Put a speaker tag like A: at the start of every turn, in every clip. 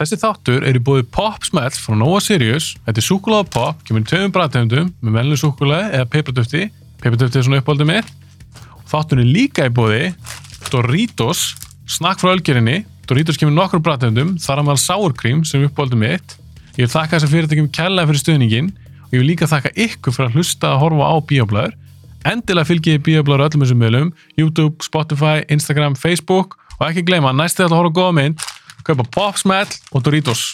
A: Þessi þáttur er í búið Popsmell frá Nova Sirius. Þetta er súkulega pop, kemur í tveimum bræðtegundum með melnum súkulega eða peipratöfti. Peipratöfti er svona uppáldið mitt. Þáttur er líka í búið Doritos, snakk frá ölgerinni. Doritos kemur í nokkrum bræðtegundum, þar að maður sárkrím sem er uppáldið mitt. Ég vil þakka þessar fyrirtækjum kærlega fyrir stuðningin og ég vil líka þakka ykkur fyrir að hlusta að horfa á bíoblæður. Endilega fylgjið bíoblæður öllum þessum meðlum, YouTube, Spotify, Instagram, Facebook og ekki gleyma, næstu þetta að horfa á góða mynd, kaupa Popsmell og Doritos.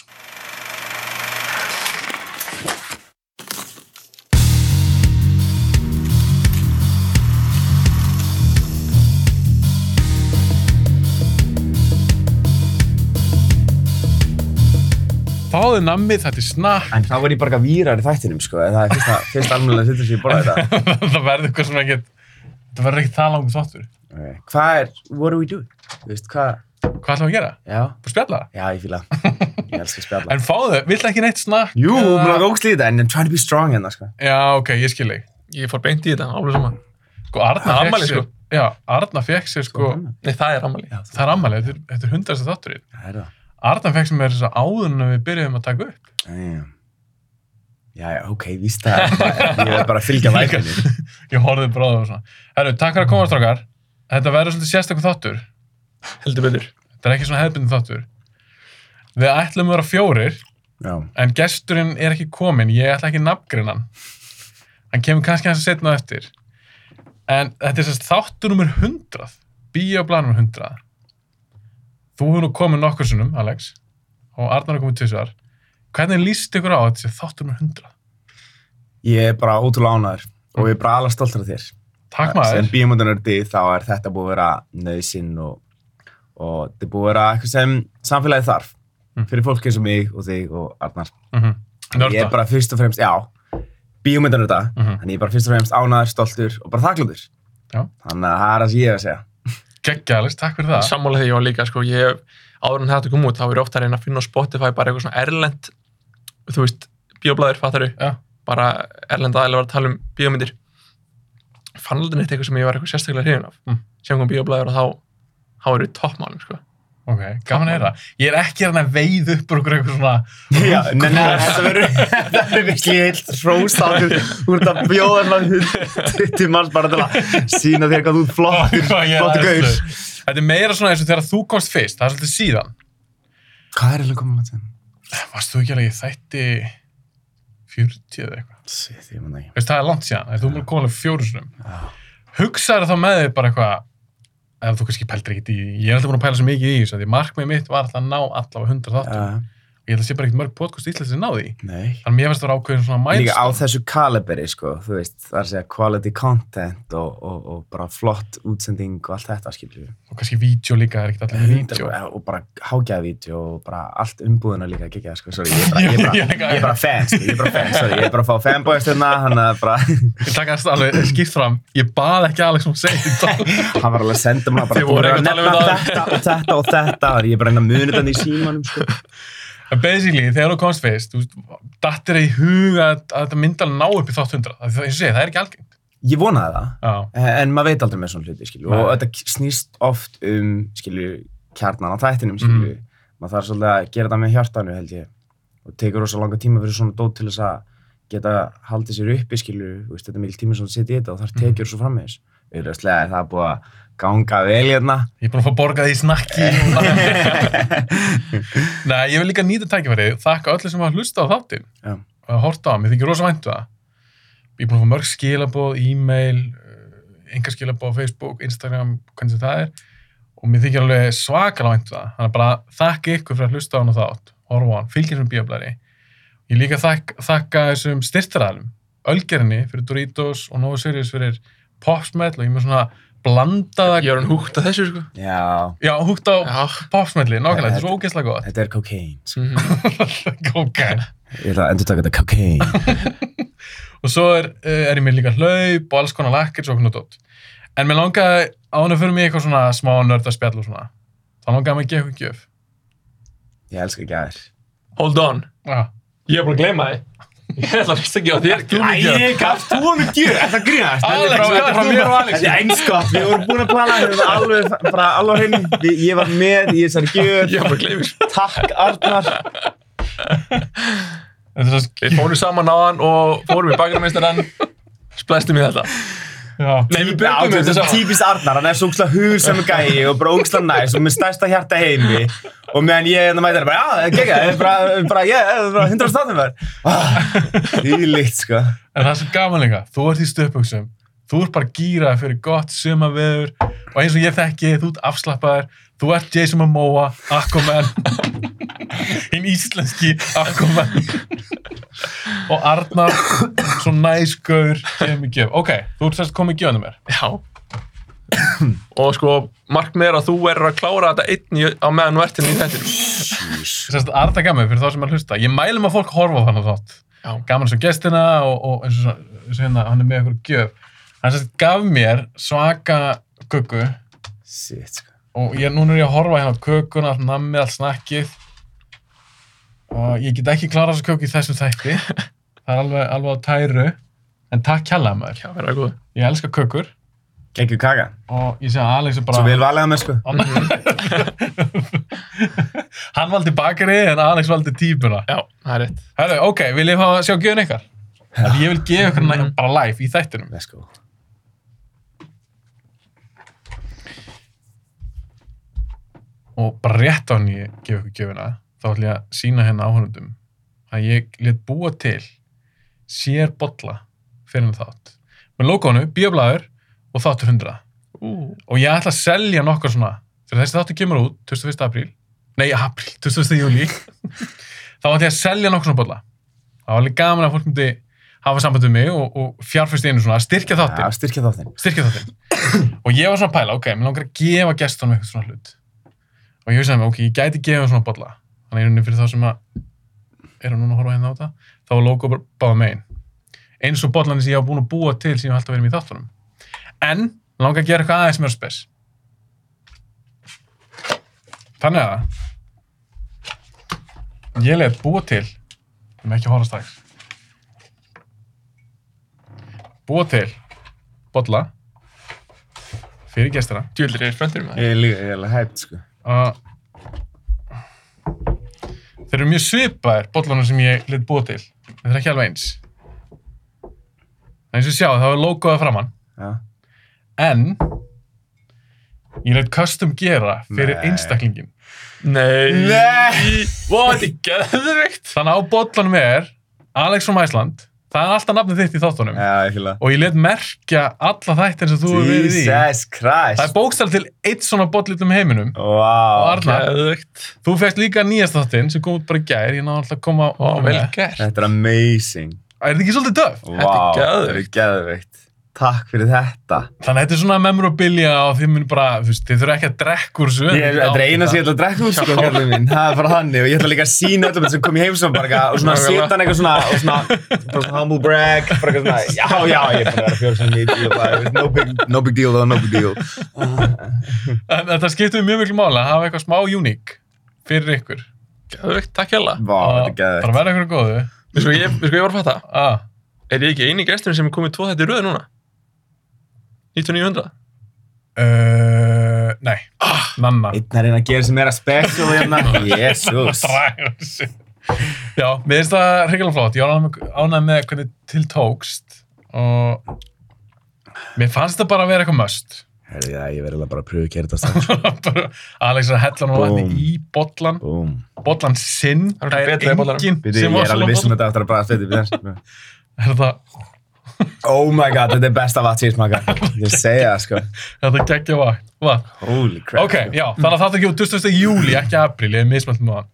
A: Fáðu nammið, þetta er snakk,
B: En þá var ég bara eitthvað vírar í þættinum, sko. en Það er fyrsta, fyrsta almennilega sittur sem ég borðaði þetta.
A: það verður eitthvað sem ekkert, þetta verður ekkert það langur þáttur.
B: Okay. Hvað er, what do we do? Þú veist, hvað,
A: Hvað ætlum við að gera?
B: já,
A: Bara spjalla?
B: já, ég fíla. það. Ég elska að spjalla.
A: En fáðu, vill ekki neitt snakk?
B: Jú,
A: eða-
B: mér er ógst í þetta, en I'm trying to be strong hérna, sko.
A: Já, ok, ég skil þig.
C: Ég fór beint í þetta, alveg saman.
A: Sko, Arna
C: Það er
A: fekk
C: afmæli,
A: sér-
C: sko.
A: Já, Arna fekk sér sko,
B: Svona.
C: Nei, það er ammali.
A: það er ammali, þetta er- þetta er hundarsta þátturinn.
B: Það er það.
A: Arna fekk sér mér þess að áðurinn að við byrjuðum að taka upp.
B: Damn. Já, já, ok, víst það. Ég er bara að fylgja vækunni.
A: Ég horfði bara á það og svona. Herru, takk fyrir að komast okkar. Þetta verður svolítið sérstakur þáttur.
C: Heldur betur.
A: Þetta er ekki svona hefðbundin þáttur. Við ætlum að vera fjórir,
B: Já,
A: en gesturinn er ekki kominn. Ég ætla ekki nafngrinnan. Hann kemur kannski hans að setna eftir. En þetta er sérst þáttur nummer 100. Bíoblan nummer 100. Þú hefur nú komið nokkur sinnum, Alex, og Arnar er komið tvisvar. Hvernig líst ykkur á þetta sé þáttur nummer 100?
B: ég er bara ótrúlega ánæður og ég er bara alveg stoltur af þér.
A: Takk
B: Sem
A: maður.
B: bíomöndanördi þá er þetta búið að vera nöðsinn og, og þetta er búið að vera eitthvað sem samfélagið þarf.
A: Mm.
B: Fyrir fólk eins og mig og þig og Arnar.
A: Mm -hmm.
B: Ég er
A: Nörda.
B: bara fyrst og fremst, já, bíómyndanörda.
A: Mhm.
B: Þannig ég er bara fyrst og fremst ánæður, stoltur og bara þakklútur.
A: Já.
B: Þannig að það er það sem ég hef að segja.
A: Geggja, Alex, takk fyrir það.
C: Sammála því ég var líka, sko, ég hef, áður en þetta kom út, þá er ég ofta að reyna að finna á Spotify bara eitthvað svona erlend, þú veist, bíoblæður, fattar þau,
A: Já.
C: bara erlend aðeins var að tala um bíómyndir. Fann aldrei neitt eitthvað sem ég var eitthvað sérstaklega hrifin af.
A: Mm.
C: Mm. Sem kom bíoblæður og þá, þá eru við toppmálum, sko.
A: Ok, gaman að heyra. Ég er ekki hérna að veið upp úr okkur eitthvað svona...
B: Já, nei, nei, þetta verður þetta verður virkelig heilt hróstáttur úr þetta bjóða allavega 20 manns bara til að sína þér hvað þú ert flottur,
A: Ég er
B: flottur gaur.
A: æðislegur. Þetta er meira svona eins og þegar þú komst fyrst, það er svolítið síðan.
B: Hvað er alveg komin langt síðan?
A: Varst þú ekki alveg í þætti 40 eða eitthvað?
B: Shit, ég man það ekki.
A: Veist, það er langt síðan, þegar þú múlið komið alveg fjórusunum. Hugsaður þá með þig bara eitthvað, ef þú kannski pældir ekkert í, ég er alltaf búin að pæla svo mikið í þessu, af því markmið mitt var alltaf að ná allavega 100 þáttum.
B: Já,
A: Ég held að sé bara ekkert mörg podcast íslensið sem náði í.
B: Uh, Nei.
A: Þannig að mér finnst það vera ákveðin svona
B: Líka á
A: mælstofn.
B: þessu kaliberi, sko, þú veist, það er að segja quality content og, og, og bara flott útsending og allt þetta, skilur við.
A: Og kannski vídeo líka, það er ekkert allir vídeo.
B: Og bara hágæðavídeó og bara allt umbúðina líka að gegja, sko, sorry, ég er bara, ég er bara,
A: Ég
B: ég
A: líka,
B: er bara fans, ég er bara fans, sorry, ég er bara að fá fanboyst hérna, hann að bara,
A: Ég taka það alveg skipt fram, ég bað ekki Alex um að segja þetta.
B: hann var alveg að senda mér bara,
C: Þið voru
B: að
C: eitthvað að tala um
B: nefna
C: það.
B: þetta og þetta og þetta, og ég er bara að reyna að muni þetta í símanum, sko.
A: En basically, þegar þú komst fyrst, þú dattir í huga að, að þetta myndal ná upp í þátt 100. Það, það, segi, það er ekki algengt.
B: Ég vonaði það,
A: Já.
B: en maður veit aldrei með svona hluti skilju, og
A: Nei.
B: þetta snýst oft um skilju, kjarnan á þættinum skilju, maður þarf svolítið að gera það með hjartanu held ég og tekur rosa langa tíma fyrir svona dót til þess að geta haldið sér uppi skilju þú veist, þetta er mikil tíma sem það setja í þetta og þar tekjur svo frammeðis auðvitaðslega er það búið að ganga vel hérna
A: Ég er búin að fá borgað í snakki. Nei, ég vil líka nýta tækifærið, þakka öllu sem var að hlusta á þáttinn
B: Já.
A: og að horta á, mér þykir rosa væntu það. Ég er búin að fá mörg skilaboð, e-mail, enga skilaboð á Facebook, Instagram, hvernig sem það er og mér þykir alveg svakalega væntu það. Þannig að bara þakka ykkur fyrir að hlusta á hann og þátt, horfa á hann, fylgja þessum bíoblari. Ég líka þak, þakka þessum styrtaraðalum, Ölgerinni fyrir Doritos og Nova Sirius fyrir Popsmell og ég er með svona blandaða...
C: Ég var hann húgt að þessu, sko.
B: já,
A: Já, húgt á
C: Já.
A: popsmelli, nákvæmlega, þetta er svo ógeðslega gott.
B: þetta er kokain
C: Mhm.
A: ok.
B: ég ætla að endur taka þetta kokain
A: Og svo er, eh, er ég með líka hlaup og alls konar lakkir svo okkur dótt. En mér langaði, án að fyrir mig eitthvað svona smá nörda spjall og svona, þá langaði mig að gefa ykkur gjöf.
B: ég elska ekki að þér
C: Hold on.
A: Já.
C: Ég er bara að gleyma þið. Ég ætla að vista ekki á þér gjöfum
B: Æ, gafst þú honum gjöf, þetta grínast
C: Alex,
B: Þetta er frá- þetta er frá
C: hvað
B: mér og
C: þú-
B: Alex Þetta er einskott, við vorum búin að plana Við vorum alveg, bara alveg henni Ég var með í þessari gjöf
C: Ég bara gleymir
B: Takk, Arnar
A: Þetta er svo...
C: Við fórum saman á hann og fórum í bakrameistarann Splæstum í þetta
A: Já.
C: Nei, við
B: Já,
C: björgum
B: þetta
C: þetta
B: er
C: saman
B: típist Arnar, hann er svo ógslag hugur sem gæi og bara ógslag næs og með stærsta hjarta í heimi og meðan ég hérna mæta er bara, já, gegja, það er bara, bara, ég, það er bara 100 stafnum verð. Ílíkt, sko.
A: En það er svo gaman líka. Þú ert í stöpuksum. Þú ert bara gýrað fyrir gott sumaveður og eins og ég þekki, þú ert afslappaður. Þú ert Jason Momoa, Aquaman. Hinn íslenski Aquaman. og Arnar, svo næskur, gefur mig gjöf. Ok, þú ert sérst komið gjöfnum mér.
C: Já Og sko, markmið er að þú verður að klára þetta einn í- á meðan þú ert hérna í þettinum
A: Sérst Arnar gamið fyrir þá sem er að hlusta. Ég mælum að fólk horfa á þannig þátt.
C: Já,
A: gaman sem gestina og, og eins og, svona- eins og hérna, hann er með okkur gjöf hann sérst gaf mér svaka köku
B: Sitt, sko.
A: og ég, núna er ég að horfa hérna á kökuna allt nammið, allt snakkið og ég get ekki klara þessa köku í þessum þætti það er alveg, alveg á tæru en takk hella maður,
C: já, verður að góð
A: ég elska kökur
B: Gengjum kaka.
A: og ég sé að Alex er bara
B: Svo vel valega með, sko.
A: hann valdi bakari en Alex valdi típuna
C: Já, það er rétt
A: Herru, ok, vil ég fá að sjá gjöfun ykkar? Ég vil gefa ykkur næ- bara live í þættinum
B: Let's go.
A: og bara rétt á hann ég gefa ykkur gjöfina þá ætlum ég að sína henni áhörnundum að ég let búa til sér bolla fyrir henni þátt með logoinu, bíoblæður og þáttur 100
C: Ú,
A: og ég ætla að selja nokkar svona þegar þessi þáttur kemur út 21. apríl nei, apríl, 21. júli þá ætla ég að selja nokkar svona bolla það var alveg gaman að fólk myndi hafa samband við mig og, og fjárfyrst einu svona að styrkja þáttin
B: Já, styrkja þáttinn.
A: styrkja þáttinn. og ég var svona að pæla, ok, mér langar að gefa gestunum eitthvað svona hlut. Og ég hugsaði með, ok, ég gæti gefa þeim svona bolla. Þannig í rauninni fyrir þá sem að eru núna að horfa hérna á þetta, þá var logo bara báða megin. Eins og bollanir sem ég hafa búin að búa til sem ég hef alltaf verið með í þáttunum. En, mig langar að gera eitthvað aðeins mér spes. Þannig að ég leiði búa til, við erum ekki að horfa strax, búa til bolla fyrir gestina
C: djöldur er spenntur með það
B: Ég er líka, ég er alveg hægt, sko.
A: að þeir eru mjög svipaðir bollarnar sem ég lit búa til þeir eru ekki alveg eins en eins og sjá þá er logoðið framann
B: Já.
A: en ég lit custom gera fyrir
B: Nei.
A: einstaklingin
C: Nei
B: Nei.
C: What, ég geðvikt
A: þannig á bollanum er Alex from Iceland það er alltaf nafnið þitt í þáttunum
B: Já, ég fylgja.
A: og ég lit merkja alla þættin sem þú hefur verið í
B: Jesus
A: það er
B: Christ.
A: bókstall til eitt svona bollitum heiminum og
B: Vá.
A: Arnar-
C: Geðvikt
A: Þú fegst líka nýjast þáttinn sem kom út bara í gær, ég náði alltaf að koma á
C: Ó, vel gert
B: Þetta er amazing.
A: Er þetta ekki svolítið töff?
B: Vá.
C: er
B: Þetta er geðveikt. Takk fyrir þetta.
A: Þannig að þetta er svona memorabilia og þið mun bara, þú veist, þið þurfa ekki að drekka úr svo.
B: Ég er þetta er eina sem ég ætla að drekka úr sko, kallið mín. Það er bara þannig og ég ætla líka að sína öllum sem kom í heimsum bara eitthvað og svona
C: Nákvæmlega.
B: setja hann eitthvað svona og svona, bara svona humble brag, bara eitthvað svona, já, já, ég er bara að fjóra sem ég bíl og bara, no big, no big deal though, no big deal.
A: En þetta skiptum við mjög miklu mála að hafa eitthvað smá uník fyrir ykkur.
C: Geðvikt, takk hella
B: Vá,
A: Að
B: þetta er geðveikt.
A: Bara verða ykkur góðu.
C: Við sko, ég, við sko, ég var að fatta
A: Ah,
C: Er ég ekki eini gesturinn sem er komið tvo þetta í röðu núna? 1900
A: uh, nei, ah, nanna.
B: Einn er einn að gera sem er að special hérna, jesús.
A: Draga þessu. Já, mér finnst það hrigalega flott. Ég var ánægð með hvernig til tókst og mér fannst það bara að vera eitthvað möst.
B: Herri, já, ég verði bara að pröfu að kera þetta strax.
A: Bara- Alex er að hella nú vatni
B: Búm.
A: í bollan
B: Búm.
A: bollan sinn
C: Það er betri bollanum.
B: Býtu, ég er alveg um vissum þetta eftir að bræða þetta við þess.
A: Er það,
B: Oh my god, þetta er besta vatn sem ég smaka. Ég segja það sko.
A: er það geggja vatn? vatn.
B: Holy crap.
A: Ok, já, þannig að það er ekki á 20. júli, ekki apríl, ég er mismælt með hann.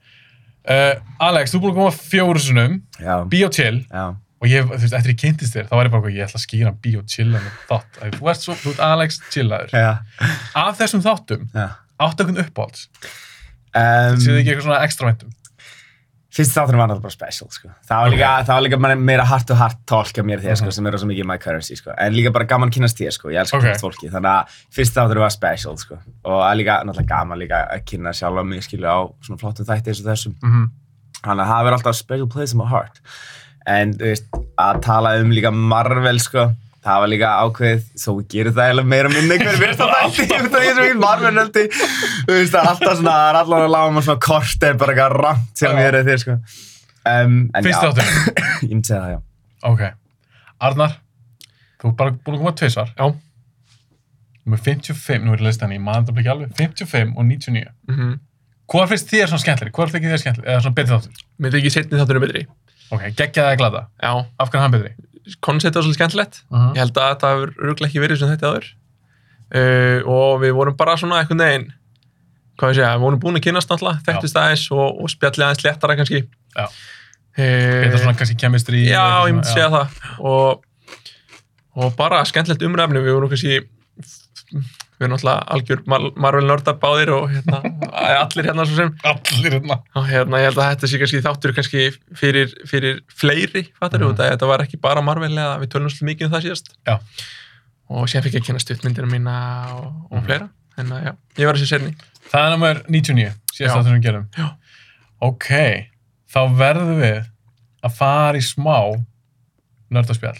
A: Uh, Alex, þú er búin að koma fjóru sinnum,
B: Já,
A: Bio Chill,
B: já.
A: og ég, þú veist, eftir ég kynntist þér, þá var ég bara, eitthvað, ég ætla að skýra Bio Chill en þátt. Ef Þú ert svo, þú ert Alex Chillaður.
B: Já,
A: Af þessum þáttum,
B: já.
A: áttu einhvern uppáhalds,
B: Um,
A: séu þið ekki eitthvað svona ekstra væntum.
B: Fyrst þátturinn var náttúrulega bara special, sko. Það var líka, það var líka meira- meira hard to hard talk af mér þér, sko,
A: Mhm.
B: sem eru svo mikið my currency, sko. En líka bara gaman að kynnast þér, sko. Ég
A: Ok.
B: elskar okay. kynnast fólki. Þannig að fyrst þátturinn var special, sko. Og það er líka, náttúrulega gaman líka að kynna sjálf mig, skilja, á svona flottum þætti eins og þessum.
A: Mm
B: Þannig að það verður alltaf special place in my heart. en þú veist, að tala um líka Marvel sko, það var líka ákveðið þó við gerum það eiginlega meira minni hver verð það þætti, út af því sem við Marvel nöldi þú veist, það er alltaf svona, það er allan að lága maður svona kort eða bara eitthvað rangt sem við erum þér sko um, en
A: Fyrst
B: já,
A: þátturinn.
B: ég myndi segja það já
A: Ok. Arnar, þú er bara búin að koma tvisvar.
C: Já.
A: Númer 55, nú er ég listan í maður ekki alveg, 55 og 99.
C: Mm
A: Hvað finnst þér svona skemmtileg? Hvað finnst þér skemmtileg? Eða svona betri þáttur?
C: Mér þykir setni þáttunum betri.
A: Ok, geggjaði eða glada.
C: Já,
A: Af hvernig er hann betri?
C: koncept var svolítið skemmtilegt.
A: Uh
C: Ég held að þetta hefur rúglega ekki verið sem þetta aður. Uh, og við vorum bara svona einhvern veginn, hvað ég segja, við vorum búin að kynast náttúrulega, þekktist aðeins og, og spjallið aðeins léttara kannski.
A: Já.
C: Uh,
A: Betra svona kannski kemistri?
C: Já, ég myndi segja það. Og, og bara skemmtilegt umræfni, við vorum kannski, við erum náttúrulega algjör Mar Marvel nördar báðir og hérna, allir hérna svo sem.
A: Allir hérna.
C: Og hérna, ég held að þetta sé kannski þáttur kannski fyrir, fyrir fleiri, fattar þú,
A: Mhm.
C: mm. þetta var ekki bara Marvel eða við tölum svolítið mikið um það síðast.
A: Já.
C: Og síðan fekk ég að kynna stuttmyndina mína og, og
A: Mhm.
C: fleira. En að, já, ég var þessi sérni.
A: Það er nummer 99, síðast
C: Já.
A: þátturinn við gerum.
C: Já.
A: Ok, þá verðum við að fara í smá nördaspjall.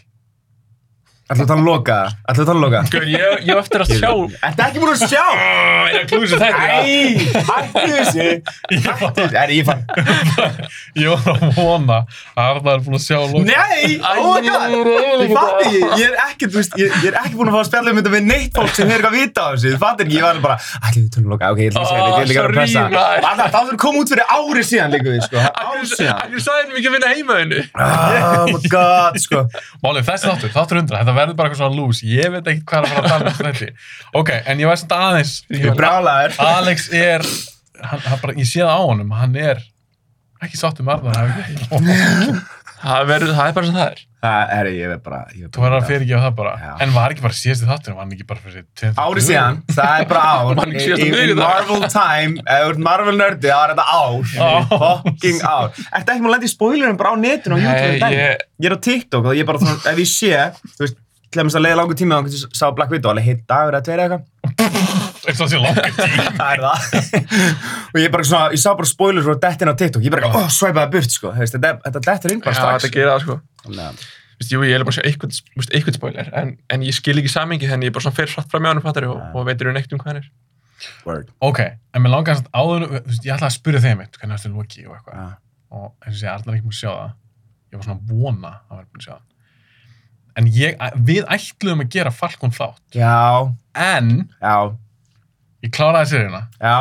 B: Ætlaðu að hann loka það? Ætlaðu að hann loka það?
C: Gau, ég, ég á eftir að sjá,
B: Ertu ekki búin að sjá?
A: Ah, Ég er klúsið þetta.
B: Æ, hættu þessu Hættu þessu, er ég fann
A: Ég var að vona að Arnar er búin að sjá loka.
B: Nei, oh my god Þið fattir ekki, ég er ekki, þú veist, ég, ég er ekki búin að fá að spjalla um þetta með neitt fólk sem er eitthvað að vita á þessu Þið fattir ekki, ég var bara, ætli við tölum loka, ok, ég ætla ekki að segja þetta, ég er líka að vera
C: Oh, sorry, maður.
B: pressa Alltaf, það þurfum koma út fyrir ári síðan líka við, sko, það er ári síðan
C: akkur sagði henni mikið að vinna heimaðinu.
B: Oh my god, sko
A: Málið, þessi þáttur, þáttur 100, þetta verður bara eitthvað svona lús. Ég veit ekki hvað er að fara að tala um þetta. Ok, en ég veist þetta aðeins.
B: Ég er brálaður
A: Alex er, hann, hann bara, ég sé það á honum, hann er ekki sátt um Arnar. hann er ekki-
C: Það verður, það er bara sem það er.
B: Það er, ég er bara ég er
A: Þú verður að fyrirgefa það bara.
B: Já.
A: En var ekki bara síðasti þáttur, var hann ekki bara fyrir tveim
B: Ári síðan, það er bara ár
C: Man, síðasta
B: Í- í
C: miðvikudag.
B: Marvel time, ef þú ert Marvel nerdi þá er þetta
A: Ár.
B: ár Fucking ár Ertu ekki múin að lenda í spoilerum bara á netinu og YouTube um
C: Nei,
B: daginn?
C: ég,
B: ég er á TikTok og ég bara, svona, ef ég sé þú veist, til dæmis að leiða langur tíma þá ég sá Black Widow, alveg heitt dagur eða tveir eða eitthvað
A: Eins og þessi langt.
B: það er það og ég bara svona, ég sá bara spoilers og dettin á TikTok ég bara, oh, svæpaði burt, sko, þú veist, þetta, þetta dettur inn
C: já,
B: bara strax
C: þetta gerir það sko.
B: Þannig að-
C: Vist, jú, ég er bara að sjá eitthvað, vist, eitthvað spoiler, en, en ég skil ekki samingi henni, ég bara svona fer hratt fram í honum fattari og,
B: Já.
C: og veitir hún eitt um hvað hann er.
B: word
A: Ok, en mér langar samt áður, þú veist, ég ætlaði að spyrja þeim eitt, hvernig ertu loki og eitthvað.
B: Já.
A: Og eins og sé, Arnar er ekki múið að sjá það. Ég var svona að vona að hann verði búin að sjá það. En ég, við ætluðum að gera Falcon þátt,
B: já,
A: en
B: já,
A: ég kláraði seríuna
B: já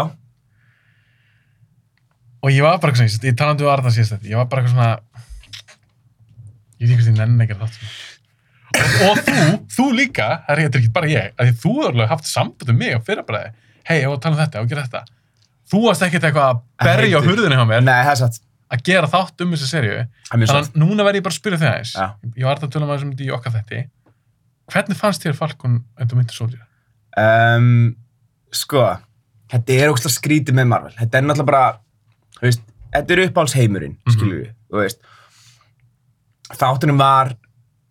A: og ég var bara eitthvað svona, ég talandi við Arnar síðast þetta, ég var bara eitthvað svona, ég veit ekki hvort ég nenni ekki að þátt. Og, og þú, þú líka, það er þetta er ekki bara ég, að því þú hefur alveg haft samband um mig á fyrirbræði, hei, ég var að tala um þetta, ég var að gera þetta. Þú varst ekkert eitthvað að berja á
B: heitir.
A: hurðinni hjá mér,
B: nei, það er satt,
A: að gera þátt um þessa seríu,
B: það er mjög satt
A: Þannig að núna verð ég bara að spyrja þig aðeins.
B: Já.
A: Ég var alltaf að tölum aðeins um þetta í okkar þetta. Hvernig fannst þér Falcon and the Winter Soldier?
B: um, sko, þetta er ógst að skrítið með Marvel, þetta er náttúrulega bara þú veist, þetta er uppáhalsheimurinn
A: Mhm.
B: skilur við, þú veist þáttunum var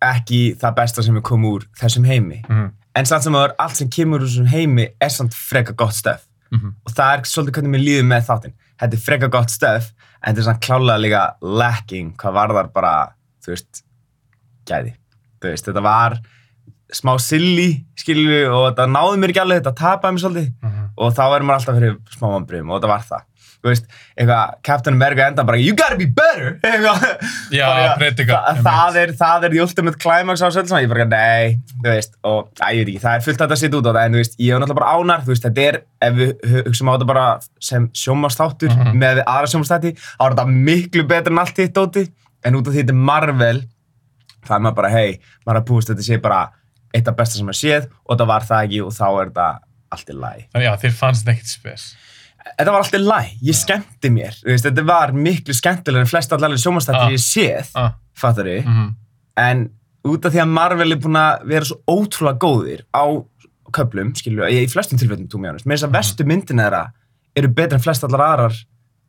B: ekki það besta sem við komum úr þessum heimi
A: Mm
B: en samt sem aður, allt sem kemur úr þessum heimi er samt freka gott stöf
A: -hmm.
B: og það er svolítið hvernig mér líður með þáttinn þetta er freka gott stöf, en þetta er samt klálega líka lacking, hvað varðar bara þú veist, gæði þú veist, þetta var smá silly, skilur við, og þetta náði mér ekki alveg, þetta tapaði mér svolítið
A: Mhm.
B: og þá er maður alltaf fyrir smá vambriðum og þetta var það þú veist, eitthvað, Captain America enda bara you gotta be better eitthvað,
A: Já,
B: Bara,
A: predika,
B: þa-
A: einmitt.
B: það, er, það er the ultimate climax á þessu öllu saman, ég bara, nei, þú veist og, æ, ég veit ekki, það er fullt hægt að setja út á það en þú veist, ég er náttúrulega bara ánar, þú veist, þetta er ef við hu- hugsaum á þetta bara sem sjómastáttur
A: Mhm.
B: með við aðra sjómastætti þá er þetta miklu betur en allt hitt dóti en út af því þetta er Marvel það er maður bara, hei, maður er að búist að þetta sé bara eitt af besta sem maður séð og það var það ekki og þá er þetta allt í lagi
A: Þannig já, þér fannst þetta ekkit spes.
B: þetta var alltaf læg, ég skemmti mér þú veist, þetta var miklu skemmtilega en flest allar sjómanstættir
A: Ah.
B: ég séð
A: Ah.
B: fattar ég,
A: Mm -hmm.
B: en út af því að Marvel er búin að vera svo ótrúlega góðir á köplum, skilju í flestum tilfellum tómi ánust, með þess
A: Mhm.
B: að vestu myndina þeirra eru betri en flest allar aðrar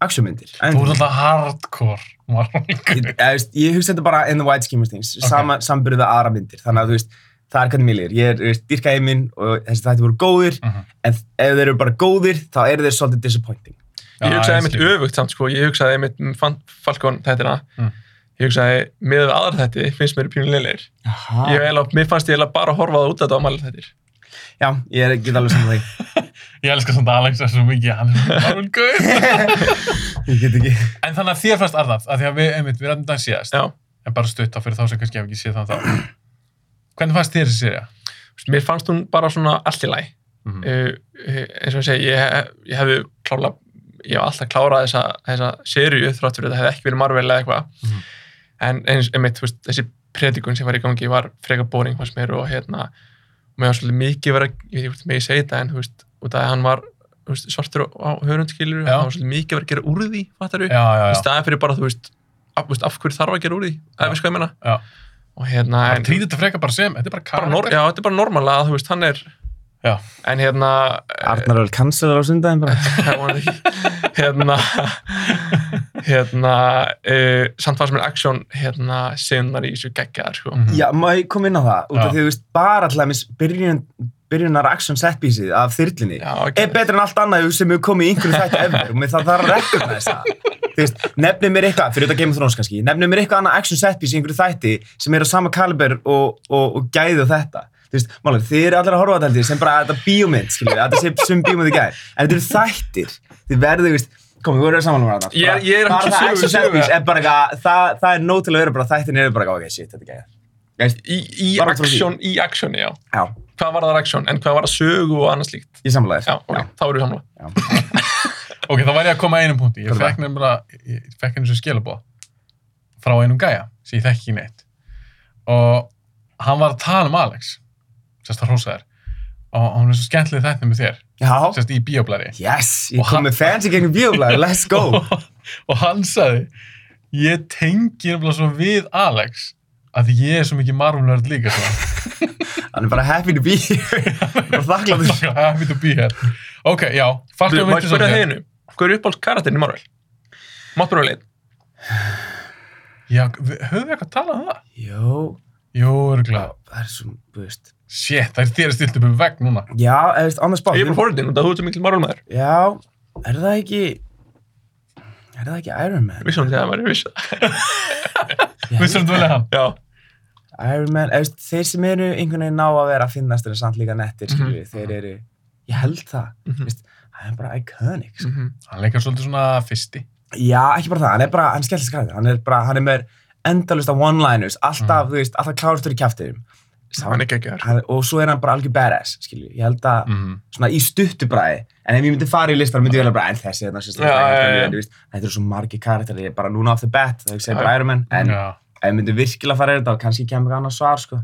B: aksjómyndir
A: Þú voru alltaf hardcore.
B: ég,
A: Marvel.
B: ég, veist, ég hugsa þetta bara in the white scheme of things
A: Ok.
B: sama samburða aðra myndir þannig að þú veist, það er hvernig mér líður ég er þú veist, dyrka heiminn og þessi þætti voru góðir
A: Mhm.
B: en ef þeir eru bara góðir þá eru þeir svolítið disappointing
C: Ég
A: Já,
C: hugsaði
A: ég
C: einmitt
A: skil.
C: öfugt samt sko, ég hugsaði einmitt um Fan- Falcon þættina.
A: Mm.
C: ég hugsaði, með við aðra þætti finnst mér pínulegir.
B: Aha.
C: Ég eiginlega, mér fannst ég eiginlega bara að horfa á það út af þetta á mæli þættir.
B: Já, ég er ekki alveg saman þig.
A: Ég elskar samt Alex er svo mikið, hann er svo marvel gauð.
B: Ég get ekki.
A: en þannig að þér fannst Arnald, að því að við, einmitt, við ræðum þann síðast,
C: Já.
A: en bara stutt á fyrir þá sem kannski hef ekki séð þann þá. Hvernig fannst þér þessi sérija?
C: Mér fannst hún bara svona allt í læg.
A: Mm.
C: uh, eins og ég segi, ég, ég hefði klála, ég hef alltaf klárað þessa, þessa seríu þrátt fyrir þetta hefði ekki verið Marvel eða eitthvað
A: Mhm.
C: en eins, einmitt, þú veist, þessi predikun sem var í gangi var freka boring fannst mér og hérna, og mér var svolítið mikið verið, að- ég veit ekki hvort mig segja þetta en þú veist, út af að hann var þú veist, svartur á hörundskilur,
A: Já.
C: hann var svolítið mikið verið að gera úr því, fattar
A: Já, já,
C: í
A: já.
C: staðan fyrir bara, þú veist, af, þú veist, af hverju þarf að gera úr því,
A: Já.
C: ef við sko ég menna
A: Já.
C: og hérna,
A: Það
C: en-
A: trýði þetta frekar bara sem, þetta er bara
C: bara nor-
A: karakter.
C: já, þetta er bara normala að þú veist, hann er
A: Já.
C: en hérna,
B: Arnar er kanselar á sundaginn bara.
C: Það voru ekki. hérna hérna uh, samt fannst mér action hérna sinnar í þessu geggjaðar sko.
A: Mhm.
B: Já, má ég koma inn á það? Út af
A: Já.
B: því, þú veist, bara alltaf mis byrjun, byrjunar action setbísið af þyrlinni
C: já,
B: er betra en allt annað sem hefur komið í einhverju þætti efver og mér það þarf að recognize það. Þú veist, nefnir mér eitthvað, fyrir þetta Game of Thrones kannski, nefnir mér eitthvað annað action setbís í einhverju þætti sem er á sama kaliber og, og, og gæði og þetta. Þú veist, málega, þið eru allir að horfa á þetta held ég sem bara að þetta bíómynd, skiljið, að þetta sé sem bíómynd í gæði. En þetta eru þættir, þið verðu, þú veist, komið, við vorum að samanlega þetta.
C: Ég- ég er
B: bara
C: ekki
B: það
C: sögu-
B: action
C: sögu-
B: setbís er bara eitthvað, það, það er nóg til að vera bara þættin eru bara, ok, shit, þetta er gæði.
C: í, í
B: Bara frá því.
C: action, í action já.
B: Já,
C: hvað var það action, en hvað var það sögu og annars líkt
B: ég samlega
C: já, ok, þá erum við samla
B: Já.
A: Ok, þá var ég að koma að einum punkti. Ég
B: Hvað er
A: fekk nefnilega, ég fekk einu sem skilabóð frá einum gæja, sem ég þekki ekki neitt. Og hann var að tala um Alex, sérst að hrósa þér. Og hann er svo skemmtileg þetta með þér,
B: Já.
A: sérst í bíóblæri.
B: Yes, ég
A: Og
B: kom
A: hann-
B: með fancy gegn bíóblæður, let's go
A: og, og hann sagði, ég tengi nefnilega svo við Alex, að því ég er svo mikið marvunlörd líka svona.
B: Hann er bara happy to be here Bara þakklátur
A: Það er mitt að býja hér. Ok, já,
C: Þú,
A: fattum
C: má
A: við
C: ég spyrja þig einu, hver er uppáhalds karakterinn í Marvel? Máttur við leið
A: Já, við- höfum við eitthvað að tala um það?
B: Jó,
A: Jú, örgulega.
B: það er svo, þú veist
A: Shit, það er þér að stilt upp um vegg núna.
B: Já, eða veist, on the spot
C: ég er bara fórhundin, þú ert svo mikil Marvel maður
B: Já, er það ekki Er það ekki Iron Man?
C: vissum því að maður er viss
B: Já,
A: Vissum þú vel að hann?
C: já,
B: Iron Man, eða veist, þeir sem eru einhvern veginn ná að vera að finnast þeirra samt líka nettir,
C: Mhm.
B: skilur Þeir eru, ég held það
C: Mhm.
B: veist, Hann er bara iconic, sko
C: Mhm.
A: Hann leikar svolítið svona fyrsti.
B: Já, ekki bara það, hann er bara, hann er skellt skræðið, hann er bara, hann er með endalust af one-liners, alltaf, þú veist, alltaf klárastur í kjæftiðum.
C: Mhm. hann er Mhm. geggjaðar
B: hann, og svo er hann bara algjör badass skilju, ég held að
A: Mm.
B: svona í stuttu bræði en ef ég myndi fara í listar myndi ég vel bara en þessi hérna, þetta sést
C: Já, já, já.
B: þetta eru svo margi karakter ég er bara núna off the bat það er
C: Já,
B: bara Iron Man en
A: Já.
B: ef ég myndi virkilega fara í þetta þá kannski kemur eitthvað annað svar sko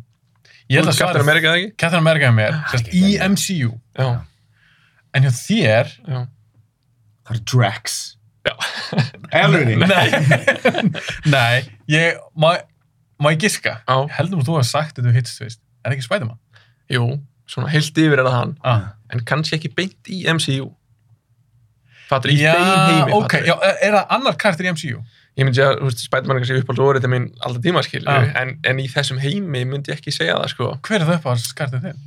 A: Ég held að
C: Captain
A: svarið...
C: America eða ekki?
A: Captain America er mér, sérst E í MCU.
C: já,
A: En hjá þér...
C: já
B: það er Drax
C: Já.
B: Elruni
A: Nei. Nei, ég... Má, má ég giska?
C: Já.
A: Ég heldur að þú hef sagt þetta hittst, veist. Er ekki Spiderman?
C: jú, svona heilt yfir er það hann
A: Ah.
C: en kannski ekki beint í MCU Fattur, í
A: Já,
C: þeim heimi
A: ok.
C: fattarðu?
A: Já, er er það annar karakter í MCU?
C: Ég myndi að, þú veist, Spiderman er kannski uppáld orðið minn alltaf tíma, skilju,
A: Já.
C: en, en í þessum heimi myndi ég ekki segja það, sko
A: Hver er það upp á karakter þinn?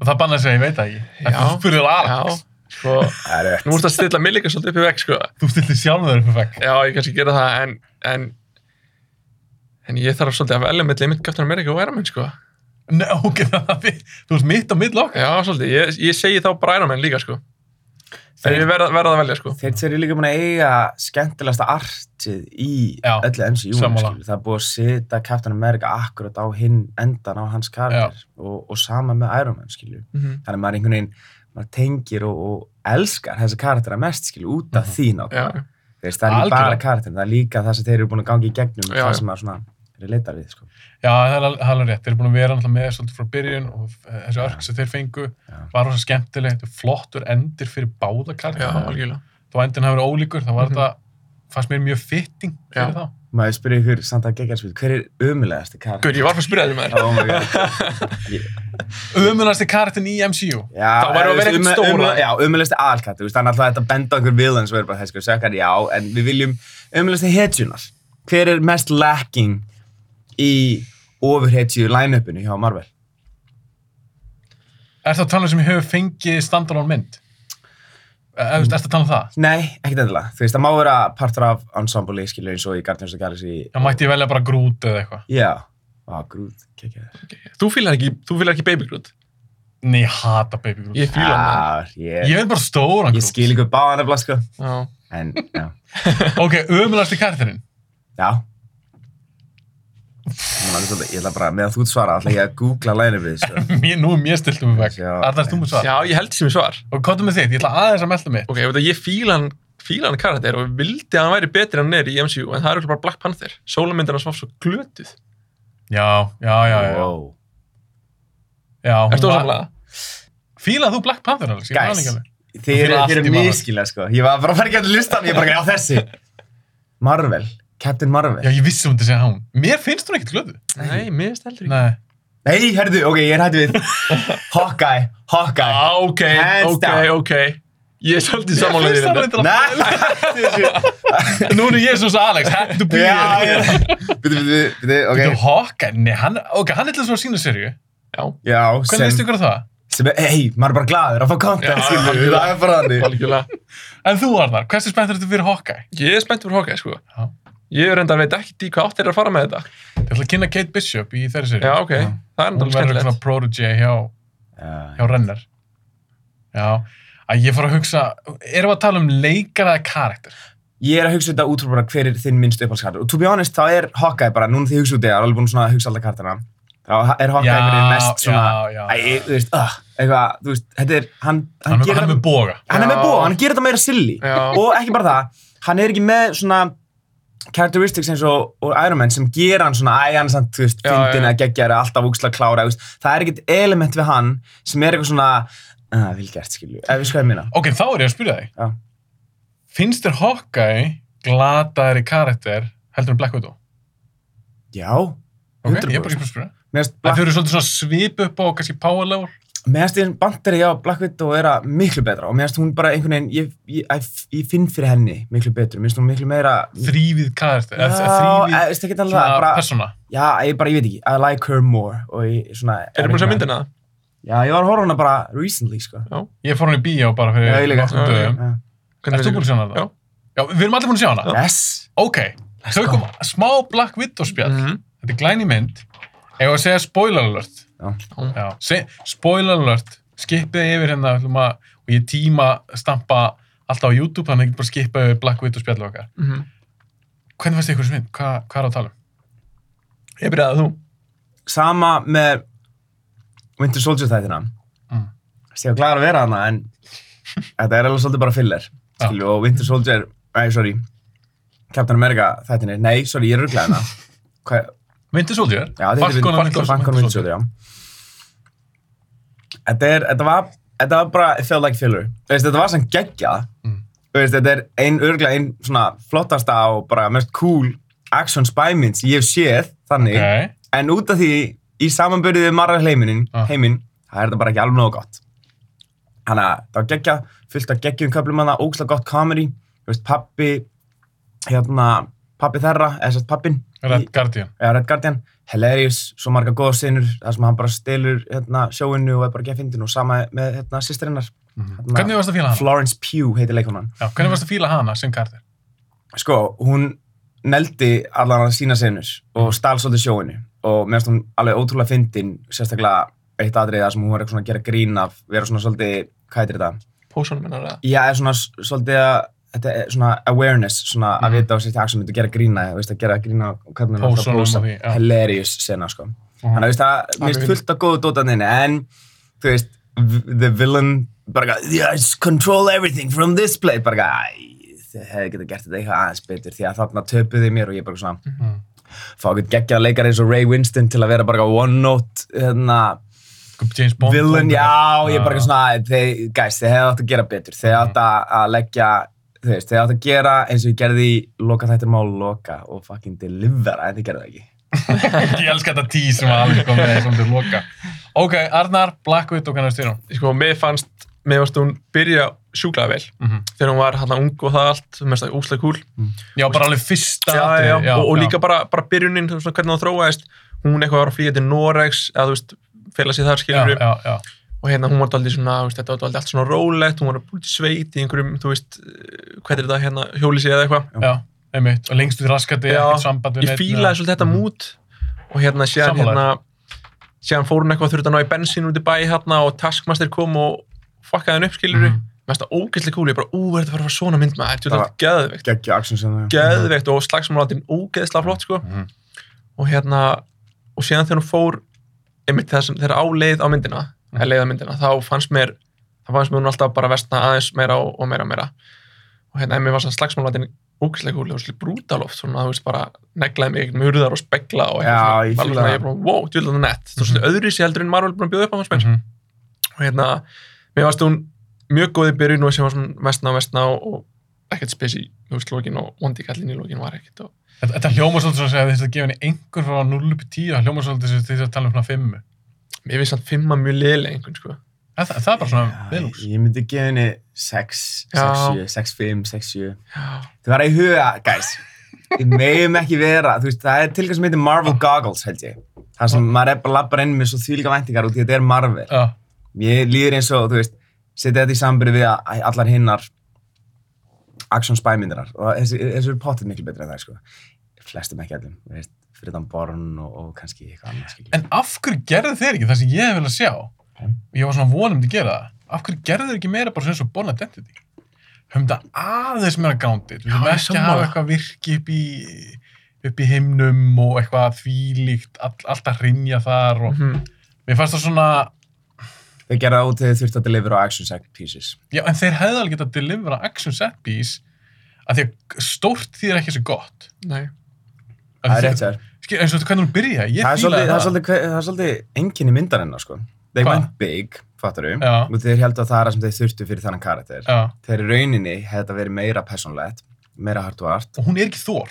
A: Og það bannaði sig, ég veit það ekki. En
C: Já.
A: Þú spurðir
C: Já,
A: Alex.
C: sko,
B: það er
C: nú ertu að stilla mig líka svolítið upp í vekk, sko
A: Þú stiltir sjálfur þér upp á vegg.
C: Já, ég kannski gera það, en en, en ég þarf svolítið að velja milli mitt Captain America og Iron Man, sko
A: Nei, ok, það er... Þú ert mitt á mitt okkar.
C: Já, svolítið, ég, ég segi þá bara Iron Man líka, sko Þegar ég verð, verð að velja, sko
B: þeir þeir eru líka búin að eiga skemmtilegasta artið í
A: Já,
B: öllu MCU -inu,
A: sammála.
B: skilur. það er búið að setja Captain America akkurat á hinn endan á hans karakter og, og sama með Iron Man skilju
C: Mhm.
B: þannig að maður einhvern veginn maður tengir og, og elskar þessa karaktera mest skilju út af því
C: Mhm. Já,
B: náttúrulega Þú veist, það er ekki
A: Algjörlega.
B: bara karakterin, það er líka það sem þeir eru búin að gangi í gegnum og
C: Já,
B: það
C: já.
B: sem maður svona relatar við sko.
A: Já, það er al- það er alveg rétt. Þeir eru búin að vera náttúrulega með svolítið frá byrjun og eh, þessi örk sem þeir fengu
B: Já.
A: var rosa skemmtileg. Þetta er flottur endir fyrir báða
C: já,
A: kartið.
C: algjörlega
A: Þó endin hafi verið ólíkur, þá var
C: Mhm.
A: þetta fannst mér mjög fitting fyrir
C: Já.
A: þá.
B: maður spyrir ykkur samt að gegja hver er ömulegasti karakter?
C: Guð, ég var fyrir að spyrja þér maður
B: Oh my god
A: Ömunasti kartin í MCU.
B: Já,
C: Þá væri að vera
B: þú veist,
C: eitthvað
B: um-
C: stóra.
B: um- Já, umjöðlasti aðalkatt, þú veist, þannig að þetta benda á einhver villains og er bara þess að sökkar, já, en við viljum umjöðlasti hetjunar. Hver er mest lacking í ofurhetju line-upinu hjá Marvel?
A: Er það talað sem hefur fengið standalone mynd? Þú veist, ertu að tala um það?
B: Nei, ekkert endilega. Þú veist, það má vera partur af ensemble, skilur, eins og í Guardians of the Galaxy.
A: Já, mætti ég velja bara grút eða eitthvað.
B: Já. Á, grút, kekja þér.
C: Þú fýlar ekki, þú fýlar ekki Baby Groot.
A: Nei, ég hata baby grút.
C: Ég
A: Ég,
C: fýla
B: Ah,
C: hann.
B: Ég,
A: vil bara stóran
B: ég
A: grút.
B: skil ykkur báðan af sko.
C: Já.
B: En, já.
A: Ok, ömulegasti karakterinn.
B: Já. Núna er Svolítið, ég ætla bara, meðan þú svara, ætla ég að googla lænum við, sko.
A: Mér, nú er mér stilt um vekk.
B: Já.
A: Arnar, þú mér svar.
C: Já, ég held sem ég svar.
A: Og hvað er með þitt? Ég ætla aðeins að melda mitt.
C: Ok, ég veit að ég fíla hann, fíla hann karakter og vildi að hann væri betri en hann er í MCU, en það er örugglega bara Black Panther. Sólamyndina sem var svo glötuð.
A: Já, já, já, já. já.
B: Wow.
A: já hún
C: Ertu
A: var-
C: ósamlega?
A: Fílaði þú Black Panther, Alex? Ég man
B: Guys.
A: ekki alveg.
B: Þið eru,
A: Fyrir
B: þið
A: allt
B: eru
A: í Marvel.
B: miskila, sko. Ég var bara að fara ekki að listan, ég bara, já, þessi. Marvel. Captain Marvel.
A: Já, ég vissi hún til að segja hún. Mér finnst hún ekkert glöðu.
C: Nei, mér finnst heldur ekki.
A: Nei.
B: Nei, herðu, ok, ég er hættu við. Hawkeye, Hawkeye.
C: Ah, ok,
B: Hands
C: ok,
B: down.
C: ok. Ég er svolítið
A: Ég
C: samanlegið
A: finnst hún
C: þetta.
A: eitthvað.
B: Nei, hættu þessu.
A: Nú er ég svo svo Alex. Happy to be
B: Já, já.
A: here.
B: Bitu, bitu, bitu,
A: Þetta er
B: ok.
A: Hawkeye. Nei, hann, ok, hann er til að svona sína serju.
C: Já,
B: Já,
A: Hvernig veistu
B: sem,
A: hver það?
B: sem, hei, maður er bara gladur að fá
C: Já,
B: content, skilur.
C: algjörlega.
B: Það er bara þannig.
C: algjörlega.
A: En þú, Arnar, hversu spenntur ertu fyrir Hawkeye?
C: Ég er spennt fyrir Hawkeye, sko.
A: Já.
C: Ég reyndar veit ekki í hvað átt þeir eru að fara með þetta.
A: Ég ætla að kynna Kate Bishop í þeirri serju.
C: Já, ok. Það er
A: Hún
C: náttúrulega
A: verður svona
C: skemmtilegt.
A: protege hjá,
B: Já.
A: hjá Renner. Já. Að ég fór að hugsa, erum við að tala um leikara eða karakter?
B: Ég er að hugsa þetta út frá bara hver er þinn minnst upphaldskartur. Og to be honest, þá er Hawkeye bara, núna því ég hugsa út í það, ég er alveg búinn svona að hugsa alla kartana. Þá er Hawkeye verið mest svona,
A: já, já.
B: æ, þú veist, uh, eitthvað, þú veist, þetta er, hann, hann,
A: hann,
B: gerir
A: hann er
B: það-
A: með boga.
B: hann er með
C: Já.
B: bó, hann gerir þetta meira silly
C: Já.
B: og ekki bara það, hann er ekki með svona characteristics eins og, og Iron Man sem gera hann svona æ, hann er samt, þú veist,
C: Já, já.
B: fyndin að geggjara alltaf úksla klára, þú veist, það er ekkert element við hann sem er eitthvað svona að, vel gert, skilju, ef við skoðum hérna. minna
A: Ok, þá er ég að spyrja þig.
B: Já.
A: Finnst þér Hawkeye glataðri karakter heldur en Black Widow?
B: já,
A: Ok, ég er bara
B: 100%
A: ekki að spyrja.
B: meðast
A: Það
B: Black,
A: fyrir svolítið svona svip upp á kannski power level.
B: meðast einn bandari, já, Black Widow er að miklu betra og meðast hún bara einhvern veginn ég, ég, ég, ég finn fyrir henni miklu betur meðast hún miklu meira
A: Þrývið karakter.
B: Já,
A: eða
B: ég
A: þrívið
B: veist ekki alltaf
A: svona
B: það, bara,
A: persóna.
B: já, ég bara, ég veit ekki, I like her more og ég svona...
C: Erum við búin að sjá myndina?
B: Já, ég var að horfa á hana bara recently, sko.
A: Ég fór hann í bíó bara
B: Já, ég
A: fyrir
B: líka.
A: nokkrum
C: Já, já.
A: dögum.
B: Já.
A: Erst þú búin að sjá hana
C: Já.
A: það? Já, við erum allir búin að sjá hana.
B: Yes!
A: Ok, tökum smá Black Widow spjall.
C: Mhm.
A: Þetta er glæni mynd. Eða að segja spoiler alert.
B: Já.
A: Já, se, spoiler alert. Skipið yfir hérna, ætlum að, og ég tíma stampa alltaf á YouTube, þannig að ég bara skipa yfir Black Widow spjall okkar.
C: Mhm.
A: Hvernig fannst ykkur þessi mynd? Hva, hvað er að tala um?
C: Ég byrjaði að þú.
B: Sama með Winter Soldier þættina.
A: Mm.
B: Ég var glæður að vera hana, en þetta er alveg svolítið bara filler.
A: Já.
B: Skilju, og Winter Soldier, nei, sorry, Captain America þættinir, nei, sorry, ég er rugglað hana. Hvað,
A: Winter Soldier?
B: já, þetta
A: Falcon and Winter-
B: Falcon Winter Soldier, já. Þetta er, þetta var, þetta var bara, it felt like filler. Þú veist, þetta var sem geggjað.
A: Mm.
B: Þú veist, þetta er ein, örgulega ein svona flottasta og bara mest cool action spy mynd sem ég hef séð, þannig.
A: Ok,
B: En út af því, í samanbyrðið við marra heiminin,
A: Ah.
B: heiminn, það er þetta bara ekki alveg nógu gott. Þannig að það var geggja, fullt af geggjum köflum hana, ógslag gott comedy, þú veist, pappi, hérna, pappi þerra, eða sérst pappin,
A: Red Guardian.
B: eða Red Guardian, hilarious, svo marga góða sinur, þar sem hann bara stelur hérna, sjóinu og er bara gefindin og sama með hérna, sýstirinnar. Hérna,
A: Mhm. Hvernig varst að fíla hana?
B: Florence Pugh heitir leikonan.
A: Já, hvernig varst að fíla hana sem karakter?
B: sko, hún neldi allan að sína sinur og stál svolítið sjóinu og meðan hún alveg ótrúlega fyndin, sérstaklega eitt atriðið sem hún var eitthvað svona að gera grín af, vera svona svolítið, hvað heitir þetta?
C: Pósónum minnar eða?
B: Já, er svona s- svolítið að, þetta er svona awareness, svona að
A: Mhm.
B: vita á sér til aksjum, þetta gera grína, veist að gera grína á hvernig hún
A: Pósunum og því, já. Mhm.
B: hilarious sena, sko. Þannig að veist það, mér
C: Alveg
B: finnst fullt af góðu dótaninni, en þú veist, v- the villain bara eitthvað, yes, control everything from this place, bara eitthvað, æ, þið hefði getað gert þetta eitthvað aðeins betur, því að þarna töpuði mér og ég bara svona,
A: Mhm.
B: fá ekkert geggjað leikar eins og Ray Winston til að vera bara eitthvað one note, hérna,
A: Sko, James Bond.
B: villain, já, ég er bara
A: Já. Mhm.
B: eitthvað svona, þeir, guys, þeir hefði átt að gera betur, þeir átt að- að leggja, þú veist, þeir átt að gera eins og ég gerði í loka þættir mál loka og fucking delivera, en þið gerði það ekki.
A: Ég elska þetta tí sem að alveg kom með þessum til loka. Ok, Arnar, Black Widow, hvernig varst þér hún?
C: Sko, mér fannst, mér fannst hún byrja sjúklega vel.
A: Mhm.
C: Þegar hún var hérna ung og það allt, mest að úslega kúl.
A: Já, bara alveg fyrsta
C: já,
A: atriði,
C: já, já, og, og
A: já.
C: líka bara, bara byrjunin þú veist, svona hvernig það þróaðist hún eitthvað var að flýja til Norex eða þú veist, fela sér þar
A: já,
C: skilur
A: já, já.
C: og hérna hún var daldið svona, þú veist, þetta var daldið allt svona rólegt, hún var að búið til sveit í einhverjum, þú veist, eh, hvað er þetta hérna, hjólísi eða eitthvað.
A: Já, einmitt, og lengst út í raskati,
C: Já,
A: ekkert samband við
C: Ég
A: neinn,
C: fílaði svolítið þetta
A: Mhm.
C: mút og hérna síðan,
A: Sammála
C: hérna, síðan fór hún eitthvað þurft að ná í bensín út í bæ hérna og Taskmaster kom og fuckaði henn upp, skilur við.
A: Mhm.
C: Mér finnst það ógeðslega cool, ég bara, ú, er þetta að fara að fara svona mynd maður, þetta
B: Það
C: er
B: var-
C: geðveikt
B: geggja action sem það.
C: geðveikt og slagsmálatin ógeðslega flott sko
A: Mhm.
C: og hérna og síðan þegar hún fór einmitt þegar, sem, þegar á leið á myndina
B: Mhm.
C: eða leið á myndina, þá fannst mér þá fannst mér hún alltaf bara vestna aðeins meira og, og meira og meira og hérna en mér var svona slagsmálatin ógeðslega gúli og svolítið brútaloft svona þú veist bara neglaði mig með hurðar og spekla og
B: Já,
C: svona,
B: ég
C: var
B: fíla
C: svona,
B: það.
C: ég bara wow, djúlega nett þú veist
A: Mhm.
C: öðru sér heldur en Marvel búin að bjóða upp á hans menn
A: Mhm.
C: og hérna, mér varst hún mjög góð í byrjun og sem var svona vestna og vestna og, og ekkert spes í þú veist, lokin og vondi kallin í lokin var ekkert og,
A: Þetta þetta hljómar svolítið sem að þess að gefa henni einhver frá 0 upp í 10, það hljómar svolítið sem þess að tala um svona 5.
C: mér finnst hann fimma mjög liðlega einhvern sko
A: En það, það er bara svona
B: Já,
A: viðlúks.
B: Ég myndi gefa henni 6, 6,
C: Já.
B: 7, 6, 5, 6, 7.
C: já,
B: Það var í huga, guys. Við megum ekki vera, þú veist, það er tilkast sem heitir Marvel Goggles, held ég. Það sem maður er bara labbar inn með svo þvílíka væntingar út í að þetta er Marvel.
A: Já,
B: Mér líður eins og, þú veist, setja þetta í sambyrði við að- æ, allar hinnar action spymindirar og þessi, þessi eru pottet miklu betri en það, sko. Flestum ekki allum, þú veist, fyrir þann Born og, og kannski eitthvað annað, skilja.
A: en af hverju gerðu þeir ekki það sem ég hef viljað sjá? Og Ég var svona vonum til að gera það. Af hverju gerðu þeir ekki meira bara svona eins og Born Identity? Höfum þetta aðeins meira gándið. Við
C: Já,
A: höfum ekki
C: ég
A: að
C: sammála.
A: hafa eitthvað virki upp í, upp í himnum og eitthvað þvílíkt, all, alltaf hrinja þar og
C: mhm,
A: mér fannst það svona,
B: Þau gerða það út þegar þurft að deliver á action set pieces.
A: já en þeir hefði alveg getað að delivera action set piece að því að stórt þýðir ekki svo gott.
C: nei,
A: Af
B: Það er
A: því-
B: rétt sér.
A: Skil, eins og þetta hvernig hún byrja, ég
B: það
A: fílaði
B: er svolítið, það er
A: það.
B: svolítið, hve- það er svolítið enginni myndarinnar sko. They
A: Hvað?
B: went big, fattar við,
A: Já.
B: og þeir heldur að það er það sem þeir þurftu fyrir þannan karakter.
A: Já,
B: Þeir í rauninni hefði þetta verið meira persónlegt, meira hart og hart.
A: og hún er ekki Thor,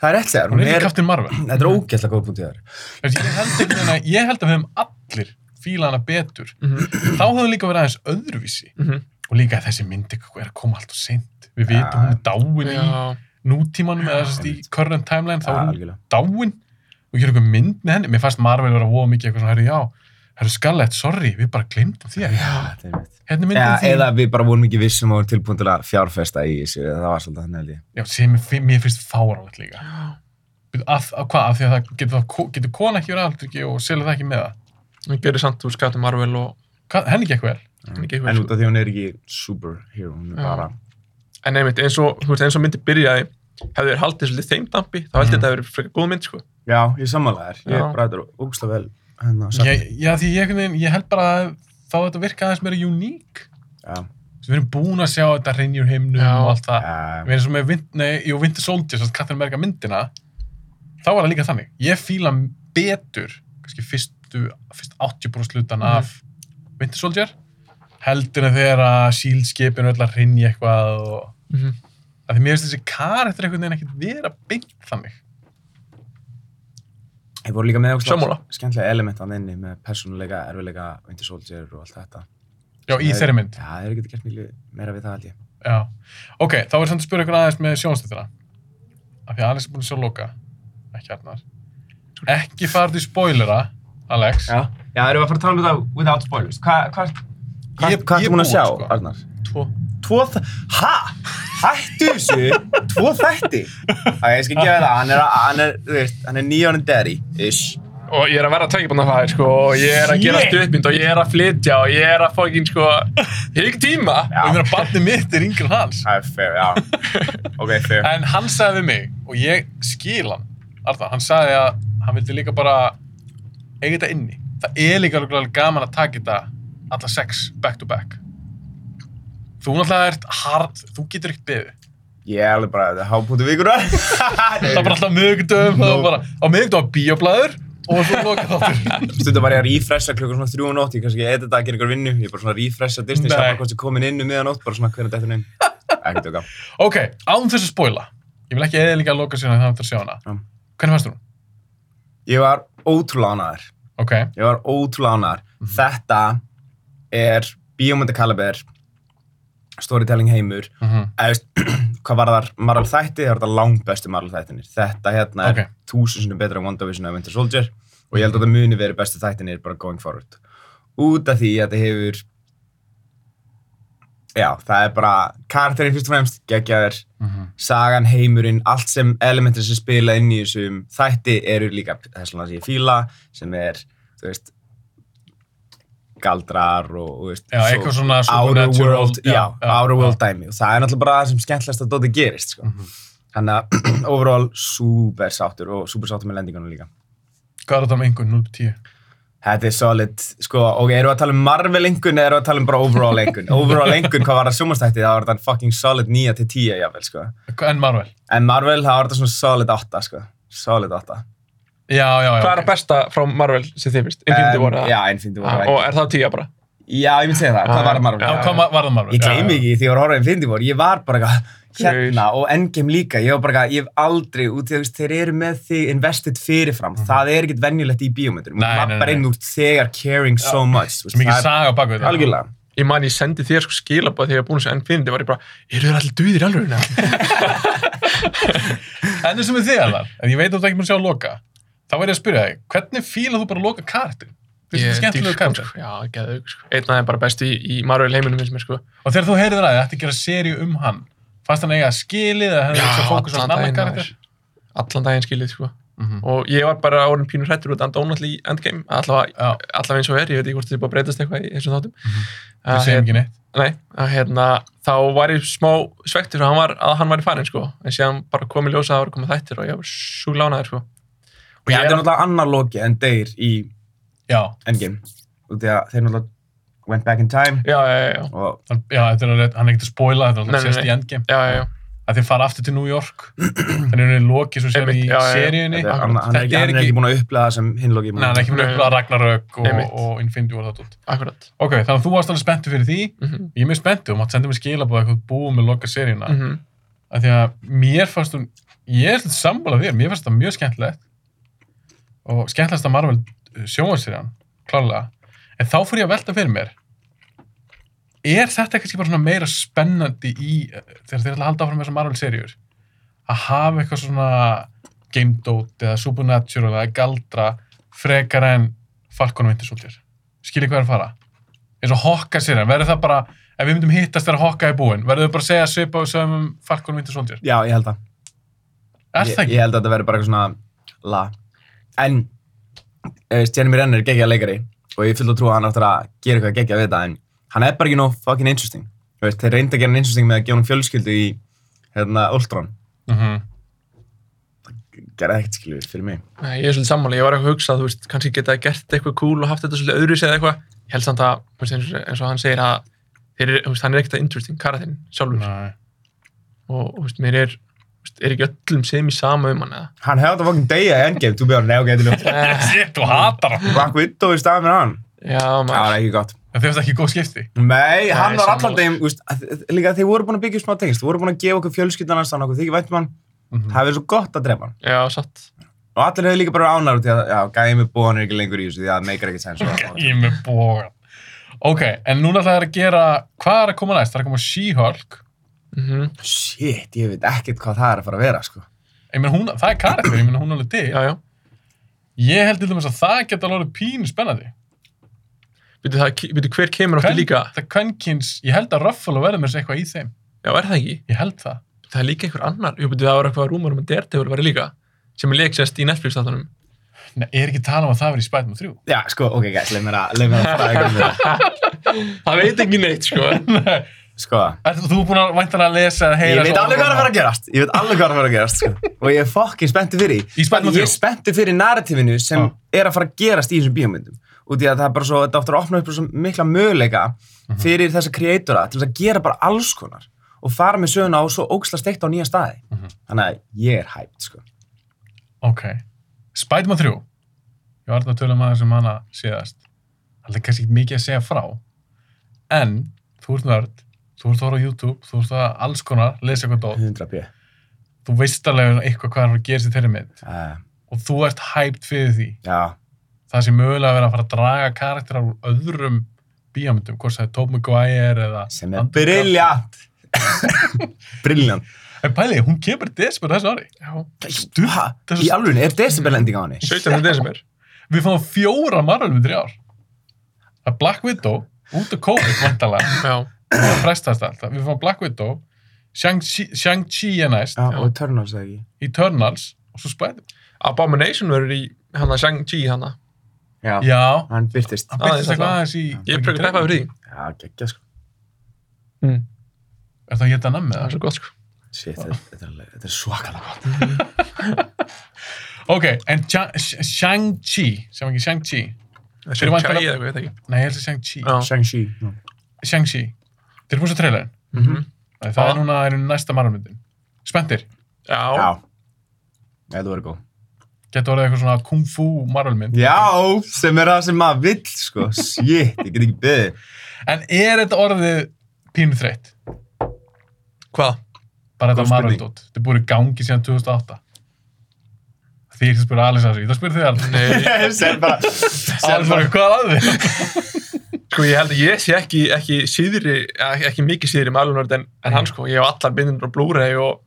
B: Það er rétt sér,
A: hún er ekki Captain Marvel.
B: þetta er ógeðslega góð punkt í þar.
A: Þessi, ég, held ekki, neina, ég held að við höfum allir fílað hana betur.
C: mhm,
A: Þá höfum við líka verið aðeins öðruvísi
C: mhm,
A: og líka að þessi mynd eitthvað er að koma alltaf seint. Við vitum
B: Já.
A: hún er dáin í
C: já
A: nútímanum eða sérst í current timeline, þá
B: Það
A: er
B: er
A: hún
B: algjörlega.
A: dáin og ég er eitthvað mynd með henni. Mér fannst Marvel vera að hóa mikið eitthvað svona, herru, já, herru Scarlett, sorry, við bara glemdum þér.
B: Þetta er mitt.
A: Hérna er
B: Eða,
A: myndin þín.
B: eða við bara vorum ekki vissum og vorum tilbúin til að fjárfesta í þessu, það var svolítið þannig held ég.
A: Já, sem mér fin- mér finnst fáránlegt líka. Að, að, hvað, af því að það getur, það ko- getur kona ekki verið aldrei ekki og selja það ekki með það.
C: hann gerir samt úr skattum Marvel og
A: Hvað- henni gekk vel
C: Hann er ekki eitthvað
B: En
C: sko.
B: út af því hún er ekki superhero, hún er
C: Já.
B: bara...
C: en einmitt, eins og, þú veist, eins og myndi byrjaði hefði verið haldið svolítið þeim dampi þá held ég
A: Mhm.
C: þetta hefði verið frekar góð mynd sko
B: Já, ég sammála þér, ég
C: Já.
B: er bara þetta er ógeðslega vel hérna hennar
A: ég, já, því ég, einhvern veginn- ég held bara að þá þetta virka aðeins meira uník
B: Já,
A: við erum búin að sjá þetta reynjur heimnum
C: Já.
A: og allt það
B: já,
A: við erum svo með Vin- nei, jú, Winter Soldier sem Captain America myndina þá var það líka þannig ég fíla betur kannski fyrstu fyrst 80% hlutan
C: Mhm.
A: af Winter Soldier heldur en þegar að S.H.I.E.L.D. E skipin öll að reynja eitthvað og
C: Mhm.
A: að því mér finnst þessi karakter einhvern veginn ekkert vera beint þannig
B: Þeir voru líka með
C: Sammála.
B: ógustlega skemmtilega element hann inni með persónuleika, erfileika, Winter Soldier og allt þetta.
A: já, í
B: Þeir-
A: þeirri mynd
B: Já, þeir eru getið gert miklu meira við það held ég.
A: Já, ok, þá er samt að spyrja ykkur aðeins með sjónstættina af því að Alex er búin að sjá loka ekki Arnar ekki farið í spoilera, Alex
B: Já, já erum við að fara að tala um þetta without spoilers. Hva, hva, hva,
A: Ég-
B: hvað
A: ég
B: ertu búin að
A: búinn,
B: sjá,
A: sko.
B: Arnar?
C: tvo,
B: Tvo það... Hæ? Hættu þessu? Tvo þætti? Ok, ég skal gefa þér það. Hann er, að- hann er, þú veist, hann er neon and daddy. Ish.
C: og ég er að vera tækibunna fæðir sko, og ég er að gera
A: Shit.
C: stuðmynd og ég er að flytja og ég er að fokkin sko, ég hef ekki tíma
A: og ég meina barnið mitt er yngri en hans
B: Það er fair, já. Ok, fair.
A: en hann sagði við mig og ég skil hann Arnar, hann sagði að hann vildi líka bara eiga þetta inni það er líka alveg gaman að taka þetta alla sex back to back þú náttúrulega ert hard þú getur ekkert beðið
B: Ég er alveg bara, þetta er hápútu vikur.
A: það var alltaf miðugdöfum
B: Nú.
A: á miðugdöfum bíoblæður og svo loka þáttur
B: stundum bara ég að refresha klukkan svona þrjú og nótt, ég kannski edita að gera ykkur vinnu, ég bara svona refresha Disney,
A: Nei.
B: sjá bara hvort ég komin inn um miðanótt, bara svona hvernig þetta er inn. Ekki tjóka.
A: Ok, án þess að spoila Ég vil ekki eða líka að loka sérna þannig að það er að sjá hana
B: Já.
A: Hvernig fannst þú hún?
B: Ég var ótrúlega ánæður.
A: Ok,
B: Ég var ótrúlega ánæður. Þetta er bíómyndakaliber, storytelling heimur,
A: mm
B: eða veist, hvað var þar Marvel þætti, það var þetta langbestu Marvel þættinir. Þetta hérna er
A: Ok.
B: okay. þúsund sinnum betra en WandaVision og Winter Soldier og ég held að þetta muni verið bestu þættinir bara going forward. út af því að þetta hefur já, það er bara karakterinn fyrst og fremst geggjaður sagan, heimurinn, allt sem elementir sem spila inn í þessum þætti eru líka þess vegna sem ég fíla sem er, þú veist galdrar og, og veist,
A: Já, eitthvað svona
B: outer
A: supernatural-
B: world,
A: já,
B: já,
A: já,
B: outer
A: já. Mhm.
B: world dæmi og það er náttúrulega bara það sem skemmtilegast að Dóti gerist sko. þannig að overall super sáttur og super sáttur með lendingunum líka
A: Hvað er þetta með einhvern 0-10?
B: Þetta er solid, sko, og erum við að tala um Marvel engun eða erum við að tala um bara overall engun overall engun, hvað var það sjómanstætti, það var þetta fucking solid 9 til 10 jafnvel, sko
A: En Marvel?
B: En Marvel, það var þetta svona solid 8, sko. Solid 8.
A: Já, já, já.
C: Hvað er að besta frá Marvel sem þið finnst?
A: Um,
C: Infinity War? eða?
B: Já, Infinity War.
C: Ah,
B: Ah,
C: Og er það tíja bara?
B: Já, ég myndi segja það. Hvað
C: Ah,
B: var Marvel?
A: Já, hvað ma- var það Marvel?
B: Ég gleymi
A: Já, já.
B: ekki því ég var að horfa á Infinity War. Ég var bara eitthvað hérna
C: Gaur.
B: og Endgame líka. Ég var bara eitthvað, ég hef aldrei, út í þú veist, þeir eru með því invested fyrirfram.
C: Mhm.
B: Það er ekkert venjulegt í bíómyndunum.
A: Nei, nei,
B: Þú lappar
A: nei.
B: inn úr þegar caring so much. þú veist,
A: Svo mikið
B: það er-
A: saga á baku þetta.
B: Algjörlega.
C: Ég man ég sendi þér sko skilabóð þegar ég var búin að segja Infinity War ég bara, eru þér allir döðir alveg hérna?
A: En eins og með þig allar, en ég veit að þú ert ekki mér að sjá að loka, þá væri ég að spyrja þig, hvernig fílað þú bara að loka kartin? Þú veist, skemmtilegu kartin.
C: Já, geðaug sko. Einn af þeim bara best í, í Marvel heiminum finnst mér sko.
A: Og þegar þú heyrðir að þið ætti að gera seríu um hann, fannst hann eiga að skilið eða hefði ekki að fókus á hann
C: allan
A: annan
C: daginn,
A: karakter?
C: maður. Allan daginn skilið sko.
A: Mhm.
C: Og ég var bara orðin pínur hrættur út að Donald í Endgame, allavega,
A: Já,
C: allavega eins og er, ég veit ekki hvort þið er búin að breytast eitthvað í þessum þáttum.
A: Mhm.
C: Að,
A: þú segir
C: hérna,
A: ekki neitt.
C: Nei, að hérna, þá var ég smá svektur fyrir að hann var, að hann var í farin, sko. En síðan bara komið ljósa að það var komið þættir og ég var svo lánaður, sko. Og
B: Þetta
C: ég
B: er
C: er,
B: náttúrulega annar loki en deyr í
A: Já,
B: Endgame. Út í að þeir náttúrulega went back in time
C: já, já, já, já,
B: og
A: hann, já, þetta er alveg, hann er ekkert að spoila þetta,
C: Nei,
A: það
C: nei,
A: sést
C: nei.
A: í endgame.
C: já, já, já.
A: Að þið fara aftur til New York, þannig að hann loki svo sem
C: Einmitt,
A: í
C: já, já, já.
A: seríunni.
B: þetta er- hann hann er ekki-
A: Þetta
B: hann er ekki búin að upplega það sem hinn loki er búinn
A: Nei,
B: að
A: hann er ekki búin að
C: Nei.
A: upplega Ragnarök og,
C: Einmitt.
A: og Infinity War og það út.
C: akkurat.
A: Ok, þannig að þú varst alveg spenntu fyrir því.
C: Mm -hmm.
A: Ég er mjög spenntu, þú mátt senda mér skilabóð eitthvað búið með loka seríuna.
C: mhm.
A: að því að mér fannst hún ég er svolítið sammála þér, mér fannst það mjög skemmtilegt og skemmtilegast að Marvel sjónvarsýrjan, klárlega en þá fór ég að velta fyrir mér er þetta kannski bara svona meira spennandi í, eh, þegar þeir ætla að halda áfram með þessar Marvel-seríur að hafa eitthvað svona game dot eða supernatural eða galdra frekar en Falcon og Winter Soldier skiljið hvað er að fara eins og Hawkeye-serían, verður það bara ef við myndum hittast þegar Hawkeye er búinn, verður þau bara að segja svipa og sögum um Falcon og Winter Soldier
B: Já, ég held það.
A: er það
B: Ég-
A: ekki?
B: Ég held að þetta verður bara eitthvað svona la. En eh, Jeremy Renner er geggjað leikari og ég fylgði að trúa að hann áttur að gera eitthvað geggjað við þetta en hann er bara ekki nóg fucking interesting. Þú Veist, þeir reyndi að gera hann interesting með að gefa hann fjölskyldu í hérna, Ultron.
A: Mm
B: Gerði ekkert skilur fyrir mig.
C: Nei, ég er svolítið sammála, ég var eitthvað að hugsa, þú veist, kannski geta þeir gert eitthvað cool og haft þetta svolítið öðru eða eitthvað. Ég held samt að, þú veist, eins og, eins og hann segir að, þeir, eru- þú veist, hann er ekkert að interesting, karatinn, sjálfur.
A: Nei.
C: Og, þú veist, mér er, þú veist, er ekki öllum sem í sama um hann, eða.
B: Hann hefði þetta fucking degja í Endgame, þú björn, neðu getur nú.
A: Shit, þú hatar hann.
B: Black Widow í staðan með hann.
C: Já,
B: Það var
C: maður.
B: ekki gott.
A: En þau finnst ekki góð skipti.
B: Nei, hann var
C: sammála.
B: allan degum, úst, líka þeir voru búin að byggja upp smá tengst, þeir voru búin að gefa okkur fjölskyldan hans, þannig að okkur þykir vænt um hann.
A: Mhm.
B: Það hefði verið svo gott að drepa hann.
C: Já, satt.
B: Og allir hefur líka bara ánar út í að, já, gæði með búan er ekki lengur í þessu, því að það meikar ekki sens.
A: Ég er með bógan. Ok, en núna ætlaði það að gera, hvað er að koma næst? Það er að koma She-Hulk.
C: Mm
B: Shit, ég veit ekkert hvað það er að fara að vera, sko.
A: Ég meina, hún, það er karakter, ég meina, hún er alveg til.
C: Já, já.
A: Ég held til dæmis að það geta alveg orðið pínu spennandi.
C: Býtu, það, býtu, hver kemur áttu líka?
A: það kvenkins, ég held að Ruffalo verður með þessu eitthvað í þeim.
C: Já, er það ekki?
A: Ég held það.
C: Það er líka einhver annar. Jú, betur það var eitthvað rúmur um að Daredevil var líka, sem er leiksest í Netflix-þáttunum.
A: Nei, ég er ekki að tala um að það verið í Spiderman 3.
B: Já, sko, ok, gæs, leið mér að, leið mér að fara eitthvað með það.
C: Það veit ekki neitt, sko.
B: Sko,
A: Ertu, þú er búin að væntanlega að lesa eða
B: ég
A: heyra
B: veit
A: svo-
B: alveg hvað er að fara að gerast, ég veit alveg hvað er að fara að gerast, sko. Og ég er fokkin spenntu fyrir því.
A: Í Spider-Man
B: Ég er
A: 3.
B: spenntu fyrir narratífinu sem
A: Já.
B: er að fara að gerast í þessum bíómyndum. Út í að það er bara svo, þetta áttur að opna upp svo mikla möguleika
A: Mhm.
B: fyrir þessa kreatóra til að gera bara alls konar og fara með söguna á svo ógslast eitt á nýja staði.
A: Mhm.
B: Þannig að ég er hæpt, sko.
A: Ok. Spiderman 3. Ég var þarna að tölu maður sem um hana síðast. Það er kannski ekki mikið að segja frá. En, þú ert nörd, þú ert að horfa á YouTube, þú ert að alls konar, lesa eitthvað dót.
B: 100 p.
A: Þú veist alveg um eitthvað hvað er að gera sér þeirri mynd.
B: Uh,
A: Og þú ert hæpt fyrir því.
B: já,
A: Það sem mögulega verið að fara að draga karakterar úr öðrum bíamöndum, hvort það er Tobey Maguire eða...
B: sem er
A: Andrew
B: briljant.
A: Garfield.
B: briljant.
A: En pæli, hún kemur desmur þessu ári.
C: Já,
B: Ha, í alveg, er decibel ending á henni?
C: 17. desember.
A: Við fáum fjóra marvelmyndir í ár. Það að Black Widow, út af COVID vantalega,
C: já,
A: það frestast alltaf við fáum Black Widow, Shang-Chi Shang-Chi er næst,
B: Já, og Eternals eða ekki.
A: Eternals og svo Spider-Man
C: Abomination verður í hana Shang-Chi hana
B: Já.
A: Já,
B: Hann byrtist.
A: hann
C: Aðeins
A: byrtist eitthvað
C: alltaf.
A: aðeins í...
C: ég er prekar peppað fyrir því
B: Já, geggja sko.
C: mm.
A: Er það að geta nammi
C: það er
A: það?
C: svo gott sko
B: Shit, þetta, þetta, er alveg- þetta er svakalega gott.
A: Ok, en Cha- Sh- Shang-Chi, sem ekki Shang-Chi. Fyrir
C: Shang-Chi
A: væntanlega-
C: eða eitthvað, ég veit ekki
A: Nei, ég held að Shang-Chi.
C: Já.
B: Shang-Chi. já.
A: Shang-Chi. Þeir eru búin svo trailerin.
C: Mhm.
A: Það það
C: Já.
A: er núna er næsta margmyndin. Spenntir.
B: Já.
C: já,
B: Þetta verður góð.
A: Getur orðið eitthvað svona kung fu margmynd.
B: Já, sem er það sem maður vill sko. Shit, ég get ekki beðið.
A: En er þetta orðið pínu þreytt?
C: hvað?
A: Bara
B: Góð
A: þetta
B: spurning.
A: margmyndótt. Þetta er búin í gangi síðan 2008. Þið er ekki að spyrja Alice að þessu. Það spyrir þið alveg.
C: Nei,
B: Sem bara...
A: Alice
B: Sem
A: bara,
B: bara...
A: hvað er að þið?
C: sko ég held að ég sé ekki, ekki síðri, ekki, ekki mikið síðri með Alunard en, en
B: Mm.
C: hann sko, ég hef allar bindinur á Blu-ray og,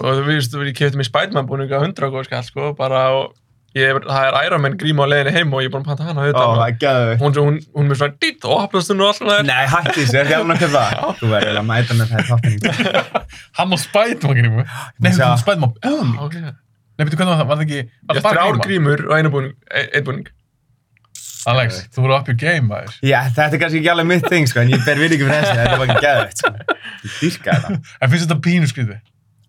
C: og þú veist, ég kefti mér Spiderman búninga 100 og skall sko, bara og ég, það er Iron Man gríma á leiðinni heim og ég er búin að panta hana
B: Ó,
C: auðvitað
B: það er gæðið.
C: hún, hún, hún með svona dýtt og opnast hún og allt svona
B: Nei, hætti þessu, er ekki alveg nokkuð það? Þú verður að mæta með það í þáttinni.
A: Hann á Spiderman grímu. Nei,
B: Sjá.
A: hann á Spiderman búning.
C: Ok. Ég
A: Nei, betur hvernig var það? Var það ekki... Var það
C: hef
A: bara
C: þrjár
A: gríma?
C: grímur og einu búning, e- einn búning
A: Alex, þú voru up your game, maður.
B: Já, þetta er kannski ekki alveg mitt þing, sko, en ég ber við fyrir þessu, þetta er bara gæðið, sko. Ég dýrka þetta.
A: En finnst þetta pínu skrítið?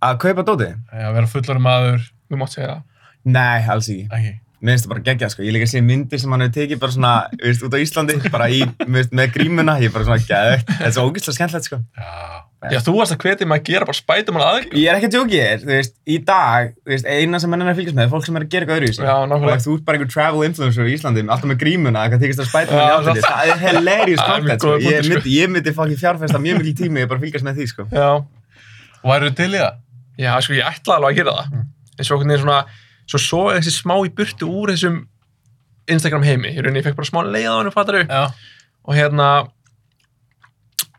B: Að kaupa dótið?
A: Að vera fullari maður,
C: Þú mátt segja það
B: Nei, alls ekki.
A: ekki.
B: Mér finnst það bara geggjað, sko. Ég líka sé myndir sem hann hefur tekið bara svona, þú veist, út á Íslandi, bara í, þú veist, með grímuna, ég er bara svona gæðið. Þetta er svo ógeðslega skemmtilegt, sko.
A: Já.
C: Já, þú varst að hvetja maður að gera bara Spiderman aðeins
B: Ég er ekki að tjóki þér, þú veist, í dag, þú veist, eina sem hann er að fylgjast með er fólk sem er að gera eitthvað öðru í
C: Já, nákvæmlega.
B: Og þú ert bara einhver travel influencer í Íslandi, alltaf með grímuna, hvað þykist að spæta
C: Já,
B: með njáttið. Það er hilarious
C: Það er mjög
B: content, sko.
C: góður
B: Ég
C: punktur, sko.
B: myndi, ég myndi fokkin fjárfesta mjög mikil tími, ég bara að fylgjast með því, sko.
C: Já,
A: Væru til í það?
C: Já, sko, ég ætlaði alveg að gera það. En svo einhvern veginn svona, svo svo er þessi smá í burtu úr þessum Instagram heimi. Í rauninni, ég fekk bara smá leið á hennu, fattar
A: Já.
C: Og hérna,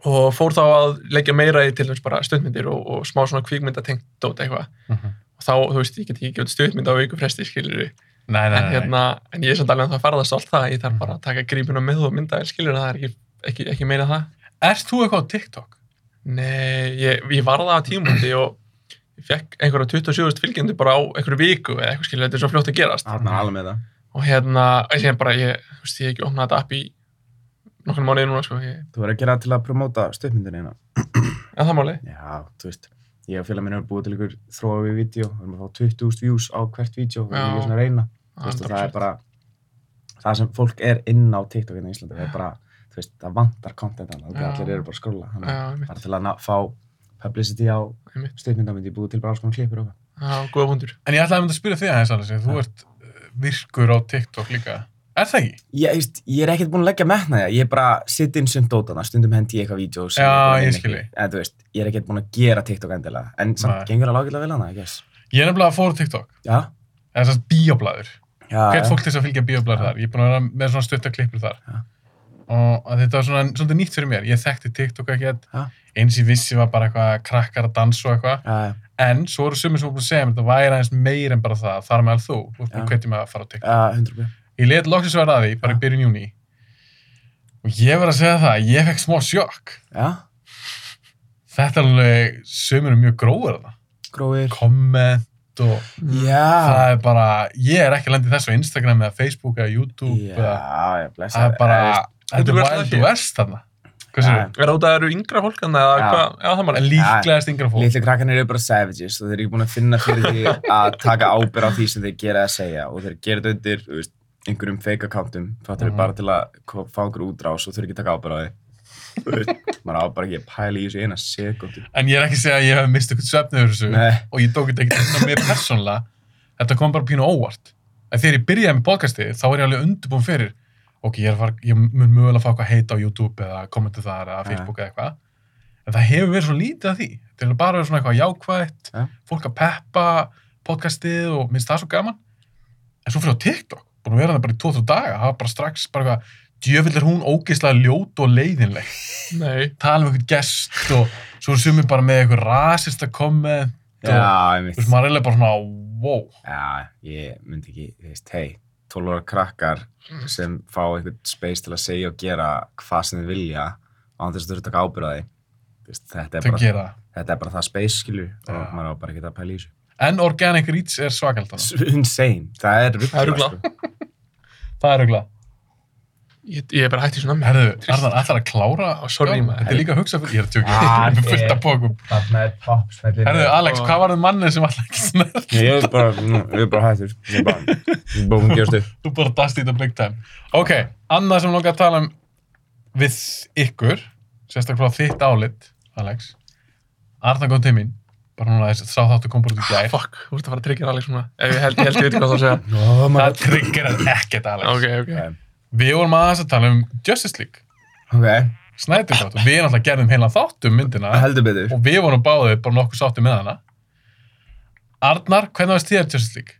C: og fór þá að leggja meira í til dæmis bara stundmyndir og, og smá svona kvíkmyndatengt dót eitthvað. Og þá, þú veist, ég get ekki gefið stundmynd á viku fresti, skilur við.
A: Nei, nei,
C: En
A: nei.
C: hérna, en ég er samt alveg að það farðast allt það. Ég þarf bara að taka grípuna með og mynda, skilur það er ekki, ekki, ekki meina það.
A: Erst þú eitthvað á TikTok?
C: Nei, ég, ég var það á tímundi og ég fekk einhverja 27.000 fylgjendur bara á einhverju viku eða eitthvað skilja, þetta er svo fljótt að gerast.
B: Þarna er alveg með það.
C: Og hérna, ég sé bara, ég, þú veist, ég hef ekki opnað þetta app í nokkurnu mánuði núna, sko. Ég,
B: Þú verður að gera það til að promóta stöðmyndina hérna.
C: en það máli?
B: Já, þú veist, ég og félag minn erum búið til ykkur þróa við vídeo, við erum að fá 20.000 views á hvert vídeo, við
C: Já.
B: erum ekki svona að reyna. Þú veist, og það er bara, það sem fólk er inn á TikTok hérna í Íslandi, það er bara, þú veist, það vantar content annað,
C: Já.
B: það allir eru bara að skrolla. Þannig
C: Já,
B: að
C: einmitt,
B: bara til að ná- fá publicity á
C: einmitt.
B: stöðmyndamöndi, ég búið til bara alls konar klippur og eitthvað.
C: Já, góða hundur.
A: En ég ætlaði að mynda að spyrja þig aðeins, Alice. Þú ert uh, virkur á TikTok líka. Er það ekki?
B: Ég, þú veist, ég er ekkert búinn að leggja metna það, ég er bara sitt inn sem dótana, stundum hendi ég eitthvað vídeo sem
A: Já,
B: bara
A: ég
B: nenni
A: skil
B: ekki. En þú veist, ég er ekkert búinn að gera TikTok endilega, en samt
A: Nei.
B: gengur alveg ágætlega vel hana, I guess.
A: Ég er nefnilega að fóra TikTok.
B: Já,
A: Eða þessast bíoblæður.
B: já,
A: Hvert
B: já.
A: fólk til þess að fylgja bíoblæður
B: Já.
A: þar. Ég er búin að vera með svona stuttaklippur þar.
B: Já.
A: Og að þetta var svona svolítið nýtt fyrir mér. Ég þekkti TikTok ekkert.
B: Já.
A: Eins ég vissi var bara eitthvað krakkar að dansa og eitthvað.
B: Já, já.
A: En svo eru sumir sem voru búin að segja mér þetta væri aðeins meir en bara það. Þar meðal þú. Þú ert búin
B: Já.
A: að hvetja mig að fara á TikTok.
B: Já, 100%.
A: Ég let loksins vera að því, bara í
B: Já.
A: byrjun júni. Og ég verð að segja það, að ég fekk smá sjokk.
B: Já,
A: Þetta er alveg, sömur er mjög gróður þarna.
B: gróðir.
A: Komment og
B: Já.
A: það er bara, ég er ekki landið þessu á Instagram eða Facebook eða YouTube. eða,
B: Já, já, blessa.
A: það er bara,
C: Þú
A: þetta
C: verður
A: er
C: það
A: wild
C: ekki.
A: west þarna. Hvað Eh, sér
B: Já.
A: þú?
C: Er það út að það eru yngra fólk en það,
B: Já.
C: eða hvað, já, það máli.
A: En líklegast yngra fólk.
B: Lítið krakkarnir eru bara savages og þeir eru ekki búin að finna fyrir því að taka ábyrð á því sem þeir gera að segja og þeir gera þetta undir, þú veist, einhverjum fake accountum, fattar
A: Mhm.
B: við bara til að ko- fá einhver útrás og þeir ekki taka ábyrð á því. Þú veist, maður á bara ekki að pæla í þessu í eina sekundu.
A: En ég er ekki að segja að ég hef mistið eitthvað svefn yfir þessu
B: Nei.
A: og ég tók þetta ekkert inn á mér persónlega. Þetta kom bara pínu óvart. En þegar ég byrjaði með podcastið þá er ég alveg undirbúin fyrir. Ok, ég, er að fara, ég mun mögulega fá eitthvað heita á YouTube eða kommentu þar eða
B: Ja.
A: Facebook eða eitthvað. En það hefur verið svo lítið af því. Þetta er bara verið svona eitthvað jákvætt,
B: Ja.
A: fólk að peppa podcastið og minnst það svo gaman. En svo fyrir á TikTok, búin að vera það bara í 2-3 daga, hafa bara strax bara eitthvað, djöfill er hún ógeðslega ljót og leiðinleg
C: Nei,
A: tala um einhvern gest og svo er sumir bara með einhver rasista komment og
B: Já, ég
A: þú veist, maður er eiginlega bara svona wow,
B: Já, ég myndi ekki, þú veist, hei, 12 ára krakkar
A: Mhm.
B: sem fá einhvern space til að segja og gera hvað sem þið vilja án þess að þurfa að taka ábyrða því Vist, þetta, er
A: það
B: bara,
A: gera það.
B: þetta er bara það space skilju og
A: Já.
B: maður á bara ekki að pæla í þessu
A: En organic reach er svakalt þarna.
B: S- insane, það er
C: Það
B: ruggla
C: er ruglað.
B: sko.
A: Það er auðvitað.
C: Ég, ég er bara hætti svona
A: Herðu, Arðan, ætlar að klára á
C: Sorry, maður.
A: Þetta er líka að hugsa fyrir, ég er að
B: Ah,
A: tjókja, fullt af pókum.
B: þarna er popsmellin
A: Herðu, Alex, hvað var það mannið sem alltaf ekki snöð?
B: ég er bara, nú, ég er bara hættur ég er bara, ég er búin að gefast upp
A: Þú bara dast í þetta big time. Ok, annað sem langar að tala um við ykkur, sérstaklega frá þitt álit, Alex. Arðan kom til mín, bara núna þess að sá þáttu kom bara út í
C: Nei,
A: gær.
C: Ah, fuck, þú ert að fara að tryggja Alex svona Ef ég held, ég held ég veit hvað þú að segja
B: oh my
A: Það triggerar ekkert, Alex.
C: Ok, ok
A: Við vorum aðeins að tala um Justice League,
B: god
A: Snyder þátt, og við náttúrulega gerðum heila þáttum um myndina.
B: ok, heldur betur
A: og við vorum báðið bara nokkuð sáttum með hana Arnar, hvernig varst þér Justice League?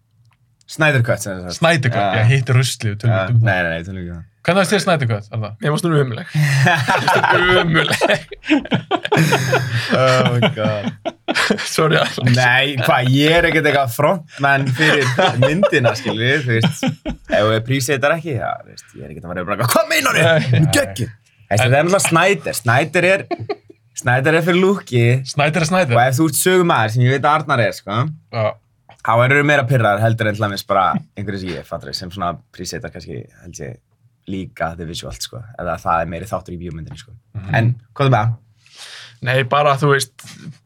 B: Snyder Cut sem þess
A: Snyder Cut,
B: Ja.
A: ég hitti ruslið við tölum
B: að
A: ekki um það.
B: nei, nei, nei, tölum ekki um
A: Hvernig varst þér Snyder Cut, Arnar?
C: Mér varst nú umuleg Umuleg
B: það oh my god
C: Sorry Alex
B: Nei, hvað, ég er ekkert eitthvað frontmann fyrir myndina, skilur, þú veist, ef við prísetar ekki, já, þú veist, ég er ekkert að vera bara eitthvað, hvað meinar þið? Þú geggir. Þetta er ennlega Snæder, Snæder er, Snæder er fyrir lúki
A: Snyder er
B: og
A: Snyder
B: ef þú ert sögumæður sem ég veit að Arnar er, sko,
A: Já,
B: þá eru þau meira pyrrar heldur en hlæmis bara einhverju sem ég fattur sem svona prísetar kannski, held ég, líka þetta visuált, sko, eða það er meiri þáttur í bíómyndinni, sko. En, hvað er með það?
C: Nei, bara þú veist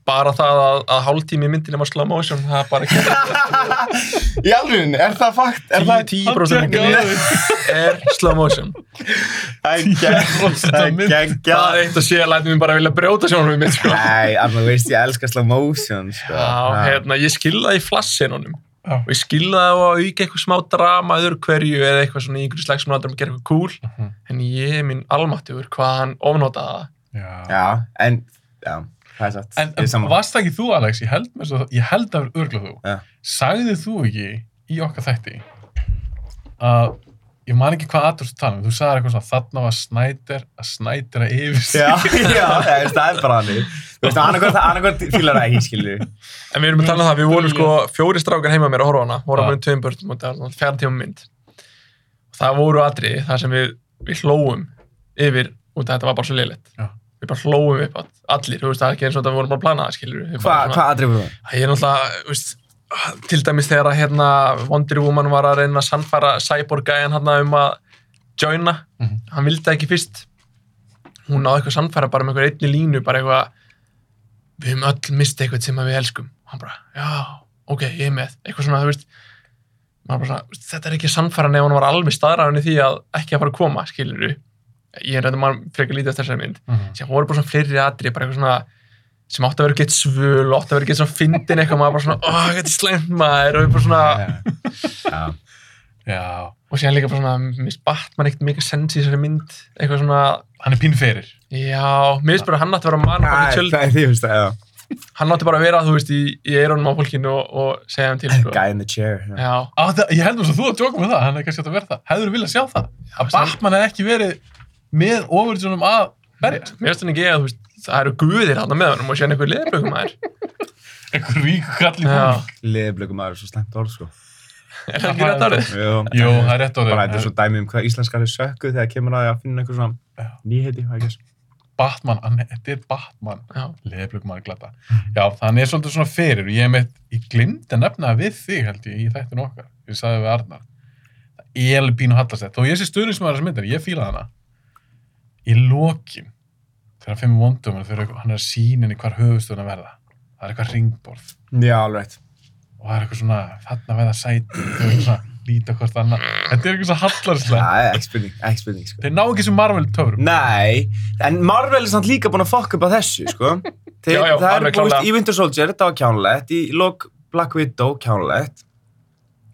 C: Bara það að, að hálftími í myndinni var slow motion Það er bara ekki
B: Í alveg, er það fakt? Er það-
C: 10%
A: Hann
C: myndinni er slow motion
B: Það er gegn- það er
C: Það
B: geggjað.
C: er eitt og sé að læta mér bara vilja brjóta sjónum mitt sko
B: Nei, alveg veist ég elska slow motion sko.
C: Já, hérna, ég skilða í flassinunum
A: Já.
C: og ég skilða á að auka eitthvað smá drama öðru hverju eða eitthvað svona í einhverju slags sem um að gera eitthvað cool,
A: Mhm.
C: en ég er minn almattur hvað hann ofnotaði það
A: já.
B: Já, en já, það er satt
A: En
B: Ég er sammála.
A: varst það ekki þú Alex? Ég held, með svo, ég held að vera örgla þú
B: Já.
A: Sagðið þú ekki í okkar þætti að ég man ekki hvað aðtur þú tala um þú sagðir eitthvað svona þarna var Snyder að Snyder að yfir sig
B: Já, já, það er- það er bara hann Þú veist, annarkvært annarkvært fílar það ekki, skilju
C: En við erum að tala um það, við vorum sko fjóri strákar heima mér að horfa á hana, horfa á
A: Já.
C: mér um tveim börnum og það var fjara tíma mynd. Það voru atriði þar sem við, við hlóum yfir út að þetta var bara svo leiligt.
A: Já.
C: Við bara hlóum upp að allir, þú veist, það er ekki eins og þetta við vorum bara að plana það, skilur við.
B: Hvað hva aðrið voru það?
C: Ég er náttúrulega, þú veist, til dæmis þegar að hérna Wonder Woman var að reyna að sannfæra Cyborg gæjan hann um að joina,
A: Mhm.
C: hann vildi það ekki fyrst. Hún náði eitthvað að sannfæra bara með eitthvað einni línu, bara eitthvað við höfum öll mistið eitthvað sem að við elskum og hann bara, já, ok, ég er með eitthvað svona, þú veist maður bara svona, þú veist, þetta er ekki sannfæran ef hann var alveg staðræðan í því að ekki að fara að koma, skilur ég er reyndum maður frekar lítið eftir þessari mynd
A: Mhm.
C: sem voru bara svona fleiri atri, bara eitthvað svona sem átti að vera gett svöl, átti að vera gett svona fyndin eitthvað, maður bara svona, ó, þetta er slæmt maður og við bara svona,
B: Já,
A: já,
C: og síðan líka bara svona minnst Batman ekkert mikið sens í þessari mynd eitthvað svona,
A: hann er pín fyrir
C: já, mér finnst bara að hann átti að vera mann
B: Æ, það er því, þú veist það, já
C: hann átti bara að vera, þú veist, í, í eironum á fólkinu og, og segja þeim til, sko.
B: Guy in the chair já.
C: Já,
A: Á, það, ég heldur þess að þú að djóka með það, hann er kannski hægt að vera það. Hefur þú viljað sjá það? Að Batman hef ekki verið með ofurðsjónum að berjast.
C: mér finnst þannig ekki að þú veist, það eru guðir hann með honum og sérna einhver leðblökum að þér.
A: Einhver ríku kall í
C: Já,
A: búning.
B: Leðblöku maður er svo slæmt orð, sko
C: er það ekki rétt árið?
B: Jú,
A: Jú, það er rétt orðið.
B: Bara þetta er svo dæmi um hvað íslenskar er sökku þegar kemur að því að finna einhver svona
A: Já.
B: nýheiti, I guess
A: Batman, hann, þetta er Batman.
C: Já,
A: Leðblökk maður glata. Já, þannig er svolítið svona fyrir. og Ég, er meitt, ég glimti að nefna það við þig, held ég, í þættin okkar. Ég sagði við Arnar. Ég er alveg pínu hallast þetta. Þó ég sé stöðnismæður þessar myndar, ég fíla hana. Í lokin, þegar hann fimmur vondumur, þegar hann er að síninni hvar höfustöðuna verða. Það er eitthvað ringborð.
B: Já, alveg rétt.
A: og það er eitthvað svona þarna verða sæti og eitthvað svona líta hvort annað þetta er eitthvað svo hallarslega
B: Það er ekki spurning, ekki spurning, sko
A: þeir ná ekki sem Marvel töfrum
B: Nei, en Marvel er samt líka búin að fokka upp að þessu, sko. Þeir,
C: Já, já,
B: það er
C: alveg
B: búist
C: klárlega.
B: í Winter Soldier, þetta var kjánlegt, í lok Black Widow kjánlegt.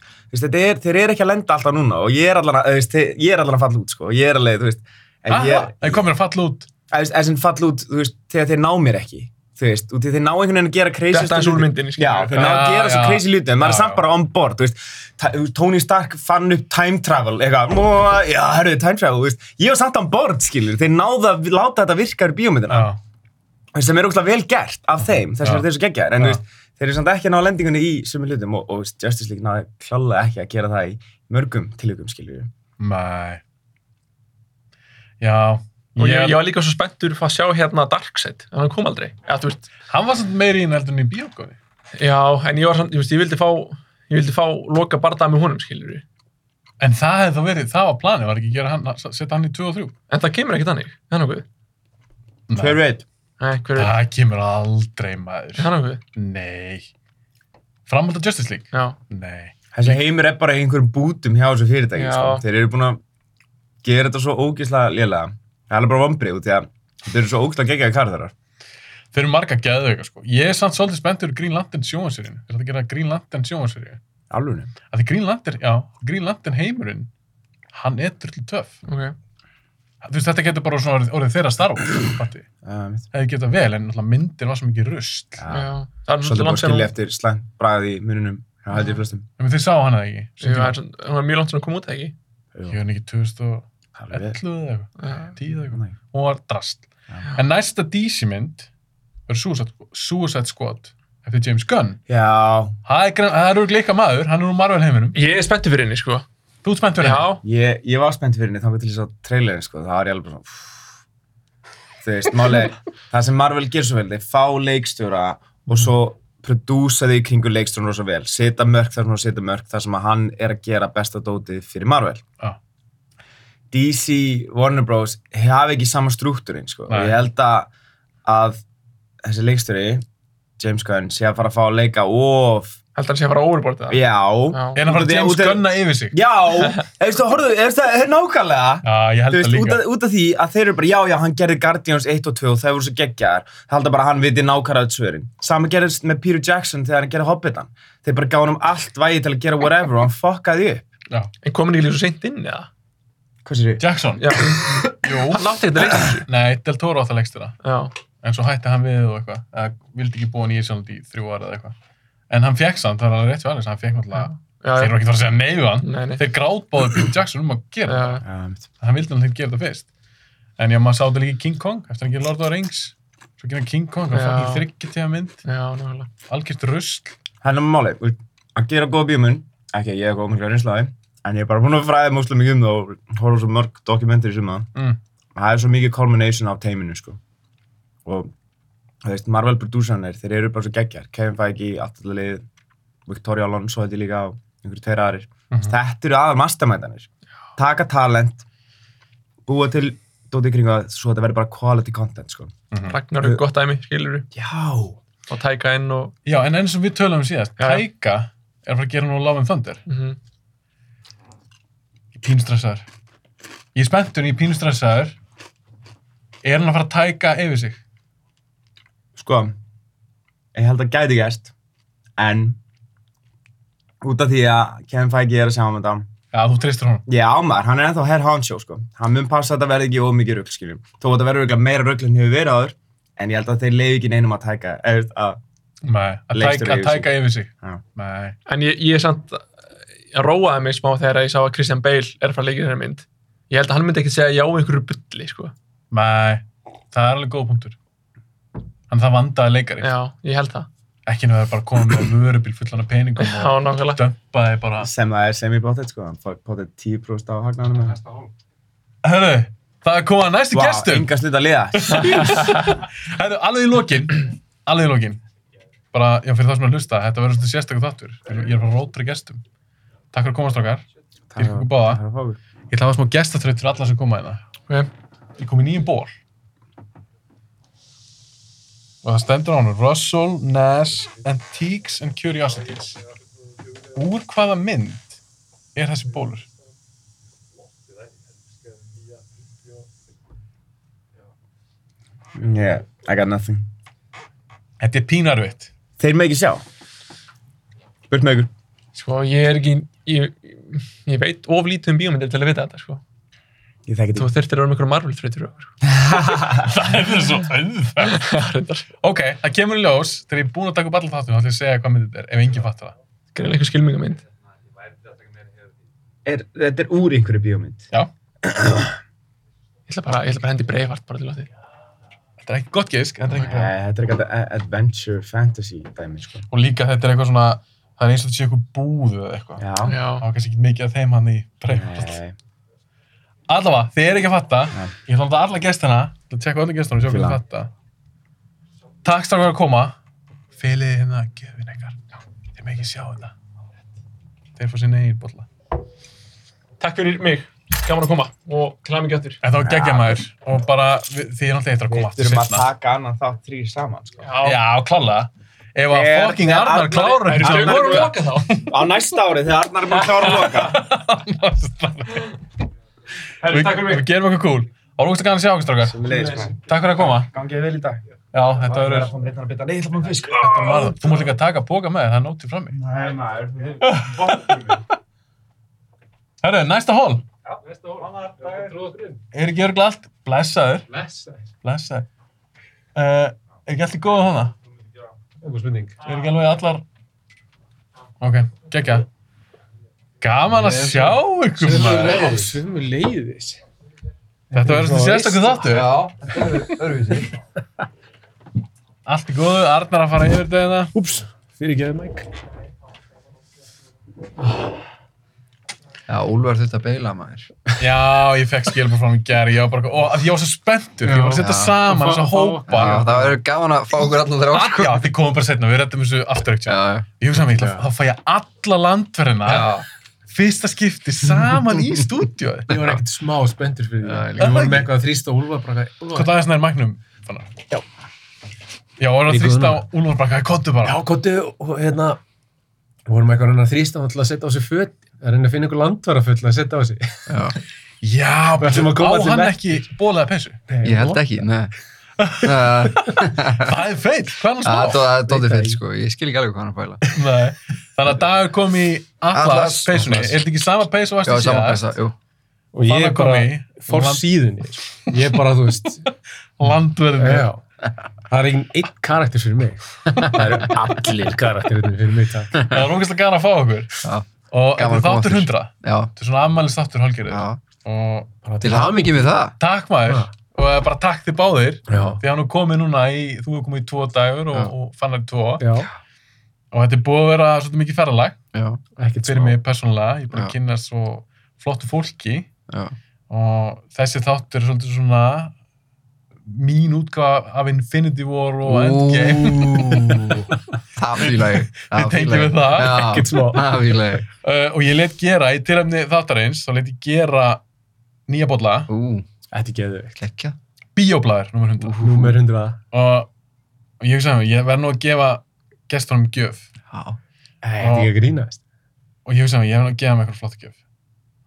B: Þú Veist, þetta er, þeir eru ekki að lenda alltaf núna og ég er allan að, þú veist, þeir- ég er allan að falla út, sko. og Ég er alveg, þú veist, en
A: Aha,
B: ég,
A: það komir að falla út
B: þú veist, þessum falla út, þú veist, þegar þeir ná mér ekki. Þú veist, út í þeir ná einhvern veginn að gera crazy
C: þetta er svo úr myndinni,
B: Já,
C: skiljum
B: þeir ná að
A: Já,
B: gera svo
A: já.
B: crazy lítið, en maður er
A: Já,
B: samt
A: já.
B: bara on board, þú veist, Ta- þú veist, Tony Stark fann upp time travel, eitthvað, "Mó, já, herruðu, time travel, þú veist, ég var samt on board, skilur, þeir náðu að láta þetta virka úr bíómyndina,
A: já,
B: sem er ógslag vel gert af þeim, þess
A: Já.
B: að þeir eru svo geggjaðir, en
A: Já.
B: þú veist, þeir eru samt ekki að ná lendingunni í sömu hlutum og, og Justice League náði klálega ekki að gera það í mörgum tilökum skilju
A: Nei. Já.
C: og ég, ég var líka svo spenntur fyrir að sjá hérna Darkseid, en hann kom aldrei ja, þú veist,
A: Hann var samt meiri inn heldur en í bíókofi.
C: já, en ég var samt, ég, veist, ég vildi fá ég vildi fá loka barða með honum skilur
A: En það hefði þá verið, það var planið, var ekki að gera hann, að setja hann í 2 og 3.
C: en það kemur ekki þannig, það er nokkuð
B: hver veit
C: Nei, hver er,
A: Það kemur aldrei maður.
C: það er nokkuð
A: Nei. Framhald að Justice League?
C: já,
A: Nei.
B: þessi heimur er bara í einhverjum bútum hjá þessu fyrirtæki
C: Já.
B: sko. þeir eru búin að gera þetta svo ógeðslega lélega það er alveg bara vombrið út í að þeir eru svo ógeðslega geggjaði kar þeirra
A: Þeir eru marga geðauka, sko. Ég er samt svolítið spenntur í Green Lantern sjónvansýrinu. Þeir ætla að gera Green Lantern sjónvansýrinu.
B: alveg
A: Af því Green Lantern, já, Green Lantern heimurinn, hann er drullu töff.
C: ok
A: Þú veist, þetta getur bara svona orðið, orðið þeirra starf, fatti.
B: um,
A: Hefði getað vel, en náttúrulega myndin var svo mikið rusl.
B: ja.
C: já, það er
B: svolítið
C: náttúrulega
B: búin
C: langt sem
B: skilja eftir slæmt bragði í mununum hjá held ég flestum
A: En þið sá hana það ekki?
C: hún var, hún var mjög langt sem hún kom út ekki
B: Jú,
A: Ég var ekki 2011
B: alveg
A: eða eitthvað,
C: Já.
A: 10 eða eitthvað.
B: Nei.
A: Hún var drast.
B: Já.
A: En næsta DC mynd verður Suicide, Suicide Squad eftir James Gunn.
B: já,
A: Það er, grein- það er örugglega líka maður, hann er úr Marvel heiminum.
C: ég er spenntið fyrir henni sko
A: Þú ert spennt fyrir henni?
C: já,
B: Ég, ég var spennt fyrir henni þangað til þess að trailerin sko, það var ég alveg bara svona pff. Þú veist, málið er, það sem Marvel gerir svo vel, þeir fá leikstjóra og svo prodúsa þau í kringu leikstjórun rosa vel, setja mörk þar sem hún setja mörk þar sem að hann er að gera besta dótið fyrir Marvel.
A: Já.
B: DC, Warner Bros. hafa ekki sama struktúrin sko.
A: Nei.
B: og ég held að, að þessi leikstjóri, James Gunn, sé að fara að fá að leika of,
C: held að hann sé að fara overbordið það.
B: já,
C: já,
A: Er hann
B: Út af
A: bara
B: því-
A: James
B: út af-
A: Gunn að yfir sig?
B: já, eftir að horfðu, eftir að, nákvæmlega,
A: Já, ég held
B: Þú
A: það
B: veist, út
A: líka.
B: af, út af því að þeir eru bara, já, já, hann gerði Guardians 1 og 2 og það voru svo geggjaðar. Það held að bara að hann viti nákvæmlega öll svörin. Saman gerðist með Peter Jackson þegar hann gerði Hobbitan. Þeir bara gáði hann allt vægi til að gera whatever og hann fokkaði upp.
A: Já.
C: en komin ekki líka svo seint inn eða
B: Hvað sér ég?
A: Jackson?
C: já,
A: Jú.
C: hann átti eitthvað leikst þessu
A: Nei, Del Toro átt að leggst þér
C: já,
A: en svo hætti hann við og eitthvað eða vildi ekki búa hann í Ísland í þrjú ára eða eitthvað en hann fekk samt, það var alveg rétt fyrir alveg hann fekk náttúrulega,
C: já,
A: þeir eru ekki það að segja nei við hann
C: Nei, nei.
A: þeir grátbáðu Peter Jackson um að gera
C: já.
B: Já, mitt.
A: það hann vildi náttúrulega ekki gera þetta fyrst en já, maður sá þetta líka í King Kong eftir hann gerir Lord of the Rings svo gerir hann King Kong, hann
C: Já.
A: fann í þryggja mynd
C: Já, nákvæmlega.
A: algjört rusl
B: Hann er málið. Þú veist, Hann gera góða bíómun. Ekki, að ég er góð mikla reynslaði. En ég er bara búinn að fræða múslega mikið um það og horfa á svo mörg dokumentir í suma.
A: mm.
B: Það er svo mikið culmination af teiminu, sko. Og, þú veist, Marvel prodúsanir, þeir eru bara svo geggjar. Kevin Feige, Attalalið, Victoria Alonso held ég líka og einhverju tveir aðrir. Þetta eru aðal mastermændanir. Taka talent, búa til dótið kring að svo þetta verður bara quality content, sko.
A: Mhm.
C: Ragnar er gott dæmi, skilur
B: Já.
C: og tæka inn og
A: já, en eins og við töluðum síðast
C: Já.
A: Taika er að fara að gera nú Love and Thunder
C: Mhm.
A: Ég er pínustressaður ég er spenntur, ég er pínustressaður er hann að fara að tæka yfir sig
B: Sko, ég held að gæti gæst, en út af því að Kevin Feige er að sjá um þetta,
A: já, þú treystir honum
B: Já, maður, hann er ennþá herr Hansjó, sko. Hann mun passa að þetta verði ekki ómikið rugl, skiljum. Þó að þetta verður örugglega meira rugl en hefur verið áður, en ég held að þeir leiði ekki neinum að tæka, eða, þú veist, að,
A: Nei, að
B: Leikstjóri
A: tæka, að
B: yfir sig.
A: tæka yfir sig.
B: Já.
A: Nei.
C: en ég, ég samt ég róaði mig smá þegar ég sá að Christian Bale er frá leikir þeirra mynd ég held að hann myndi ekki segja já við einhverju bulli sko.
A: Nei, það er alveg góð punktur. Hann það vandaði leikari.
C: já, ég held það
A: Ekki nú að það er bara komið með vörubíl fullan af peningum
C: já,
A: og
C: nákvæmlega
A: dömpaði bara.
B: sem það er semi-pottet, sko. Hann fór pottet 10% á hagnaðanum með það.
A: Hörru, það er komað næstu wow,
B: Vá,
A: gestum.
B: enga sluta að liða.
A: Hörru, alveg í lokin. Alveg í lokin. Bara, já, fyrir það sem er að hlusta, þetta verður svona sérstaklega þáttur. Ég er bara að rótra gestum. Takk fyrir að komast okkar. Fyrir ykkur báða.
B: Takk fyrir að fá okkur.
A: Ég ætla að hafa smá gestaþraut fyrir alla sem koma hérna.
C: okay.
A: Ég kom í nýjum ból. Og það stendur á hann Russell, Nash, Antiques and Curiosities. Úr hvaða mynd er þessi bólur?
B: Yeah, I got nothing.
A: Þetta er pínarvitt.
B: Þeir með ekki sjá. Burt með ykkur.
C: sko, ég er ekki ég, ég veit of lítið um bíómyndir til að vita þetta sko.
B: Ég þekki
C: þú
B: þetta.
C: þurftir að vera með einhverju marvel þreytur sko.
A: Það er svo auðvitað.
C: reyndar
A: Ok, það kemur í ljós. Þegar ég er búinn að taka upp alla þáttunum, þá ætla ég að segja hvað mynd þetta er, ef enginn fattar það.
C: greinlega einhver skilmingamynd
B: Er, þetta er úr einhverju bíómynd.
A: Já.
C: ég ætla bara, ég ætla bara að hendi breyfart bara til að því
A: Þetta er ekki gott gisk, en þetta er ekki bra.
B: Nei, Þetta er eitthvað a- adventure fantasy dæmi, sko.
D: Og líka þetta er eitthvað svona, það er eins og þetta sé eitthvað búðu eða eitthvað.
B: Já.
A: Já.
D: Það var kannski ekki mikið af þeim hann í breyfnum.
B: Nei,
A: Allavega, þið eru ekki að fatta.
B: Nei.
A: Ég ætla að láta alla gestina, til að tjekka öllu gestunum og sjá hvað
B: Fíla.
A: þið fatta. Takk strákar fyrir að koma. Fylið þið hérna að gefin eitthvað. Þeir með ekki sjá þetta. Þeir fá sinni eigin bolla.
C: Takk fyrir mig, gaman að koma og til aðmyggja aftur.
A: En það var geggja maður og bara við- þið er alltaf eitthvað að
B: Við
A: koma aftur
B: þurfum að
A: seinna.
B: taka annan þátt þrýr saman, sko.
C: Já,
A: Já, klálega. Ef að
B: Þegar-
A: fucking
B: þegar
A: Arnar
B: Arnar-
A: klárar
C: það
A: þetta,
C: eru
A: þá
C: voru
A: vorum
C: að
A: við
C: loka þá.
B: Á næsta árið þegar Arnar er búin að klára að loka.
C: Herri,
A: Við
C: takk fyrir mig.
A: við gerum eitthvað cool. Árugust að gana að sjá okkur strákar.
B: Sem leiðis, maður.
A: Takk fyrir að koma.
B: sko. Gangið vel í dag.
A: Já, þetta
B: Ég
A: verður...
B: að fá mér einhvern að bita. Nei, ég ætla að fá mér fisk.
A: Þetta var það. Þú mátt líka taka póka með þér, það er nótið frammi.
B: Nei, maður. Vopnum mig.
A: Herru, næsta hól.
E: Já, næsta ól. Annar, það er tróð okkur inn.
A: Er ekki örgla allt? Blessaður.
E: Blessa.
A: Blessaður. Uh, er ekki allir góða hana?
E: Okkur spurning.
A: Er ekki alveg allar... Ok, geggja. Gaman að sjá ykkur maður.
E: Svömmu leiðis.
A: Þetta verður svona sérstaklega þáttur.
E: Örfið sig.
A: Allt í góðu, Arnar að fara yfir dagina.
E: Úps, fyrir geðið mæk.
F: Já, Úlfur þurfti að beila maður.
A: Já, ég fekk skilbúr frá mér gæri, ég var bara, ó, af því ég var svo spenntur, ég var að setja
F: Já.
A: saman
E: Og
A: þessa
E: fá-
A: hópa.
F: Já, það verður gaman að fá okkur allar þrjá, sko.
A: Já, þið komum bara setna, við rettum þessu aftur ekki.
F: Já, já.
A: Ég hugsa mig, ég ætla- þá fæ ég alla landverðina,
F: Já.
A: fyrsta skipti, saman í stúdíói.
E: Ég var ekkert smá spenntur fyrir
F: Já, ég
E: því.
F: líka.
E: Við vorum með eitthvað að þrýsta og Úlfar bara eitthvað.
A: Hvað
E: Úlfar,
A: aðeins nær magnum? Þannig. Já. Já, og er að
E: Í
A: þrýsta á
E: guðnum.
A: Úlfar bara, hvað kottu
E: Já,
A: bara?
E: kottu og hérna, við vorum eitthvað að reyna að þrýsta og ætla að setja á sig föt. Að reyna að finna einhver landvara fulla að setja á sig.
A: Já,
E: Við ætlum að
A: á
E: koma til
A: hann
E: verk.
A: ekki bólaða pensu.
F: Ég held ekki, nei. Nei,
A: Það er feitt, hvað er hann
F: Það
A: smá?
F: það er dóttir fett, sko. Ég skil ekki alveg hvað hann er að bæla.
A: Nei. Þannig að dagur kom í Atlas
F: Atlas.
A: peysunni,
F: Atlas.
A: er þetta ekki sama peysu og
F: Já,
A: varstu
F: saman
A: síðast?
F: pæsa, jú.
E: Og ég
A: Þarna kom
E: bara,
A: ég.
E: fór
A: Land-
E: síðunni. Ég bara, þú veist,
A: Landverðinu.
E: Já, það er enginn einn karakter fyrir mig. Það eru allir karakterinn fyrir mig, takk.
A: Það var ógeðslega gaman að fá okkur.
F: Já,
A: Og þetta
F: Gaman
A: er
F: að koma
A: þáttur
F: aftur.
A: hundra.
F: já,
A: Þetta er svona afmælis þáttur hálfgerðið.
F: já.
A: Og
E: Bara
F: Til hamingi með það.
A: takk maður.
E: Já.
A: Og eh, bara takk þið báðir.
E: Já,
A: Því hann er komið núna í, þú hefur komið í tvo dagur og,
F: Já.
A: og fannar í tvo.
E: já,
A: Og þetta er búið að vera svolítið mikið ferralag
F: Já,
E: ekkert
A: fyrir mig persónulega. Ég er búin
F: Já.
A: að kynna svo flottu fólki.
F: já,
A: Og þessi þáttur er svolítið svona mín útgáfa af Infinity War og Endgame.
E: Ú,
F: það fýla ég. það
A: Við tengjum
F: fíla ég.
A: við það.
E: ekkert
F: Já,
E: smá.
F: það fýla ég.
A: Uh, og ég let gera, í tilhæmni þáttarins, þá let ég gera nýja bolla,
F: Ú,
E: Þetta er geðveikt.
F: klekkja.
A: Bíóblæður, nummer 100.
E: Númer 100.
A: og og ég hugsaði með, ég verð nú að gefa gestunum gjöf
F: Já,
E: Æ, Þetta er ekki að grínast.
A: og ég hugsaði með, ég verð nú að gefa með eitthvað flott gjöf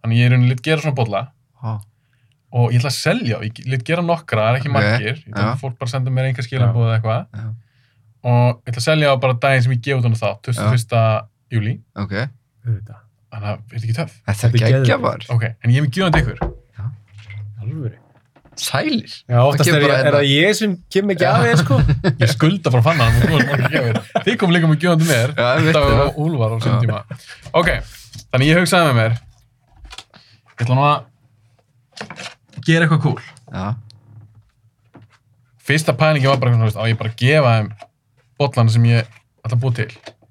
A: þannig ég er rauninni lit gera svona bolla
F: já,
A: og ég ætla að selja, ég lit gera nokkra, það er ekki
F: Ok,
A: margir ég
F: já.
A: tók fólk bara senda mér einhver skilabóð eða eitthvað
F: Já.
A: og ég ætla að selja á bara daginn sem ég gefa út hann þá, 21. júli
F: ok.
E: Auðvitað.
A: þannig að þetta ekki töff
F: Þetta er
E: Þetta er
F: geggja
E: geðveikt.
F: bara.
A: ok, en ég er með gjöfandi ykkur
E: Alvöru.
F: Sælir.
E: Já, oftast
F: kemur
E: er,
F: bara
E: ég, er
F: hérna.
E: það ég sem kem ekki
F: Já.
E: af þér, sko.
A: ég skulda frá fannan hann og þú erum ekki gefur þið kom líka með gjöfandi mér
F: Já, ég veit
A: þetta
F: það.
A: var úlvar á sínum
F: Já.
A: tíma ok, þannig ég hugsaði með mér ég ætla nú að gera eitthvað cool
F: Já,
A: fyrsta pælingi var bara, svona, þú veist, á ég bara að gefa þeim bollana sem ég ætla að búa til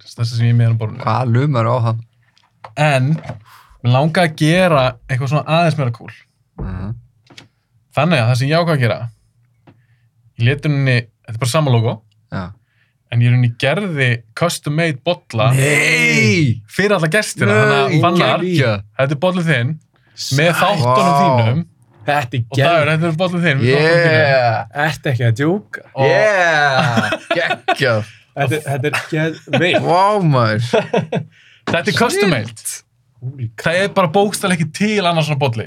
A: þess sem ég er með hann borðinu
F: hvað lumar á hann?
A: en, mér langaði að gera eitthvað svona aðeins meira cool
F: Mhm.
A: þannig að það sem ég ákvað að gera ég leti henni, þetta er bara sama logo
F: Já.
A: en ég henni gerði custom made bolla
F: Nei!
A: fyrir alla gestina, þannig að fannar
F: Geggja.
A: þetta er bollið þinn með þáttunum
F: Vá.
A: þínum
E: Þetta er
A: og dagur,
E: geðveikt.
A: þetta er bollið þinn með þáttunum þínum.
F: Yeah!
E: Ertu ekki að djúka?
A: Og-
F: Yeah! Gekkjað.
E: Þetta er- þetta er geðveikt.
F: Vá maður.
A: þetta er custom made
E: Holy cow.
A: það er bara bókstæl ekki til annars svona bolli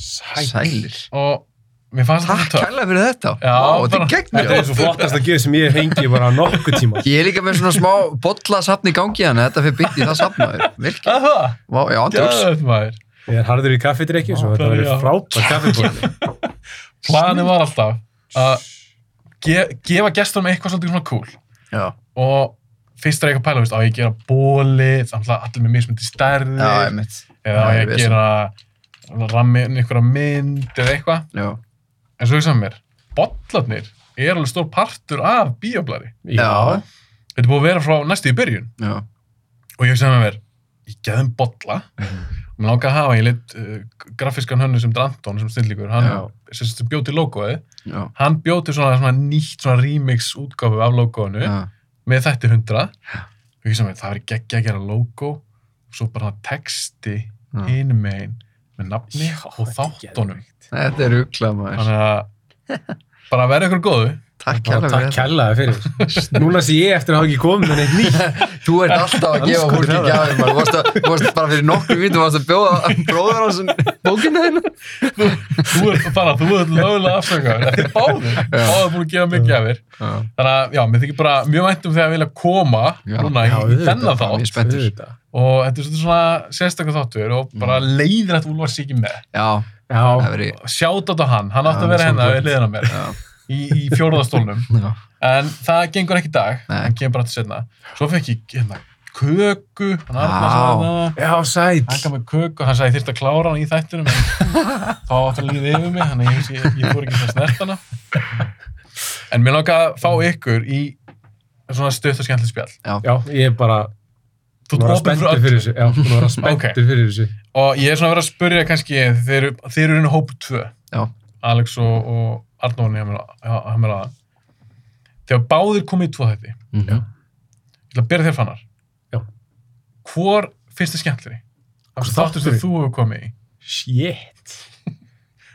F: Sælir.
A: og mér fannst þetta
F: Takk
A: svo töff
F: kærlega fyrir þetta.
A: Já,
F: Vá, þetta
A: bara-
F: er
E: Þetta er
F: geggjað.
E: svo flottast að gefa sem ég hengi bara nokkuð tíma.
F: Ég er líka með svona smá bollasafn í gangi hann, þetta fyrir bytt í það safnaður. Virkið.
A: að það,
F: Vá, já, andjóks.
A: gæðið maður
E: Ég er harður í kaffidrykju, svo þetta
A: það er
E: verður
A: já.
E: frábært kaffibóli.
A: planið var alltaf að ge gefa gestunum eitthvað svolítið svona cool
F: Já,
A: og fyrst er ég eitthvað að pæla, veist, á ég að gera bóli þannig að allir með mismundi stærðir
F: já, ég mitt.
A: eða á
F: já,
A: ég
F: ég
A: að
F: vissi.
A: gera rammi, einhverja mynd eða eitthvað
F: Já,
A: en svo ég saman mér, bollarnir er alveg stór partur af bíoblæði.
F: Já.
A: Þetta er búið að vera frá næstu í byrjun.
F: Já.
A: Og ég hugsaði með mér, ég geði um bolla.
F: Mhm.
A: Og mér langaði að hafa, ég leitt uh, grafískan hönnu sem Dranton, sem snillíkur, hann sem sagt bjó til logoið.
F: Já.
A: Hann bjó til svona, svona nýtt svona remix útgáfu af logoinu
F: Já. með
A: með þætti 100. Og ég hugsaði með mér, það verið geggja að gera logo og svo bara texti
F: Já.
A: hinum megin með nafni og þáttunum.
F: Þetta er ruggla maður.
A: Þannig að bara verða ykkur góðu.
F: Takk
E: Bara
F: kærlega
E: Takk
F: fyrir.
E: kærlega fyrir. Núna sé ég eftir að hafa ekki komið með neitt nýtt.
F: Þú ert alltaf að gefa
E: Andskotinn
F: fólki
E: á þér.
F: gjafir maður. Þú varst að- Þú varst bara fyrir nokkru vítum, þú varst að bjóða bróður um á þessum bókinu þínu.
A: Þú ert bara, þú ert lögulega afsökaður. Þetta er báður. Báður búin að gefa mig gjafir.
F: Já.
A: Þannig að, já, mér þykir bara mjög vænt um þegar að vilja koma
F: Já.
A: núna
E: Já,
A: í
E: auðvitað.
A: þennan
F: Ég er
A: þátt
F: spenntur.
E: Auðvitað.
A: og þetta er svolítið svona sérstakar þáttur og bara
F: Mm.
A: leiðir að Úlfar sé ekki með.
F: Já, það
E: Já,
F: verið.
A: Sjátt á hann, hann átti
F: Já,
A: að vera
F: það er
A: hérna
F: svolítið.
A: við liðina mér
F: Já.
A: í, í fjórðastólnum.
F: Já.
A: En það gengur ekki í dag,
F: Nei.
A: hann kemur bara til setna. Svo fekk ég hérna köku, hann hérna Arnar
F: Já.
A: sagði það.
E: já sæt.
A: hann gaf mig köku, hann sagði ég þyrfti að klára hann í þættunum en þá átt hann lífið yfir mig þannig ég, ég, ég fór ekki að snert hana en mér langar að fá ykkur í svona stutt og skemmtilegt spjall
E: Já, ég er bara,
A: Þú
E: þú
A: ert
E: var
A: opinn fyrir
E: spenntur fyrir,
A: öll.
E: þessu. Já, þú var spenntur fyrir þessu.
A: og ég er svona að vera að spurja kannski þeir eru, þeir eru inn í hópu 2
F: Já.
A: Alex og, og Arnóni hann er aðan þegar báðir komið í tvo þætti ég
F: Mhm.
A: ætla að byrja þér fannar
E: Já.
A: hvor finnst þið skemmtilegri?
E: Hvor
A: þáttur
E: þáttur?
A: sem þú hefur komið í
E: Shit.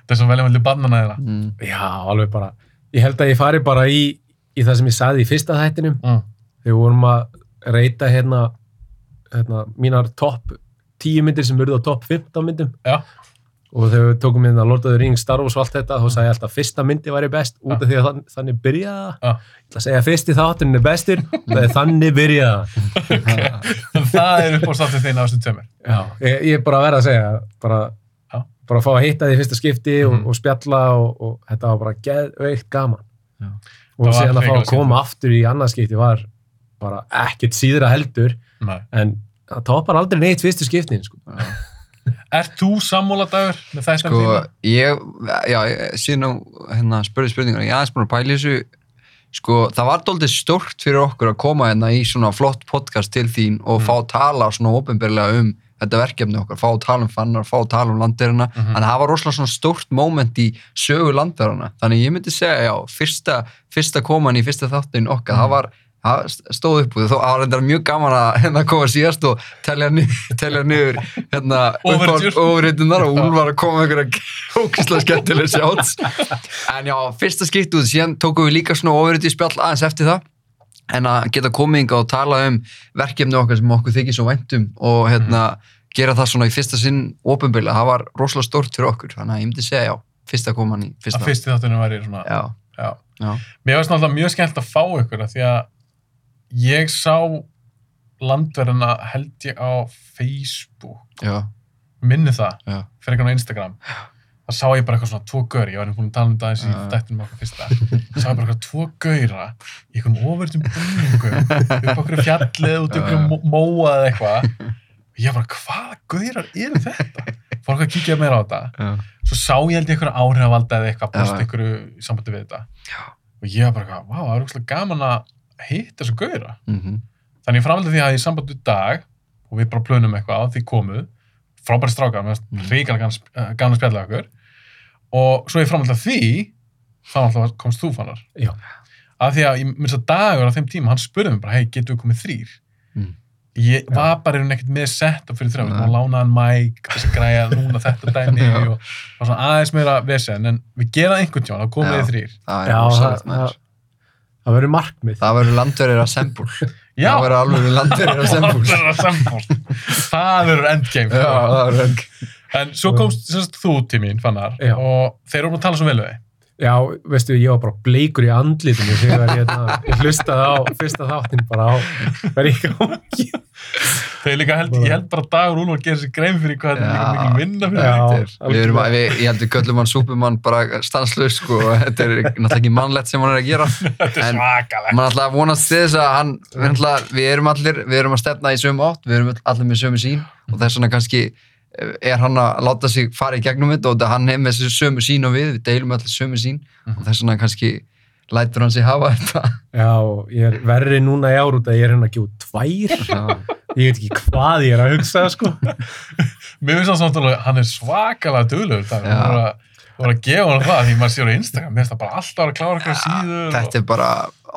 A: þess að velja með bannana þeirra
F: Mm.
E: Já, alveg bara. Ég held að ég fari bara í, í það sem ég saði í fyrsta þættinum.
A: mm.
E: Þegar við vorum að reyta hérna, hérna mínar topp 10 myndir sem urðu á topp 15 myndum.
A: Já.
E: Og þegar við tókum hérna Lord of the Rings, Star Wars og allt þetta, þá sagði ég alltaf að fyrsta myndi væri best út af því að þann, þannig byrjaða.
A: Já.
E: Ég ætla að segja að fyrsti þátturinn er bestur, það er þannig byrjaða.
A: það er upp á státtu þinn á þessum tömur
E: Já. Ég, ég er bara að vera að segja, bara,
A: Já.
E: bara að fá að hitta því fyrsta skipti
A: Mhm.
E: og, og spjalla og, og þetta var bara geðveikt gaman.
F: Já.
E: Og
A: Það var
E: síðan að fá
A: hrikalega
E: að koma aftur í annarskipti var bara ekkert síðra heldur
A: Nei.
E: en það topar aldrei neitt fyrstu skiptin sko.
A: Ert þú sammóla dagur með þættan
F: Sko,
A: þína?
F: ég, já, ég- síðan á, hérna, spurði spurningar, ég er aðeins búin að pæla í þessu, sko, það var doldið stórt fyrir okkur að koma hérna í svona flott podcast til þín og
A: Mhm.
F: fá að tala svona ofinbyrlega um þetta verkefni okkar, fá að tala um fannar, fá að tala um landverðina,
A: Mhm.
F: þannig að það var rosalega svona stórt moment í sögu landverðina, þannig ég myndi segja, já, fyrsta, fyrsta koman í fyrsta þáttin okkar,
A: Mhm.
F: það var, það stóð upp úr því, þó það var reyndar mjög gaman að hérna koma síðast og telja niður, telja niður hérna,
A: Overture.
F: uppáhald- overitunar og hún var að koma með einhverja ókvæslega skemmtilega sjáts en já, fyrsta skipt út, síðan tókum við líka svona overriti spjall aðeins eftir það en að geta komið inga og tala um verkefni okkar sem okkur þykir svo væntum og hérna, gera það svona í fyrsta sinn ofinbilla, það var rosalega stórt fyrir okkur þannig að ég myndi segja já, fyrsta koman í fyrsta,
A: að fyrsti þáttunum væri svona
F: já,
A: Já.
F: já,
A: mér varst náttúrulega mjög skemmt að fá ykkur af því að ég sá landverðina held ég á Facebook
F: já,
A: minni það,
F: Já.
A: fyrir eitthvað á Instagram það sá ég bara eitthvað svona tvo gaur ég var einhvern veginn að tala um það eins í
F: Já.
A: dættinum okkar fyrsta sá ég bara eitthvað tvo gaura í einhvern ofurðum búningum upp okkur fjallið út okkur
F: Já.
A: móað eða eitthvað og ég bara hvaða gaurar eru þetta fór okkur að kíkja meira á þetta
F: já.
A: svo sá ég held ég einhverja áhrifvalda eða eitthvað
F: Já,
A: post
F: já.
A: einhverju í sambandi við þetta og ég var bara eitthvað, vá, það er úrslega gaman að hitta þessu gauðra
F: Mm
A: þannig ég framhaldi því að ég sambandi við dag og við bara plönum eitthvað á því komuð frábæri strákar, mér
F: Mhm.
A: finnst ríkala gaman að spjalla við eh, okkur og svo ég framhaldi að því þá alltaf komst þú fannar
E: Já.
A: af því að ég minnst að dagur á þeim tíma hann spurði mig bara, hei, getur við komið þrýr
F: Mm.
A: ég var bara einhvern ekkert með setta fyrir þrjá,
F: Nei.
A: og lánaðan mæk þess að græja núna þetta dæmi
F: Já.
A: og var svona aðeins meira vesen en við geraði einhvern tjón, þá komið
F: Já.
A: þið þrýr
F: það er
E: Já,
F: rosalegt
E: það-
F: maður
E: það verður markmið
F: það verður landverðir að sembúl
A: Já,
F: það verður alveg landverðir að sembúl
A: Það verður Sembúl. Það verður endgame.
F: já, það verður
A: En svo komst sérst, þú til mín, Fannar,
E: Mm. Já.
A: og þeir voru að tala svo vel við þig.
E: já, veistu, ég var bara bleikur í andlitinu þegar ég, hérna, ég hlustaði á fyrsta þáttin bara á verið í gangi
A: Þeir líka held, ég held bara að Dagur Úlfar gerir sér grein fyrir hvað þetta er
F: Já.
A: líka mikil vinna fyrir
E: Já.
A: þig.
F: Þetta er- við erum, að- við, ég held við köllum hann Superman bara stanslaus sko, og þetta er náttúrulega ekki mannlegt sem hann er að gera
A: Þetta er
F: en
A: svakalegt.
F: maður ætla að vonast til þess að hann við, ætla, við erum allir, við erum að stefna í sömu átt við erum öll- allir með sömu sín og þess vegna kannski eh, er hann að láta sig Mhm. fara í gegnum þetta og þetta hann er með þessu sömu sín og við, við deilum allir sömu sín og þess vegna kannski lætur hann sig hafa þetta.
E: Já, ég er verri núna í ár út að ég er hérna að gefa út tvær. Ég veit ekki hvað ég er að hugsa, sko.
A: Mér finnst það samt alveg, hann er svakalega duðlegur það.
F: Já.
A: Hún var að, hún var að gefa hann það því maður sér á Instagram. Mér finnst það bara alltaf að vera að klára eitthvað síður.
F: Þetta er bara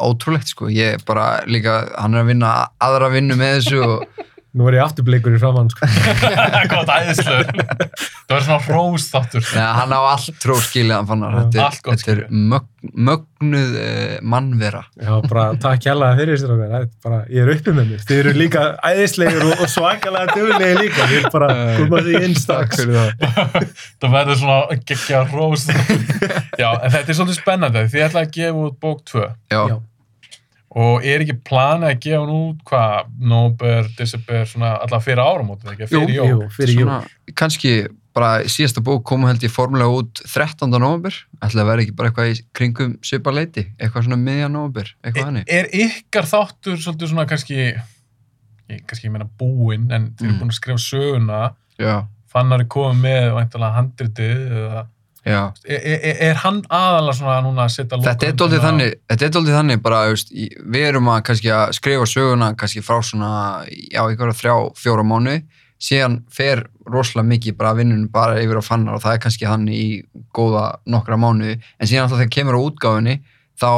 F: ótrúlegt sko. Ég er bara líka, hann er að vinna aðra vinnu með þessu og
E: Nú er ég aftur bleikur í framann, sko.
A: er gott æðislegur. það verður svona hrós þáttur.
F: neða, hann á allt tróskilið hann fann hann. Þetta
A: Allt
F: er,
A: gott
F: þetta er mög, mögnuð uh, mannvera.
E: Já, bara takk hérlega fyrir þér okkar. Bara, ég er uppi með mér. Þið eru líka æðislegir og, og svakalega duglegir líka. Ég er bara koma því inn strax.
A: það verður svona geggja hrós þáttur. Já, en þetta er svolítið spennandi. Þið ætlaði að gefa út bók 2
F: Já,
E: Já.
A: og er ekki planið að gefa hann út hvað, nóber, desember, svona alltaf fyrir áramótið, ekki?
F: Jú,
A: Fyrir jól.
E: Jú, fyrir jú.
F: svona, kannski bara síðasta bók kom held ég formulega út 13. november. Ætli að vera ekki bara eitthvað í kringum sviparleiti, eitthvað svona miðja november, eitthvað
A: er,
F: hannig.
A: er ykkar þáttur svolítið svona kannski ég, kannski ég meina búinn en þeir eru
F: Mm.
A: búin að skrifa söguna
F: Já,
A: fannar er komið með væntanlega handritið eða,
F: já.
A: er, er, er hann aðalega svona núna að setja
F: Þetta er
A: hérna
F: dóldið þannig, þetta er dóldið þannig bara, þú veist, í- við erum að kannski að skrifa söguna kannski frá svona, já, einhverja þrjá, fjóra mánu, síðan fer rosalega mikið bara vinnunum bara yfir á fannar og það er kannski hann í góða nokkra mánu, en síðan alltaf þegar kemur á útgáfunni, þá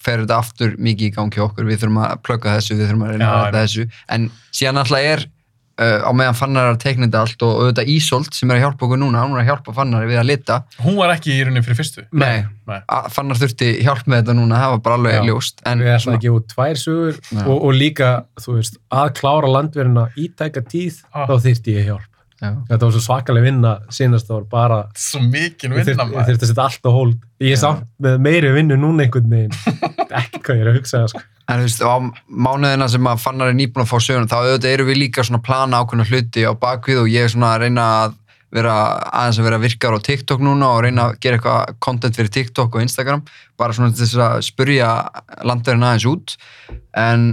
F: fer þetta aftur mikið í gangi hjá okkur, við þurfum að plugga þessu, við þurfum að reyna
A: Já,
F: að þetta þessu, en síðan alltaf er uh, á meðan fannar er að teikna þetta allt og auðvitað Ísolt sem er að hjálpa okkur núna, hún er að hjálpa fannar við að lita,
A: hún var ekki í rauninni fyrir fyrstu
F: Nei,
A: Nei.
F: A- Fannar þurfti hjálp með þetta núna, það var bara alveg
E: Já.
F: ljóst. En,
E: Við ætlum að gefa út tvær sögur
F: Já.
E: og, og líka, þú veist, að klára landverina í tæka tíð,
A: Ah.
E: þá þyrfti ég hjálp.
F: Já.
E: Þetta var svo svakalega vinna sínast ár, bara
A: svo mikil
E: ég
A: vinna
E: þurfti ég
A: maður
E: þurfti að setja allt á hold. Ég er
F: Já.
E: samt með meiri vinnu núna einhvern veginn. Ekkert hvað ég er að hugsa, sko.
F: en þú veist, á mánuðina sem að Fannar er nýbúin að fá söguna, þá auðvitað eru við líka svona að plana ákveðna hluti á bakvið og ég er svona að reyna að vera aðeins að vera virkar á TikTok núna og reyna að gera eitthvað content fyrir TikTok og Instagram, bara svona til þess að spurja landverðin aðeins út. En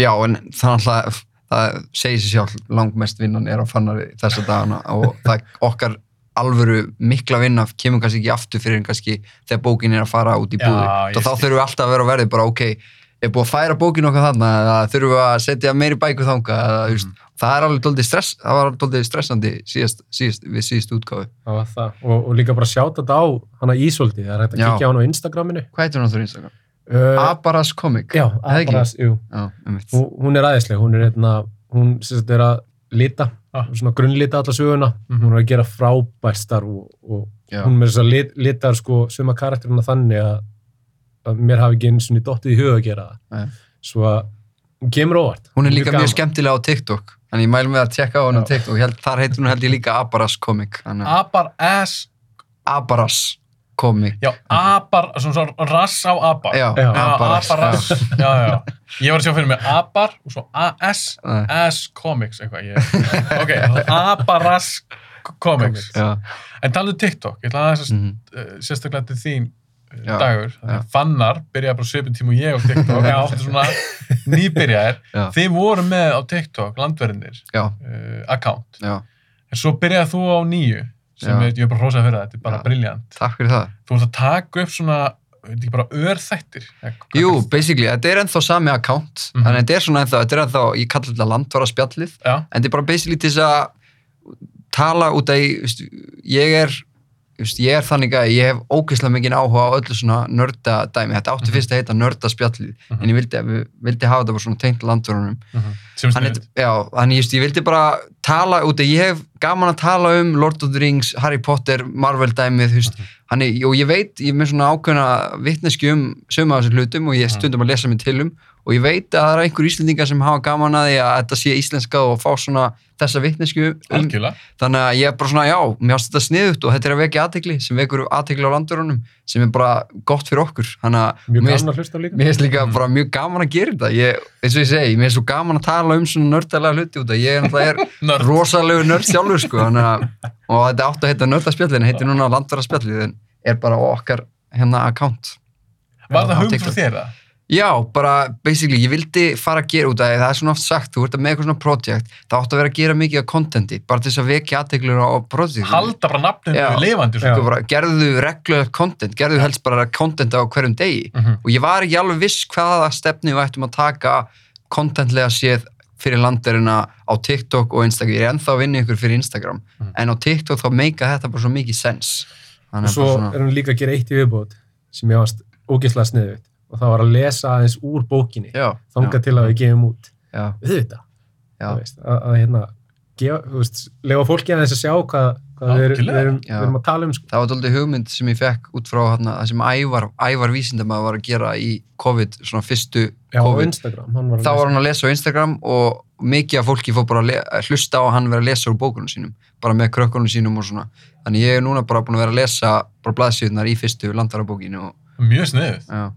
F: já, en þannig að það segir sér sjálf, langmest vinnan er á Fannar þessa dagana og það okkar alvöru mikla vinna kemur kannski ekki aftur fyrir en kannski þegar bókin er að fara út í
A: Já,
F: búði
A: ég
F: og þá
A: skil.
F: þurfum við alltaf að vera á verði bara ok, er búið að færa bókin okkar þarna eða þurfum við að setja meiri bækur þanga eða, þú veist, það er alveg doldið stress það var alveg doldið stressandi síðast, síðast, við síðast útgáfi
E: Það var það. Og, og líka bara sjáta þetta á hana Ísoldi. Það er hægt að
F: Já.
E: kíkja á hana á Instagraminu.
F: hvað heitir hún á þú Instagram?
E: Uh,
F: Abaras Comic
E: já,
F: það ekki?
E: Abras, jú.
F: Já, einmitt.
E: Hún, hún er aðeinsleg. Hún er, hérna, hún, sem sagt, er að lita,
A: Ah.
E: svona grunnlita alla söguna.
A: Mhm.
E: Hún er að gera frábært starf og, og
F: Já.
E: hún með þess að lit, litar sko suma karakterina þannig að, að mér hafi ekki einu sinni dottið í huga að gera það.
F: Nei.
E: Svo að hún kemur óvart.
F: hún er líka mjög
E: gaman.
F: skemmtilega á TikTok en ég mælum við að tjekka á hún á TikTok Held- þar heitir hún held ég líka Abaras Comic þannig að-
A: abar ass
F: Abaras Comic
A: já, abar, svona svona rass á abar
F: já,
E: Já,
F: Abaras
A: abarrass já, já, ég var að sjá fyrir mig abar og svo as
F: Já.
A: as comics eitthvað ég, ok, abarrass comics
F: Já.
A: En talaðu um TikTok, ég ætla aðeins að
F: Mhm.
A: mm. sérstaklega til þín eh,
F: Já,
A: dagur, af því
F: já.
A: að fannar byrjaði bara svipin tíma og ég á TikTok, já, þetta er svona nýbyrjaðir,
F: Já.
A: þið voru með á TikTok, landverðinir,
F: já,
A: uh, account,
F: já,
A: en svo byrjaði þú á nýju, sem
F: Já.
A: er, ég er bara hrósað fyrir það, þetta er bara
F: Já.
A: briljant.
F: takk fyrir það
A: Þú ert að taka upp svona, veit ekki bara örþættir. eða hvað
F: Jú,
A: kallast-
F: basically, þetta er ennþá sami account
A: Mhm.
F: þannig að þetta er svona ennþá, þetta er ennþá ég kalla þetta landvara spjallið
A: Já.
F: en þetta er bara basically til þess að tala út að ég, veist, ég er veist, ég er þannig að ég hef ógeðslega mikið áhuga á öllu svona nörda dæmi þetta átti
A: Mhm.
F: fyrst að heita nörda spjallið
A: Mhm.
F: en ég vildi, að- vildi hafa þetta bara svona tengt landvarunum
A: Mhm. Sem
F: Hann
A: sniðut.
F: heit- Já, þannig ég, veist, ég vildi bara tala út að ég hef gaman að tala um Lord of the Rings, Harry Potter, Marvel dæmið þú veist, hann er, og ég veit ég er með svona ákveðna vitneski um sömu af þessum hlutum og ég stundum að lesa mig til um og ég veit að það er einhver íslendingar sem hafa gaman að því að þetta sé íslenska og fá svona þessa vitneski um,
A: Algjörlega.
F: þannig að ég er bara svona, já, mér ást þetta sniðugt og þetta er að vekja aðtegli, sem vekur aðtegli á landurunum sem er bara gott fyrir okkur þannig að
E: Mjög
F: mér finnst-
E: gaman að hlusta á líka. Mm.
F: Mér finnst líka bara mjög gaman að gera þetta. Ég, eins og ég segi, mér finnst svo gaman að tala um svona nördalega hluti út af. Ég er náttúrulega er
A: Nörd.
F: rosalegu nörd sjálfur, sko. Þannig að, og þetta átti að heita nördaspjallin, heitir núna landvaraspjallin, en er bara á okkar hérna account.
A: Var
F: á
A: það hugum frá
F: TikTok.
A: þér það?
F: Já, bara basically, ég vildi fara að gera út af því, það er svona oft sagt, þú ert með eitthvað svona project, það átt að vera að gera mikið af contenti, bara til þess að vekja aðteglur á projektinu.
A: halda bara nafninu
F: Já.
A: lifandi
F: Sko
A: sko.
F: bara, gerðu reglulegt content, gerðu helst bara content á hverjum degi
A: Mhm.
F: og ég var ekki alveg viss hvaða stefni við ættum að taka contentlega séð fyrir landarina á TikTok og Instagram, ég er ennþá að vinna ykkur fyrir Instagram, en á TikTok þá meika þetta bara svo mikið sens. Þannig
E: Mhm. og
F: að
E: svo eh,
F: bara svona,
E: er hann líka að gera eitt í viðbót sem ég varst ógeðslega sniðið og það var að lesa aðeins úr
F: já,
E: bókinni
F: já,
E: þangað til að við gefum út
F: já,
E: auðvitað,
F: já,
E: þú veist, að, að hérna gefa, þú veist, lefa fólki aðeins að sjá hvað, hvað við, erum, við, erum,
F: Já.
E: við erum að tala um sko.
F: það var doldið hugmynd sem ég fekk út frá hana, það sem Ævar, Ævar vísindamaður var að gera í COVID, svona fyrstu
E: já, á
F: COVID.
E: Instagram, hann var
F: Þá var hann að lesa á Instagram og mikið af fólki fór bara að le- að hlusta á að hann vera að lesa úr bókunum sínum, bara með krökkunum sínum og svona. Þannig ég er núna bara búin að vera að lesa bara blaðsíðunar í fyrstu landvarabókinu og
A: mjög sniðið
F: já,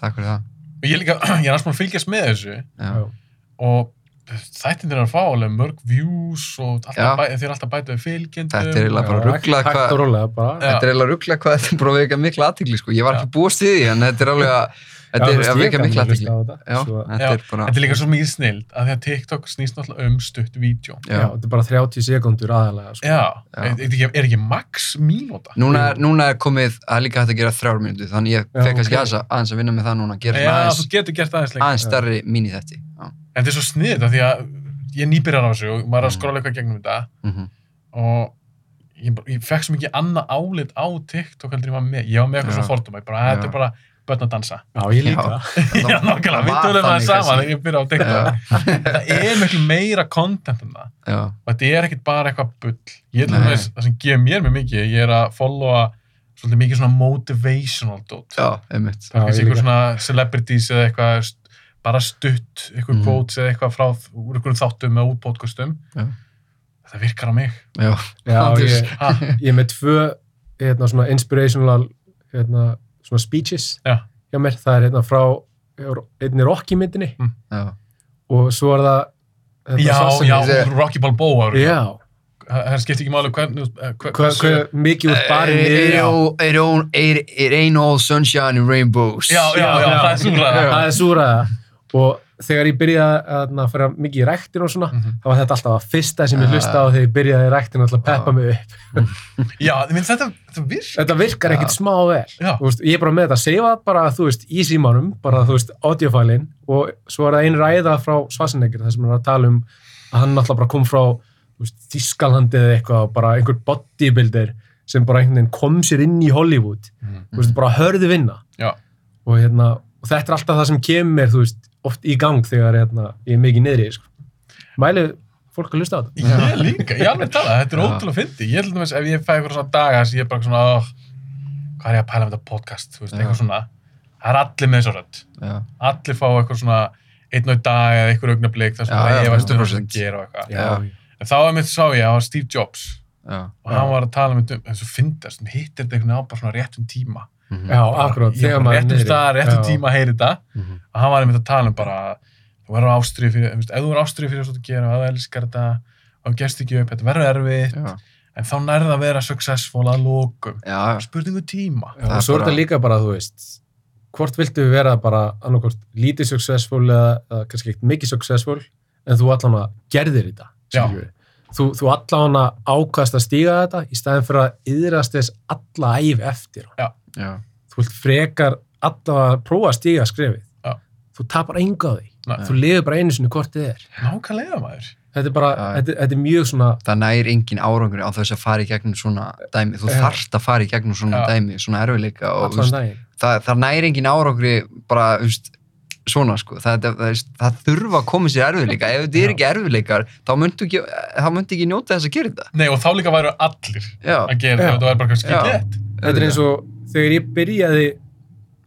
F: takk fyrir það.
A: og ég er líka, ég er hans maður að fylgjast með þessu
F: Já.
E: Já.
A: og þættin þeirra að fá alveg mörg views og
F: Já.
A: alltaf bæ, þeir eru alltaf bætið við fylgjendum
F: Þetta er eiginlega bara
E: ruggla
F: rugglað
E: hægt
F: hvað,
E: og rólega bara,
A: Já.
F: þetta er eiginlega rugglað hvað þetta er bara að veka mikla aðtikli sko. Ég var ekki búast í því en þetta er alveg að, þetta
E: þú
F: er
E: veist,
F: að
E: ég
F: veka
E: gaman
F: mikla
E: að hlusta
F: aðtikli.
E: á þetta,
F: Já,
E: svo-
F: þetta er bara,
A: Þetta er líka svo mikið snild að því að TikTok snýst náttúrulega um stutt vídeo.
E: já,
F: já.
E: þetta er bara 30 sekundur aðalega sko.
A: Já,
F: Já.
A: Er, er, ekki, er ekki max mínúta?
F: Núna er, núna er komið að líka hægt að gera þrjár mínútu, þannig ég
E: Já,
F: fekk kannski
E: ok.
F: aðeins að- aðeins að vinna með það núna, gera
A: Já,
F: svona aðeins,
A: þú getur gert aðeins lengur.
F: aðeins starri mín í þetta. Já.
A: En þetta er svo sniðið af því að ég nýbyrjar á þessu og maður er að
F: Mm.
A: skrolla eitthvað gegnum þetta
F: Mhm.
A: og ég, bara- ég fekk svo mikið annað álit á TikTok heldur en ég var með. Ég var með eitthvað
F: Já.
A: svona fordóma, ég bara, "Að, þetta
F: Já.
A: er bara börn að dansa.
E: já, ég líka
F: Já.
A: Já, nákvæmlega, við
F: var
A: tölum það
F: þannig
A: saman
F: kannski.
A: þegar ég byrja á TikTok. Það er miklu meira content en það.
F: Já,
A: og þetta er ekkert bara eitthvað bull ég er til
F: Nei.
A: dæmis, það sem gefur mér mjög mikið ég er að followa svolítið mikið svona motivational dot
F: já, einmitt.
A: það er
E: Já,
A: kannski
E: ég
A: einhver
E: líka.
A: svona celebrities eða eitthvað st- bara stutt, einhver
F: Mhm.
A: mm. quotes eða eitthvað frá úr einhverjum þáttum eða úr podcastum
F: Já.
A: það virkar á mig
F: Já,
E: já, ég, ah,
A: ha,
E: ég er með tvö hérna, svona inspirational hérna, svona speeches
A: Já.
E: hjá mér, það er hérna frá einni Rocky myndinni
F: já,
E: og svo er það hérna,
A: já,
E: sá sem-
A: já,
F: ég segi-
A: Rocky Balboa yeah.
E: já.
A: það skiptir ekki máli hvernig eh, hver,
E: Hva, hva, mikið úr barinn
F: It
E: er
F: all- it all- it- it ain't all sunshine and rainbows.
A: já, já, já,
E: Já.
A: það er súrað
E: það er súraða og þegar ég byrjaði að að fara mikið í ræktin og svona,
A: Mhm.
E: þá var þetta alltaf að fyrsta sem ég
F: Já.
E: hlusta á þegar ég byrjaði í ræktin alltaf að peppa
F: Já.
E: mig upp
A: já, ég minn þetta, þetta virkar
E: þetta virkar
F: Já.
E: ekkert smá vel
A: Já.
E: Þú veist, ég er bara með þetta að seifa bara þú veist, í símanum, bara þú veist, audiofælin og svo er það ein ræða frá Svarsenegger þar sem hann er að tala um að hann náttúrulega bara kom frá þú veist, Þískalandi eða eitthvað, og bara einhver bodybuilder sem bara einhvern veginn kom sér inn í Hollywood,
A: Mhm.
E: þú veist, bara hörðu vinna
A: Já.
E: og hérna, og þetta er alltaf það sem kemur mér, þú veist, oft í gang þegar hérna, ég er mikið niðri, sko mæli fólk að hlusta á þetta
A: Ég líka, ég alveg tala, þetta er
F: Já.
A: ótrúlega fyndi. Ég held að ef ég fæ eitthvað svona daga þess að ég er bara svona, oh, hvað er ég að pæla með þetta podcast, þú veist,
F: Já.
A: eitthvað svona. Það er allir með þessu rödd.
F: já.
A: Allir fá eitthvað svona einn og einn dag eða einhver augnablik þar sem
F: Já,
A: það
F: já,
A: er efast um það sem
F: 100%.
A: gera og eitthvað.
F: Já.
A: En þá er mitt sá ég, það var Steve Jobs
F: Já,
A: og hann var að tala með þetta um þessu fyndast, en hittir þetta einhvern veginn á bara svona réttum tíma.
F: mhm,
E: já, akkurat,
A: Ég
E: þegar
A: var
E: maður er
A: Réttum
E: niðri
A: stað, réttum
E: Já.
A: tíma að heyri þetta
F: mhm,
A: og hann var einmitt að tala um bara þú verður ástrið fyrir, þú veist, ef þú verður ástrið fyrir það sem þú gera, ef þú elskar þetta og gerst ekki upp, þetta verður erfitt
F: já.
A: en þá nærða að vera successful að lókum
F: Já, já.
A: spurningu tíma
E: Já,
F: Það
E: og
F: er
E: svo er
F: bara-
E: þetta líka bara, þú veist, hvort viltu vera bara annarkvort lítið successful eða, eða kannski ekkert mikið successful, en þú allan að gerðir þetta, skilju. Þú, þú allan að ákast að stíga þetta í staðin fyrir að yðrast þess alla æf eftir. á.
F: já.
E: Þú vilt frekar allan að prófa að stíga skrefið.
A: Já.
E: Þú tapar enga á því.
A: Nei.
E: Þú lifir bara einu sinni hvort þið er.
A: nákvæmlega maður
E: Þetta er bara,
F: Já, já.
E: þetta, þetta er mjög svona,
F: Það nær engin árangur á þess að fara í gegnum svona dæmi. Þú
E: Já.
F: þarft að fara í gegnum svona
A: Já.
F: dæmi, svona erfileika og þú veist,
E: allan daginn.
F: það, það næri engin árangri bara, þú veist, svona sko það, það, það, það þurfa að koma sér erfiðleika ef þetta er ekki erfiðleikar þá myndu ekki, þá myndu ekki njóta þess að gera þetta
A: nei og þá líka væru allir að
F: já,
A: gera
E: Já.
A: þetta það væri bara kannski
F: Já.
A: gett
E: Þetta er eins og þegar ég byrjaði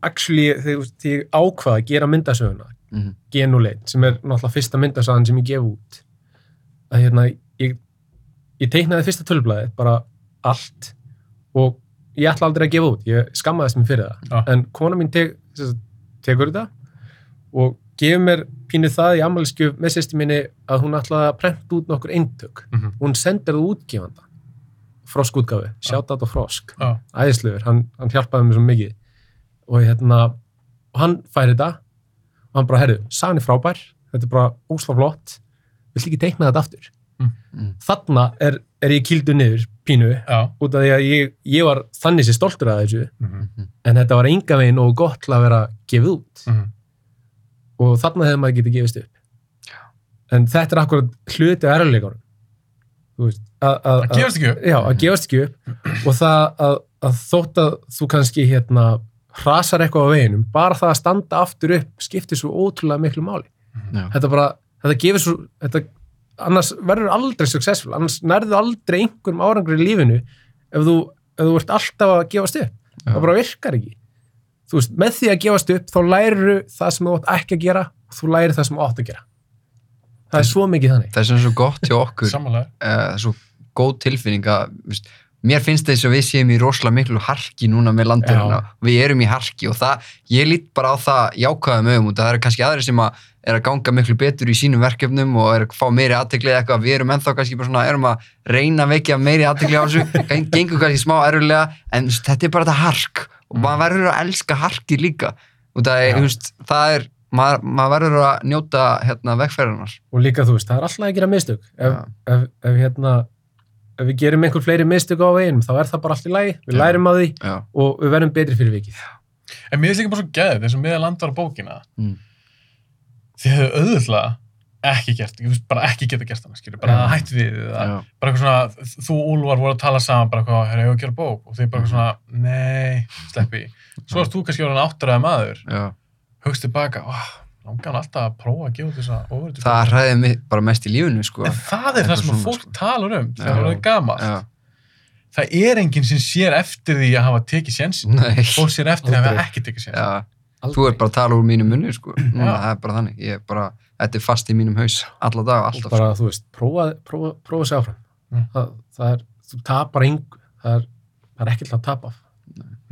E: actually, þegar þegar ég ákvaða að gera myndasöguna
F: Mhm.
E: Genuleit, sem er náttúrulega fyrsta myndasagan sem ég gef út að hérna ég, ég teiknaði fyrsta tölblaðið, bara allt og ég ætla aldrei að gefa út ég skammaðist mér fyrir það
A: Já.
E: en kona mín tek, sem sagt, tekur þetta og gefur mér pínu það í ammælskjöf með sýsti minni að hún ætlaði að prenta út nokkur eintök
A: Mhm.
E: hún sendir það útgefanda Frosk útgafi, shoutout á Frosk
A: Já.
E: æðislegur, hann, hann hjálpaði mér svo mikið og hérna og hann fær þetta og hann bara, herru, sagan er frábær þetta er bara ósla flott vill ekki teikna þetta aftur
F: Mm.
E: þarna er, er ég kildu niður pínu
A: Já.
E: út af því að ég, ég var þannig sér stoltur að þessu
A: Mhm.
E: en þetta var enga veginn og gott til að vera gefið út
A: Mhm.
E: og þarna hefði maður getið gefist upp en þetta er akkurat hluti að erfiðleikunum. Þú veist, að- að-
A: Það gefast ekki upp.
E: já, að gefast ekki upp og það að, að þótt að þú kannski hérna hrasar eitthvað á veginum bara það að standa aftur upp skiptir svo ótrúlega miklu máli
F: Já.
E: þetta bara, þetta gefur svo þetta, annars verður aldrei successful annars nærðu aldrei einhverjum árangur í lífinu ef þú, ef þú ert alltaf að gefast upp það bara virkar ekki þú veist, með því að gefast upp þá læriru það sem þú átt ekki að gera og þú lærir það sem þú átt að gera það er svo mikið þannig
F: Það er sem svo gott hjá okkur, uh,
A: Samanlega.
F: það er svo góð tilfinning að, veist, mér finnst þess að við séum í rosalega miklu harki núna með landurina, við erum í harki og það, ég lít bara á það jákvæðum augum og það eru kannski aðri sem að er að ganga miklu betur í sínum verkefnum og er að fá meiri aðteglið eitthvað, við erum ennþá kannski bara svona, erum að reyna að vekja meiri aðteglið á þessu, Gen- gengur kannski smá erfilega, en þú veist, þetta er bara þetta hark og maður verður að elska harki líka og það er, þú veist, það er maður, maður verður að njóta hérna vegferðarnar
E: og líka þú veist, það er alltaf að gera mistök ef,
F: Já.
E: ef, ef hérna ef við gerum einhver fleiri mistök á veginum þá er það bara allt í lagi, við
F: Já.
E: lærum að því
F: Já.
E: og við verðum betri fyrir vikið
A: En mér finnst líka bara svo geðið eins og miða landar á bókina.
F: Mm.
A: Þið hefur auðvitað ekki gert, ég finnst bara ekki geta gert hana, skilur, bara
F: Já.
A: hætt við eða
F: Já.
A: bara eitthvað svona, þú og Úlvar voru að tala saman bara eitthvað, herra, ég á að gera bók og þið bara eitthvað svona, nei, sleppi svo erst þú kannski orðin áttræði maður
F: Já.
A: hugst tilbaka, oh, langan alltaf að prófa að gefa út þessa ofurðu
F: það hræði mig bara mest í lífinu sko.
A: en það er
F: Þetta
A: það sem
F: svona,
A: að fólk
F: sko.
A: talar um
F: Já.
A: þegar það er gamalt
F: Já.
A: það er enginn sem sér eftir því að hafa tekið sjensin
F: Nei.
A: fólk sér eftir því að hafa
E: Aldrei.
A: ekki tekið sjensin
F: Já. þú er bara að tala úr mínum munni sko. Núna,
A: Já.
F: það er bara þannig ég er bara, þetta er fast í mínum haus alla dag,
E: og
F: alltaf sko.
E: bara, þú veist, prófa, prófa, prófa sig áfram
A: Mm.
E: það, það er, þú tapar engu það er, það er ekkert að tapa af.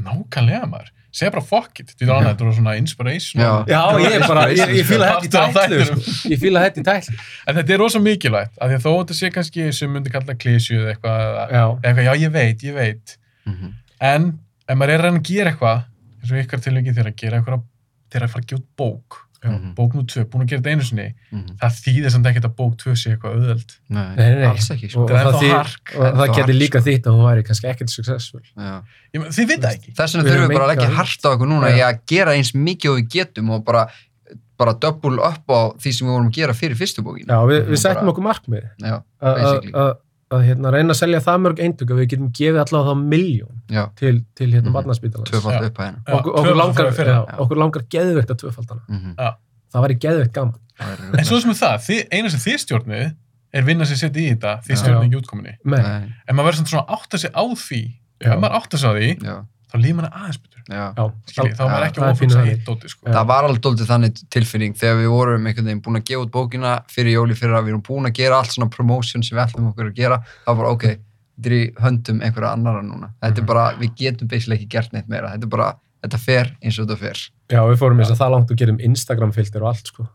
A: nákvæmlega maður, segja bara fuck it því þannig að þetta er svona inspiration
F: Já.
E: já, ég er bara, ég, ég fíla þetta í
A: Partur af
E: tætlu
A: þættinum.
E: sko. ég fíla þetta í tætlu
A: en þetta er rosa mikilvægt, af því að þó þetta sé kannski sem myndi kalla klísju eða eitthvað, eða
E: já,
A: eitthvað, já ég veit, ég veit
F: Mhm.
A: en ef maður er að reyna að gera eitthvað eins og ykkar tilvikið þeirra að gera eitthvað þeirra að fara að gefa út bók
F: Mhm.
A: bók nú 2, búin að gera þetta einu sinni
F: Mhm.
A: það þýðir samt ekkert að bók 2 sé eitthvað auðveld
F: Nei,
E: Nei, nei, nei.
F: alls ekki sko.
E: og, og
A: Það er
E: það,
A: þá
E: þýr,
A: hark,
F: það er
E: og það
F: þá
E: getur
F: hark, sko.
E: líka þýtt að hún væri kannski ekkert successful
F: Já.
A: Ég meina, þið veit það ekki
F: þess vegna
E: Við
F: þurfum
E: erum
F: við bara að leggja
E: enga-
F: hart á okkur núna í að gera eins mikið og við getum og bara, bara double up á því sem við vorum að gera fyrir fyrstu bókinu
E: já, við,
F: Mhm.
E: við settum
F: Bara-
E: okkur markmið
F: Já.
E: að- að
F: Basically.
E: að- að, hérna, reyna að selja það mörg eintök að við getum gefið allavega þá miljón
F: Já.
E: til, til hérna
F: Mhm.
E: barnaspítalans
F: tvöfald
A: Já.
F: upp að hennu
A: Já,
E: okkur, okkur,
A: tvöfalt
E: langar,
A: þegar fyrir.
E: já,
F: Já.
E: okkur langar geðveikt að tvöfaldana
F: Mhm.
E: það væri geðveikt gaman
A: en svo sem er það, þið, eina sem þið stjórnið er vinna sem setja í þetta, þið
F: Já.
A: stjórnið ekki útkominni
E: Nei,
A: en maður verður samt svona að átta sig á því
E: Já.
A: ef maður átta sig á því,
F: Já.
A: þá líf maður aðeins betur
F: Já.
E: já,
A: Skilji, þá er maður
E: Já,
A: ekki
E: það er
A: ofins
E: pínu
A: að
E: þannig.
A: hitt dóti sko.
E: Já.
F: það var alveg doldið þannig tilfinning þegar við vorum einhvern veginn búin að gefa út bókina fyrir jóli fyrir að við erum búin að gera allt svona promotion sem við ætlum okkur að gera það var bara ok, þetta er í höndum einhverja annara núna þetta er bara, við getum beinslega ekki gert neitt meira þetta er bara, þetta fer eins og þetta fer
E: já, við fórum eins og það langt og gerum Instagram filter og allt sko.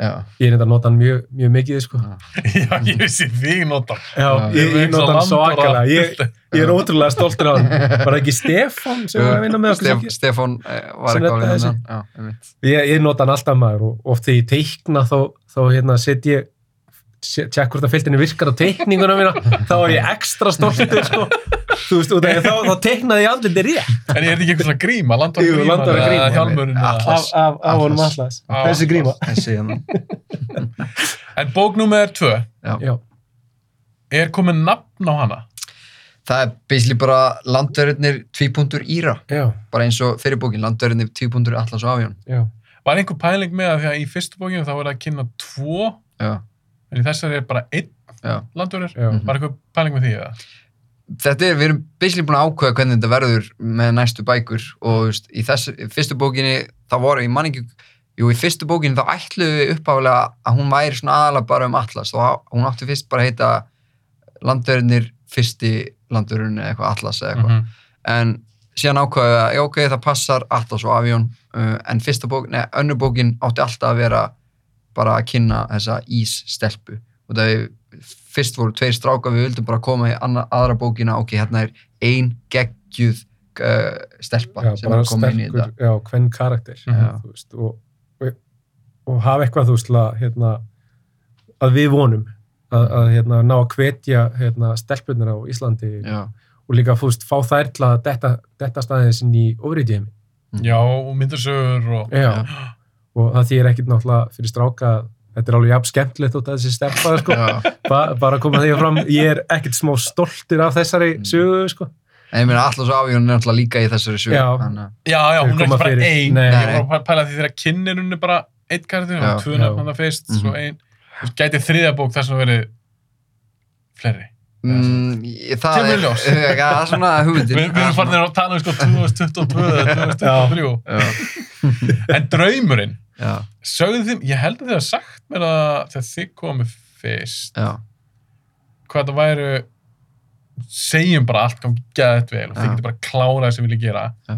F: já,
E: ég er þetta að nota hann mjög, mjög mikið sko.
A: já, ég vissi þig nota
E: já, ég, ég nota hann svakalega ég, ég er ótrúlega stoltur á hann var það ekki Stefan sem var að vinna með okkur
F: Stef,
E: mikið?
F: Stefán eh, var
E: Sem
F: eitthvað að
E: reddaði
F: vinna
E: þessu.
F: með hann. Já, einmitt.
E: ég, ég nota hann alltaf maður og, og þegar ég teikna þá, þá hérna, set ég tjekk hvort að filtinni virkar á teikninguna mína þá er ég ekstra stoltur sko. þú veist, út af því að þá, þá teiknaði ég andlindi rétt
A: en er þetta ekki eitthvað svona gríma, landvara
E: Jú,
A: gríma
E: landvara gríma.
A: hjálmurinn eða-
E: af, af, af honum
F: Atlas.
E: allas
A: Á,
E: þessi gríma
F: þessi, hérna.
A: en bók nummer 2
E: já,
A: er komið nafn á hana
F: það er beinslega bara landverðinir 2.0 íra
E: já,
F: bara eins og fyrir bókin, landverðinir 2.0 allas og afjón
E: já
A: var einhver pæling með að því að í fyrstu bókinu þá er það að kynna tvo
F: já,
A: en í þessari er bara einn
F: já
A: landverður
E: Já.
F: Mhm.
A: var einhver pæling með því eða?
F: þetta er, við erum basically búin að ákveða hvernig þetta verður með næstu bækur og þú veist, í þessu, í fyrstu bókinni það voru, ég man ekki jú, í fyrstu bókinni þá ætluðu við uppáflega að hún væri svona aðalega bara um Atlas og hún átti fyrst bara að heita landverðinir fyrsti landverðin eða eitthvað Atlas eða eitthvað
A: Mhm.
F: en síðan ákvaði að, já ok, það passar Atlas og Avion, uh, en fyrsta bók nei, önnur bókin átti alltaf að vera bara að kynna þessa ísstelpu og það er, fyrst voru tveir strákar, við vildum bara koma í anna, aðra bókina, ok, hérna er ein geggjuð uh, stelpa
E: já,
F: sem
E: bara
F: er komin inn í
E: sterkur,
F: þetta
E: já, hvern karakter
F: Já.
E: þú veist, og, og og hafa eitthvað þú veist til að, hérna, að við vonum að, að hérna, ná að hvetja hérna, stelpunir á Íslandi
F: Já.
E: og líka þú veist, fá þær til að detta, detta staðins inn í ofriðið heimi
A: Já, og myndarsögur og...
E: Já. og það þýr ekkit náttúrulega fyrir stráka að þetta er alveg jafn skemmtilegt þótt að þessi steppa sko.
F: Já.
E: ba bara að koma því fram ég er ekkit smá stoltur af þessari
F: Mhm.
E: sögu sko.
F: En ég meina, Atlas Avion er náttúrulega líka í þessari sög.
E: Já.
A: Já, já, hún er
E: Koma
A: ekki bara
E: fyrir.
A: ein.
E: Nei.
A: Ég er bara að pæla því þegar kynninun er bara eitt karakter,
F: Já,
A: og tvö
E: já.
A: nefnum það fyrst,
F: Mhm.
A: svo ein. Þú veist, Gæti þriðja bók þess að verið fleiri.
F: Mm, ég- það
A: Kemur
F: er,
A: í ljós.
F: Já, það er svona hugmyndin.
A: Við, við erum farin að tala um sko 2022 eða 2023. En draumurinn,
F: Já,
A: sögðu þið, ég held að þið hafa sagt mér að þegar þið komið fyrst,
F: já,
A: hvað það væru, segjum bara allt gangi gæðið vel og þið
F: Já.
A: getur bara að klára það sem vilja gera.
F: Já.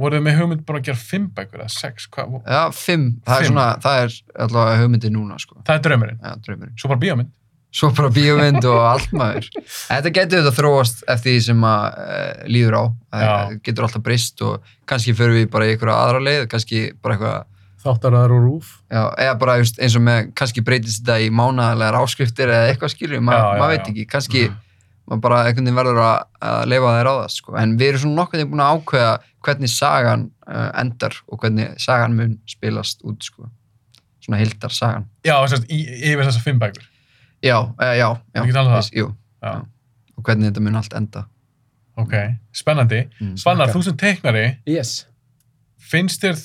A: Voruð þið með hugmynd bara að gera fimm bækur eða sex? Hvað,
F: já, fimm. Það er
A: Fimm.
F: svona, það er allavega hugmyndin núna, sko.
A: það er draumurinn.
F: Já, draumurinn.
A: Svo bara bíómynd.
F: Svo bara bíómynd og allt maður. Þetta getur þetta þróast eftir því sem að uh, líður á. Það
A: Já.
F: getur alltaf brist og kannski förum við bara í einhverja aðra leið, kannski bara eitthvað
E: þáttaraðar og rúf
F: Já, eða bara just, eins og með, kannski breytist þetta í mánaglegar áskriftir eða eitthvað skilur,
A: Já,
F: ma
A: já,
F: maður
A: já. Mhm.
F: veit ekki, kannski maður bara einhvern veginn verður að, að leifa þeir á það, sko. En við erum svona nokkuð búin að ákveða hvernig sagan uh, endar og hvernig sagan mun spilast út, sko. Svona hildar sagan.
A: Já, sérst, í, yfir þessar fimm bækur.
F: Já, uh, já, já.
A: Við getum talað um það.
F: Jú,
A: Já,
F: og hvernig þetta mun allt enda.
A: ok. Spennandi.
F: Mm.
A: Svannar,
E: Ok.
A: þú sem teiknari,
E: yes.
A: finnst þér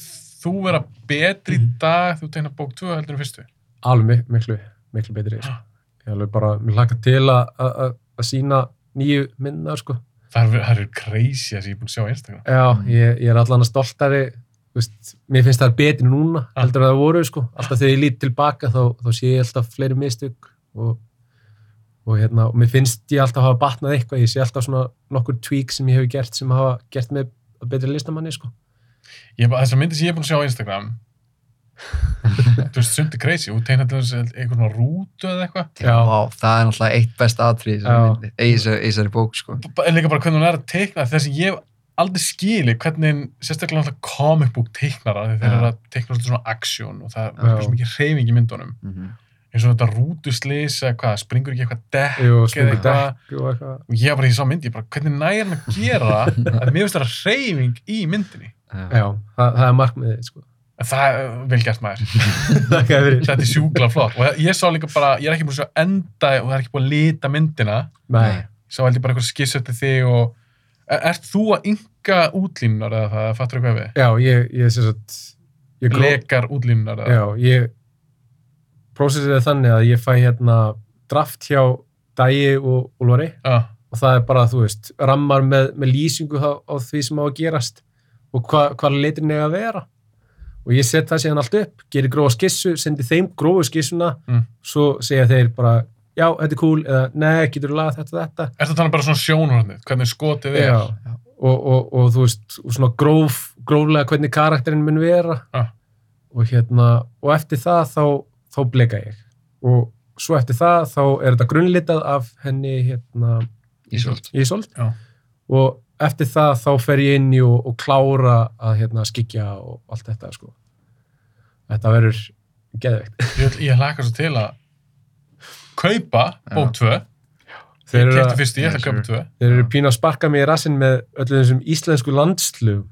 A: þú vera betri í dag þú teiknar bók 2 heldur en fyrstu?
E: alveg mik- miklu, miklu betri sko. ég alveg bara, mér hlakka til að- að að- að sína nýju minna sko.
A: Það eru- það eru crazy að ég er búin að sjá á Instagram.
E: já,
F: Mm.
E: ég, ég er allan að stoltari þú veist, mér finnst það betri núna
A: Ah.
E: heldur að það voru, sko. alltaf þegar ég lít tilbaka þá, þá sé ég alltaf fleiri mistök og, og hérna og mér finnst ég alltaf hafa batnað eitthvað ég sé alltaf svona nokkur tweak sem ég hefur gert sem hafa gert mig að betri listamanni sko.
A: Ég er bara- Þessar myndir sem ég er búin að sjá á Instagram, þú veist, sumt er crazy. Þú teiknar til þess einhvern svona rútu eða eitthvað.
E: Já.
F: Vá, það er náttúrulega eitt best atrið í
E: Já.
F: þessari myndi- í þessari- í þessari bók, sko.
A: B- En líka bara hvernig hún er að teikna þess að ég hef aldrei skili hvernig sérstaklega alltaf comic book teiknara þegar þeir
F: Já.
A: eru að teikna svolítið svona action og það
E: Já.
A: er svo mikið hreyfing í myndunum.
F: Mhm.
A: eins og þetta rútuslis eða hvað, springur ekki eitthvað dekk
E: Jú,
A: eða
E: springur
A: eitthvað.
E: dekk og eitthvað
A: og ég bara, ég sá myndi, ég bara, hvernig nægir hann að gera að mér finnst þetta reyfing í myndinni
F: Já.
E: já, það, það er markmiðið sko.
A: en það er vel gert maður
E: það er verið
A: þetta er sjúkla flott og ég sá líka bara, ég er ekki búin að sjá enda og það er ekki búin að lita myndina
E: Nei.
A: sá held ég bara eitthvað skissa til þig og er, ert þú að ynga útlínunar eða það, fattur eitthvað við?
E: Já, ég, ég sem sagt ég gló-
A: lekar útlínunar eða
E: Já, ég prósessið er þannig að ég fæ hérna draft hjá Dæi og Úlvari
A: Ah,
E: og það er bara, þú veist, rammar með, með lýsingu á, á því sem á að gerast og hva, hvað leitin er að vera og ég set það síðan allt upp gerir grófa skissu, sendi þeim grófu skissuna
A: Mm.
E: svo segja þeir bara já, þetta er cool, eða nei, getur þú lagað þetta og þetta
A: ertu að tala um bara svona sjónhornið hvernig skotið er?
E: Já, og, og, og þú veist og svona gróf, gróflega hvernig karakterinn mun vera
A: Ah.
E: og hérna og eftir það þá, þá bleka ég og svo eftir það þá er þetta grunnlitað af henni hérna
F: Ísolt.
E: Ísolt
A: Já.
E: og eftir það þá fer ég inn í og, og klára að hérna skikja og allt þetta sko þetta verður geðveikt
A: ég, vil- ég hlaka svo til að kaupa bók 2
E: þeir
A: Ég
E: eru,
A: kefti
E: að,
A: fyrst, ég ætla að
F: Yeah,
A: köpa tvö.
E: þeir eru pína að sparka mig í rassinn með öllu þessum íslensku landslugum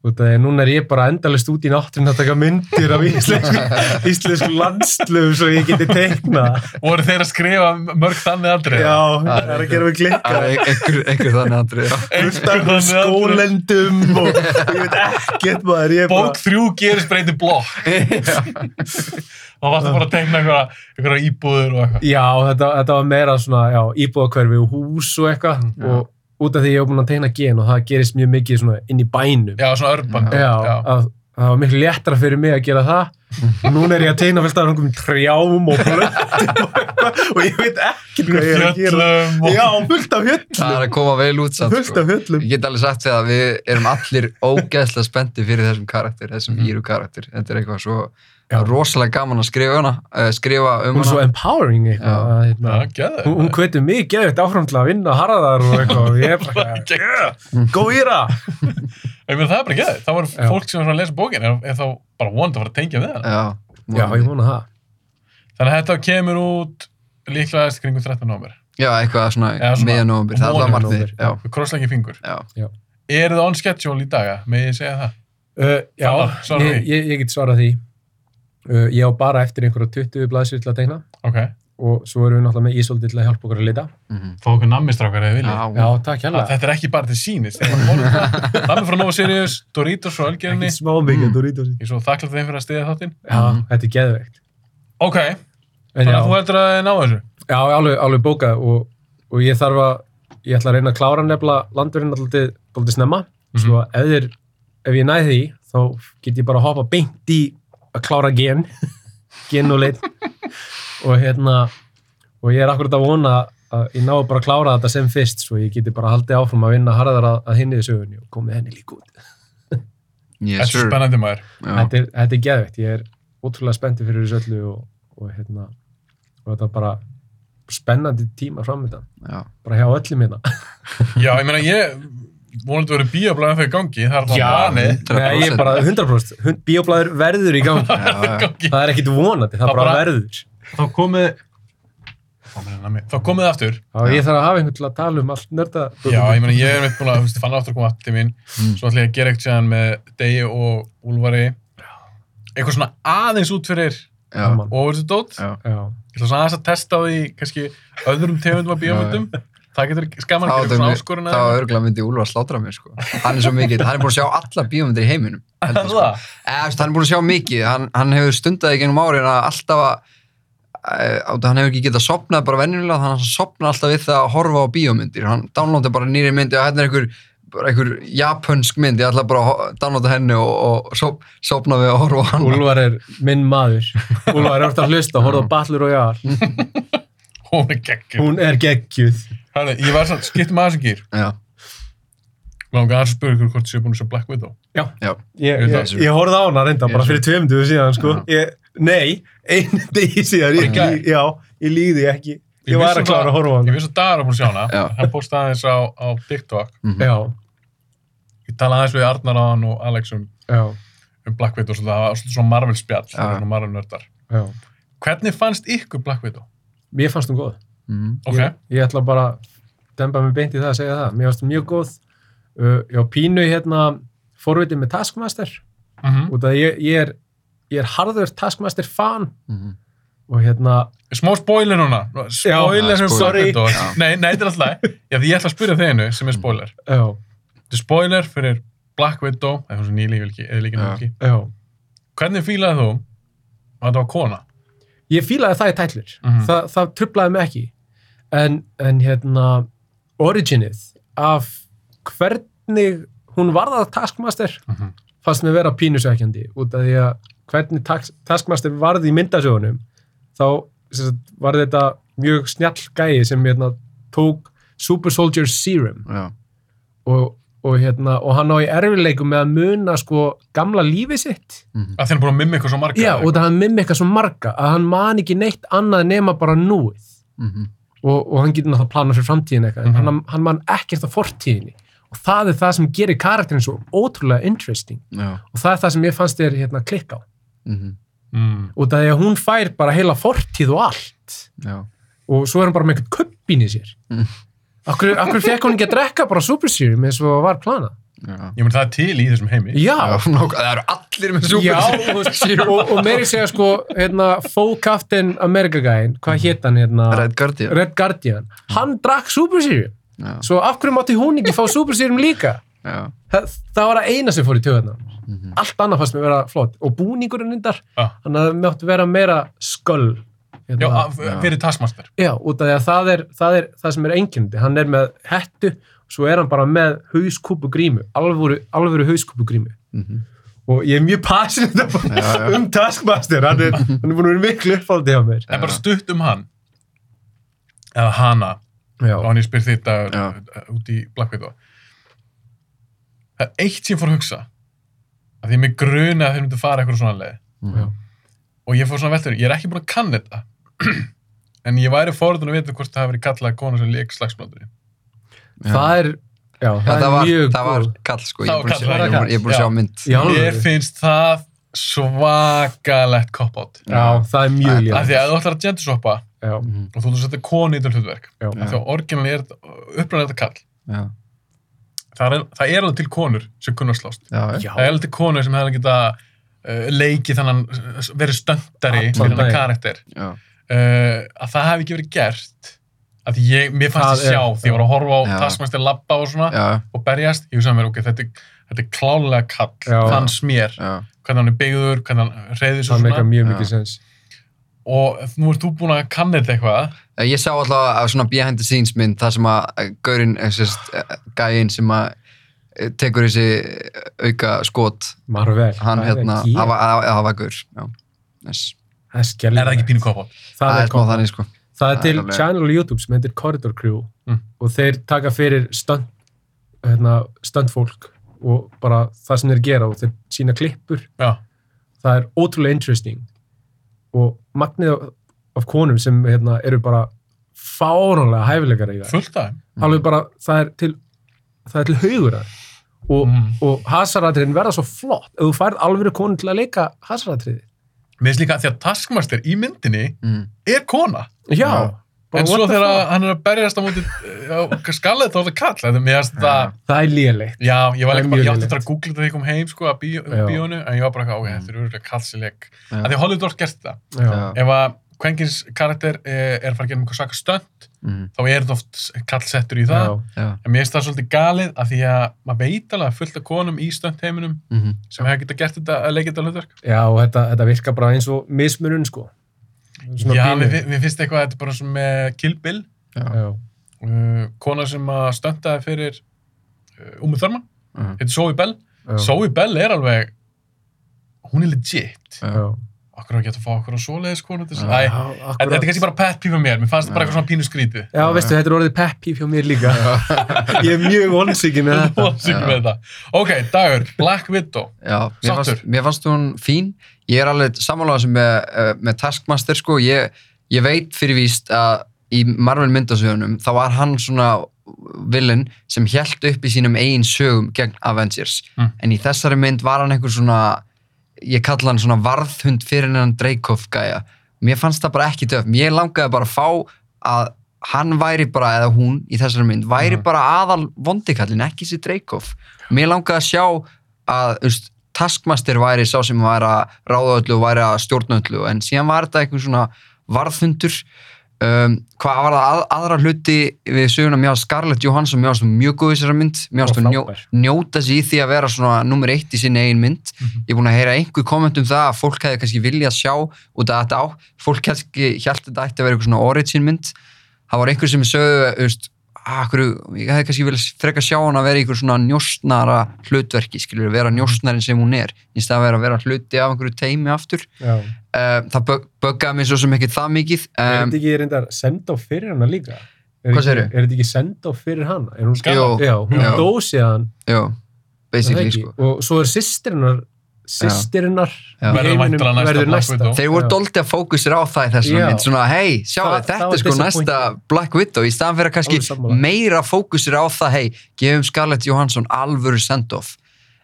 E: út af því að núna er ég bara endalist út í náttúrun að taka myndir af íslensku, íslensku landslugum svo ég geti teikna
A: Voru þeir að skrifa mörg þannig aldrei?
E: já, það er að gera mig klikka
F: Það er einhver, einhver þannig atrið, já.
A: Einhver þannig atriði.
E: skólendum og og ég veit ekkert maður ég er bara-
A: Bók þrjú gerist breyti blokk. Það varstu bara að tegna einhverja, einhverja íbúður og eitthvað.
E: Já, þetta, þetta var meira svona já, íbúðakverfi og hús og eitthvað og út af því ég var búinn að tegna gen og það gerist mjög mikið svona inn í bænum
A: Já, svona urban.
E: Já, Að, það var miklu léttara fyrir mig að gera það og núna er ég að tegna fyrst af einhverjum trjám og blöndum og, eitthvað og ég veit ekkert hvað ég er að gera
A: Fjöllum og...
E: Já, fullt af
F: Það er
E: höllum
F: að koma vel út samt, sko.
E: fullt af höllum
F: Ég get alveg sagt því að við erum allir ógeðslega spendi fyrir þessum karakter, þessum mm. íru karakter. Þetta er eitthvað svo
E: Já.
F: rosalega gaman að skrifa, hana, uh, skrifa um
E: Hún er svo
F: hana.
E: empowering eitthvað
F: Já.
E: að, hérna,
A: Já, gæður.
E: Hún, hún hvetur mig geðið áfram til að vinna harðar og eitthvað og ég er bara góðýra
A: Ég meina, það er bara gæður. Það var
E: Já.
A: fólk sem var svona að lesa bókin, er, er þá bara vonandi að fara að tengja við það.
F: Já,
E: Já, ég vona það.
A: Þannig að þetta kemur út líklegast kringum 13. nómur.
F: Já, eitthvað
A: Já,
F: svona
A: svona-
F: miðan nóvambir, það
A: Vonum
F: var margir.
E: nóvember,
F: Já,
A: Við krossleggi fingur.
F: já.
A: Er það on schedule í daga? Með ég segja það?
E: Uh, já,
A: Talar, svarar
E: ég,
A: því.
E: ég, ég get svarað því. Uh, ég á bara eftir einhverja 20 blaðsir til að tegna
A: Ok.
E: og svo erum við náttúrulega með Ísoldi til að hjálpa okkur að lita.
F: Mhm.
A: Fá okkur nammistrákar eða viljið.
E: Já,
F: Já,
E: takk
A: Ja.
E: hérlega.
A: Þetta er ekki bara til sínist. Nammi frá Nova Sirius, Doritos frá Ölgerinni.
E: smá
F: Mm.
E: Doritos.
A: Ég er svo þakklátt þeim fyrir að stiðja þáttinn.
E: Já, þetta er geðveikt.
A: Ok,
E: En
A: þannig
E: já,
A: að þú heldur að þið ná þessu.
E: já, ég alveg, alveg bókað og, og ég þarf að, ég ætla að reyna að klára nefnilega landurinn alltaf, alltaf snemma. Svo ef, þeir, ef ég næði því, þá get ég bara að hoppa beint í að klára gen, gen og leitt. og hérna, og ég er akkurat að vona að ég ná bara að klára þetta sem fyrst, svo ég geti bara haldið áfram að vinna harðar að, að hinni í sögunni og komið henni líka út.
A: Þetta
F: yes
A: er
F: sir.
A: spennandi maður.
F: Já.
E: Þetta er, þetta er geðvegt, ég er ótrúlega spenntið fyrir þessu öllu og, og hérna, og þetta er bara spennandi tíma framöndan,
F: Já.
E: bara hjá öllum hérna.
A: Já, ég meina ég, vonandi verið bíoblæðan þegar í gangi, það er alltaf vanið.
F: 100%.
E: Nei, ég er bara 100%, hund- bíóblæður verður í gangi,
F: Já, já.
A: Gangi.
E: það er ekkit vonandi, það,
A: Það
E: bara
A: bara-
E: verður.
A: Þá komið, Ó, meina, nammi. þá komið þið aftur.
E: Já, ég þarf að hafa einhvern til að tala um allt nörda.
A: Já, ég meina ég er mitt búin að, þú veist, fann aftur að koma aftur til mín. Svo ætla ég að gera eitthvað síðan með Degi og Úlvari. Eitthvað svona aðeins út fyrir
F: Já.
E: Gaman.
A: ofurðsudót.
F: Já.
E: Já,
A: Ég ætla svona aðeins að testa á því, kannski, öðrum tegundum af bíómyndum. Það getur skaman að
F: Það
A: gera svona
F: var-
A: áskorun
F: það var örgulega myndi Úlfar slátra mér sko. hann er svo mikið, hann er búin að sjá alla bíómyndir í heiminum heldur, sko.
A: Það?
F: Eða, þú veist, hann er búin að sjá mikið, hann, hann hefur stundaði gengum árin að alltaf að eh, á- hann hefur ekki getað sopnað bara venjulega þannig að hann sopnað alltaf við það að horfa á bíómyndir hann downloada bara nýri myndi og hérna er einhver, bara einhver japansk mynd ég ætla bara að ho- downloada henni og, og sop, sopna við að horfa á hann
E: Úlvar er minn maður. Úlvar er ofta að hlusta, horfa á Battle Royale.
A: Hún er geggjum.
E: Hún er geggjuð.
A: Hæði, ég var svona, skiptum aðeins ekki.
F: já,
A: Langar aðeins að spyrja ykkur hvort þið séu búin að sjá Black Widow.
F: já,
E: Ég,
A: Ég veit
E: ég,
A: það.
E: ég horfði á hana reynda bara
F: Ég
E: fyrir tveimduðu síðan, sko. Ég, nei, einu degi síðan. Ég,
A: Bara í
E: lí- já, ég líði ekki. Ég,
A: vissi
E: var að klára
A: það-
E: að horfa á
A: Ég
E: hana.
A: vissi að Dara búin að sjá hana,
F: Já.
A: hann postaði aðeins á, á TikTok.
E: Já,
A: Ég talaði aðeins við Arnar á og Alex um,
E: já,
A: um Black Widow, svolítið, það var svolítið svona Marvel spjall, það var
F: Já.
A: svona Marvel nördar.
E: já.
A: Hvernig fannst ykkur Black Widow?
E: Mér fannst hún góð.
F: mm,
A: Ok,
E: Ég, ég ætla bara að demba mig beint í það að segja það. Mér fannst hún mjög góð. Uh, já, pínu hérna forvitið með Taskmaster.
A: Mhm.
E: Út af að ég, ég er, ég er harður Taskmaster fan
F: mm,
E: og hérna
A: smá spoiler núna, spoiler
F: Já,
A: sem Black
E: sorry.
A: Widow.
F: Já. Mm.
A: Nei, nei, þetta er alltaf, já, því ég ætla að spyrja þig einu sem er spoiler.
E: Já,
A: Þetta er spoiler fyrir Black Widow, eða hún sem nýlík vilki, eða líka
F: Já.
A: nýlíki.
E: já.
A: Hvernig fílaði þú að þetta var kona?
E: Ég fílaði það í tætlir.
A: Mhm.
E: Þa, það trublaði mig ekki. En, en hérna, originið af hvernig hún varða taskmaster
A: Mhm.
E: fannst mér vera pínusækjandi út af því að hvernig task, taskmaster varði í myndasögunum þá sem sagt, var þetta mjög snjall gæi sem hérna, tók Super Soldier Serum
F: já,
E: og, og, hérna, og hann á í erfileikum með að muna sko gamla lífið sitt
A: Að þið er búin að mimmi ykkur svo marga.
E: Já, og það hann mimika svo marga að hann man ekki neitt annað nema bara núið mhm,
F: mm,
E: og, og hann getur náttúrulega planað fyrir framtíðin eitthvað mm
A: Mhm.
E: hann, hann man ekkert á fortíðinni og það er það sem gerir karakterinn svo ótrúlega interesting
F: já
E: og það er það sem ég fannst þér hérna klikka á
F: mm,
A: Mm.
E: og það er að hún fær bara heila fortíð og allt
F: já,
E: og svo er hann bara með einhvern kuppin í sér
F: Mm.
E: Akkur, akkur fekk hún ekki að drekka bara Super Serum eins og var planað
F: já
A: Ég meni það er til í þessum heimi.
E: Já,
F: Já, nokk- það eru allir með super
E: Já, þú veist, og, og meiri segja sko hérna, Fó Captain America gæin hvað hétt hann hérna
F: Red Guardian
E: Red Guardian, hann drakk Super Serum
F: já,
E: svo af hverju mátti hún ekki fá Super Serum líka
F: já,
E: Þa, það var að eina sem fór í töðuna
F: Mhm.
E: allt annað fannst mér vera flott og búningurinn undar,
A: Ah.
E: þannig að það mátti vera meira sköll
A: Já,
E: hérna.
A: að-
F: Já.
A: fyrir Taskmaster.
E: já, út af því að það er, það er það sem er einkjöndi, hann er með hettu svo er hann bara með hauskúpu grímu alvöru, alvöru hauskúpu grímu
F: Mhm.
E: og ég er mjög passionate
F: Já, já.
E: um Taskmaster hann er, hann er búin að vera miklu uppáldi á mér
A: En bara stutt um hann eða hana og
E: já,
A: hann ég spyr þetta
F: Já.
A: út í Black Widow Það er eitt sem ég fór að hugsa að því mig gruna að þeir myndu fara eitthvað svona leið
E: já.
A: og ég fór svona veltur, ég er ekki búin að kanna þetta en ég væri forðun að vita hvort það hafi verið kallað kona sem leik slagsmátturinn
F: já.
E: það er já,
F: Já,
E: það,
F: það,
E: er
F: var,
E: mjög
F: það var
E: góð.
F: kall sko,
A: Það
F: ég
A: var
F: er búin að sjá-
A: kall,
F: ég er búin að sjá
A: já.
F: mynd
E: Í alvöru?
A: Mér finnst það svakalegt cop-out.
E: Já, það er mjög
A: Af
E: lélegt.
A: því að þú ætlar að genderswappa
E: Já,
A: og þú ætlar að setja konu í þetta hlutverk.
E: já.
A: Af því að orginalni er uppræðan þetta kall.
F: já,
A: Það er, það er alveg til konur sem kunnar slást.
F: já, já.
A: Það er alveg til konur sem hefði geta uh, leikið þannan, verið stöndari
E: Allan
A: fyrir hann
E: daginn.
A: karakter.
F: já.
A: Uh, að það hefði ekki verið gert. Af því ég, mér fannst
E: Það
A: ég
E: er-
A: sjá, því ég var að horfa á
F: Já.
A: taskmæstir labba og svona
F: já,
A: og berjast, ég hugsaði mér, ok, þetta, er- þetta er klálega kall,
E: Já.
A: fannst mér,
F: já.
A: hvernig hann er byggður, hvernig hann reyðir svo
E: það meika
A: svona
E: mjög
F: Já.
E: mikið sens.
A: og nú ert þú búin að kanna þetta eitthvað
F: Eh, Ég sá alltaf að svona behind the scenes mynd þar sem að gaurinn, eh, sérst, eh, gæinn sem að eh, tekur þessi eh, auka skot
E: Marvel.
F: hann
E: það er
F: hérna,
E: ekki-
F: hafa- hafa hafa gaur já, nice.
E: Það er
A: er
E: skellir.
A: það ekki pínu kopa
E: Það
F: það
E: er
F: er smá
E: komið.
F: þannig sko
E: Það er
F: Það er
E: til
F: alveg-
E: channel á YouTube sem heitir Corridor Crew
A: Mm.
E: og þeir taka fyrir stunt, hérna, stunt fólk og bara það sem þeir gera og þeir sína klippur.
A: Já.
E: Það er ótrúlega interesting og magnið af- af konum sem hérna, eru bara fáránlega hæfilegar í það.
A: fullt af þeim.
E: Alveg bara, það er til, það er til haugur að og,
A: Mm.
E: og hasaratriðin verða svo flott ef þú færð alveg konu til að leika hasaratriði.
A: mér finnst líka að því að Taskmaster í myndinni
F: mm.
A: er kona
E: Já. Bara
A: en
E: what
A: svo
E: the
A: þegar
E: fuck?
A: hann er að berjast á móti eh, á skallið þá er það kall þetta er mér að þetta
E: Það er lélegt.
A: já, ég var
E: Það er
A: líka bara,
E: mjög
A: ég átti
E: lélegt.
A: þetta að googla þetta þegar ég kom heim sko að bíó-
E: Já.
A: bíónu en ég var bara eitthvað, ok,
F: Mm.
A: þetta er örgulega kallsileg
F: Já.
A: að því Hollywood orð gert þetta
E: Já.
A: ef að kvenkins karakter eh, er að fara að gera einhver svaka stönd
F: Mm.
A: þá er þetta oft kallsettur í það
E: Já.
F: já.
A: en mér finnst það svolítið galið að því að maður veit alveg að fullt af konum í stöndheiminum
E: Mm-hmm.
F: Mm.
A: sem hefur getað gert þetta að leikja þetta hlutverk
E: Já, og þetta, þetta virka bara eins og mismunun, sko. Svona
A: Já,
E: pínu.
A: mér, fi- mér finnst eitthvað að þetta er bara sem með Kill Bill
E: Já,
A: uh, kona sem að stöndaði fyrir uh, Umu Þörman,
F: Mhm.
A: heitir Zoe Bell
E: já,
A: Zoe Bell er alveg hún er legit
E: já.
A: okkur er ekki hægt að fá okkur á svoleiðis konu til þess
F: Já.
A: að Æ,
E: Já,
A: þetta
E: akkurat.
A: er kannski bara pet pífa mér, mér fannst þetta bara eitthvað svona pínu skrítið
E: Já, veistu, þetta er orðið peppi hjá mér líka. Ég er mjög vonsvikið með
A: Þú
E: þetta.
A: varst ekki með þetta. ok, dagur, Black Widow
F: Já, mér fannst,
A: Sáttur?
F: mér fannst hún fín. Ég er alveg sammálaðan sem með, eh, með Taskmaster, sko. Ég, ég veit fyrir víst að í Marvel myndasögunum þá var hann svona villin sem hjælt upp í sínum eigin sögum gegn Avengers.
A: Mm.
F: En í þessari mynd var hann einhver svona, ég kalla hann svona varðhund fyrir hennan Dreykov gæja. Mér fannst það bara ekki töf. Mér langaði bara að fá að hann væri bara, eða hún í þessari mynd, væri
A: Mm.
F: bara aðal vondikallin, ekki sér Dreykov. Mér langaði að sjá að umst, taskmaster væri sá sem væri að ráða öllu og væri að stjórna öllu en síðan var þetta einhver svona varðhundur um, hvað var það að, aðra hluti við söguna mér að Scarlett Johansson mér að mjög góð í þessari mynd mér að
E: Og
F: njó,
E: frábær.
F: njóta sér í því að vera svona nummer eitt í sinni eigin mynd
E: Mhm.
F: ég er búin að heyra einhver komment um það að fólk hefði kannski viljað sjá út af þetta á fólk kannski hjælt þetta ætti að vera einhver svona origin mynd það var einhver sem sögðu veist, akkur, Ah, ég hefði kannski viljað freka sjá hann að vera í einhver svona njóstnara hlutverki skilur, vera njóstnarinn sem hún er í stað að vera að vera hluti af einhverju teimi aftur
E: Já.
F: uh, það bög- böggaði mig svo sem ekkert það mikið
E: Er
F: um,
E: þetta ekki reyndar send á fyrir hana líka? Er
F: Hvað
E: ekki-
F: segirðu?
E: Er þetta ekki send á fyrir hana? Er hún
F: Jú.
E: Já, hún
F: Já.
E: dósið hann.
F: já,
E: er það
F: basically
E: ekki?
F: sko
E: Og svo er sýstirinnar, sýstirinnar
F: Já.
A: Verður væntanlega næsta
E: verður
A: Black
E: næsta.
A: Widow.
F: Þeir voru doldið að fókusir á það í þessum
E: Já.
F: mynd, svona hei, sjáu,
E: Það-
F: þetta
E: það var
F: er sko næsta
E: disappointing.
F: Black Widow, í staðan fyrir að
E: Alveg
F: kannski
E: sammála.
F: meira fókusir á það, hei, gefum Scarlett Johansson alvöru send-off.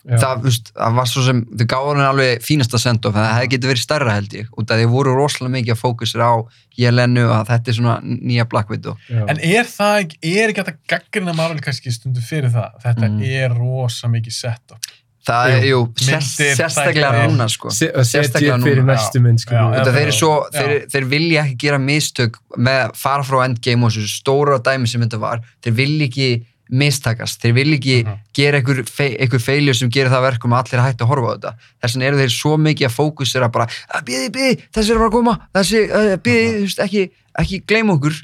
E: Já.
F: Það, þú veist, það var svo sem, þau gáður henni alveg fínasta send-off, en það hefði getið verið stærra held ég, út af því voru rosalega mikið að fókusir á Jelenu að þetta er svona nýja Black Widow.
E: Já.
A: En er það ekki, er ekki hægt að gaggrina Marvel kannski stundu fyrir það? Þetta
F: Mm.
A: er rosa mikið sett upp.
F: Það er, jú, sest,
A: Myndir,
F: sérstaklega
A: þættir.
F: núna, sko.
E: Se- að
F: sérstaklega
E: setja fyrir
F: núna.
E: næstu mynd, sko.
A: Já, já.
F: Út af þeir, eru svo,
A: Já.
F: þeir, þeir vilja ekki gera mistök með að fara frá endgame og þessu stóra dæmi sem þetta var þeir vilja ekki mistakast þeir vilja ekki
A: Mhm.
F: gera einhver, fe, einhver feilju sem gerir það að verkum að allir hætti að horfa á þetta þess vegna eru þeir svo mikið að fókusera bara "Eh, að bíði, bíði, þessi er að fara að koma þessi, uh, bíði,
A: Mhm.
F: þú veist, ekki, ekki gleym okkur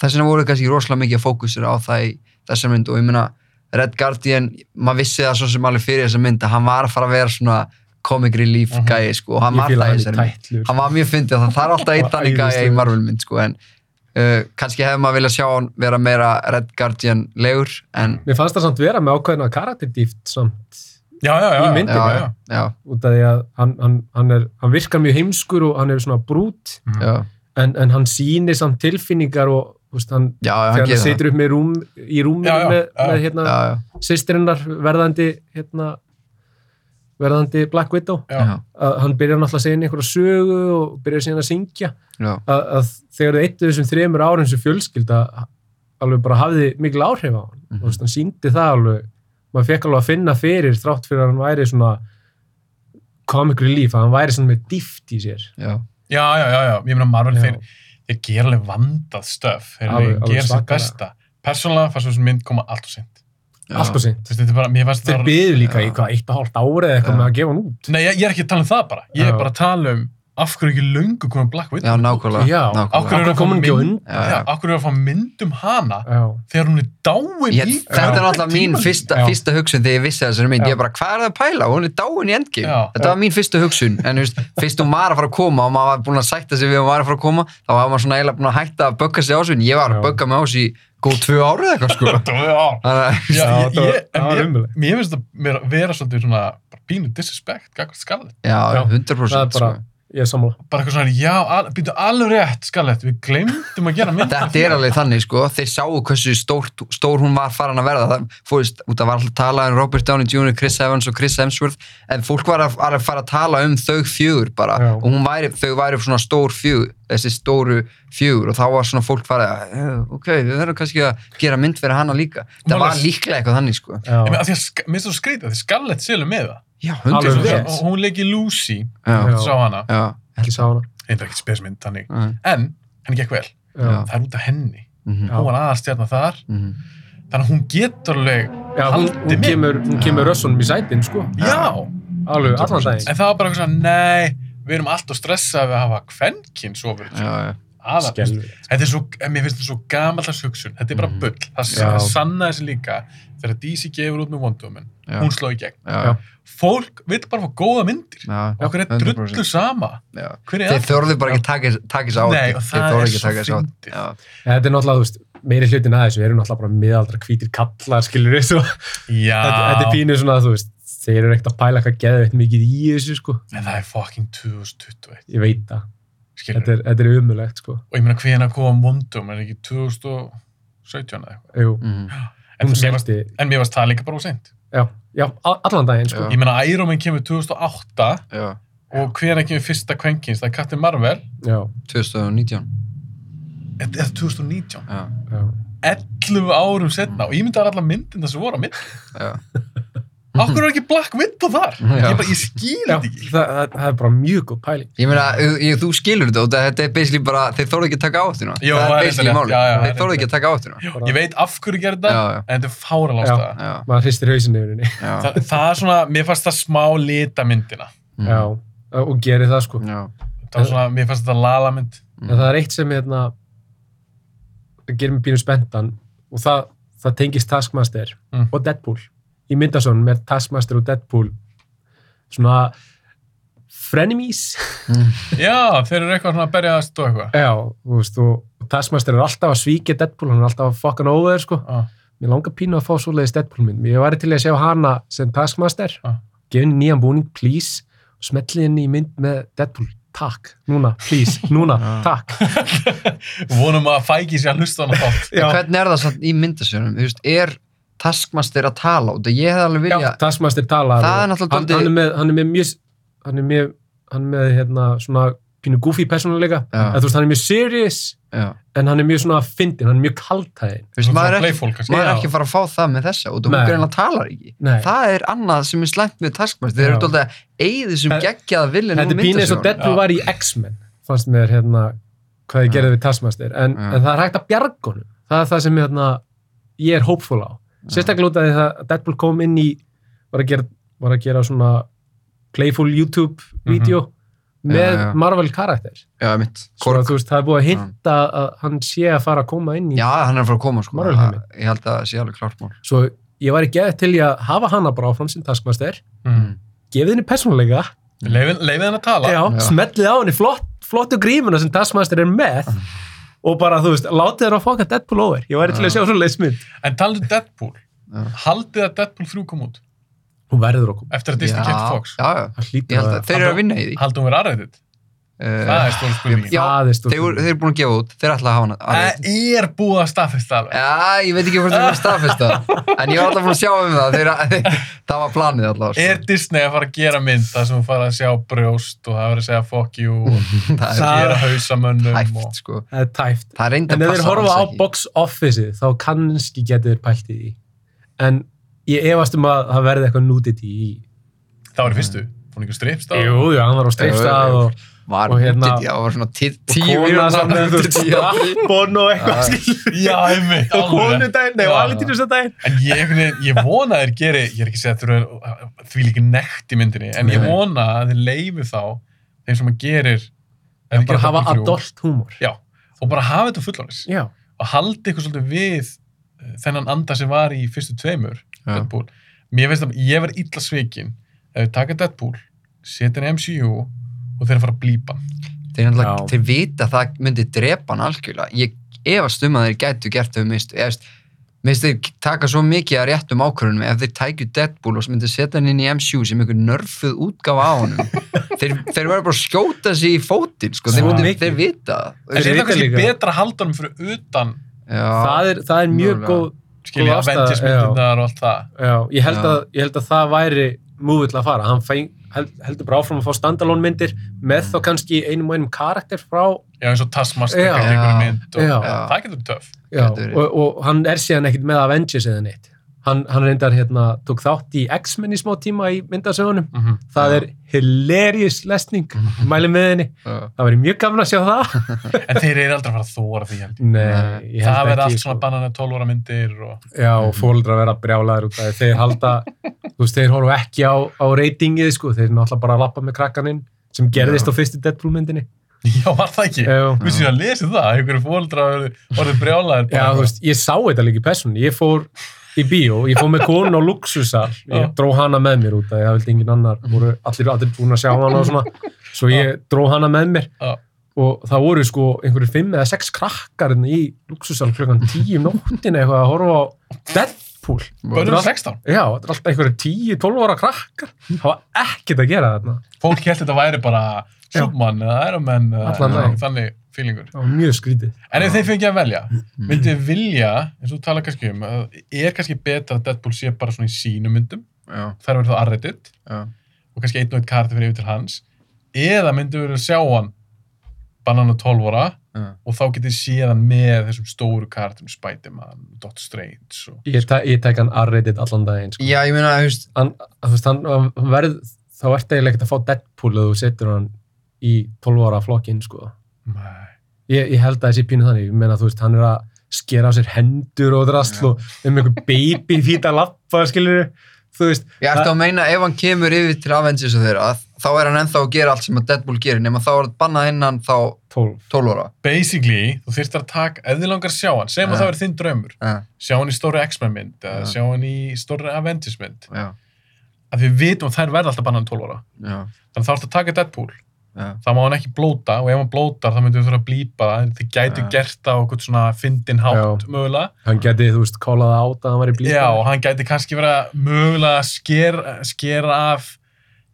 F: þess vegna voru þeir kannski rosalega mikið að fókusera á það í þessa mynd og ég meina Red Guardian, maður vissi það svo sem alveg fyrir þessa mynd að hann var að fara að vera svona comic relief
A: Mhm.
F: gæi sko og hann
E: Ég
F: var
E: fýla
F: það í
E: hann í
F: þessari mynd
E: tætlur.
F: hann var mjög fyndið það þarf alltaf eitt
E: Bara
F: þannig gæja í
E: æðislegur.
F: Marvelmynd sko, en uh, kannski hefði maður viljað sjá hann vera meira Red Guardian legur en
E: Mén fannst það samt vera með ákveðna karakterdýft samt
A: Já, já, já.
E: Í
A: já.
E: myndinni,
A: Já, já.
F: já, já,
E: út af því að hann, hann, hann, er, hann virkar mjög heimskur og hann er svona brút
F: já,
E: en, en hann sýnir samt tilfinningar og þú veist, hann,
F: já, hann
E: þegar hann
F: gerir það
E: situr upp með rúm, í rúminu
A: Já, já,
E: með,
A: já.
E: með hérna,
F: já, já,
E: sýstirinnar verðandi hérna, verðandi Black Widow
A: Já.
E: að hann byrjar náttúrulega að segja inn einhverja sögu og byrjar síðan að syngja
F: já,
E: að, að þegar þau eittu þessum þremur árum sem fjölskylda alveg bara hafði mikil áhrif á hann mm
F: Mhm.
E: -hmm. og hann síndi það alveg maður fekk alveg að finna fyrir þrátt fyrir að hann væri svona comic relief að hann væri svona með dýft í sér
F: já,
A: já, já, já, já, ég meina Marvel,
E: Já.
A: þeir, þeir gera alveg vandað stöf, þeir
E: Alveg- alveg
A: gera sér
E: svakalega.
A: besta. Persónulega fannst þessu mynd koma allt og sent.
F: já.
E: allt og
A: Þú
E: sent
A: veist, þetta er bara, mér fannst
E: þeir
A: þetta...
E: byðu líka
F: Já.
E: í hvað, eitt og hálft ári eða eitthvað
F: Já.
E: með að gefa hann út
A: Nei, ég, ég er ekki að tala um það bara. Ég er
E: Já.
A: bara að tala um af hverju ekki löngu komum Black Widow.
F: já, nákvæmlega,
E: Já.
A: Af
F: nákvæmlega.
A: hverju er
E: Akkur
A: að fá
E: kom hann ekki á
A: mynd-
E: undan?
F: Já, já.
A: Já, af hverju er að fá mynd um hana
E: Já.
A: þegar hún er dáin
F: Ég,
A: í...
F: þetta er alltaf mín
A: tímalínu?
F: fyrsta,
E: Já.
F: fyrsta hugsun þegar ég vissi þessari mynd, ég bara hvað er það að pæla, hún er dáin í endgame
A: Já.
F: þetta var mín fyrsta hugsun, en þú veist, fyrst hún var að fara að koma og maður var búin að sætta sig við að hún var að fara að koma þá var maður svona eiginlega búin að hætta að bögga sig á þessu en ég var
E: Já.
F: að bögga mig á þessu í góð tvö ára eða eitthvað sko
A: Þetta var- já.
F: þannig að,
A: Já,
E: Já,
A: ég,
E: þetta var-
A: ég, en
E: það var
A: mér,
E: ömurlegt.
A: mér finnst þetta vera- vera svolítið svona bara pínu disrespect, gagvart skallet
F: já,
E: Já.
F: 100%
E: það er bara,
F: sko.
E: ég er sammála
A: bara eitthvað svona, já, al, býtu alveg rétt skallet, við glemdum að gera mynd
F: þetta er alveg þannig sko, þeir sáu hversu stór, stór hún var farin að verða það fórist út að var alltaf að tala um Robert Downey Jr. Chris Evans og Chris Hemsworth en fólk var að, var að fara að tala um þau fjögur bara
E: Já.
F: og hún væri, þau væri svona stór fjögur þessi stóru fjögur og þá var svona fólk farið að "Eh, ok, við verðum kannski að gera mynd fyrir hana líka það
A: Málega-
F: var líklega eitthvað þannig sko
E: Já.
A: Ég meina, af því að sk- Mér finnst það svo skrítið, því skallet selur með það
F: já,
E: Alveg
F: hundið
E: rétt.
A: og hún leiki Lucy,
F: já,
E: Já.
A: sá hana
F: já,
E: ekki sá hana
A: einnig ekki spesmynd þannig,
F: já,
A: en henni gekk vel
E: Já.
F: Já.
A: það er út af henni,
F: mhm,
E: Já.
A: hún var aðarstjarnar þar
F: mhm.
A: þannig að hún getur alveg,
E: Já, hún,
A: Haldi
E: hún
A: mig.
E: kemur, hún kemur rössunum í sætin sko,
A: já
E: alveg allan daginn
A: en það var bara eitthvað svona, nei, við erum allt og stressað við að hafa kvenkin svo verið
F: já, já,
A: aðar,
E: Skelfilegt.
A: Þetta er svo, en mér finnst þetta svo gamallars hugsun. Þetta er bara
F: Mhm.
A: bull. Það
E: Já.
A: það sannaði sig líka þegar DC gefur út með Wonder Woman.
F: Já.
A: Hún sló í gegn.
F: já,
A: Fólk vill bara fá góða myndir.
F: já,
A: Okkur er
F: 100%.
A: drullu sama.
F: já.
A: Hver er
F: þeir þorðu bara ekki taka- taka þessu á
A: Nei,
F: þetta.
A: og
F: þeir
A: það
F: þorðu
A: er
F: ekki
A: svo
F: taka þessu á þetta.
A: fyndið.
F: Já.
E: Ja, þetta er náttúrulega, þú veist, meiri hlutin að þessu eru náttúrulega bara miðaldra hvítir kallar, skilur við, svo
A: Já.
E: þetta þetta er pínu svona, þú veist, þeir eru ekkert að pæla hvað geða eitt mikið í þessu, sko.
A: En það er fucking 2021.
E: Ég veit það.
A: Skilur.
E: Þetta er, þetta er umulegt, sko.
A: Og ég meina hvenær kom Wonder Woman? Er ekki 2017 eða eitthvað?
E: Jú,
F: Mhm.
A: En
E: hún
A: mér varst-
E: semsti,
A: En mér varst það líka bara úr seint.
E: já, já, a- allan daginn, sko.
F: Já.
A: Ég meina Iron Man kemur 2008
F: Já,
A: og hvenær kemur fyrsta kvenkins? Það er Captain Marvel.
E: Já,
F: 2019
A: Er er það 2019?
F: já,
E: já.
A: 11 árum setna og ég myndi að alla myndin þessu voru á mynd
F: já.
A: Akkur er ekki Black Widow þar?
F: Já.
A: Ég bara, ég skil
E: Já,
A: þetta
E: það,
A: ekki
E: það, það er bara mjög góð pæling.
F: Ég meina, ég, þú skilur þetta út að þetta er basically bara, þeir þóru ekki að taka áttuna
A: Jó,
F: það
A: það er
F: er basically
A: rétt,
F: máli,
A: já, já, það er
F: þeir þóru ekki að taka áttuna
E: Bara,
A: Ég veit af hverju gerir
F: Já,
A: þetta
F: já,
A: en þetta er fáralega
E: Já.
A: ástæða
F: já,
E: Maður hristir hausinu yfir henni.
F: já,
A: Þa, Það er svona, mér fannst það smá lita myndina
F: Mhm.
E: Já, og gerir það, sko.
F: já,
A: Það var svona, mér fannst þetta lala mynd
E: En það er eitt sem, hérna, gerir mig pínu spenntan og það, það tengist Taskmaster
A: Mm.
E: og Deadpool. Í myndasónum er Taskmaster og Deadpool svona frenemies.
A: Já, þeir eru eitthvað svona að berjaðast og eitthvað
E: Já, þú veist, og, og Taskmaster er alltaf að svíkja Deadpool, hann er alltaf að fucking over, sko.
A: Já.
E: Mér langar pínu að fá svoleiðis Deadpool minn. Ég væri til í að sjá hana sem Taskmaster.
A: Já.
E: Gef henni nýjan búning, please. Og smetli henni í mynd með Deadpool. Takk. Núna, please. Núna, takk.
A: Vonum að fæki sér að hlusta á hana þátt
F: En Hvernig er það samt í myndasjónum, þú veist, er taskmaster að tala út? Ég hef alveg
E: Já,
F: vilja,
E: Taskmaster talar.
F: Það er
E: og
F: náttúrulega
E: hann-
F: dálítið-
E: Hann er með, hann er með mjög, hann er með, hann er með, hérna, svona pínu goofy persónuleika.
F: Já.
E: En þú veist, hann er mjög serious,
F: já,
E: en hann er mjög svona fyndin, hann er mjög kaltæðin.
F: þú veist, maður er ekki
A: playful, kannski
F: maður er
E: Já.
F: ekki að fara að fá það með þessa út og hún
E: Nei.
F: greinlega talar ekki
E: Nei.
F: það er annað sem er slæmt með taskmaster þeir
E: Já.
F: eru alltaf að eigið þessum
E: Þetta-
F: geggjaða viljum
E: Þetta er pínu eins og Deadpool
A: Já.
E: var í X-Men fannst mér hérna hvað þið
F: Já.
E: gerði við Taskmaster en,
F: Já.
E: en það er hægt að bjarga honum það er það sem hérna, ég er hopeful á sérstaklega út af því það að Deadpool kom inn í var að gera, var að gera svona playful YouTube-vídeó með
F: Mhm. Já, já.
E: Marvel karakter
F: Já, mitt,
E: svo að þú veist það er búið að hinta að hann sé að fara að koma inn í
F: Já, hann er að fara að koma sko.
E: Marvel-heimi.
F: Ég held að það sé alveg klart mál.
E: svo ég væri geðið til í að hafa hana bara áfram sem Taskmaster
A: Mm.
E: gefið henni persónuleika
A: Leifið leifið henni að tala
E: Já,
F: Já.
E: smellið á henni flott, flottu grímuna sem Taskmaster er með
F: Mm.
E: og bara, þú veist, látið þeirra að foka Deadpool over. Ég væri til að sjá svo leismynd.
A: En talaðu Deadpool
F: Já.
A: Haldið að Deadpool 3 kom út
E: Hún verður okkur.
A: eftir að Disney
F: Já,
A: kæfti Fox
F: Já, já.
E: Það
F: Ég
E: hlýtur
F: held
E: að...
F: að þeir eru að vinna í því.
A: Haldið hún verið aðræðið Það
F: uh,
A: er stóra spurningin.
F: Já,
E: Það er stór
F: þeir, voru- þeir eru búin að gefa út, þeir ætla að hafa hana alveg.
A: Það er búið að staðfesta alveg.
F: Já, ég veit ekki hvort það er staðfesta en ég var alltaf búin að sjá um það þeir, það var planið alltaf sko.
A: Er Disney að fara að gera mynd þar sem hún fara að sjá brjóst og það verið að segja fuck you og
F: það er
E: Það-
A: gera hausamönnum og...
F: hægt sko.
E: Það er tæft.
F: það er
E: En
F: reynda
E: ef þeir horfa á box office-ið, þá kannski getur þeir pælt í því. En ég efast um að það verði eitthvað nudity í.
A: Það var í fyrstu. Fór einhver strippst á.
E: Jú, jú, hann var á
F: Jú,
E: streifstað
F: jú.
E: og
F: var
E: og hérna-
F: nudity, það var svona tí- tíu
E: kona
F: mínútna
E: samt með þú veist,
F: nudity, já.
E: rappbón og eitthvað, skilur.
A: Já, einmitt.
E: Og
A: alveg.
E: konudaginn, nei,
A: Já,
E: og
A: já.
E: alvitínusdaginn.
A: En ég, einhvern veginn- ég vona að þeir geri, ég er ekki að segja að þeir eru því líka nekt í myndinni, en ég
F: Nei.
A: vona að þeir leifi þá þeim sem að gerir ef þeir
E: Bara
A: gera
E: hafa
A: Double Crew,
E: adult humor.
A: og bara hafa þetta fullanis
E: Já.
A: og haldi eitthvað svolítið við eh, þennan anda sem var í fyrstu tveimur
F: Já.
A: Deadpool. Mér finnst að ég verð illa svikin ef við taka Deadpool, setja hann í MCU og þeir fara að blípa hann.
F: þeir, náttúrulega-
E: Já.
F: þeir vita að það myndi drepa hann algjörlega ég efast um að þeir gætu gert þau mist ég veist, mér finnst þeir taka svo mikið að réttum ákvörunum ef þeir tækju Deadpool og myndi setja hann inn í MCU sem einhver nörfuð útgáfa á honum þeir, þeir verður bara að skjóta sig í fótinn sko. þeir,
E: Svo
F: myndi,
E: mikið.
F: þeir vita það.
A: Þeir
E: Þeir
A: setja
E: vita
A: kannski
E: líka-
A: betra að halda hann fyrir utan
F: Já,
E: Það er, það er mjög
F: Mögulega.
E: góð,
A: skilja
E: Sko, ástæða,
A: Avengers-myndirnar og allt það.
E: já, ég held,
F: Já.
E: Að, ég held að það væri múvill að fara. Hann fæ, held, heldur bara áfram að fá standalone myndir með þá kannski einum og einum karakter frá
A: Já, eins og Taskmaster
E: Já.
A: gerir einhverju mynd og
E: Já.
A: það getur verið töff.
E: Já,
F: Gæti verið.
E: og, og hann er síðan ekkit með Avengers eða neitt. Hann, hann reyndar hérna, tók þátt í X-Men í smá tíma í myndasögunum. Það
F: Já.
E: er hilarious lesning, mæli með henni.
F: já.
E: Það væri mjög gaman að sjá það.
A: En þeir eru aldrei að fara að þóra því held ég.
E: Nei, ég held
A: Það verður
E: ekki. sko.
A: allt svona Mhm. banana 12 ára myndir og...
E: Já, og fólundra verða brjálaður út af því. Þeir halda, þú veist, þeir horfa ekki á, á reytingið, sko. Þeir náttúrulega bara að lappa með krakkaninn sem gerðist
F: Já.
E: á fyrstu Deadpool-myndinni.
A: Já, var það ekki?
E: Já.
A: Við séum að lesa það, einhverju fóldra orðið brjálæðir.
E: Já, þú veist, ég sá þetta líka í persónu. Ég fór í bíó, ég fór með konu á luxusal. Ég
A: Já. Mhm.
E: dró hana með mér út af því að það vildi engin annar. Voru allir, allir búin að sjá hana og svona. Svo ég dró hana með mér.
A: Já.
E: Og það voru sko einhverju fimm eða sex krakkar hérna í luxusal klukkan tíu um nóttina eitthvað að horfa á Deadpool.
A: Bönnum 16.
E: Já, þetta er alltaf einhverju tíu, tólf ára krakkar. Það var ekkert að gera þarna.
A: Fólk held þetta væri bara Superman eða Iron Man eða
E: Allan
A: eitthvað
E: daginn.
A: þannig fílingur.
E: Það var mjög skrítið.
A: En ef þeir fengið að velja, myndið þið vilja, eins og þú tala kannski um, að er kannski betra að Deadpool sé bara svona í sínum myndum,
F: Já,
A: þær verður þá arreytið
F: já.
A: og kannski einn og einn karti fyrir yfir til hans, eða myndið verður að sjá hann banana 12 ára
F: Já.
A: og þá getið séð hann með þessum stóru kartum, Spiderman, Doctor Strange og...
E: Ég, te ég tek hann arreitið allan daginn. Sko.
F: já, ég meina, þú veist
E: hann, að þú veist, hann hann verð, þá ert eiginlega ekkert að fá Deadpool ef þú setur hann í 12 ára flokkinn, sko.
A: Nei.
E: Ég, ég held að þessi pínu þannig, ég meina, þú veist, hann er að skera á sér hendur og drasl og um einhver baby fýta lappa, skilur þú veist,
F: Ég ætti að meina ef hann kemur yfir til Avengers og þeirra að þá er hann ennþá að gera allt sem að Deadpool gerir nema þá er hann bannað innan þá
E: 12.
F: 12 ára.
A: Basically, þú þyrftir að taka, ef þið langar að sjá hann, segjum að
F: Já.
A: það verður þinn draumur,
F: Já,
A: sjá hann í stóru X-Men mynd, eða
F: Já.
A: sjá hann í stóru Avengers mynd,
F: já,
A: að við vitum að þær verða alltaf bannan 12 ára.
F: já,
A: Þannig þá ertu að taka Deadpool,
F: já.
A: þá má hann ekki blóta og ef hann blótar þá myndum við þurfa að blípa það, en þið gætu
F: Já.
A: gert það á eitthvað svona fyndin hátt mögulega.
E: Hann geti, þú veist, kólað át að hann væri blíð.
A: Já, og hann gæti kannski verið að mögulega að sker, skera af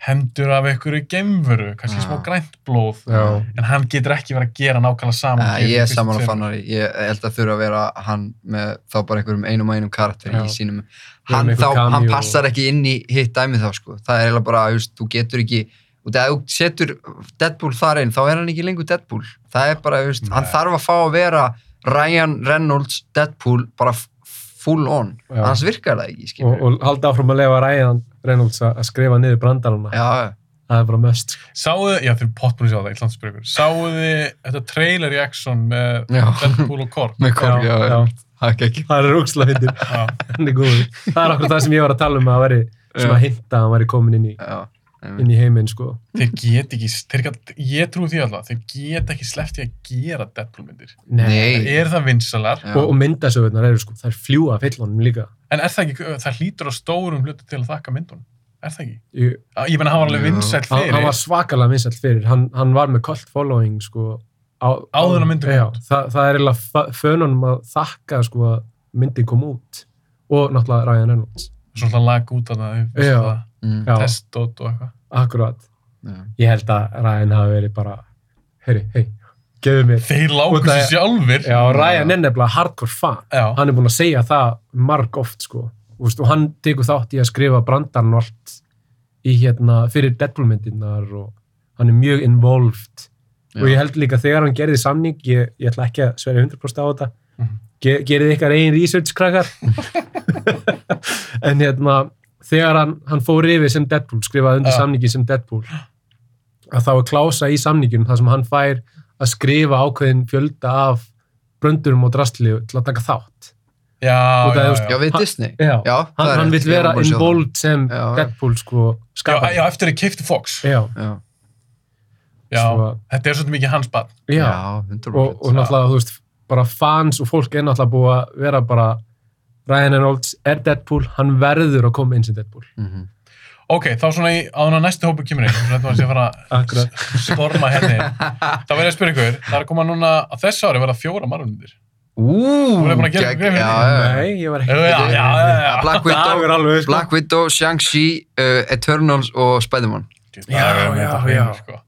A: hendur af einhverju geimveru, kannski
F: Já.
A: smá grænt blóð,
E: Já.
A: en hann getur ekki verið að gera nákvæmlega saman.
F: Uh, ég er saman að fannar, ég held að þurfa að vera hann með þá bara einhverjum einum og einum karakter
E: Já.
F: í sínum.
E: Já,
F: Hann,
E: með
F: þá,
E: einhver
F: hann
E: cameo.
F: passar ekki inn í hitt dæmið þá sko. Það er eiginlega bara, þú veist, þú getur ekki og þegar þú setur Deadpool þar inn þá er hann ekki lengur Deadpool. Það er bara, þú veist, hann þarf að fá að vera Ryan Reynolds Deadpool bara f- full on.
E: Já.
F: Annars virkar það ekki,
E: og,
F: skilur.
E: og halda áfram að lefa ræðan Reynolds að að skrifa niður brandarana.
F: Já, já.
E: Það er bara möst. sko.
A: Sáuðu, já þeir eru pottbúin að sjá það, ég landsbyrjur ykkur. Sáuðu þið þetta trailer í Exxon með
F: Já.
A: Deadpool og Korn?
F: með korg, já, já. Það gekk ekki.
E: Það er rúksla fyndir.
A: Já.
E: Hann er góður. Það er okkur það sem ég var að tala um að hann væri svona hinta að hann væri komin inn í,
F: Já,
E: inn í heiminn, sko.
A: Þeir get ekki, þeir get, ég trú því alltaf, þeir get ekki sleppt í að gera Deadpool myndir.
F: nei.
A: Þeir eru það vinsalar,
F: Já.
E: og, og myndasögurnar eru sko, þær fljúa fyllunum líka
A: en er það ekki, það hlýtur á stórum hlutu til að þakka myndunum. Er það ekki?
E: Ég,
A: Ég menna, hann var alveg
F: Já.
A: vinsæl
E: hann,
A: fyrir.
E: hann var svakalega vinsall fyrir hann, hann var með cult following sko, á,
A: Áður en að myndin kom
E: já,
A: út.
E: það, það er eiginlega fönunum að þakka sko, að myndin kom út og náttúrulega Ryan Reynolds
A: Svona lag út að það,
E: Já.
A: það
F: Mm,
E: já,
A: testót og eitthvað.
E: akkurat
F: já.
E: ég held að Ryan hafi verið bara heyri, hei, gefðu mér
A: Þeir
E: Og
A: lágu
E: það
A: sig
E: er-
A: sjálfur.
E: Já, Ryan er nefnilega hardcore fan
A: Já.
E: hann er búinn að segja það marg oft sko. Þú veist, og hann tekur þátt í að skrifa brandarn og allt í hérna fyrir Deadpool-myndirnar og hann er mjög involved
F: Já.
E: og ég held líka þegar hann gerði samning ég, ég ætla ekki að sverja 100% á þetta
A: Mhm.
E: Ge, gerði ykkar eigin research krakkar en hérna þegar hann, hann fór yfir sem Deadpool skrifaði undir
A: Já.
E: samningi sem Deadpool að þá er klása í samningjum þar sem hann fær að skrifa ákveðin fjölda af bröndurum og drastli til að taka þátt
A: Já,
E: Og það
A: já,
E: er,
A: já.
F: Já, við Disney.
E: Já.
F: Já,
E: hann,
F: það er
E: hann
F: rétt. Ég
E: vill
F: var
E: vera
F: búinn að sjá það.
E: involved sem
F: Já, já.
E: Deadpool sko
A: Já,
E: skapandi
A: já, eftir að keipti Fox.
E: já,
F: Já,
A: Já,
E: Svo-
A: þetta er svolítið mikið hans barn.
E: já.
F: já, 100%.
E: og, og náttúrulega þú veist bara fans og fólk er náttúrulega búið að vera bara Ryan Reynolds er Deadpool hann verður að koma inn sem Deadpool
F: Mhm.
A: Ok, þá svona í, á þannig að næsti hópu kemur inn, þannig að maður sé að fara
E: Akkurat.
A: að storma henni. þá verður ég að spyrja ykkur, það er að koma núna, á þessu ári verða fjóra marunundir.
F: Ú,
A: Þú er búin að gera
F: gegg-
A: grein fyrir
F: já,
A: því.
F: já, já.
E: nei, ég var
A: Já,
E: ekki
A: já, já, já.
F: Black Widow,
E: alveg
F: Black Widow, Shang-Chi, uh, Eternals og Spider-Man.
A: Djöfull, það er
E: Já,
A: þetta
E: já,
A: hreinu,
E: já.
A: sko.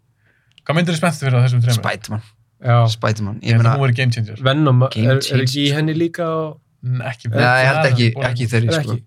A: Hvað myndir þið spenntið fyrir á þessum trefnum?
F: Spider-Man,
E: já.
F: Spider-Man.
A: Ég
F: Ég
A: held að
F: meina,
A: hún verið game changer.
E: Venom er,
F: Game
E: er ekki í
F: changer.
E: henni líka og...
A: N- Ekki
F: Nei, ég held ekki,
A: Búin að-
F: ekki þeirri,
E: er
F: sko.
E: ekki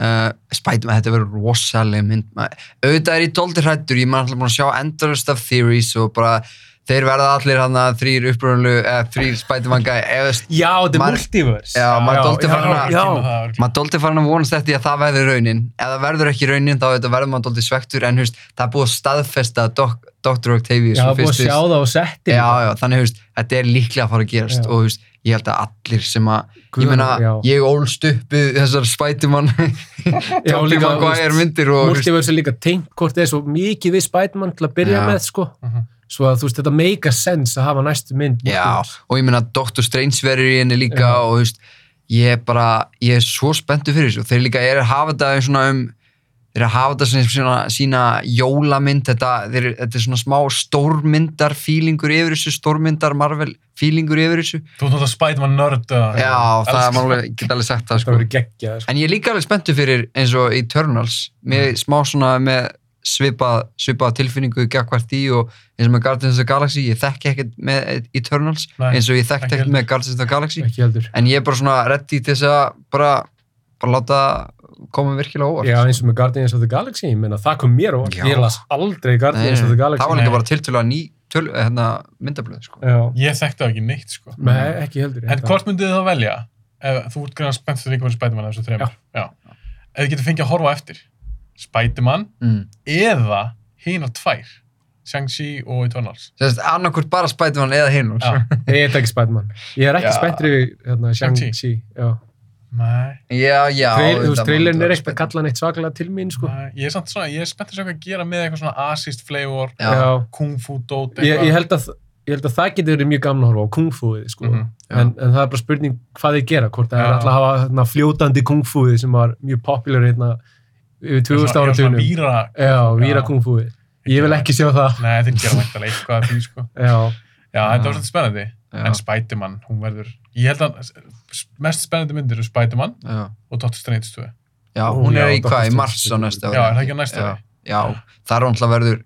F: Uh, Spider-Man, þetta verður rosaleg mynd. Ma- Auðvitað er ég dóldir hrættur, ég maður alltaf búin að sjá Endless of Theories og bara þeir verða allir hann að þrýr uppröðunlu, eða þrýr eh, Spider-Man gæ, eða
E: já, þetta er
F: Maður-
E: multiverse
F: Já, maður
E: já,
F: dálítið farin að-
E: já,
A: Ekki með
E: já.
A: það, örugglega.
F: maður dólti farin að vonast eftir að það verður raunin ef það verður ekki raunin þá auðvitað verður maður dólti svektur en hufst, það er búið að staðfesta að Doc, Dr. Octavius
E: já,
F: og
E: búið að
F: fyrstu-
E: sjá það á setti
F: já, já, þannig hufst, þetta er líklega að fara að gerast
E: Já.
F: og hufst, ég held að allir sem að
E: Guð,
F: ég meina,
E: já.
F: ég ólst upp við þessar Spiderman
E: Já,
F: Tobey
E: líka, þú
F: Maguire
E: veist,
F: myndir og hufst,
E: multiverse er líka tengt hvort það er svo mikið við Spiderman til að byrja
F: Já.
E: með sko.
A: Mhm.
E: svo að þú veist þetta make a sense að hafa næstu mynd
F: já,
E: multiverse.
F: og ég meina Dr. Strange verður í henni líka
E: Já.
F: og hufst, ég er bara, ég er svo spenntu fyrir þessu og þeir líka er að hafa þetta svona um þeir eru að hafa þetta sem sína, sína jólamynd, þetta, þeir, þetta er svona smá stórmyndar fílingur yfir þessu, stórmyndar Marvel fílingur yfir þessu.
A: Þú ert náttúrulega Spiderman nörd. eða-
F: Já, það er
A: Elskar-
F: málega, ég get alveg sagt það
E: það
F: sko.
E: verður geggjað sko.
F: En ég er líka alveg spenntu fyrir eins og Eternals, með smá svona með svipað svipa tilfinningu gagvart því og eins og með Guardians of the Galaxy, ég þekki ekkert með Eternals
A: Nei,
F: eins og ég þekki
A: ekki
F: ekkert
A: heldur.
F: með Guardians of the Galaxy
E: ekki heldur
F: en ég er bara svona ready til þess að bara, bara láta koma virkilega óvart
E: já, eins og með Guardians of the Galaxy ég meina, það kom mér og
F: Já.
E: ég las aldrei
F: Nei,
E: Guardians of the
F: nei,
E: Galaxy
F: það var líka
A: Nei.
F: bara tiltölu að ný töl, hérna, myndablöð sko.
E: Já.
A: Ég þekkti það ekki neitt, sko.
E: Nei, ekki heldur
A: En hvort myndið þið þá velja? Ef, þú ert grann spennt fyrir ykkur Spiderman af þessu þreymur. Já. Ef þið getur fengið að horfa á eftir. Spiderman
F: mm.
A: eða hinar tvær. Shang-Chi og Eternals.
F: sérst annarkvort bara Spiderman eða sko. hinn
A: Já.
E: ég er ekki Spiderman ég er ekki
F: Já.
E: spenntur yfir hérna,
A: Shang-Chi.
E: Shang-Chi já.
A: Nei,
F: já, já
E: Trail- þú
F: auðvitað sko.
E: veist,
F: má
E: trailerin
F: þetta
E: er
F: vera
E: ekki að
F: Spider-Man.
E: kalla neitt svaklega til mín sko.
A: nei. Ég er samt svona, ég er spennt að sjá hvað að gera með eitthvað svona asist flavor,
F: Já.
E: já,
A: kung fu dót,
E: ég, ég, held að, ég held að það getur verið mjög gaman að horfa á kungfúið sko.
A: Mhm,
F: já.
E: en, en það er bara spurning hvað þeir gera hvort það er
A: Já.
E: alltaf að hafa hérna, fljótandi kungfúið sem var mjög popular hérna, yfir 2000
A: Svona- já, svona
E: áratunum
A: víra.
E: Já, víra
A: Já.
E: kungfúið ég vil ekki sjá það
A: Nei, þeir gera mættilega eitthvað að því, sko.
E: Já,
A: Já,
F: Já.
A: þetta var svolítið spennandi.
F: Já,
A: En Spiderman, hún verður, ég held að s- mest spennandi myndir eru Spiderman
F: já.
A: og Dr. Strange 2.
F: já,
E: Ó,
F: hún er
E: já,
F: í hvað,
E: Dr.
F: í
E: Strange.
F: mars á næsta ári
A: Já, er það ekki á næsta
F: Já.
A: ári?
F: já, þar hún alltaf verður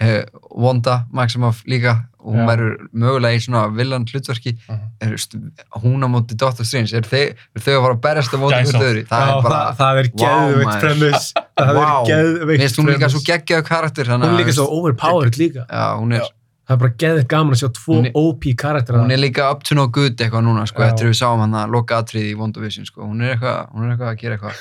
F: eh, Wanda Maximoff líka og hún
E: Já.
F: verður mögulega í svona villan hlutverki
A: Mhm.
F: er, veist, hún á móti Dr. Strange er þau, er þau að fara að berjast á móti
A: Gæsa.
F: hvort öðru það
E: Já,
F: er bara
E: það, það er
F: Vá,
E: geðveikt
F: maður.
E: premis það er
F: Vá.
E: geðveikt
F: Mér finnst hún líka
E: premis.
F: svo geggjaðu karakter þannig
E: hún
F: að,
E: er líka svo
F: veist,
E: overpowered líka
F: já, hún, er,
E: það er bara geðveikt gaman að sjá tvo
F: Hún er-
E: OP karaktera
F: hún er líka up to no good eitthvað núna sko,
E: Já.
F: eftir við sáum hann að loka atriði í WandaVision sko. hún, er eitthvað, hún er eitthvað að gera eitthvað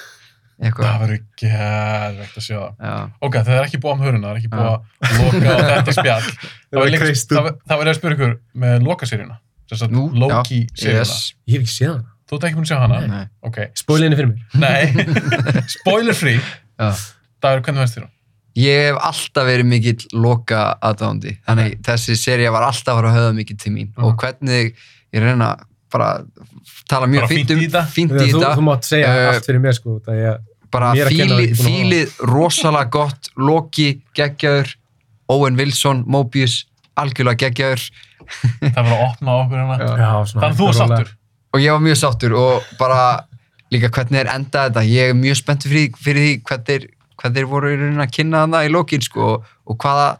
A: Það
F: eitthvað
A: verður gerðvegt að sjá það.
F: já,
A: Ok, það er ekki búið um höruna, það er ekki búið
F: Já.
A: að loka á þetta spjall. Það
E: var
A: var lengi-
E: kreist
A: það
E: út.
A: var- það var ég að spyrja ykkur með lokaseríuna, þess að
F: Nú, já,
A: Loki-seríuna.
F: yes.
E: ég hef ekki séð hana,
A: Þú ert ekki búin að sjá hana?
F: Nei.
A: Ok,
E: spoilinni fyrir mér
A: nei, spoiler free.
F: Já.
A: Dagur, hvernig veist þér hún?
F: ég hef alltaf verið mikill loka aðdándi þannig þessi seria var alltaf að fara að höfða mikill til mín
A: Mhm.
F: og hvernig ég reyna bara að tala mjög
A: Bara
F: fínt
A: fínt
F: um
A: í þetta.
F: fínt í
E: þú,
F: þetta
E: þú mátt segja
F: Eh,
E: allt fyrir mér sko, það er
F: bara
E: Mér að kenna það
F: fílið
E: ekki búin að hafa.
F: fíli rosalega gott Loki geggjaður, Owen Wilson Mobius, algjörlega geggjaður
A: Það var að opna á okkur hana.
E: Já, svona
A: Þannig að þú
E: hægt
A: er
E: og rólega.
A: sáttur.
F: og ég var mjög sáttur og bara líka hvernig er endað þetta ég er mjög spenntur fyrir, því- fyrir því hvað þeir, hvað þeir voru í rauninni að kynna þarna í Loki sko, og, og hvaða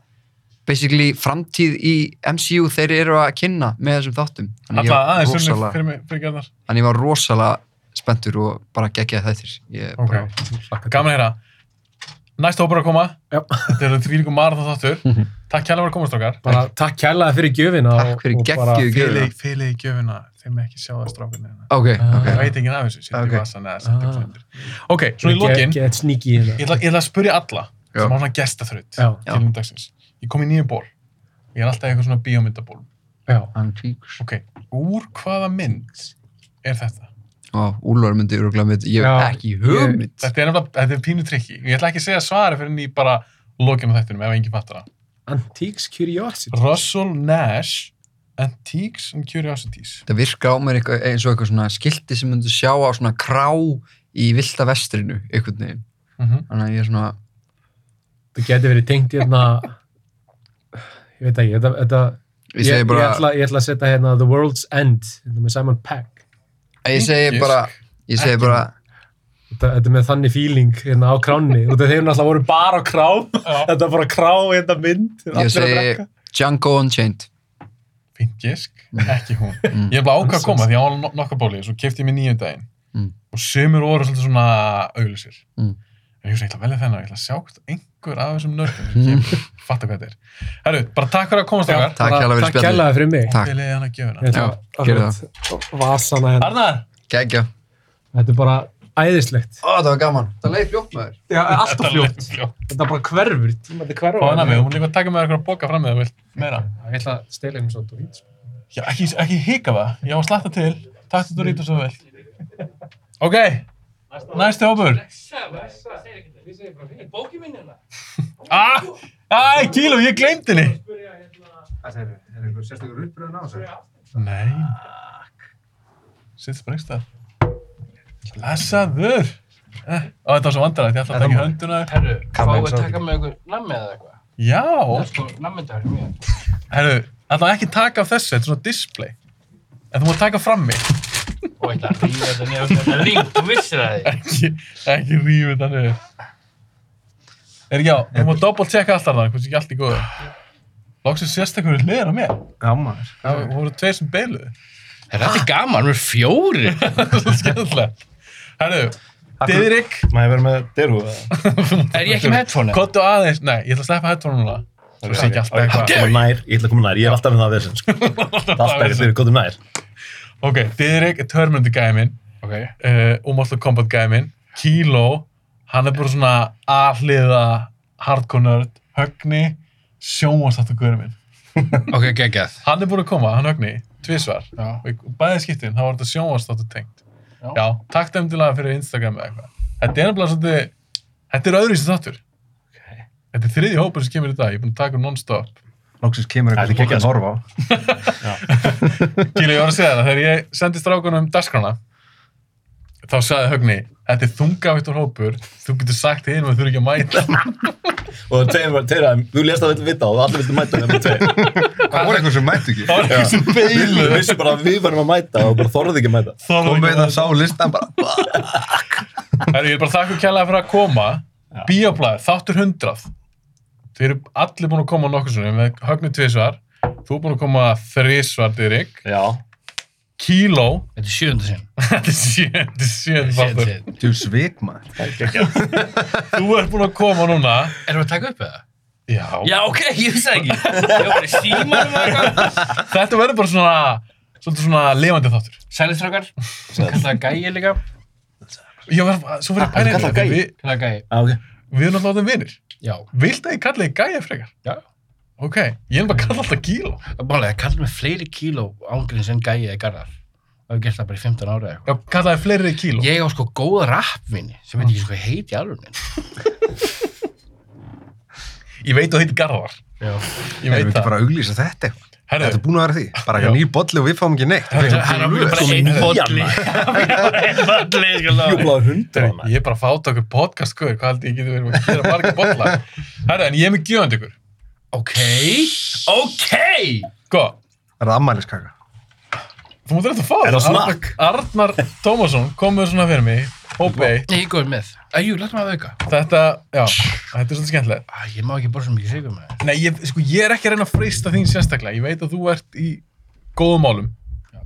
F: basically framtíð í MCU þeir eru að kynna með þessum þáttum þannig
A: Alla
F: ég var
A: aðeins um fyrir,
F: rosalega,
A: fyrir, mig- fyrir gæðnar.
F: þannig ég var rosalega spenntur og bara geggjaði þættir ég,
A: Ok, gaman að heyra. Næsta hópur að koma.
E: Já.
A: Þetta eru því líku marathon þáttur. Takk kjærlega fyrir að komast okkar.
E: bara takk kærlega fyrir gjöfina
F: Takk fyrir geggjuðu
A: Félið
F: gjöfina.
A: félið í gjöfuna, þeim ekki sjá það hérna. strákunni.
F: ok,
A: Það
F: ok,
A: veit ekki af þessu, setja
F: Ok.
A: okay. vasan eða setja
E: Ah.
A: klindur. Ok, svona í lokin, ég
E: get sníki í hérna
A: ætla, ég ætla að spyrja alla
F: Já.
A: sem á svona gestaþraut
E: Já.
A: til um dagsins. Ég kom í nýju ból. Ég er alltaf í eitthvað svona bíómyndaból.
E: já,
F: hann kvíks
A: Ok, úr hvaða mynd er þetta?
F: og Úlvar myndi öruglega mynd ég hef
E: Já,
F: ekki hugmynd
A: Þetta er nefnilega, þetta er pínu trikki. Ég ætla ekki að segja svari fyrir ný bara lokin á þættinum ef enginn fattar það.
E: Antiques Curiosity
A: Russell Nash Antiques and Curiosities.
F: þetta virkar á mér eitthvað, eins og eitthvað svona skilti sem myndi sjá á svona krá í vilda vestrinu, einhvern veginn
A: Mm
F: þannig að ég er svona,
E: það geti verið tengt hérna ég veit ekki, þetta, þetta
F: ég segi bara
E: ég, ætla, ég ætla að setja hérna The World's End hérna með Simon Pegg
F: ég segi
A: Gisk.
F: bara, ég segi
A: Ekki.
F: bara
E: þetta, þetta er með þannig feeling hérna á kránni út af þeir náttúrulega voru bara á krám þetta er bara krá hérna mynd allir
F: ég
E: að
F: segi
E: drekka.
F: Django Unchained
A: Fint gisk, ekki hún.
F: Mm.
A: Ég er bara ákvað að koma því að ég á nokkað bólið, svo kefti ég mér nýjum daginn.
F: Mm.
A: Og sömur voru svolítið svona auðlisir.
F: Mm.
A: En ég hugsa, ég ætla að velja þennan, ég ætla að sjá hvort einhver af þessum nördum sem kemur, fatta hvað þetta er. Herru, bara takk fyrir að komast okkar.
F: takk
E: Bara
F: hérlega fyrir
E: takk
F: spjallið.
E: hérlega fyrir mig
F: Takk.
A: Við leiði hann að
E: Ég
A: gjöfuna.
E: ætla
F: Já,
E: að-
F: gerðu
E: að- vasana hérna
A: Arnar!
F: Kækja.
E: þetta er bara æðislegt
F: Ó, það var gaman. Það leiði fljótt maður.
E: Já, alltaf fljótt,
A: fljótt.
E: þetta er bara hverfur tímandi hverfur
A: Fá hana með, hún er líka að taka með okkur að boka fram með það, vilt meira.
E: ég ætla að stela einu svona dót.
A: Já, ekki, ekki hika það. Ég á að slatta til. Takk þetta þú rítur svo vel. Ok, næsti hópur.
G: hérna?
A: Ah, ah, kíló, ég gleymd henni. Það segir, er einhver sérstakur uppbröðun á þessu? Nei. Sitt bara einhvers staðar. Lesaður. Eh, Ó, þetta var svo vandarægt, ég ætla að taka í hönduna. þér.
G: Herru, fáum
E: Kameljón
G: við að
E: sátt
G: taka með ykkur nammi eða eitthvað? Það er
A: Já,
G: sko nammidagur mér.
A: herru, ætla ekki taka af þessu, þetta er svona display. En þú má taka fram mig.
G: Og ætla að ríða þetta niður þetta ring, þú vissir það því.
A: ekki, ekki rífið það niður. Er ekki á, þú má doppelt checka allt þarna, hvort sé ekki allt í góðu. Lóksins sérstakur er hliðin á mér.
B: Gammar.
A: Það voru tveir sem beiluðu.
G: Er þetta gaman? Við erum fjóri.
A: Svo skemmtilegt. Herru, Didrik,
B: Má ég vera með derhú?
G: Er ég ekki með headphone?
A: kottu aðeins. Nei, ég ætla að sleppa headphone núna. Svo sé ekki allt
B: Ég ætla að
A: eitthvað.
B: koma nær, ég ætla að koma nær, ég er alltaf með það að vesen, sko. Það er alltaf ekki fyrir góðum um nær.
A: Ok, Didrik er törmyndi gæði minn.
G: Ok.
A: uh, Umhaldið Combat gæði minn Kilo, hann er bara svona aðliða hardcore nerd Högni, sjónvastáttu guður minn
G: Ok, geggjað.
A: Hann er búin að koma, hann Högni, tvisvar
G: Já.
A: og í bæði skiptin, þá var þetta sjónvastáttu tengt
G: Já.
A: Já, takk demdilega fyrir Instagram eða eitthvað Þetta er nefnilega svolítið Þetta er öðru sem þáttur Þetta er þriðji hópur sem kemur í dag, ég er búin að taka um non-stop
H: Lóksins kemur
B: Þetta er
H: eitthvað
B: geggjað,
H: að horfa á.
A: Gili, ég var að segja það, þegar ég sendi strákunum dagskrána, þá sagði Högni, þetta er þungavittur hópur, þú getur sagt hinum að þú eru ekki að mæta.
B: Og það tegum bara tegum að þú lést að þetta vita og allir viltu mæta og það er tveir.
H: Það voru eitthvað sem mættu ekki.
A: Það var ekki sem
B: Við
A: beilu.
B: vissum bara að við varum að mæta og bara þorðið ekki að mæta.
H: Komið það sá listan bara.
A: Herru, ég er bara þakku kjærlega fyrir að koma. Bíoblæð, þáttur hundrað. Þið eru allir búin að koma nokkur svona, með Högni tvisvar, þú er búin að koma þrísvar, Dyrik.
B: Já.
A: Kíló,
G: Þetta er sjöunda sinn.
A: þetta er sjöndi, sjöndi
G: Sjöunda
A: þáttur.
G: sinn.
H: Þú sveik maður.
A: Þú ert búin að koma núna.
G: Erum við að taka upp eða?
A: Já.
G: Já, ok, ég vissi það ekki. Ég var bara í símanum eða eitthvað.
A: Þetta verður bara svona, svolítið svona lifandi þáttur.
G: Sælistrákar, sem kallaði gæi líka.
A: Já, var, svo fyrir að pæla
B: hann
A: í
B: Ah, kallar
A: þetta. Við,
G: Kallaði gæi.
B: Ah, ok.
A: við erum alltaf orðin vinir.
G: Já.
A: Vilt að ég kalla þig gæja frekar?
G: Já.
A: Ok, ég er bara að kalla alltaf kíló.
G: Málega, kallaði mig fleiri kíló ángurinn sem gæi eða garðar. Það hefur gert það bara í 15 ára eða eitthvað.
A: Já, kalla þig fleiri kíló.
G: Ég á sko góða rappvinni sem veit ekki sko heiti alveg minn.
A: Ég veit að þú heitir Garðar. Ég
G: Já.
H: Erum við
A: veit
H: ekki
A: það.
H: bara að auglýsa þetta eitthvað?
A: Herðu,
H: Þetta er búin að vera því. Bara
A: Já.
H: eitthvað nýr bolli og við fáum ekki neitt.
G: Hann á bara einn bolli. Einn bolli, sko. lofa.
B: Júblaður hundur á
A: herðu, ég er bara að fáta okkur podcast, guður. Hvað held ég getur verið að gera marga bolla? Herðu, en ég er með gjöfandi ykkur.
G: Ok, ok.
A: Sko,
H: Það er ammæliskaka.
A: þú mútur þetta að fá
B: Er það
A: Arnar- Arnar Tómasson kom með svona fyrir mig Hóp 1,
G: Nei, ég góður með. Æjú, látum að auka.
A: þetta, já, þetta er svolítið skemmtilegt.
G: Æ, ég má ekki borða svo mikið sigur með það.
A: Nei, ég, sko, ég er ekki að reyna að freista þín sérstaklega. Ég veit að þú ert í góðum málum.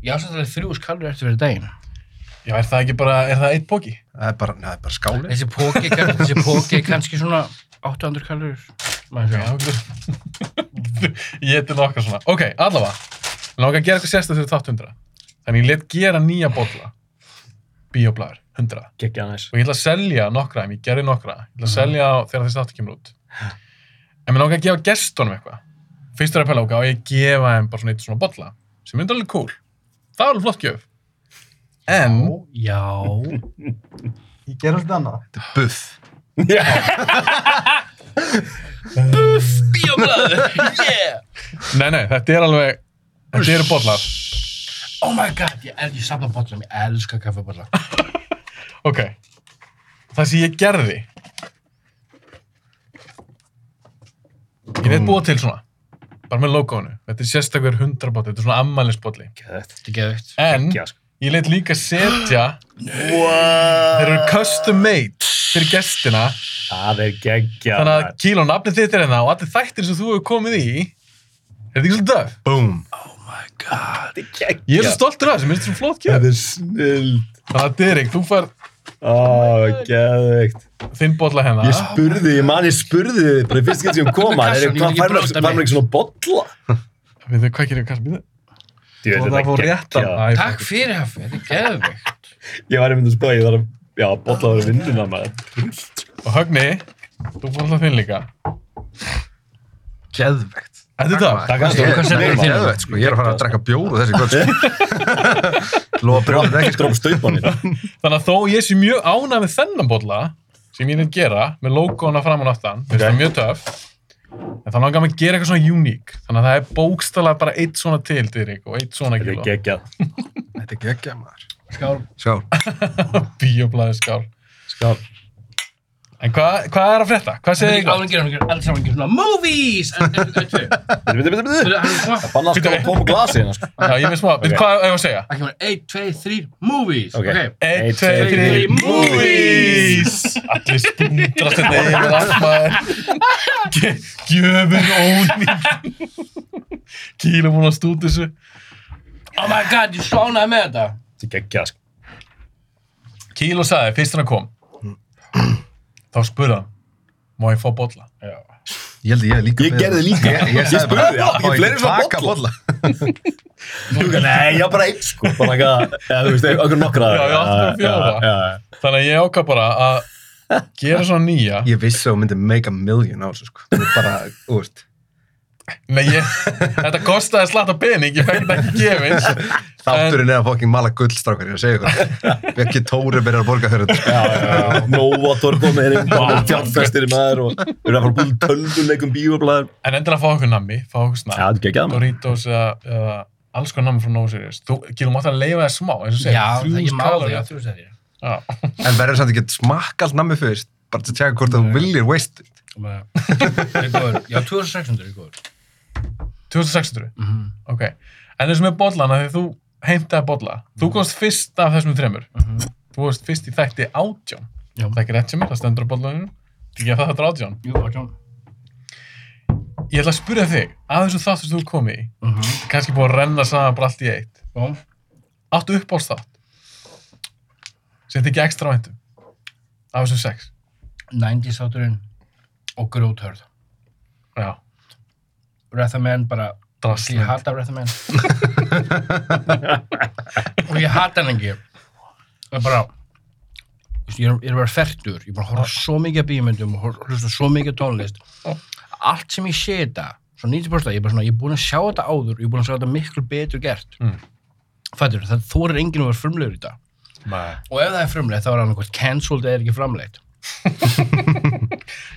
G: Ég ásætti alveg þrjú skalur eftir fyrir daginn.
A: Já, er það ekki bara, er það eitt bóki?
H: Það er bara, neða, það er bara skáli.
G: Þessi póki, er kann- þessi póki er kannski svona 800 kalur. Maður
A: Já,
G: sjá.
A: getur. ég heiti nokkar svona. Ok, allavega. Mér langar að gera eitthvað sérstaklega fyrir 800. Þannig ég let gera nýja bolla. Bíoblæður, 100.
E: Gekkja næs.
A: og ég ætla að selja nokkra þeim, ég gerði nokkra ég ætla að selja á- þegar þessi þáttu kemur út en mér langar að gefa gestunum eitthvað fyrst er að pæla okkar og ég gefa þeim bara svona eitt svona bolla sem er alveg cool það er alveg flott gjöf en
G: Já.
H: Ég ger alltaf annað. Þetta er buff.
G: Bíoblaður, yeah!
A: nei nei, þetta er alveg þetta eru bollar
G: Oh my god, ég, el, ég safna bollum, ég elska kaffebólla.
A: ok það sem ég gerði ég
E: Mm.
A: veit búa til svona bara með logoinu þetta er sérstakur 100 bolli, þetta er svona ammælisbolli
G: Þetta er geðvikt.
A: en
E: Já, sko.
A: Ég leitt líka setja Þeir eru custom made fyrir gestina
E: Það er gekkja.
A: Þannig að kíló nafnið þitt er hérna og allir þættir sem þú hefur komið í Er þetta ekki svolítið döf?
H: Boom.
E: það er gekkja.
A: Ég er svo stoltur af þessu, mér finnst þetta svo flott
E: Það
A: gjöf
E: er snillt.
A: Þannig að Derek, þú fær
E: Ó, geðveikt.
A: þinn bolla hérna
E: Ég spurði, ég man, ég spurði þið bara í fyrst getur sem hún koma.
G: Kassan,
E: Er
G: ég vil
E: hvað
G: ekki
E: fær
G: blóta
E: maður fær
G: mig.
E: maður ekki svona bolla?
A: Við þau, hvað gerir við kannski?
E: Þú
A: Og það fór réttan Æ,
G: Takk fyrir hafi, þetta er geðvikt.
E: Ég var einmitt að spöða, ég þarf að, já, bolla var að vinnuna maður.
A: Og Högni, þú fór alltaf þinn líka
H: Geðvegt.
A: Þetta er döf
E: Takk að stóra, hvað sem
H: Nei,
E: er
H: ekki
E: það?
H: geðvegt, sko. Ég er að fara að drekka bjór og þessi kvöld, sko. Lóa brjóðið ekki, sko.
E: Dróf staupanir.
A: Þannig að þó ég sé mjög ánað með þennan bolla sem ég nefn gera með logoðuna fram og náttan okay. það er mjög töf en þannig að maður gera eitthvað svona uník þannig að það er bókstala bara eitt svona til Dyrik, og eitt svona
E: Þetta er
A: kíló
E: gekkja.
H: Þetta er geggja, maður.
G: Skál.
H: Sjá.
A: bíoblæði skál
E: Skál.
A: En hvað hva er að frétta? Hvað segir þið?
G: Áður en gerum við allir saman ekki svona movies! En þetta er tvö.
E: Bíddu, bíddu, bíddu, bíddu.
G: Þetta er hvað?
E: Banna að skala tóma glasi hérna, sko.
A: Já, ég veist maður, okay. hvað er að segja?
G: Það kemur 1, 2, 3, movies.
E: Ok.
G: Ok.
A: 1,
E: Eitt,
A: 2, 3,
E: tveir,
G: þrír,
A: movies! Allir spundrast þetta yfir allt maður. Gj- Gjöfur ónýtt. Kílum hún að stúti þessu.
G: Oh my god, ég svánaði með þetta.
E: Þetta er gekkja, sko.
A: Kíl og sagði, fyrst hann kom þá spurði hann má ég fá bolla?
H: Ég held að ég hef líka
E: Ég
H: beðið.
E: gerði líka.
H: Ég,
E: Ég
H: ég sagði bara,
E: spurði, já,
H: "Má
E: ég fleiri svona
H: taka
E: bolla?" Nei, ég var bara einn, sko. Bara eitthvað, eða þú veist, okkur nokkra.
A: Já, já, allt bara fjóra.
E: Já, já, já.
A: Þannig að ég ákvað bara að gera svona nýja
H: Ég vissi að hún myndi make a million á þessu, sko. Þú er bara, þú veist,
A: Nei, ég, þetta kostaði slatta pening ég fekk þetta ekki gefins
H: þátturinn er að fokking mala gullstrákar, ég er að segja ykkur. Vekki Tóri byrjar að borga fyrir þetta. sko.
E: Já, já, já. Nóvator komið hérna inn, bara fjárfestir í maður og við erum að fara að búið tölvuleikum bíoblæður.
A: en endilega fá okkur nammi, fá okkur
E: Já,
A: snakk
E: þetta er geggjað maður.
A: Doritos eða, eða alls konar nammi frá No Serious þú gilum átt að leifa það smá eins og segir,
G: Já, það ég má það, já,
A: kaloríur.
G: þrjú sæðir.
A: Já.
H: En verður samt ekki að smakka allt nammi fyrst, bara til að tjaka hvort að þú viljir waste it.
G: Ég er góður. Já, 2600 er góður.
A: 2600,
G: Mhm.
A: ok en eins og með bollan, af því þú heimtaði bolla
G: Mhm.
A: þú komst fyrst af þessum þremur þú varst fyrst í þætti átján
G: Já.
A: það er ekki rétt sem er, það stendur á bollanum ég að það þetta er átján
G: Jú, átján.
A: ég ætla að spyrja þig, að þessu þáttu sem þú komið í
G: Mhm.
A: þetta er kannski búið að renna saman bara allt í eitt
G: Já.
A: áttu uppáhaldsþátt sem þið ekki ekstra væntum af þessum sex
G: 90s átturinn og gróthörð.
A: já,
G: Rathaman bara, ég
A: drastlið
G: hata Rathaman. og ég hata hann ekki. Það er bara, þú veist, ég er, ég er bara færtur, ég er bara að horfa á svo mikið af bímyndum og hor- hlusta á svo mikið tónlist. Allt sem ég sé þetta, svo 90% ég er bara svona, ég er búin að sjá þetta áður, ég er búin að sjá þetta miklu betur gert.
A: Mm.
G: Fættur, það þorir enginn að vera frumlegur í dag. Og ef það er frumlegt, þá er hann eitthvað cancelled eða er ekki framlegt.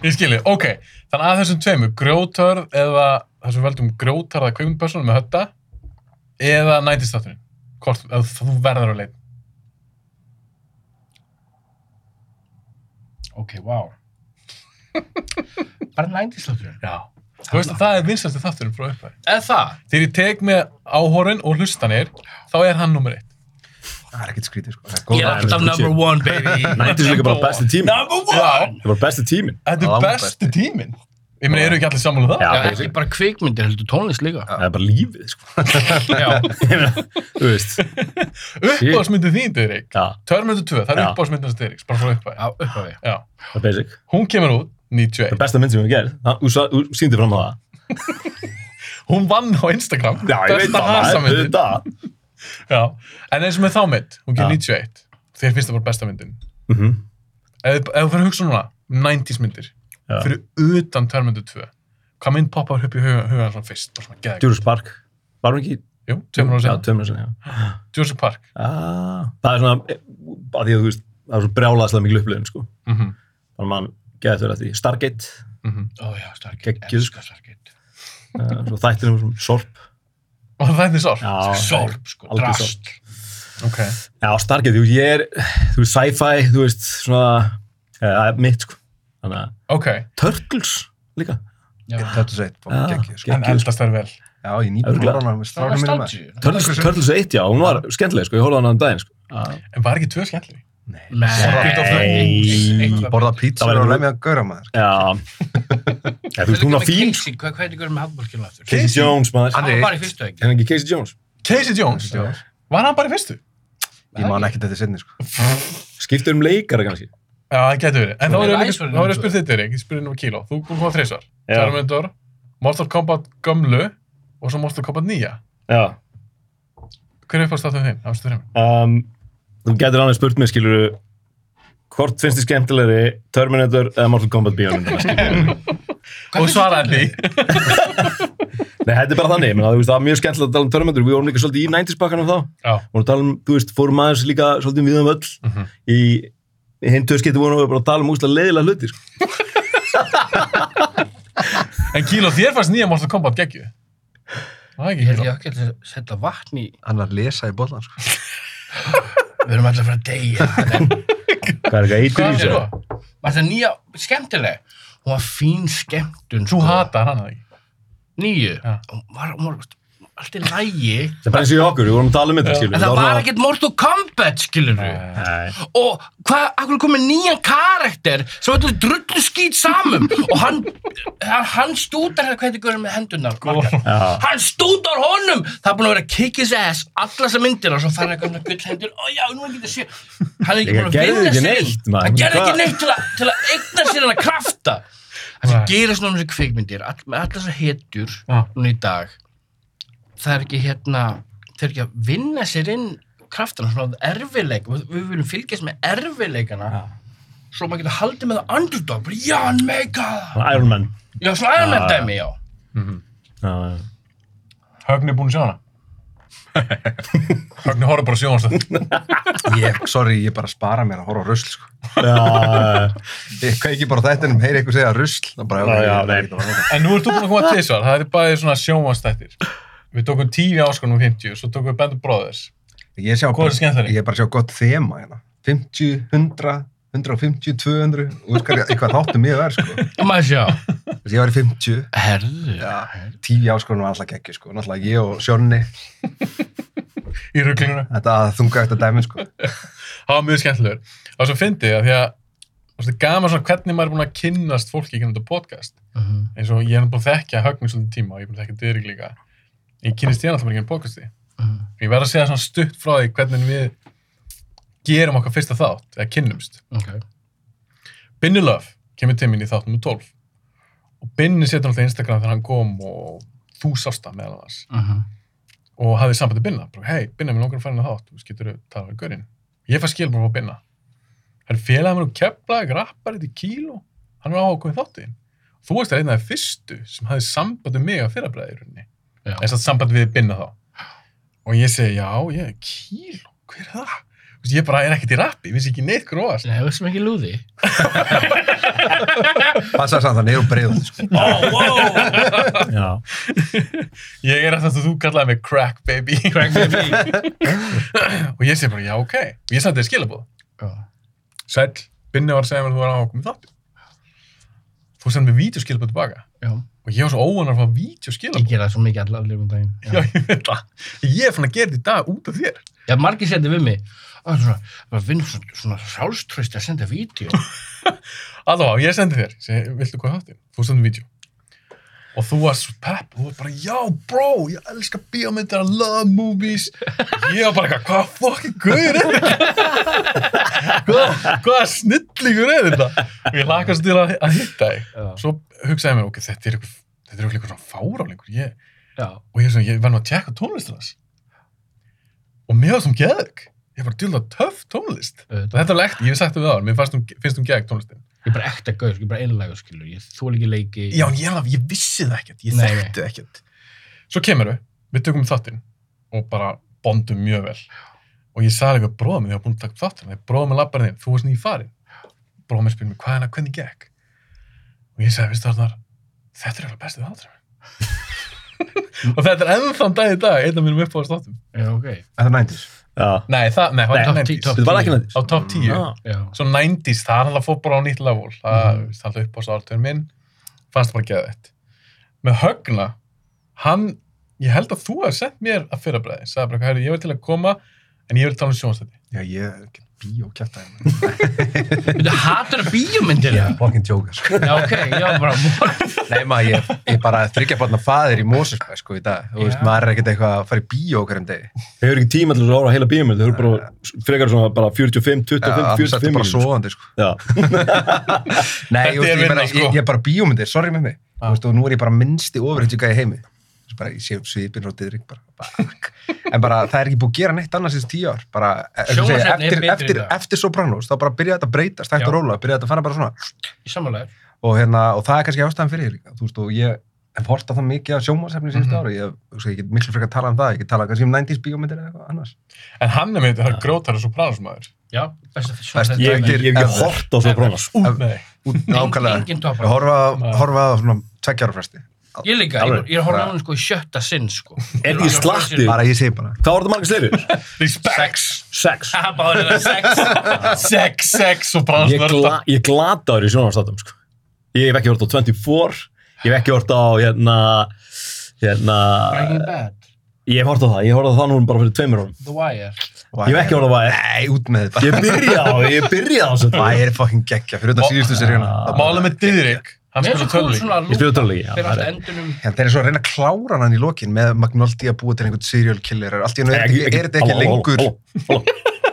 A: ég skilji, ok, þannig að þessum tveimur grjótörð eða þessum veldum grjótarða kveimundpersonum með hötta eða næntistátturinn hvort eða þú verður að leita
G: Ok, wow. bara 90s átturinn.
A: já, þú veist að það er vinsælti þátturinn frá upphæði
G: Eða það?
A: þegar ég tek með áhorun og hlustanir þá er hann nummer eitt
H: það er ekkert skrítið sko. Það
G: Get
H: er góð
G: up to
H: aðeins.
G: number one, baby
I: Nættis
E: sko,
I: líka bara besti tíminn.
G: Number one
I: Það var besti tíminn.
A: Þetta er besti tíminn. Ég meina, eru ekki allir sammála um það?
I: Já,
G: Já,
I: basic.
G: ekki bara kvikmyndir, heldur tónlist líka
I: það er bara lífið, sko.
G: Já,
I: Þú veist.
A: Uppáðsmyndið þín, Dyrik.
I: Já,
A: Terminator 2, það er
I: Já.
A: uppáðsmyndið hans Dyriks, bara frá uppæði.
G: á upphafi
A: Já.
I: það er basic.
A: Hún kemur út,
I: Það er
A: 91.
I: besta mynd sem við gerð. Það- Þú sa- þú sýndir fram á það.
A: Hún vann á Instagram. Besta hasamyndin.
I: Þetta.
A: Já, en eins og með þá mynd, hún
I: Já.
A: kemur 91. Þér finnst það bara besta myndin.
I: Mhm.
A: Ef ef þú fyrir að hugsa núna, 90s myndir,
I: Já.
A: fyrir utan Terminator 2, hvað mynd poppar upp í huga, huga svona fyrst? Bara svona geðveikt.
I: Jurassic Park. Var hún ekki?
A: Jú, tveimur ára
I: Já,
A: sen.
I: tveimur ára sinni, já.
A: Jurassic Park.
I: Ah, það er svona, að því að þú veist, það er svo brjálaðslega mikil upplifin, sko.
A: Mm -hmm.
I: Þannig að mann getur þetta því. Stargate,
G: Ó já, Stargate,
I: Geggjuð.
G: elskar Stargate
I: uh, svo þættinum sem Sorp.
A: Og það er því sorg.
I: Já,
G: Sorp, sko,
I: Algjör
G: drast
A: Ok.
I: Já, Stargate, þú veist, ég er, þú veist, sci-fi, þú veist, svona, eh, það er mitt, sko. Þannig að
A: Ok,
I: Turtles líka.
H: Turtles 1, bara
I: Já.
H: geggjuð, sko.
I: Geggjur.
A: en eldast þær vel.
H: Já, ég nýpur
I: Örugglega.
H: hláran á með
G: Það var
H: strákan mínum að.
G: státtíu
I: Turtles, Turtles 1, já, hún var skemmtileg, sko, ég horfði á hana um daginn, sko.
G: Ah,
A: En var ekki tvö skemmtli?
H: Ég borða pizza
I: Það var
H: og
I: einhver-
H: lemja að gaura maður. sko.
I: Já, já þú veist, hún var fín, sko.
G: Hvað hvað heitir görum með handbólkinu aftur?
I: Casey Jones, maður.
G: Hann
H: er
G: var bara í fyrstu ekki
I: Er hann ekki Casey Jones?
A: Casey Jones. Var hann bara í fyrstu?
H: Ég man ekkert þetta sinni, sko.
I: Skiptir um leikara, kannski.
A: Já, það getur verið. En þá er
G: Nei,
A: ég
G: Lies
A: líka-
G: var
A: þá er ég að
G: í
A: spyrja þitt, Erik. Ég spyrir nú kíló. Þú kom hvað þreysar. Terminator, Mortal Kombat gömlu og svo Mortal Kombat nýja.
I: Já.
A: Hver er uppáðst þáttum þeim? Ástu þreim.
I: um, þú getur annað spurt mig skilur hvort finnst þið skemmtilegri Terminator eða Mortal Kombat bíómyndina skilurðu?
A: Og svaraði því.
I: nei, þetta er bara þannig, menn, þú veist, það var mjög skemmtilegt að tala um Terminator við vorum líka svolítið í 90s bakkanum þá
A: Já.
I: vorum að tala um, þú veist, fórum aðeins líka svolítið um viðan völl
A: Mhm.
I: í hinn töskiti vorum við bara að tala um úslega leiðilega hluti sko.
A: En kíló, þér fannst nýja Mortal Kombat geggju. Það er ekki
G: Ég held
A: kíló.
G: ég ekki að setja vatn í
H: Hann er að lesa í bollan, sko.
G: Við erum alltaf að fara að deyja þetta er-
I: hvað er eitthvað
A: Hvað
I: eitir í
A: er
I: þessu?
A: það?
G: Var þetta nýja, skemmtileg Hún var fín skemmtun
A: Þú hatar hann það ekki.
G: Nýju
A: Já.
G: Hún var, hún var allt í lægi
I: það er bara eins og í okkur, við vorum að tala um þetta skilur
G: En það var ekkert Mortal Kombat, skilur við
I: Nei.
G: og hvað, akkur komið nýjan karakter sem öllu drullu skýt samum og hann, hann stútar hvað heitir guður með hendunar
I: Já.
G: hann stútar honum það er búin að vera að kick his ass alla þessa myndir og svo fær hann eitthvað með gull hendur og já, nú er ekki það sé hann er ekki
I: Líka
G: búin að
I: gerði
G: vinna sér
I: ekki neitt,
G: neitt
I: maður.
G: hann gerði
I: Hvað?
G: ekki neitt til að, til að eigna sér hann að krafta það sem gerist núna um þessu kvikmyndir all, með alla þessa hetjur
A: Já.
G: núna í dag það er ekki hérna það er ekki að vinna sér inn kraftana, svona erfileik við, við viljum fylgjast með erfileikana svo maður getur haldið með það underdog bara, já, hann meika það
I: Iron Man
G: já, svona Iron Man
I: Já, já.
G: dæmi, já
I: Já, já.
A: Högni er búinn að sjá hana. Högni horfður bara sjónastöð.
H: Ég, sorry, ég bara spara mér að horfa á rusl, sko.
I: Já,
H: Ég kveiki bara á þættinum, heyri eitthvað segja rusl. Það bara,
I: Já,
H: ok,
I: já,
H: ég er
I: nei.
H: ekkert að horfa á það.
A: En nú ertu búinn að koma til þessar. Það er bara svona sjónastættir. Við tókum tíu áskonum 50, svo tókum við Band of Brothers.
H: Ég sjá
A: Hvor er skemmtilegri?
H: Ég er bara að sjá gott þema, hérna. 50, 100, 150, 200. Og þú veist hvað- hvað þáttum ég verð, sko.
G: maður sjá
H: Þú veist, Ég var í 50.
G: herðu,
H: Já, tíu áskorunum var alltaf geggju sko, náttúrulega ég og Sjónni,
A: Í ruglinguna.
H: þetta að þunga eftir dæmi sko.
A: Það var mjög skemmtilegur. Það var svo fyndið að því að það er gaman svona hvernig maður er búinn að kynnast fólki í kynna þetta podcast.
G: Mhm.
A: Eins og ég er búinn að þekkja högnum svolítið tíma og ég er búinn að þekkja dyrir líka. Ég kynnist hérna alltaf bara í kynna podcasti.
G: Mhm.
A: Ég verð að segja svona stutt frá því hvernig við gerum okkar fyrsta þátt, eða kynnumst.
G: ok
A: Binni Love kemur til mín í þátt nr. 12 og Binni setur alltaf Instagram þegar hann kom og þú sást það meðal annars
G: Mhm.
A: og hafði sambandi Binna, bara, hei, Binna, mér langar að fara inn á þátt, þú getur að tala við Görinn. Ég fæ skil bara á Binna. Það er félagið mér og keflaði, grappar þetta í kíló, hann var áhuga í þáttiðin. Þú veist það einn af þeir fyrstu sem hafði sambandi mig á fyrrabræði í rauninni.
G: Já.
A: Þess að sambandi við Binna þá. Og ég segi, já, ég, kíló, hver er það? Þú veist, Ég bara er ekkert í rappi, ég vissi ekki neitt gróðast.
G: Nei, það sem ekki lúði
H: Passa samt þannig, ég er breið sko.
I: já.
A: Ég er alltaf, þú kallaði mig crack baby. Crack baby. og ég segi bara, já, ok. Og ég sendi þér skilabóð. Sæll, Binni var að segja mér að þú var áhuga með þáttu. Þú sendið mér vídeoskilabóð tilbaka.
G: Já.
A: og ég var svo óanar frá
G: Ég
A: vídeoskilabóð
G: gera það svo mikið allar allir um daginn.
A: Já, ég veit það. Ég er fann að gera þetta í dag út af þér.
G: Já, margir sendi við mig. Það er svona, það finnur svona, svona sjálfströsti að senda vídeo.
A: Allavega, ég sendi þér. Ég segi, viltu hvað þáttir? Þú sendir vídeo. Og þú varst svo pepp, þú varst bara, já, bro, ég elska bíómyndir, I love movies. Ég var bara eitthvað, hvað fucking guður er þetta? hvað, hvaða snillingur er þetta? Og ég lakast til að, að hitta þig. Svo hugsaði ég mér, ok, þetta er eitthvað, þetta er eitthvað svona fárálingur. Ég,
G: Já.
A: og ég, er svona, ég var nú að tjekka tónlistina hans og mér var sem geðug ég var djúlega töff tónlist
G: Auðvitað.
A: þetta er lekt, ég hef sagt það við áður, mér fannst hún, finnst hún geðug tónlistin
G: Ég er bara ekta gaur, sko, ég er bara einlega, skilur. Ég þól ekki leiki.
A: já, en ég, er alveg- ég vissi það ekkert, ég
G: Nei,
A: þekkti það ekkert svo kemur við, við tökum þáttinn og bara bondum mjög vel og ég sagði eitthvað bróðum minn, ég var búin að taka upp þáttinn ég bróðum minn labbarinn þinn, þú varst nýfarin farin bróðum minn spyrir mig, hvað er það, hvernig gekk og ég sagði, veistu Arnar þetta er eitthvað bestið þátturinn minn." og þetta er ennþann dag í dag einn af mínum uppáðast
G: Já, ok.
H: Þetta er 90s.
B: Já.
A: Nei, það, nei, það var
G: Top
A: top
G: 10,
A: 90s.
B: Þetta var ekki
A: Á
B: nættis.
A: top 10.
G: Já. Mhm.
A: Svo 90s, það er alltaf fór bara á nýtt level. Það mm -hmm. er alltaf upp á sártöður minn. Fannst bara geða þetta. Með Högna, hann, ég held að þú hefði sendt mér að fyrrabræði. Sagði bara, herri, ég var til að koma, en ég vil tala um sjónstætti.
H: Já, ég er ekki bíó kjæft aðeins.
G: Þú hatar bíómyndir. Já.
H: Fucking joker, sko.
G: Já, ok. Já, bara mor.
H: Nei, maður, ég, ég er bara þryggja barna faðir í Mósusbæ, sko, í dag. Þú veist, maður er ekkert eitthvað að fara í bíó hverjum degi.
B: Þau eru ekki tíma til að hóra heila bíumil, þau eru bara frekar svona bara 45, 25,
H: annars ertu
B: 45
H: bara
B: mínútur, sko.
H: svoðandi, sko.
B: Já,
H: Nei,
A: Þetta
H: ég,
A: er
H: veist, ég,
A: vinna,
H: bara,
A: sko.
H: ég, ég er bara bíómyndir, sorry með mig. Þú veist, og nú er ég bara minnsti ofurhundjúka í heimi. Þú veist, bara, ég sé svipin og diðrik bara, bak. En bara, það er ekki búið að gera neitt annars þessi tíu ár. Bara, eins og ég segi,
G: Sjónvarpsefni er
H: eftir,
G: betra í
H: eftir,
G: dag.
H: eftir Sopranos, þá bara byrjaði þetta að breytast, hægt
G: Já.
H: og róla, byrjaði þetta að fara bara svona.
G: Í samanlegar.
H: Og, hérna, og það er kannski ástæðan fyrir þér líka. Þú veist, og ég hef horta það mikið af sjónvarsefni síðustu mm
A: Mhm.
H: ára. Ég, þú veist, ég get miklu frekar að tala um það, ég get tala kannski um 90s bíómyndir eða eitthvað annars.
A: En hann er með þetta grótari sopranosmaður.
G: Já. Besta fyrir
H: Best-
B: ég hef
H: Þetta er-
B: ekki- ég hef ekki hort á svo brónas.
A: Út með þig.
H: Út- Nákvæmlega.
G: Engin
H: Ég
G: topar.
H: horfa
A: Nei.
H: horfa á svona tveggjára fresti.
G: Ég líka, ég,
B: Alveg.
G: ég horfði á hún sko í sjötta sinn, sko.
B: En ég slatti.
H: Bara ég segi bara.
B: Hvað var þetta margir sleirur?
A: Respects.
B: Sex.
G: Það báði það sex.
A: Sex, sex
B: Ég,
A: sopranosmaður.
B: gla, ég glataður í sjónarstáttum sko. Ég hef ekki hort á 24 Ég hef ekki hort á hérna hérna
G: Breaking Bad,
B: Ég hef hort á það, ég hef hort á það núna bara fyrir tveimur árum
G: The Wire.
B: Ég hef ekki hort á það
H: Nei, út með þetta.
B: Ég byrja á, ég byrja á þessu
H: Það er fucking geggja, fyrir utan síðustu seríuna.
A: Málið með Didrik, hann
G: Ah. Mér
A: spilur
G: finnst þú
A: tölvík.
G: svona
B: Ég
G: lúk,
B: spila törleiki, já
G: fyrir
B: það
G: alltaf
B: er-
G: endunum.
H: En Hérna, þeir eru svo að reyna að klára hann í lokin með Magnoldi að búa til einhvern serial killer. Allt í hennu er
B: Nei,
H: þetta ekki, er þetta ekki
B: halló, halló,
H: lengur,
B: halló, halló.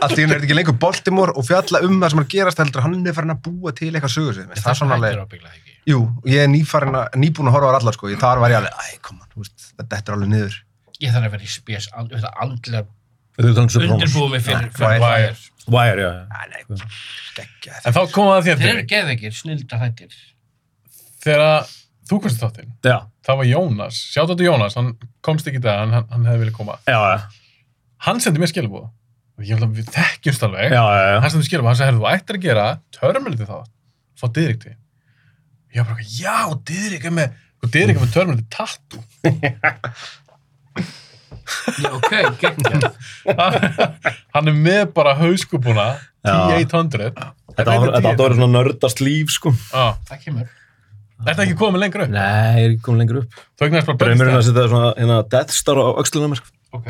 H: allt í hennu er þetta ekki lengur Baltimore og fjalla um það sem er að gerast heldur. Hann er farin að búa til eitthvað sögursvið. Það er svona alveg,
G: ábygglega ekki.
H: jú, ég er nýfarin að, nýbúin að horfa á þær allar sko. Ég þar var ég alveg, æ, koma, þú veist, þetta er alveg niður.
G: Ég þarf að vera í spes, and, þetta andlega
B: Þetta er þannig Sopranos
G: undirbúið mig fyrir,
H: Wire.
G: fyrir Wire.
B: Wire, já, já
H: Æ, nei, geggja.
A: En þá komum við að þér,
G: Þeir eru
A: Didrik.
G: geðveikir, snilda þættir.
A: Þegar þú komst í þáttinn,
B: Já,
A: það var Jónas. Sjátt áttu Jónas, hann komst ekki í dag, en hann, hann hefði viljað koma.
B: já, já,
A: hann sendi mér skilabóð og ég held að við þekkjumst alveg
B: já, já, já.
A: hann sendi mér skilabóð, hann sagði, "Heyrðu, þú ættir að gera Terminator þá, fá Didrik til ég var bara, eitthvað, já, Didrik er með og Didrik er með Terminator tattoo
G: Já, ok, gegn.
A: hann hann er með bara hauskupuna
B: Já.
A: T-800
B: Þetta var- þetta átti að
A: var
B: vera svona nördast líf sko
G: Það kemur.
A: þetta ekki komið lengur upp
B: Nei, ég er ekki komin lengur upp
A: þú eignast bara
B: Draumurinn að
A: börnstæð
B: setja svona hérna, Death Star á öxlunum sko.
G: Ok,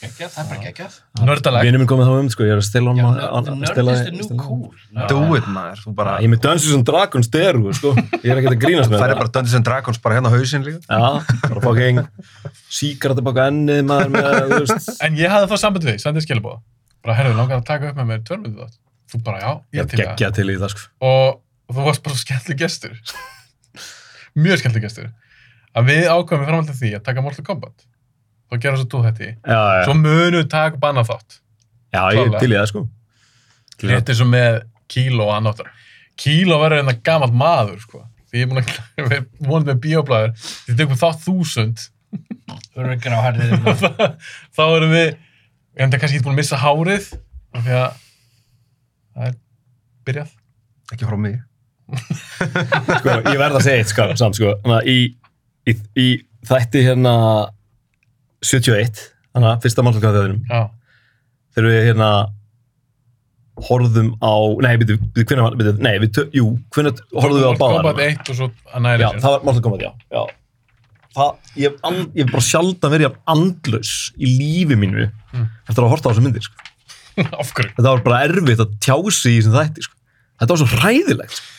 G: geggjað, það er bara geggjað.
A: nördaleg
B: Vinur minn komið þá um, sko, ég er að stela
G: Já,
B: honum
G: nörd-
B: að- að- stela-
G: nördist er nú
B: stela-
G: cool.
H: Do
G: Nörd-
H: it, maður. Þú bara,
B: Ég er með Dungeons and Dragons deru, sko. Ég er ekkert að grínast með
H: það er bara Dungeons and Dragons bara hérna á hausin líka.
B: Já, bara fucking síkarta baka ennið maður með, þú veist.
A: en ég hafði það samband við, sendið skilabóð bara, herðu, langar að taka upp með mér Terminator þátt." þú bara, já,
B: Ég
A: ég er til í það."
B: geggja til í það, sko.
A: og, og þú varst bara svo skemmtileg gestur mjög skemmtileg gestur að við ákveðum við framhaldið því að taka Mortal Kombat þá gera svo þú þetta í
B: Já, já,
A: svo munum við taka upp annað þátt
B: já, ég er til í það, sko.
A: þetta er svo með kíló og annáttar kíló verður en það gamalt maður sko. því ég er búin að við erum vonandi með bíóblæður því tökum þátt þúsund
G: Þú eru ekki á harrið.
A: þá erum við ég enda kannski ekki búin að missa hárið af því að það er byrjað
H: Ekki frá mig.
B: Sko, ég verð að segja eitt, sko, samt, sko. Þannig að í, í, í þætti hérna 71, þannig að fyrsta málsakaðaðinum,
A: já,
B: þegar við hérna
I: horfðum á, nei, byrju, byrju, hvernig var, byrju, nei, við, tö- jú, hvernig horfðum við á
A: Mortal Kombat
I: báðan?
A: 1 og svo
I: Já,
A: Annihilation.
I: það var Mortal Kombat, já. já. Það, ég, hef and, ég hef bara sjaldan verið jafn andlaus í lífi mínu eftir að horta á þessu myndir, sko.
A: Af hverju?
I: Þetta var bara erfitt að tjá sig í þessum þætti, sko. Þetta var svo hræðilegt, sko.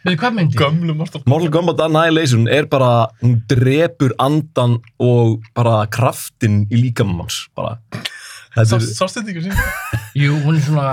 G: Við hvað myndi?
A: Gömlu Mortal Kombat.
I: Mortal Kombat Annihilation er bara, hún drepur andan og bara kraftin í líkamanns, bara. Þetta er,
A: Sástu þetta ekki síðan?
G: Jú, hún er svona,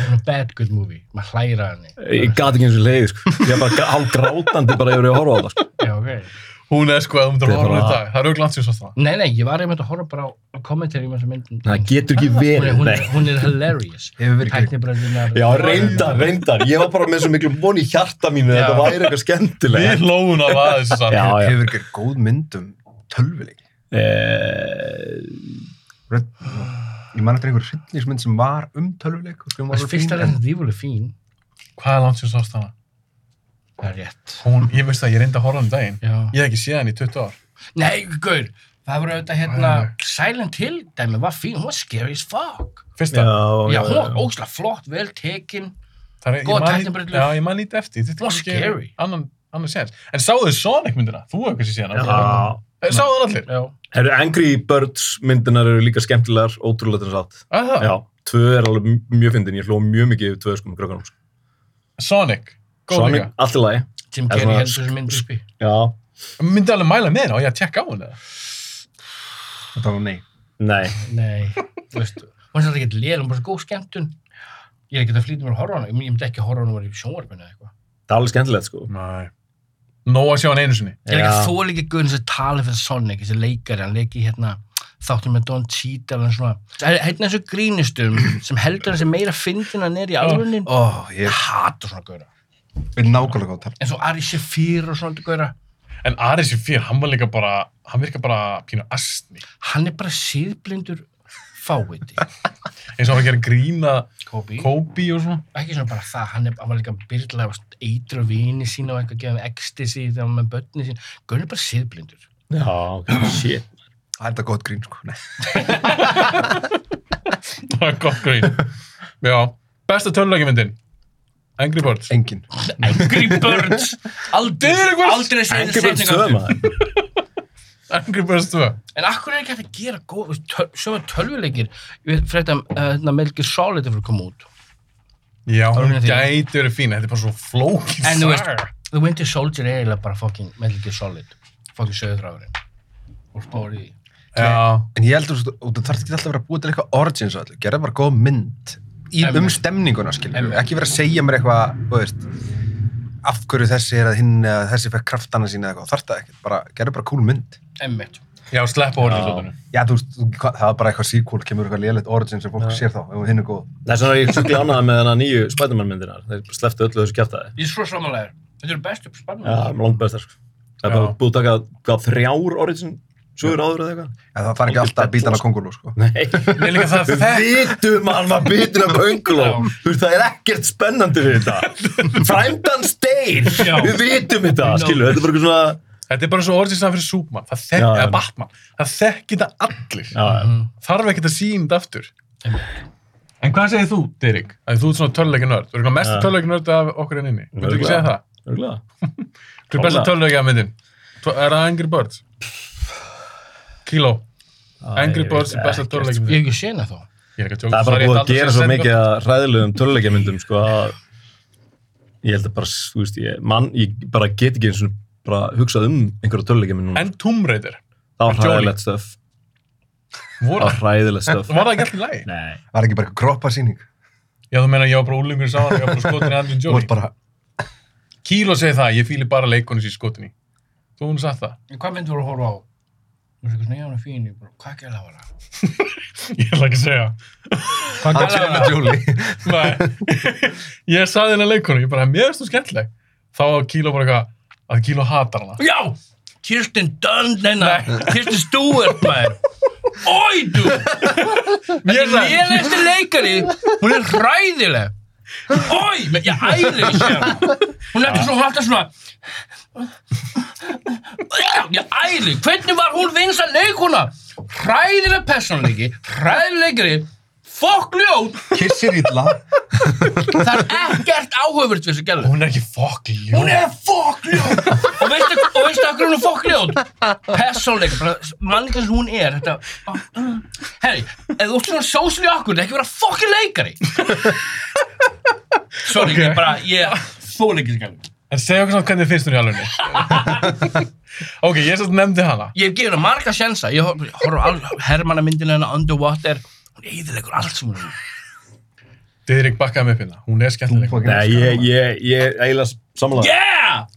G: hún er bad good movie. Maður hlæra henni.
I: ég gat ekki eins og leiði, sko. Ég er bara hálf grátandi bara yfir að horfa á það, sko.
G: Já, ok.
A: Hún er sko að hún
I: Þetta
A: er
I: er
A: horfður í
I: bara-
A: dag. Það eru glant sem sást það.
G: Nei, nei, ég var einmitt að horfa bara á kommentari um þessu myndin.
I: Það getur ekki
G: Hún er,
I: verið,
G: hún
I: nei.
G: er, hún er hilarious.
H: Hefur verið ekki-
G: Tæknibröndunar.
I: Já, reyndar, reyndar. Ég var bara með svo miklu von í hjarta mínu að
G: Já.
I: þetta væri eitthvað
A: Við
I: skemmtilegt.
A: hlóðum af aðeins þess að.
I: Já, já.
H: hefur ekki góð mynd um tölvuleik
I: Eh,
H: ég man eftir einhver hryllingsmynd sem var um tölvuleik og sem var
G: Þessi fyrsta
H: fín, en-
G: reynda dífuleg fín.
A: Hvað er langt sem sást það?
G: Það er rétt.
A: Hún, ég veist það, ég reyndi að horfa hann um daginn.
G: Já.
A: Ég hef ekki séð hann í 20 ár.
G: Nei, gaur. Það voru auðvitað hérna,
A: Nei.
G: Silent Hill dæmi var fín, hún var scary as fuck.
A: Fyrsta.
I: Já,
G: Já, hún
I: já.
G: var ógslag flott, vel tekin.
A: Það er, ég
G: Góð
A: man lít-
G: tæknibrellur.
A: Já, ég man lítið eftir. Þetta
G: Var scary.
A: Annan, annan séns. En sáðu þið Sonic myndina? Þú hefur kannski séð hana.
I: Já.
A: Eh, Sáðu það allir?
G: Já.
I: Herru, Angry Birds myndinar eru líka skemmtilegar, ótrúlega þess að.
A: Er það?
I: Já, tvö er alveg m- mjög fyndin, ég hló mjög mikið yfir tvö sko með krökkunum. sko.
A: Sonic. Góð
I: Sonic,
A: líka.
I: allt í lagi.
G: Jim
I: Er
G: Carrey
I: svona
G: heldur þessu mynd uppi.
I: Já,
A: Myndi alveg mæla með hana og ég að tjekka á hana.
H: þetta var nei
I: nei.
G: Nei, þú veist, hún er svolítið ekki lél, hún er bara svo góð skemmtun. Ég er ekki að flýta mér að horfa á hana, ég ég myndi ekki að horfa á hana ef hún var í sjónvarpinu eða eitthvað.
I: Það er alveg skemmtilegt, sko.
A: Nei. Nó að sjá hann einu sinni.
G: Ég er ekki
I: Já.
G: að þóla ekki gauðin sem tala fyrir Sonic, þessi leikari, hann leiki hérna þáttum með Don Cheadle og svona. Það er hérna þessu grínistum sem heldur þessi meira fyndin hann er í alvörunin.
H: ó, ég
G: Ég hata svona gauðra.
H: er nákvæmlega góð að tala
G: En svo Ari Shafir og svona gauðra,
A: En Ari Sifir, hann var líka bara, hann virka bara pínu astni.
G: hann er bara síðblindur fáviti.
A: Eins og hann var að gera grína
G: Kobi.
A: Kobe og svona.
G: Ekki svona bara það, hann, er, hann var líka byrðlega eitra vini sína og eitthvað að gefa hann ecstasy þegar hann var með börni sín. Gauðin er bara síðblindur.
I: Já, ok, shit.
H: það er þetta gott grín sko nei.
A: Það er gott grín. Já. Besta töluleikimyndin. Angry Birds.
H: engin
G: Angry Birds! Aldrei, aldrei segja
I: Angry Birds
G: setningu
I: tvö,
G: aftur.
I: maður.
A: Angry Birds 2.
G: En akkur er ekki hægt að gera góð, svo er um tölvuleikir, ég veit frétt að uh, hérna, Metal Gear Solid er fyrir að koma út.
A: Já, hún
G: Orðin þín.
A: gæti verið fín. Þetta er bara svo flókið.
G: En þú
A: saga.
G: veist, The Winter Soldier er eiginlega bara fucking Metal Gear Solid, fucking söðurþráðurinn. Og spáður í því.
A: Já.
H: en ég heldur að þú þarf ekki alltaf að vera að búa til eitthvað origins og allir, gerða bara góð mynd í,
G: Einmitt.
H: um stemninguna skilur
G: Einmitt.
H: ekki vera að segja mér eitthvað þú veist, af hverju þessi er að hinn eða þessi fekk kraftana sína eða eitthvað, þarf það ekkert bara, gerða bara cool mynd
G: Emmett.
A: Já, sleppa orðinslótunum.
H: já, þú veist, þú- hvað- það er bara eitthvað sequel, kemur eitthvað léleitt origin sem fólk sér þá, ef hún hinn er góð
I: Það er svona að ég er svo glánaði með þennan nýju Spiderman myndinar. Þeir bara slepptu öllu þessu kjæftæði.
G: Ég er svo samanlegar. Þetta eru bestu
I: Já,
G: spannum.
I: langt bestar, sko. Það er bara
A: Já.
I: búið að taka, hvað, þrjár origin sögur áður eða eitthvað?
H: Já, það þarf ekki
I: Algjör
H: alltaf að býta
I: deadpool,
H: hann á kongulú, sko.
I: Nei.
A: Mér líka það
I: Við
A: fekk.
I: vitum að hann var bitin af könguló. Þú veist, það er ekkert spennandi við þetta. Frændan steir.
G: Já.
I: Við vitum þetta,
G: No.
I: skilu. Þetta er bara eitthvað svona...
A: Þetta er bara svo orðinslótunum fyrir Superman. Það þekk,
I: Já, já.
A: eða Batman. Það þekk þetta allir.
I: Já, já.
A: Þarf ekki að sína þetta aftur. En hvað segir þú, Dirik? Að þú ert svona töluleikinörd. Þú eru mest
I: Já.
A: töluleikinörd af okkur enn inni. Þú ekki
I: Örugglega.
A: segja það?
I: Örugglega.
A: Hver er besta töluleikjamyndin? Er það Angry Birds? Kilo. Angry Birds er besta
G: Ég hef
A: töluleikjamyndin.
G: ekki séð hana þá.
A: Ég er ekki að tjóka.
I: Það er bara
A: Sorry, ég
I: búið að
A: ætla aldrei
I: gera svo
A: segja
I: mikið að ræðilegum töluleikjamyndum sko að ég held að bara, þú veist, ég, mann, ég bara get ekki eins og bara hugsað um einhverja
H: Mm.
I: töluleikjamynd núna.
A: En Tomb Raider.
I: Það var
A: Jolie.
I: hræðilegt stöf. Það
A: Voru
H: Ah.
I: var hræðilegt stöf.
A: Var það ekki alltaf í lagi?
I: Nei.
H: Var ekki bara eitthvað kroppasýning?
A: Já, þú meina, ég var bara úlingur sá hann, ég var bara skotin í Andrew
H: Þú ert
A: Jolie.
H: bara,
A: Kíló segir það, ég fýli bara leikonu sér skotin í. Þú hún sagt það.
G: En hvað mynd voru að horfa á? Þú veist eitthvað svona, já, hún er fín, ég bara, hvað gæla var það?
A: Ég ætla ekki að segja.
G: Hvað gæla var það?
H: Júli,
A: Nei. ég saði hennar leikonu, ég bara, mér finnst þú skemmtileg. Þá var Kíló bara eitthvað, að Kíló hatar hana.
G: Já! Kirsten Dunn, neina, Kirsten Stewart, maður. Oi, du! Þetta er
A: sagði-
G: lélegasti leikari. Hún er hræðileg. Oi, men- ég æði ekki hérna. Hún er ekki svo hún er alltaf svona... Ég æði, hvernig var hún vinsa leikuna? Hræðileg personleiki, hræðilegri, fokk ljót
H: Kissir illa
G: það er ekkert áhugavert við þessu gælu
A: Hún er ekki fokk ljó.
G: hún er fokk ljót og veistu og veistu okkur hún er fokk ljót persónleika, mannleika sem hún er þetta herri, ef þú ert svona sósli okkur það er ekki vera fokkin leikari sorry, ég bara ég þól ekki þessu gælu
A: En segja okkur samt hvernig þið finnst hún í alvegni. ok, ég satt nefndi hana.
G: ég hef gefið henni marga sjensa ég hor- horf á hermannamyndina hennar Underwater hún eðilegur allt sem hún er í.
A: Didrik bakkaði mig upp hérna. Hún er skemmtileg.
I: Nei, ég, ég, ég eiginlega samanlega.
G: yeah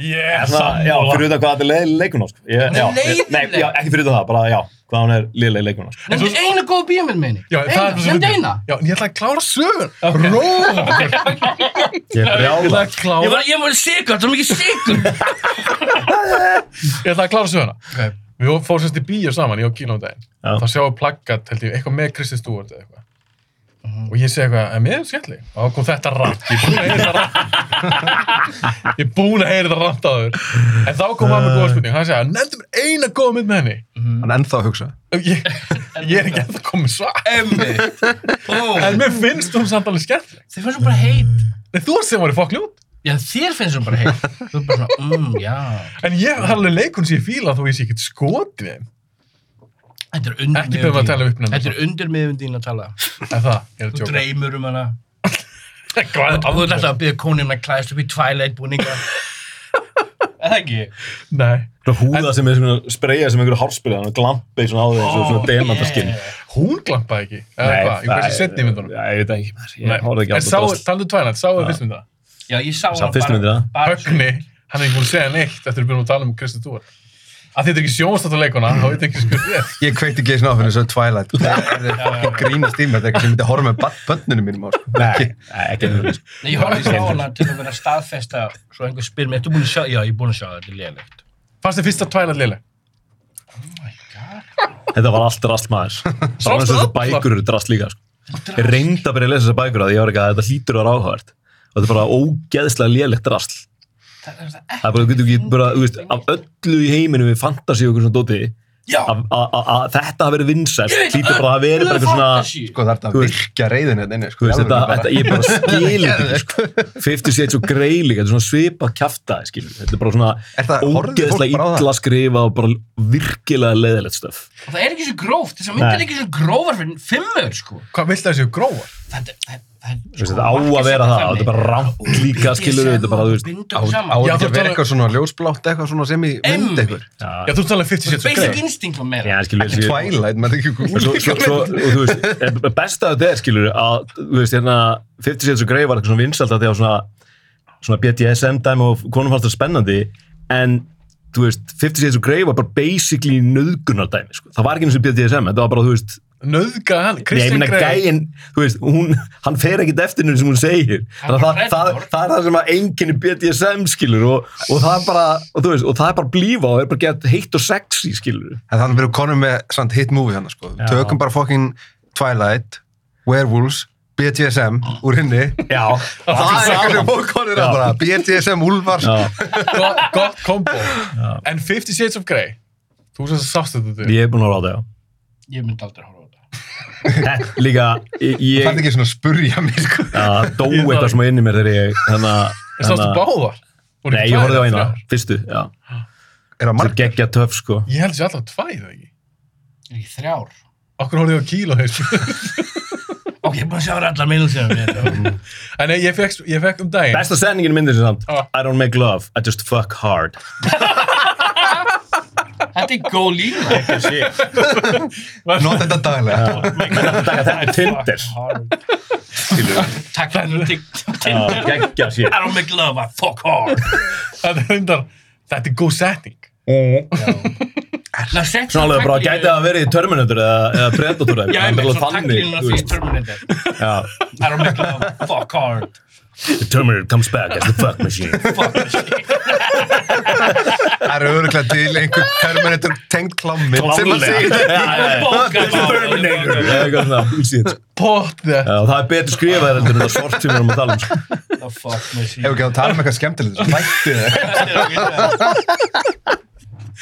A: Yes!
I: Svona, já, fyrir utan hvað þetta er leið leikuna, sko. Ég,
G: Hún er
I: já,
G: leiðinleg.
I: Nei, já, ekki fyrir utan það, bara, já, hvað hún er liðlega leikuna, sko.
G: nefndi eina góða bíómynd með henni
A: Já, það er bara
G: Eina,
A: svo
G: nefndi
A: fyndið.
G: eina
A: Já, en ég ætla að klára sögur. Okay. Róða!
I: Ég
A: Ég
I: er
A: ætla
I: brjála.
A: að klára
G: Ég var, ég var sigur, það var mikið sigur
A: ég ætla að klára söguna við fórum semst í bíó saman, ég og Kíló um daginn
I: Já.
A: þá sjáum við plaggat, held ég, eitthvað með Kristi Stúart eða eitthvað
G: Mhm.
A: og ég segi eitthvað, en mér er skemmtileg og þá kom þetta rant, ég er búinn að heyra þetta rant ég er búinn að heyra þetta rant áður en þá kom hann með góða spurning hann segja, nefndi mér eina góða mynd með henni
H: Hann er ennþá að hugsa
A: ég, ég er ekki að það komið svar en mér finnst hún samt alveg skemmtileg
G: Þið finnst hún bara heit
A: en þú sem var í fokk ljút
G: Já, þér finnst hún bara heit Þú er bara svona, mm, já
A: en ég það er alveg leikun sem ég fíla þó ég sé ekkert skotið í þeim.
G: Þetta er undir
A: Ekki beðum að tala upp nefnum.
G: Þetta er undir miðum þín að tala
A: en það, ég er að
G: Þú
A: tjóka
G: dreymur um hana
A: Hvað er
G: Og þú
A: aldrei?
G: ert alltaf að byrja konum að klæðast upp í Twilight búninga Eða ekki?
A: Nei.
I: Svona húða sem er svona spreyja sem einhverju hárspilið, hann glampið svona á því eins og svona demantaskinn.
A: hún glampaði ekki eða hvað, í hversu setni myndunum
I: Já, ég veit ekki, maður. Ég horfði ekki á
A: en sá,
I: þetta.
A: taldu Twilight, sáu þið fyrst mynda
G: Já, ég sá
I: Sá
G: hana
I: fyrstu myndina.
G: bara
A: Högni, hann er ekki búin að segja neitt eftir að byrja að tala um Kristi Dúar að þetta er ekki sjónastáttaleguna, þá veit ekki skur þér
H: Ég kveikti ekki svona á fyrir þessu Twilight Það er fokkin grínast í mér Þetta er eitthvað sem ég myndi að horfa með bönnunum mínum á sko. Ekki-
I: Nei, ekki sko. mjög.
G: Nei, ég horfði á hana til að vera staðfesta Svo einhver spyr mér, ertu búin að sjá? Já, ég er búin að sjá það, þetta er lélægt
A: fannst þið fyrsta Twilight liðleg?
I: Þetta var allt drast maður. Sástu
A: Sástu
I: allar? Þessar
A: allar?
I: bækur eru drast líka. Sko. Ég reyndi að byrja að lesa þessar bækur að ég var ekki að þetta hlýtur að vera áhugavert. Og þetta er bara ógeðslega lélegt drast. Það er bara, þú getur ekki bara, þú veist, af öllu í heiminum við fantasíu og okkur svona dóti,
G: Já,
I: að að- að- að þetta hafi verið vinsælt,
G: Ég veit,
I: hlýtur bara að verið bara eitthvað svona,
G: fantasy
H: Sko það er þetta
I: Þú
H: að
I: veist-
H: virkja reyðin hérna inni, sko,
I: þú veist,
H: í
I: þetta,
H: alvöru bara.
I: þetta, ég bara skil
H: Þetta er
I: þetta, sko. 50 Shades of Grey líka, þetta er svona svipað kjaftaði, skilur. Þetta er bara svona
H: Er það- horfði
I: ógeðslega
H: fólk bara á það?
I: illa skrifa og bara virkilega leiðilegt stöf.
G: Og það er ekki svo gróft, þess að myndir
I: Nei.
G: ekki svo grófar fyrir fimmur, sko.
A: hvað vilt það séu gróar?
G: Þetta, það, það,
I: Þú veist, þetta á að vera það, þetta er bara rámt líka, skilur þetta er bara, þú veist,
G: Bindur
H: Á
G: saman.
A: Já,
H: þetta ekki
A: þú
H: að vera
A: talar-
H: eitthvað svona ljósblátt eitthvað svona sem í
G: Einmitt.
H: mynd eitthvað
A: já, þú talaði 50 Shades of
G: Basic
A: Grey
G: instinct var meira.
I: já, skilur
H: Ekki Twilight, maður er ekki
I: Svo, svo, svo, og þú veist, eh, besta af þetta er, skilur, að, þú veist, hérna, 50 Shades of Grey var eitthvað svona vinsalt að því að svona, svona BDSM dæmi og konum fannst það spennandi, en, þú veist, 50 Shades of Grey var bara basically nöðgunar dæmi, sko. Það var ekki eins og BDSM, þetta var bara, þú veist,
A: nöðga hann,
I: Nei, ég
A: Kristen
I: meina
A: Grey
I: gæinn, þú veist, hún, hann fer ekkit eftir henni sem hún segir.
G: Hann
I: Þannig að
G: bara
I: það, það,
G: hræddur.
I: það er það sem að enginni BDSM skilur og, og það er bara, og þú veist, og það er bara blífa og er bara gett heitt og sexy skilur.
H: En þannig verður konum með samt hit movie hann sko.
I: Já.
H: Tökum bara fokkin Twilight Werewolves BDSM úr henni
I: Já.
H: Það er eitthvað sem fólk konur að
I: Já.
H: bara BDSM Úlfar
I: Já,
A: Go- gott kombo en 50 Shades of Grey þú sem sást þetta til
I: ég er búin að ráða, já.
G: Ég myndi aldrei horfa á þetta.
I: Þetta- Líka, ég,
H: Það er
I: ég
H: ekki svona að spurja mig sko.
I: að dó
A: Ég þarf-
I: eitthvað sem var inn í mér þegar ég, þannig að,
A: en sástu báðar Voru
I: nei,
A: ekki
I: ég
A: tvær
I: horfði á
A: eða
I: eina,
A: þrjár?
I: fyrstu, já.
H: Er það
I: Svo
H: marg?
I: geggja töf, sko.
A: ég held sér alltaf tvær eða ekki
G: Er ekki þrjár?
A: okkur horfði ég á Kíló heyrðu.
G: Ok, ég er búin að sjá þér allar minnum sem við erum.
A: en ég fekk, ég fekk um daginn
I: Besta sendingin myndir sem samt,
A: Já.
I: I don't make love, I just fuck hard.
G: Þetta er góð lína.
H: Nótt þetta daglega
I: Þetta er Tinder,
G: Takk fyrir TikTok.
I: geggja sér.
G: I don't make love, I fuck hard.
A: þetta er undar þetta er góð setning
G: Ná, sex
I: Svona alveg bara gæti að vera í Terminator eða, eða Predator eða
G: Já, ég
I: eitthvað.
G: með
I: Þetta er
G: svona
I: alveg þannig,
G: taglínuna
I: þú
G: því
I: veist.
G: Terminator.
I: Já.
G: I don't make love, fuck hard.
I: The Terminator comes back as the fuck machine.
G: Fuck this shit.
H: Það eru öruglega til einhver Terminator tengd klammi sem að
I: Klárlega.
H: segja
I: Já, já, já.
G: Bókað á.
I: Terminator. Já, eitthvað svona, bullshit.
A: pott
I: Já, og Það er betur skrifað heldur en það svort sem við erum að tala um. sko.
G: The fuck machine.
H: Ef ekki að tala um eitthvað skemmtilegt svo Mætti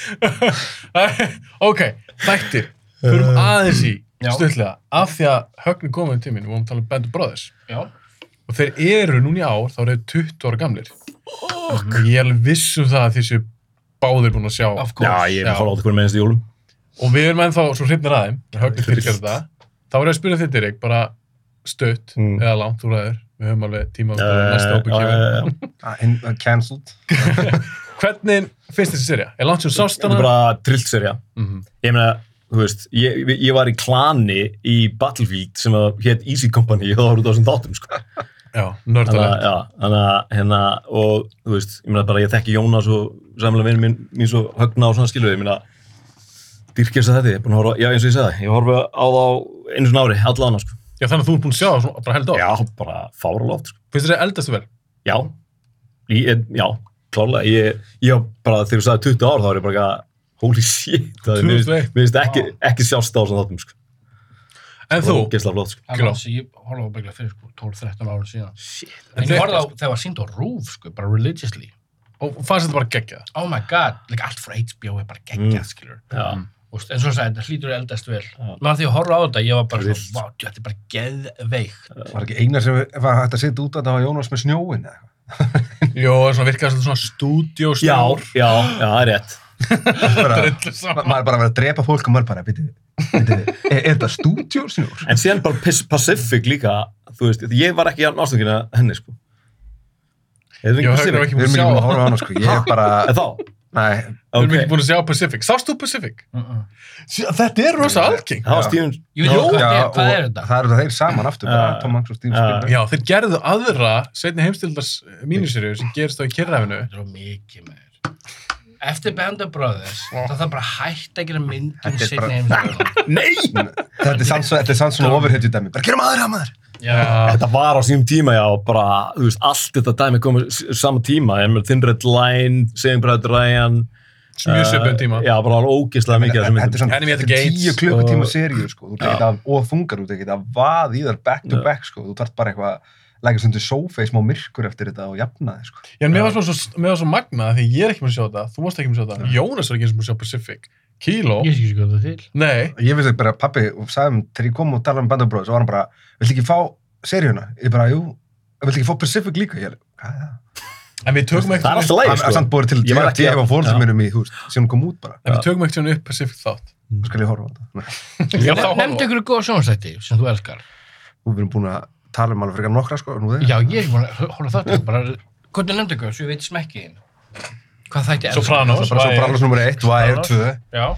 H: það
A: ok, þættir förum aðeins í
G: Já.
A: stutlega, af því að högni komið til mín, við vorum að tala um Band of Brothers
G: Já.
A: og þeir eru núna í ár, þá eru þeir 20 ára gamlir og ég er alveg viss um það að þeir séu báðir búin að sjá
G: Of
I: Já,
G: course.
I: ég er
A: Já.
I: að fara á þetta hvernig með einstu jólum.
A: og við erum ennþá svo hrifnir aðeim högni fyrirgerði það, þá er ég að spyrja þig Dirik, bara stutt
I: Mm.
A: eða langt úr aður, við höfum alveg tíma uh, næsta
I: Eh,
A: hópur
I: já,
A: kemur
I: já, já.
H: Ah, hinn- uh, Cancelled.
A: hvernig finnst þessi serja? er langt sem sást
I: Þetta er
A: hana?
I: bara trillt serja.
A: Mhm.
I: Ég meina, þú veist, ég, ég var í klani í Battlefield sem að hétt Easy Company og það var út á þessum þáttum, sko.
A: já,
I: Þannig
A: nördalegt
I: að, já, þannig að, hérna, og, þú veist, ég meina bara, ég þekki Jónas og samlega vinn minn, mín svo högna og svona skiluði, ég meina, dyrkjast að þetta, ég er búin að horfa, já, eins og ég sagði, ég horfa á þá einu svona ári, alla annars, sko.
A: já, þannig að þú er búin að sjá það svona bara held á,
I: Já, bara fáralóft, sko.
A: finnst þessi eldastu vel?
I: Já, ég, já, klálega, ég, ég bara, þegar þú sagði 20 ár, þá er ég bara, eitthvað, holy shit, það er, mér finnst-
A: 21.
I: mér finnst ekki, ekki sjást á svona þáttum, sko.
A: en þú,
I: Gessla flott, sko.
G: Það
A: Gló.
G: var þessi, ég horfði á bygglega fyrir sko, 12-13 ára síðan. En ég horfði á, það var sínd á rúf, sko, bara religiously.
A: og fannst þetta bara geggjað
G: Oh my god, like allt frá HBO er bara geggjað, mm. skilur.
I: Já.
G: Úst, en svo sagði, þetta hlýtur eldast vel. Maður því að horfa á þetta, ég var bara svo, vá, djú, þetta er bara geðveikt.
H: Var ekki eina sem var hægt að setja út að það var Jónas með snjóin eða eitthvað.
A: Jó, það er svona virkaði svolítið svona
I: Já,
A: stúdíóstjór.
I: já, já, það er rétt.
H: Bara-
A: Drullu
H: ma-
A: saman.
H: Maður er bara að vera að drepa fólk og maður bara, býttu, er er þetta stúdjósnjór?
I: En síðan bara Pis- Pacific líka, þú veist, ég var ekki án ástöngin að henni, sko. Ég
A: Já, höfum við ekki
H: Við
A: búin að
H: erum ekki
A: sjá
H: búin að
A: það.
H: horfa á hana, sko. Ég er bara,
I: En þá,
H: nei,
A: Við erum
I: ok,
A: ekki búin að sjá Pacific. Sástu Pacific?
G: Mm -mm.
A: Sí, Þetta er rosa algeng.
I: það var Steven,
G: Ég veit ekki hvað þetta
H: Já,
G: er, hvað
H: og
G: er þetta?
H: Það eru þeir saman aftur, bara
I: Já.
H: Tom Hanks og Steven
I: Já.
H: Spielberg.
A: Já, þeir gerðu aðra setni heimstildars mínuserju sem gerist á í kyrrafinu.
G: Þetta er of mikið með þér. Eftir Band of Brothers, það þarf bara að hætta að gera myndum
H: Þetta er bara-
G: sinni heimsum.
H: Þetta er samt svo- þetta er samt svona overhefti dæmi. Bara gerum aðra maður.
G: Já,
I: þetta var á sínum tíma, já, bara, þú veist, allt þetta dæmi komið s- sama tíma, en með Thin Red Line, Saving Private Ryan. eh,
A: Mjög söpum tíma.
I: Já, bara alveg ógeðslega mikið af þessum
H: Þetta er
I: myndum.
H: svona
A: Enemy at the
H: þetta er
A: Gates.
H: tíu klukkutíma
I: Og-
H: seríu, sko. Þú ert ekki að, og þungar, þú ert ekki að vað í þar back to
I: Já.
H: back, sko. Þú þarf bara eitthvað að leggja svona til sófa í smá myrkur eftir þetta og jafna þig, sko.
A: Já, en mér var svona svo, mér var svo magnað því ég er ekki búin að sjá þetta, þú varst ekki búin að sjá þetta, Jónas er ekki eins og búin að sjá Pacific. Kilo?
G: ég sé ekki hvað það er til.
A: Nei.
H: Ég vissi bara, pappi, og sagði mér, þegar ég kom og talaði um Band of Brothers, og var hann bara, vill ekki fá seríuna? Ég bara, jú, vill ekki fá Pacific líka? Ég er, hvað er það?
A: En við tökum
I: Það er
A: ekkert
I: alltaf
H: Hann
I: læg,
H: er samt
I: sko.
H: búið til
I: Ég var
H: að
I: ekki að-
H: gefa
I: Já.
H: fórhaldum mínum um í, þú veist, síðan hún kom út bara.
A: en við tökum ekkert upp Pacific þátt.
H: Þá skal ég horfa á þetta.
A: Já, þá horfum
G: Nefndu
A: við.
G: ykkur góða sjónastætti sem þú elskar.
H: Þú verðum búin að tala um alveg frekar nokkra, sko, nú þegar.
G: Já, ég er ekki búin að horfa á þáttinn, bara, hvernig nefndu ykkur, svo ég veit smekkiðin. Hvað þætti elskar?
A: Sopranos,
H: Bara svo
A: Wire.
H: brallus nummer 1, Wire 2.
G: Já,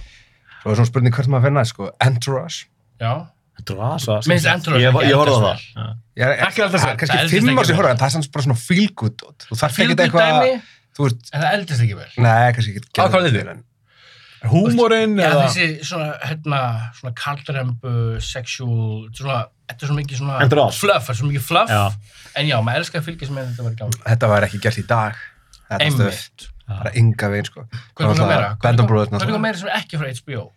H: Svo er svona spurning hvert maður finna, sko, Entourage.
G: já.
I: Drasa.
G: Mér finnst Entourage
I: sko. Ég,
G: ekki
I: ég horfði á
G: eldast
I: það. Já.
H: Ég er
A: Ekki alltaf sér.
G: Það
H: kannski
G: eldist
H: fimm
G: ekki
H: ár sem ég
G: vel.
H: horfa, en það er samt bara svona feel good dot. Þú þarf ekki
G: Fylgur
H: eitthvað,
G: dæmi,
H: þú veist,
G: en það eldist ekki vel.
H: nei, kannski ekki.
A: Á, hvað leitið? Húmorinn
G: Já,
A: eða...
G: þessi svona, hérna, svona kaldrembu, sexual, svona, þetta er svo mikið svona...
I: Endur off.
G: Fluff, það er svo mikið fluff.
I: Já.
G: En já, maður elskar að fylgjast með þetta var í gangi.
H: Þetta var ekki gert í dag. Þetta stöf.
G: Einmitt.
H: Bara ynga veginn, sko.
G: Hvað er það meira? Hvað
H: Band of
G: er
H: Brothers,
G: það
H: náttúrulega.
G: meira sem er ekki frá HBO?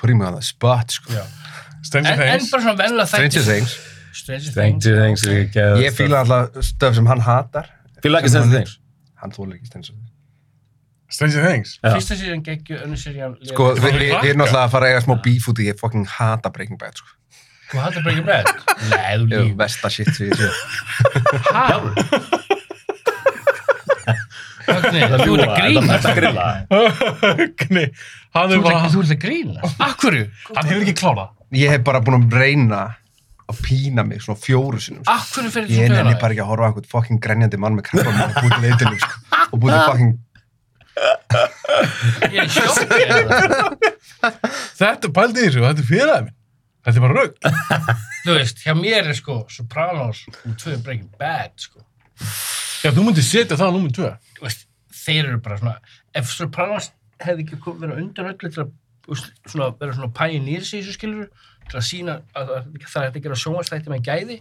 H: Prímið að það, Spot, sko.
G: Já. En,
A: Stranger
G: en bara
A: Things.
G: svona vennilega
H: Stranger Things.
G: Stranger Things.
I: Stranger Things er ekki geðveikt.
H: Ég fíla alltaf stöf sem hann hatar.
I: Fíla ekki
H: sem
I: Stranger
H: hann-
I: Things.
H: Hann þólar ekki Stranger Things.
A: Stranger Things.
I: Já.
G: Fyrsta serían geggju, önnur serían...
H: Sko,
G: léleg.
H: við við- við erum alltaf að fara að eiga smá beef út í ég fucking hata Breaking Bad, sko.
G: Þú hattar Breaking Bad? Nei, þú
H: Ég er
G: líf.
H: besta shit sko. sem ég sé.
G: Hæ? Högnir, þú ert að grínast.
I: Þetta er grilla.
A: Högni. Hann
G: Þú
A: er
G: ert
A: bara...
G: að- þú ert að grínast. Akkurju?
A: Hann hefur ekki klárað.
H: Ég hef bara búin að reyna að pína mig svona fjóru sinum, sko.
G: Akkurju fyrir
H: Ég
G: þessu
H: nenni bara ekki að horfa á einhvern fucking grenjandi mann með krabba mann og búið til eitilum, sko. Og búið til fucking...
G: Ég er sjokkið.
A: Þetta pældi í þessu, þetta er félagið minn. Þetta er bara rugg.
G: Þú veist, hjá mér er sko Sopranos og tvö Breaking Bad, sko.
A: Já, þú myndir setja það á númur 2.
G: Þú veist, þeir eru bara svona... Ef Sopranos hefði ekki komið verið undan öllu til að þú veist, svona, vera svona pioneers í þessu skilur til að sína að það það er hægt að gera sjónvastætti með gæði.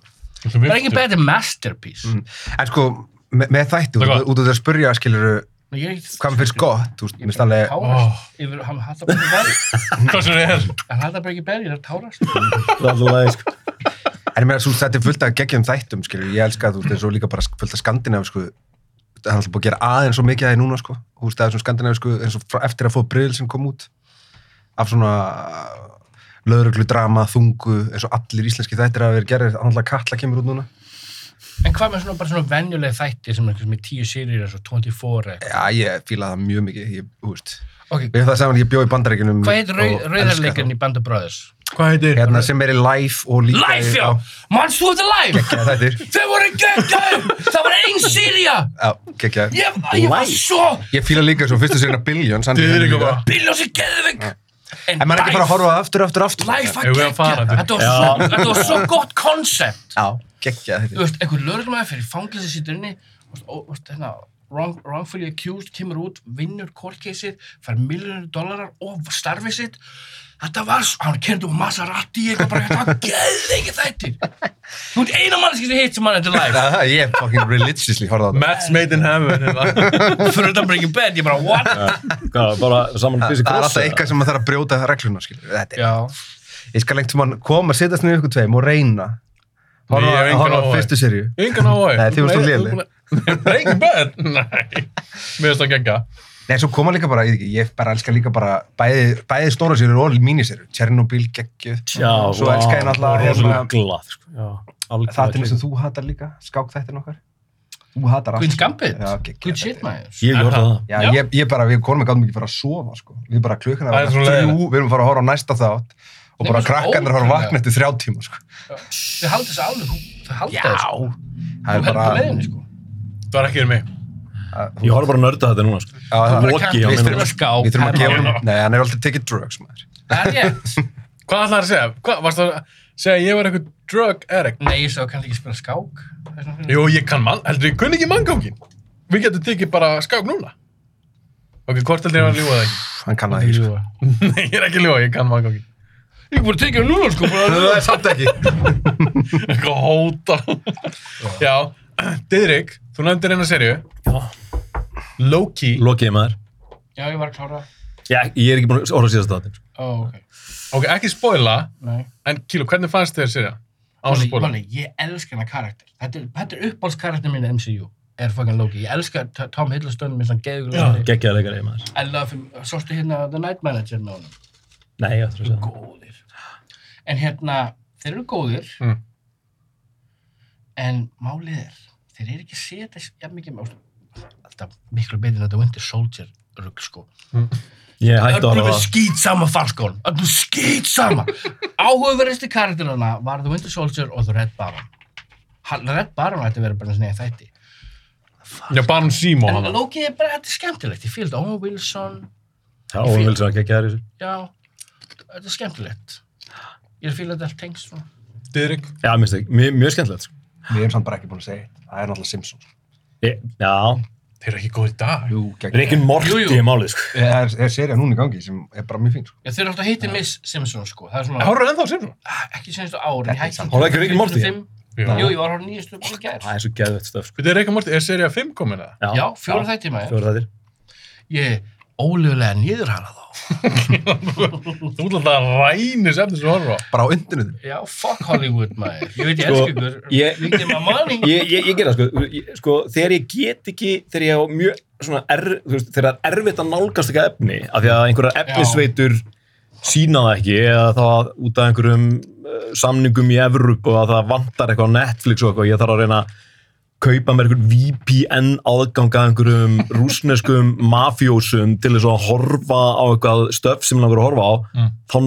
G: Breaking Bad er masterpiece.
H: Mm. En sko, með, með þætti, út,
A: Það er
H: út út að spyrja, skiluru,
G: Nú, ég er ekki...
H: hvað mér finnst Eh, gott, þú veist, mér finnst alveg...
G: Tárast yfir, hann hattar bara ekki berg,
A: Hvað sem það er?
G: hann hattar bara ekki berg, ég er að tárast.
I: Það er alltaf læg, sko.
H: En ég meina, þú veist, þetta er fullt af geggjum þættum, skiluru, ég elska, þú veist, eins og líka bara fullt af skandinavisku, það er alltaf búið að gera aðeins svo mikið af því núna, sko, þú veist, það er svona skandinavisku, eins og frá- eftir að fóða bril sem kom út, af svona löðruglu, drama, þungu eins og allir íslenski þættir að vera gerir annarlega Katla kemur út núna
G: En hvað með svona, bara svona venjuleg þætti sem er eitthvað sem er tíu sérið eins og 24 eitthvað?
H: Já, ég fíla það mjög mikið, ég, þú veist
G: Ok,
H: Við höfum það saman, ég bjó í bandaríkinum
G: hvað heit
H: og
G: rau,
H: elska
G: rauðarleikarinn
H: þá.
G: í Band of Brothers?
A: Hvað heitir?
H: Hérna sem er í Life og líka
G: Life, já! Manst þú þetta live?
H: Gekkja þættir
G: Þau voru geggjaður! Það var ein sérija!
H: Já, gekkja
G: Ég, ég var svo
H: Ég fíla líka svo fyrstu sinna Billions hann er henni líka.
G: biljós í geðvig!
H: En maður er ekki bara að horfa á það aftur, aftur, aftur
G: Life að
A: Eigum við að
G: geggja,
A: fara, Diddi?
G: þetta var svo, þetta var svo gott koncept.
H: Já, gekkja
G: Þú
H: þættir
G: veist, einhver lögreglumæður fyrir fangelsi sýtur inni, þú veist, ó- þú veist, hérna, wrong, wrongfully accused, kemur út, vinnur courtcaseið, fær miljonir dólarar og starfið sitt. Þetta var svo, hann kennið um Maserati, eitthvað bara, þetta var geðveiki þættir. Þú ert eina mannski sem hitt sem mann þetta live.
H: Já, Ég er fucking religiously horfað á það
A: Match made in heaven. hérna.
G: Fyrir utan um Breaking Bad, ég bara, what?
I: Hvað, bara saman
H: Það það
I: bísi
H: er alltaf
I: krossa?
H: eitthvað sem maður þarf að brjóta regluna, skilur Þetta er
G: Já.
H: Ég skal lengt mann koma, setjast niður ykkur tveim og reyna
A: Nei, ég hef
H: Horfa
A: engan
H: horfa á
A: áhuga.
H: fyrstu serju
A: Engan áhuga.
H: Nei, þið varst svo léleg.
A: Breaking Bad? Nei. Mér finnst það gegga.
H: Nei, svo koma líka bara, ég, veit ekki, ég bara elska líka bara bæði, bæði stóra serjur og míniserjur Tjernobyl, geggjuð
I: Já,
H: Svo elska ég náttúrulega
I: Rósalega
H: hérna,
I: glað, sko. Já, algjörlega
H: Þættinum
I: klikkað.
H: sem þú hatar líka, skákþættin okkar Þú hatar allt
G: Queen's Gambit?
H: Já, geggjað
G: Good
H: þættir.
G: shit, maður.
I: Ég horfði á það.
H: Já,
G: Já.
H: Ég, ég bara, við konum gáðum ekki að fara að sofa sko. Við bara klukkan að
A: Það er svo
H: vera
A: leiðilegt.
H: þrjú, við erum að fara að horfa á næsta þátt og
G: Nei,
H: bara
G: það er svo
H: krakkarnir að fara að
G: ótrúlega.
H: vakna eftir þrjá tíma sko.
G: Þau halda þessu alveg, þau halda þessu. Þú
H: Það er
G: heldur
H: bara,
G: bara leiðinni, sko.
A: Það var ekki fyrir mig.
H: að-
I: Ég horfði bara að nörda þetta núna, sko.
H: Já, það-
I: Loki
H: Við
I: á mínum.
H: þurfum að- við þurfum að gefa
G: honum.
H: honum, nei, hann er alltaf tekið drugs maður.
G: Það er rétt.
A: Hvað ætlaði að segja? Hvað, varst það að segja að ég var eitthvað drug addict?
G: Nei, ég svo kannski ekki spila skák. Það er svona fyrir-
A: Jú, ég kann mann. Heldur ég kunni ekki manngangin? Við getum tekið bara skák núna. Ok, hvort heldur ég var að ljúa það ekki?
H: Hann kann það ekki sko.
A: Nei, ég er ekki að ljúa, ég kann manngangin.
G: Ég er bara að tekja hann núna, sko. bara-
H: Það er samt ekki.
A: Eitthvað að hóta. Já, Didrik, þú nefndir eina serju. Já. Loki.
I: Lokiði maður.
G: Já, ég var að klára.
I: Ég, ég er ekki búin að orða síðast þáttin, sko.
G: Ó, ok.
A: Ok, ekki spoila,
G: Nei.
A: en Kílu, hvernig fannst þér serja? Án þess að
G: Máli,
A: spoila.
G: máli, ég elska hennar karakter. Þetta er, þetta er uppáhaldskarakter mín í MCU. Er fucking Loki. Ég elska T- Tom Hiddleston með svona geðugulegri.
I: Gekkjaði leikari maður.
G: I love him. Sástu hérna The Night Manager með honum.
I: Nei, ég ætla að segja það.
G: Góðir. En hérna, þeir eru góðir.
A: Mm.
G: En málið er, þeir eru ekki að setja sér jafn mikið með alltaf miklu betur en þetta Winter Soldier rugg sko.
I: Ég hætti að
G: Öllum
I: horfa á
G: er
I: það.
G: skýt sama falskón. Öllum skýt sama. Áhugaverðasti karakterana var The Winter Soldier og The Red Baron. Hann, Red Baron ætti að vera bara svona í þætti.
A: Já, Baron Simo
G: En
A: hana.
G: Loki er bara, þetta er skemmtilegt. Ég fíl þetta Owen Wilson,
I: Já, og vil sem að gekkjaði þessu.
G: já, þetta er skemmtilegt. Ég fíl þetta allt tengst svona.
A: Didrik.
I: Já, minnst ekki. Mjög- Mjög skemmtilegt, sko.
H: Við erum samt bara ekki búin að segja eitt. Það er náttúrulega Simpsons.
I: Ég- Já,
A: Þeir eru ekki góð í dag.
H: Jú, gegn.
I: Rickon Morty
G: Jú, jú.
I: er málið, sko.
H: Það er, er serið núna í gangi sem er bara mjög fín sko.
G: Já, þeir eru alltaf hittir Miss Simpson sko. Það er svona,
A: Háru ennþá Simo?
G: ekki senstu ári.
H: Þetta er samt-
I: Horfðu ekki á Rick and Morty?
G: Jú, ég var á nýjastu upp í gær.
I: Það er svo geðvett stöf, sko.
A: Við erum ekki mórtið, er serið 5 komin eða?
G: Já, fjóra þætti maður.
I: Fjóra þættir.
G: Ég ólega nýðurhala þá.
A: Þú ert alltaf að rænis eftir þessu horfa. á.
H: Bara á undinu
G: Já, fuck Hollywood maður. Ég veit ég
I: Sko,
G: elsku ykkur.
I: ég-
G: Ég get maður manning.
I: ég, ég, ég gera það sko, ég, sko þegar ég get ekki þegar ég á mjög svona er, þú veist, þegar það er erfitt að nálgast eitthvað efni af því að einhverjar efnisveitur sína það ekki eða þá út af einhverjum uh, samningum í Evróp og að það vantar eitthvað á Netflix og eitthvað ég þarf að reyna að kaupa mér einhvern VPN aðgang að einhverjum rúsneskum mafjósum til þess að horfa á eitthvað stöf sem langar að horfa á
A: Mm.
I: þá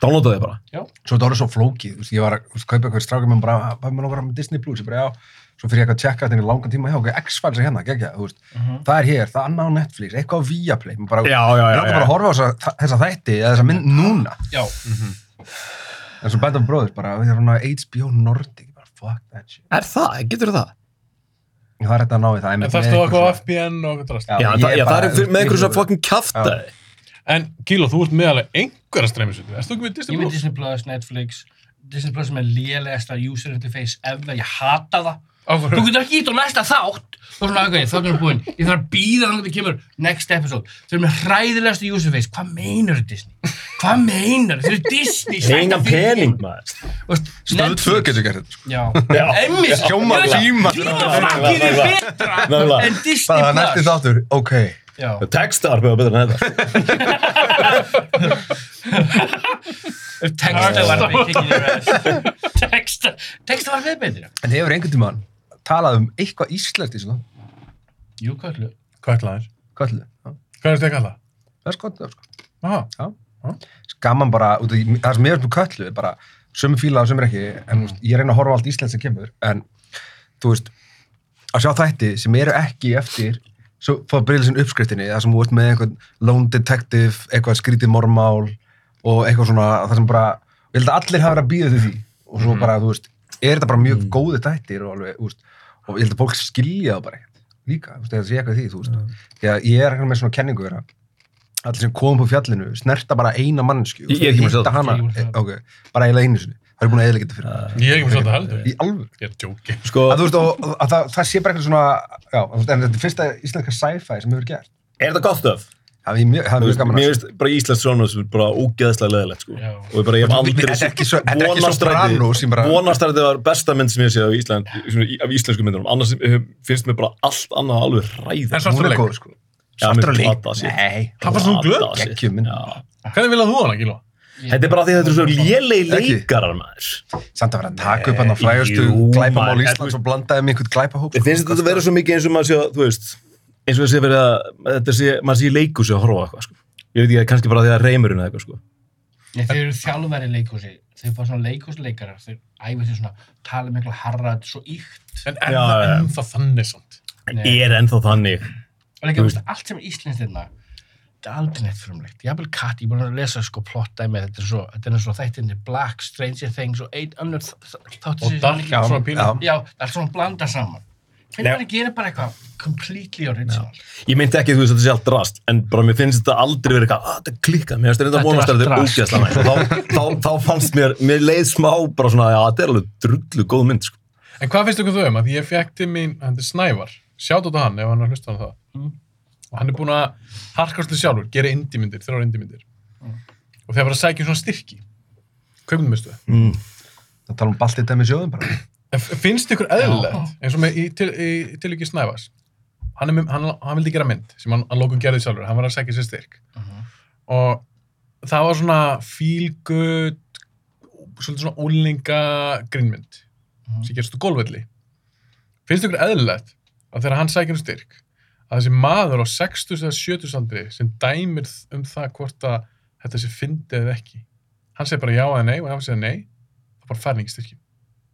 I: downloadaði ég bara
H: Svo þetta voru svo flókið. Þú veist, Ég var að þú veist, kaupa eitthvað strákum en bara, hvað mér langar að hafa með Disney Plus? Ég bara, já. Svo fyrir ég eitthvað að tjekka þetta í langan tíma hjá, ok, X-Files er hérna, geggja, þú veist. Það er hér, það er annað á Netflix, eitthvað á Viaplay. Mér bara,
I: já,
H: Ég langar bara að horfa á þessa, þessa þætti eða þessa mynd núna.
G: Já.
H: En svo Band of Brothers bara, við erum svona HBO Nordic, bara fuck that shit.
I: er það, getur það?
H: Það er þetta að ná í það. einmitt
A: En það stóð
H: með eitthvað
A: eitthvað á
H: svona-
A: FBN og eitthvað drast.
I: Já,
H: ég
I: það, já,
H: bara-
I: það er fyrir- með einhverjum svona fucking kjaftaði
A: En Kílu, þú ert meðalega einhverja streymisötu. Erst þú ekki með
G: Ég
A: Disney
G: með
A: Plus?
G: Disney Plus, Netflix, Disney Plus sem er lélegasta user interface ever, ég hata það. Þú
A: Áfram.
G: getur ekki ít á næsta þátt. Þú er svona aðgæðið, þáttur er búinn. Ég þarf að býða þannig að það kemur next episode. Þau eru með hræðilegasta user interface. Hvað meinar Disney? Hvað meinar? Þau eru Disney.
I: Það er engan pening maður
H: Stöð 2 getur gert þetta.
G: Já, emmis.
H: Sjóma-
G: Tíma.
H: Tíma-
G: Tíma fangir er betra
I: Nákvæmlega.
G: en Disney
H: Það er
G: Plus.
H: næsti þáttur, ok.
G: Já.
I: Textar betur betur en þetta
G: Texta var við Texta Texta var við betur
H: En hefur einhvern tímann talað um eitthvað íslenskt í svona
G: Jú, kallu
A: Kvætlaðir.
H: Köllu? Já.
A: Hvað er þetta að kalla?
H: Það er skott, það er skott.
A: Aha.
H: Gaman bara, út af, því- það sem ég veist með köllu er bara, sömu fíla og sömu ekki, en mm. ég reyna að horfa á allt íslensk sem kemur, en þú veist, að sjá þætti sem eru ekki eftir, svo fá brilsin uppskriftinni, það sem þú veist með einhvern lone detective, eitthvað skrítið mormál og eitthvað svona, það sem bara, ég held að allir hafa verið að býða því og svo bara, þú veist, er þetta bara mjög góði þættir og alveg, þú veist, og ég held að fólk skilja það bara ekkert líka, þú veist, það sé eitthvað í því, þú veist, því að ég er eitthvað með svona kenningu vera, allir sem komum upp á fjallinu snerta bara eina mannsku
I: Ég- ég er ekki búin að sjá það.
H: hana, eh,
G: Ég er ekki búin að sjá það.
H: ok, bara eiginlega einu sinni það er búin að eða geta fyrir það,
A: Ég er ekki með svolítið heldur.
H: í alveg
A: Ég er djóki.
I: Sko,
H: að, þú veist, og, að það, það sé bara eitthvað svona já, þú veist, en þetta er fyrsta íslenska sci-fi sem hefur gert
I: er þetta gott stöf?
H: það er mjög, það er
I: Mér
H: mjög gaman að-
I: finnst bara íslensk svona sem er bara ógeðslega leðilegt sko.
A: Já.
I: og ég bara, ég hef
H: Þetta er
I: aldrei
H: ekki svo- þetta er ekki
I: Vonarstræti-
H: Sopranos sem bara-
I: Vonarstræti var besta mynd sem ég sé af, Ísland, svona í- af íslensku myndunum annars eh, finnst mér bara allt annað alveg ræða
A: En svartur
H: hún er
A: leik.
H: góð, sko svartur og lík, nei,
A: Það var svona glöð.
H: geggjum minn
A: Hvernig viljað þú hana, Gílo?
I: Þetta er bara því að þetta eru svo lélegi
H: Ekki.
I: leikarar maður
H: samt að vera að taka upp hann á
I: Nei,
H: frægastu
I: jú,
H: glæpamál
I: maður,
H: Íslands og blandaði með einhvern glæpahóp
I: Mér
H: sko.
I: finnst þetta að vera svo mikið eins og maður sé að, þú veist eins og þessi verið að, þetta sé, maður sé í leikus að horfa á eitthvað, sko Ég veit ekki, kannski bara því að reymurinn eða eitthvað, sko
G: Nei, þeir eru þjálfæri leikhúsi Þeir fá svona leikhúsleikarar Þeir æfið þeir svona Tala með eitthvað harra Þetta er svo íkt
A: En er
I: Já,
A: það
I: já.
A: ennþá þannig samt?
G: Nei.
I: Er ennþá þannig
G: Og líka, þú veist, allt sem er íslenskt hérna Þetta er aldrei neitt frumlegt Ég hafði katt Ég er búin að lesa sko plotta með Þetta er svo Þetta er eins og þættinni Black, Stranger Things Og einn annar þáttu
A: Og dark, svona píla.
G: Já, það er svona blanda saman Hvernig maður gerir bara eitthvað Completely original
I: Ég myndi ekki að þú veist að þetta sé allt rast en bara mér finnst þetta aldrei verið eitthvað að þetta klikkað, mér finnst þetta
G: Þetta er
I: vonast að þetta er
G: allt
I: ógæðslega næst þá, þá, þá fannst mér, mér leið smá bara svona, já, þetta er alveg drullu góð mynd sko.
A: En hvað finnst ykkur þau um að ég fekk til mín, hann er Snævar, sjátt á hann ef hann er að hlusta hann það. Og hann er búinn að harkast þið sjálfur, gera indímyndir, þrjár indímyndir. Og þeir var að sækja um svona styrki. Kaupnumistu.
H: það Mm. tala um baltið dæmi sjóðum bara
A: En f- finnst ykkur eðlilegt, eins og með í, til, í tilviki Snævas, hann, er með- hann, hann vildi gera mynd sem hann að lókum gerði sjálfur, hann var að segja sér styrk. Og það var svona feel good, svolítið svona ólinga grínmynd sem gerst úr golfvelli. Finnst ykkur eðlilegt að þegar hann sækir um styrk, að þessi maður á 60 eða 70 andri sem dæmir þ- um það hvort að þetta sé fyndið eða ekki, hann segir bara já eða nei og ef hann segir nei, þá bara fær hann ekki styrkjum.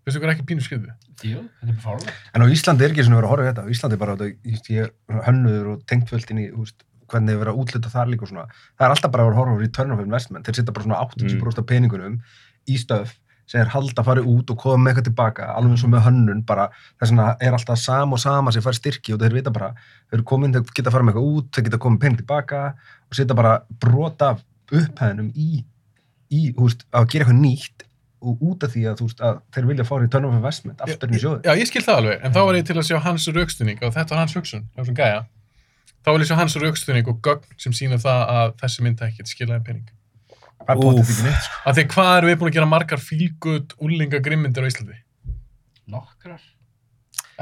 A: Finnst ykkur ekki pínu skriðu?
G: Jú, þetta er bara fárlega
H: En á Íslandi er ekki svona verið að horfa í þetta, á Íslandi er bara, þetta, ég veist, ég er hönnuður og tengtvöldin í, þú veist, hvernig er verið að útluta þar líka og svona. Það er alltaf bara að vera að horfa á return of investment, þeir setja bara svona 80% af peningunum í stöf sem er halda að fara út og koma með eitthvað tilbaka, alveg eins og með hönnun bara, þess vegna er alltaf sama og sama sem fær styrki og þeir vita bara, þeir eru komin, þeir geta að fara með eitthvað út, þeir geta að koma með pening tilbaka og setja bara brota af upphæðinum í, í, þú veist, að gera eitthvað nýtt og út af því að, þú veist, að þeir vilja fá return of investment aftur inn í sjóðin.
A: Já, ég skil það alveg, en þá var ég til að sjá hans raukstunning og þetta var hans hugsun, hjá þessum gæja. Þá vil ég sjá hans raukstunning og gögn sem sína það að þessi mynd ekkert skilaði pening.
H: Það er bóttið ekki neitt, sko.
A: Af því hvað erum við búin að gera margar fílgut úlinga grimmindir á Íslandi?
G: Nokkrar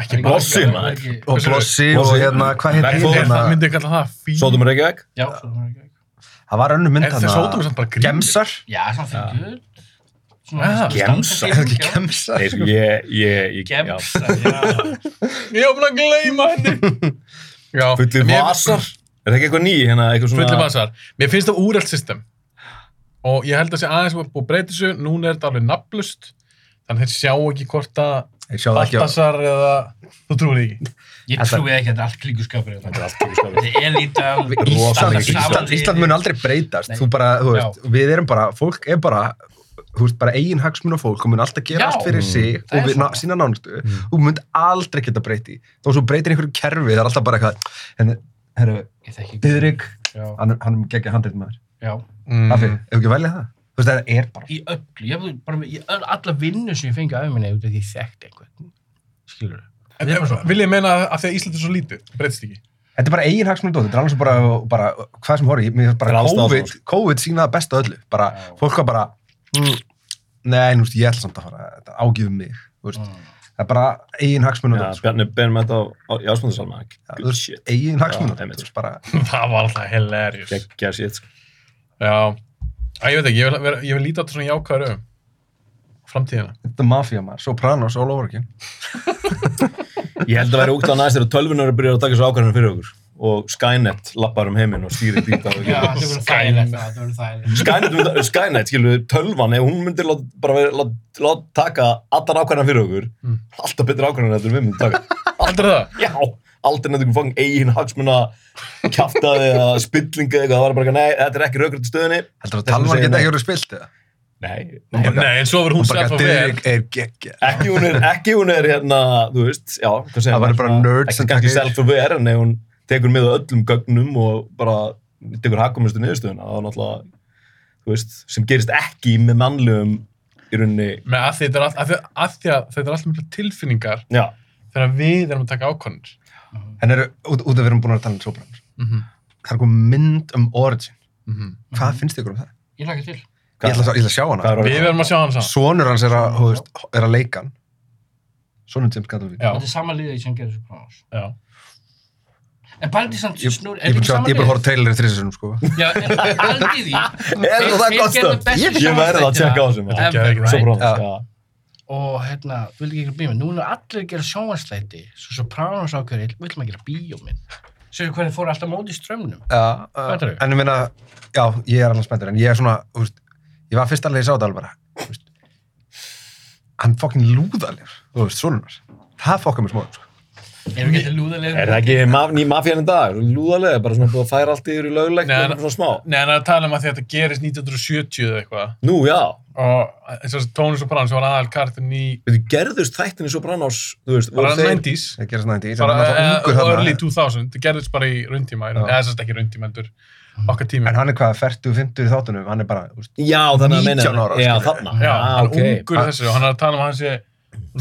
A: Ekki
I: Blossi,
A: margar.
I: maður.
H: og
A: Hversu-
H: Blossi og
I: Blossi.
H: hérna, hvað
A: Er
H: heitir
A: það-
H: hérna?
A: Myndi ég kalla það fíl?
I: Sótum er ekki vekk
G: Já, svo það er ekki
H: Það var önnu mynd
A: Er það sótum er samt bara grimmir?
H: Gemsar?
G: Já, svona fyrir
A: Ah,
H: Er það ekki Gemsar?
I: Nei, sko, ég, ég, ég, já.
G: Gemsa, já.
A: Ég var búin að gleyma henni. Já,
I: Fullir
A: en mér-
I: vasar Er það ekki eitthvað ný, hérna, eitthvað svona
A: Fullir vasar. Mér finnst það úrælt system. Og ég held að sé aðeins búið að breyta þessu, núna er þetta alveg nafnlust, þannig að þeir sjá ekki hvort að
H: Ég sjáði ekki á
A: Baltasar eða, þú trúir því ekki.
G: Ég trúi ekki að þetta er allt klíkuskapur. Þetta er allt klíkuskapur. Þetta er elita.
H: Ísland,
G: Rosalega
H: Ísland,
G: klíkuskapur.
H: Ísland mun aldrei breytast
G: Nei.
H: þú bara, þú veist, við erum bara, fólk er bara þú veist, bara eigin hagsmun og fólk og mun alltaf gera
G: Já.
H: allt fyrir sig
G: það
H: og
G: er
H: við na,
G: svona.
H: sína nánustu og mun aldrei geta breyti þó svo breytir einhverju kerfi, það er alltaf bara eitthvað en, herru,
G: Ég þekki.
H: Byðrik
G: Já.
H: hann, hann geggja handrið maður
G: Já.
H: mm. af því, ef ekki velja það þú veist, það er bara
G: Í öllu. Ég hef bara með, í öll, alla vinnu sem ég fengi af minni út af því ég þekkti einhvern. Skilur
A: En, vil ég meina að af því að Ísland er svo lítið, breytist ekki.
H: Þetta er bara eigin hagsmunum dótt, þetta er alveg sem bara, bara hvað sem horfði, mér finnst bara
I: Þetta er alls
H: COVID, COVID sínaði best að öllu, bara
G: Já.
H: fólk var bara, mm, nei, nú veist, ég ætla samt að fara, þetta ágifum mig, þú veist, það er bara eigin hagsmunum
I: Já,
H: dótt,
I: Bjarni beinum þetta á, á Jásmundarsalma
H: sko.
I: Good
H: þú
I: shit
H: veist, eigin
I: Já,
H: hagsmunum,
I: einmitt.
H: þú veist, bara,
A: það var alltaf hilarious.
I: Gekkja shit, sko
A: Já, Æ, ég veit ekki, ég vil, vera- ég vil líta á þetta svona jákvæður um framtíðina.
H: Þetta er mafía maður, Sopranos, all over again.
I: Ég held að vera út á næst þegar tölvunar byrjar að taka svo ákvarðanir fyrir okkur og Skynet lappar um heiminn og stýrir býta og
G: Já, það verður þægilegt, það verður þægilegt.
I: Skynet, myndi- Skynet, skilur við, tölvan ef hún myndir lát, bara vera, lát, lát taka allar ákvarðanir fyrir okkur alltaf betur ákvarðanir heldur en við myndum taka
A: Aldrei það?
I: Já, aldrei nefnir fangin eigin hagsmuna kjaftaði eða spillinga eða eitthvað, það var bara, eitthvað, nei, þetta er ekki raukrið til stöðinni
H: Heldur að
I: Þess vegna
H: talvan
I: segi ég
H: geta
I: nei.
H: ekki verið spilt eða?
I: Nei,
A: Nei, en svo verður hún
H: Hún bara
A: sett á
H: gæti
A: vel.
H: þig er geggja.
I: ekki hún er, ekki hún er hérna, þú veist, já, hvað segir
H: Það væri
I: maður,
H: bara
I: svona,
H: nerds
I: Ekki
H: sem taka
I: kannski
H: yfir.
I: self-aware, en ef hún tekur með á öllum gögnum og bara tekur hagkomustu niðurstöðuna, þá náttúrulega, þú veist, sem gerist ekki með mannlegum í rauninni,
A: Með að þetta er allt, að, því- að því að þetta er allt mikla tilfinningar
I: já,
A: þegar við erum að taka ákonir.
H: En eru, út, út af við erum búin að tala um Sopranos,
A: Mhm.
H: það er komið mynd um Origin.
A: Mhm.
H: Hvað finnst ykkur um það?
G: Ég lakka til.
H: Ég ætla, að- ég ætla að sjá
I: hvað
H: hana.
I: er
A: Við
I: orðið?
A: verðum að sjá hann saman.
H: Sonur hans er að, þú veist, er að leika hann. Sonur James Gandolfini.
A: Já,
G: Þetta er sama liðið sem gerir Sopranos.
A: já.
G: En Baldi samt
H: Ég
G: snur,
H: ég
G: er þetta sama
H: búin að sjá- ég er
G: liðið?
H: búin að horfa trailerið þrjusum, sko.
G: Já, en Baldi því.
I: Er
G: þeir-
I: það
G: þeir
I: gott
G: gerðu
I: stönd?
G: bestu
I: Ég verði að
G: sjónvarpsþættina
I: tjekka á þessum, já.
G: ever, right?
I: Sopranos,
H: Já.
I: já.
G: og hérna, þú vil ekki gera bíómynd núna er allir að gera sjónvarsleiti svo Sopranos ákveður, vil maður gera bíómynd sér hvernig fór alltaf móti strömmnum
H: Já, uh,
G: Fattarðu?
H: en ég meina, já, ég er alveg spenntur, en ég er svona, þú veist, ég var fyrst alveg í sátt alveg bara, þú veist, hann fokkin lúðalegur, þú veist, svona mér, það fokkar mér smá, upp, sko.
G: erum við getið lúðalegum
I: Er það ekki maf ný mafían í dag? Lúðalega, bara svona búið að færa allt yfir í löglegt
A: Nei,
I: og
A: en-
I: eitthvað svona smá.
A: Nei, en að tala um að því að þetta gerist 1970 eða eitthvað
I: Nú, já.
A: og eins og Tónus og Brann sem var aðal kartin í
I: Við gerðust þættinni Sopranos, þú veist,
A: bara
I: voru þeir
A: 90s
H: það gerist nænt í,
A: bara
H: hann er
A: eh,
H: alltaf ungur
A: og early
H: hann,
A: 2000, það gerðist bara í rauntíma í raun-
H: Já. Mm.
A: eða sérst ekki rauntíma endur okkar tími
H: en hann er hvað, 40, 50 í þáttunum, hann er bara, þú veist,
I: Já, þannig að
H: 19 ára, sko.
I: Já,
H: skilur.
I: þarna.
A: Já,
I: ah,
A: hann
I: ok.
A: ungur í þessu og hann er að tala um að hann sé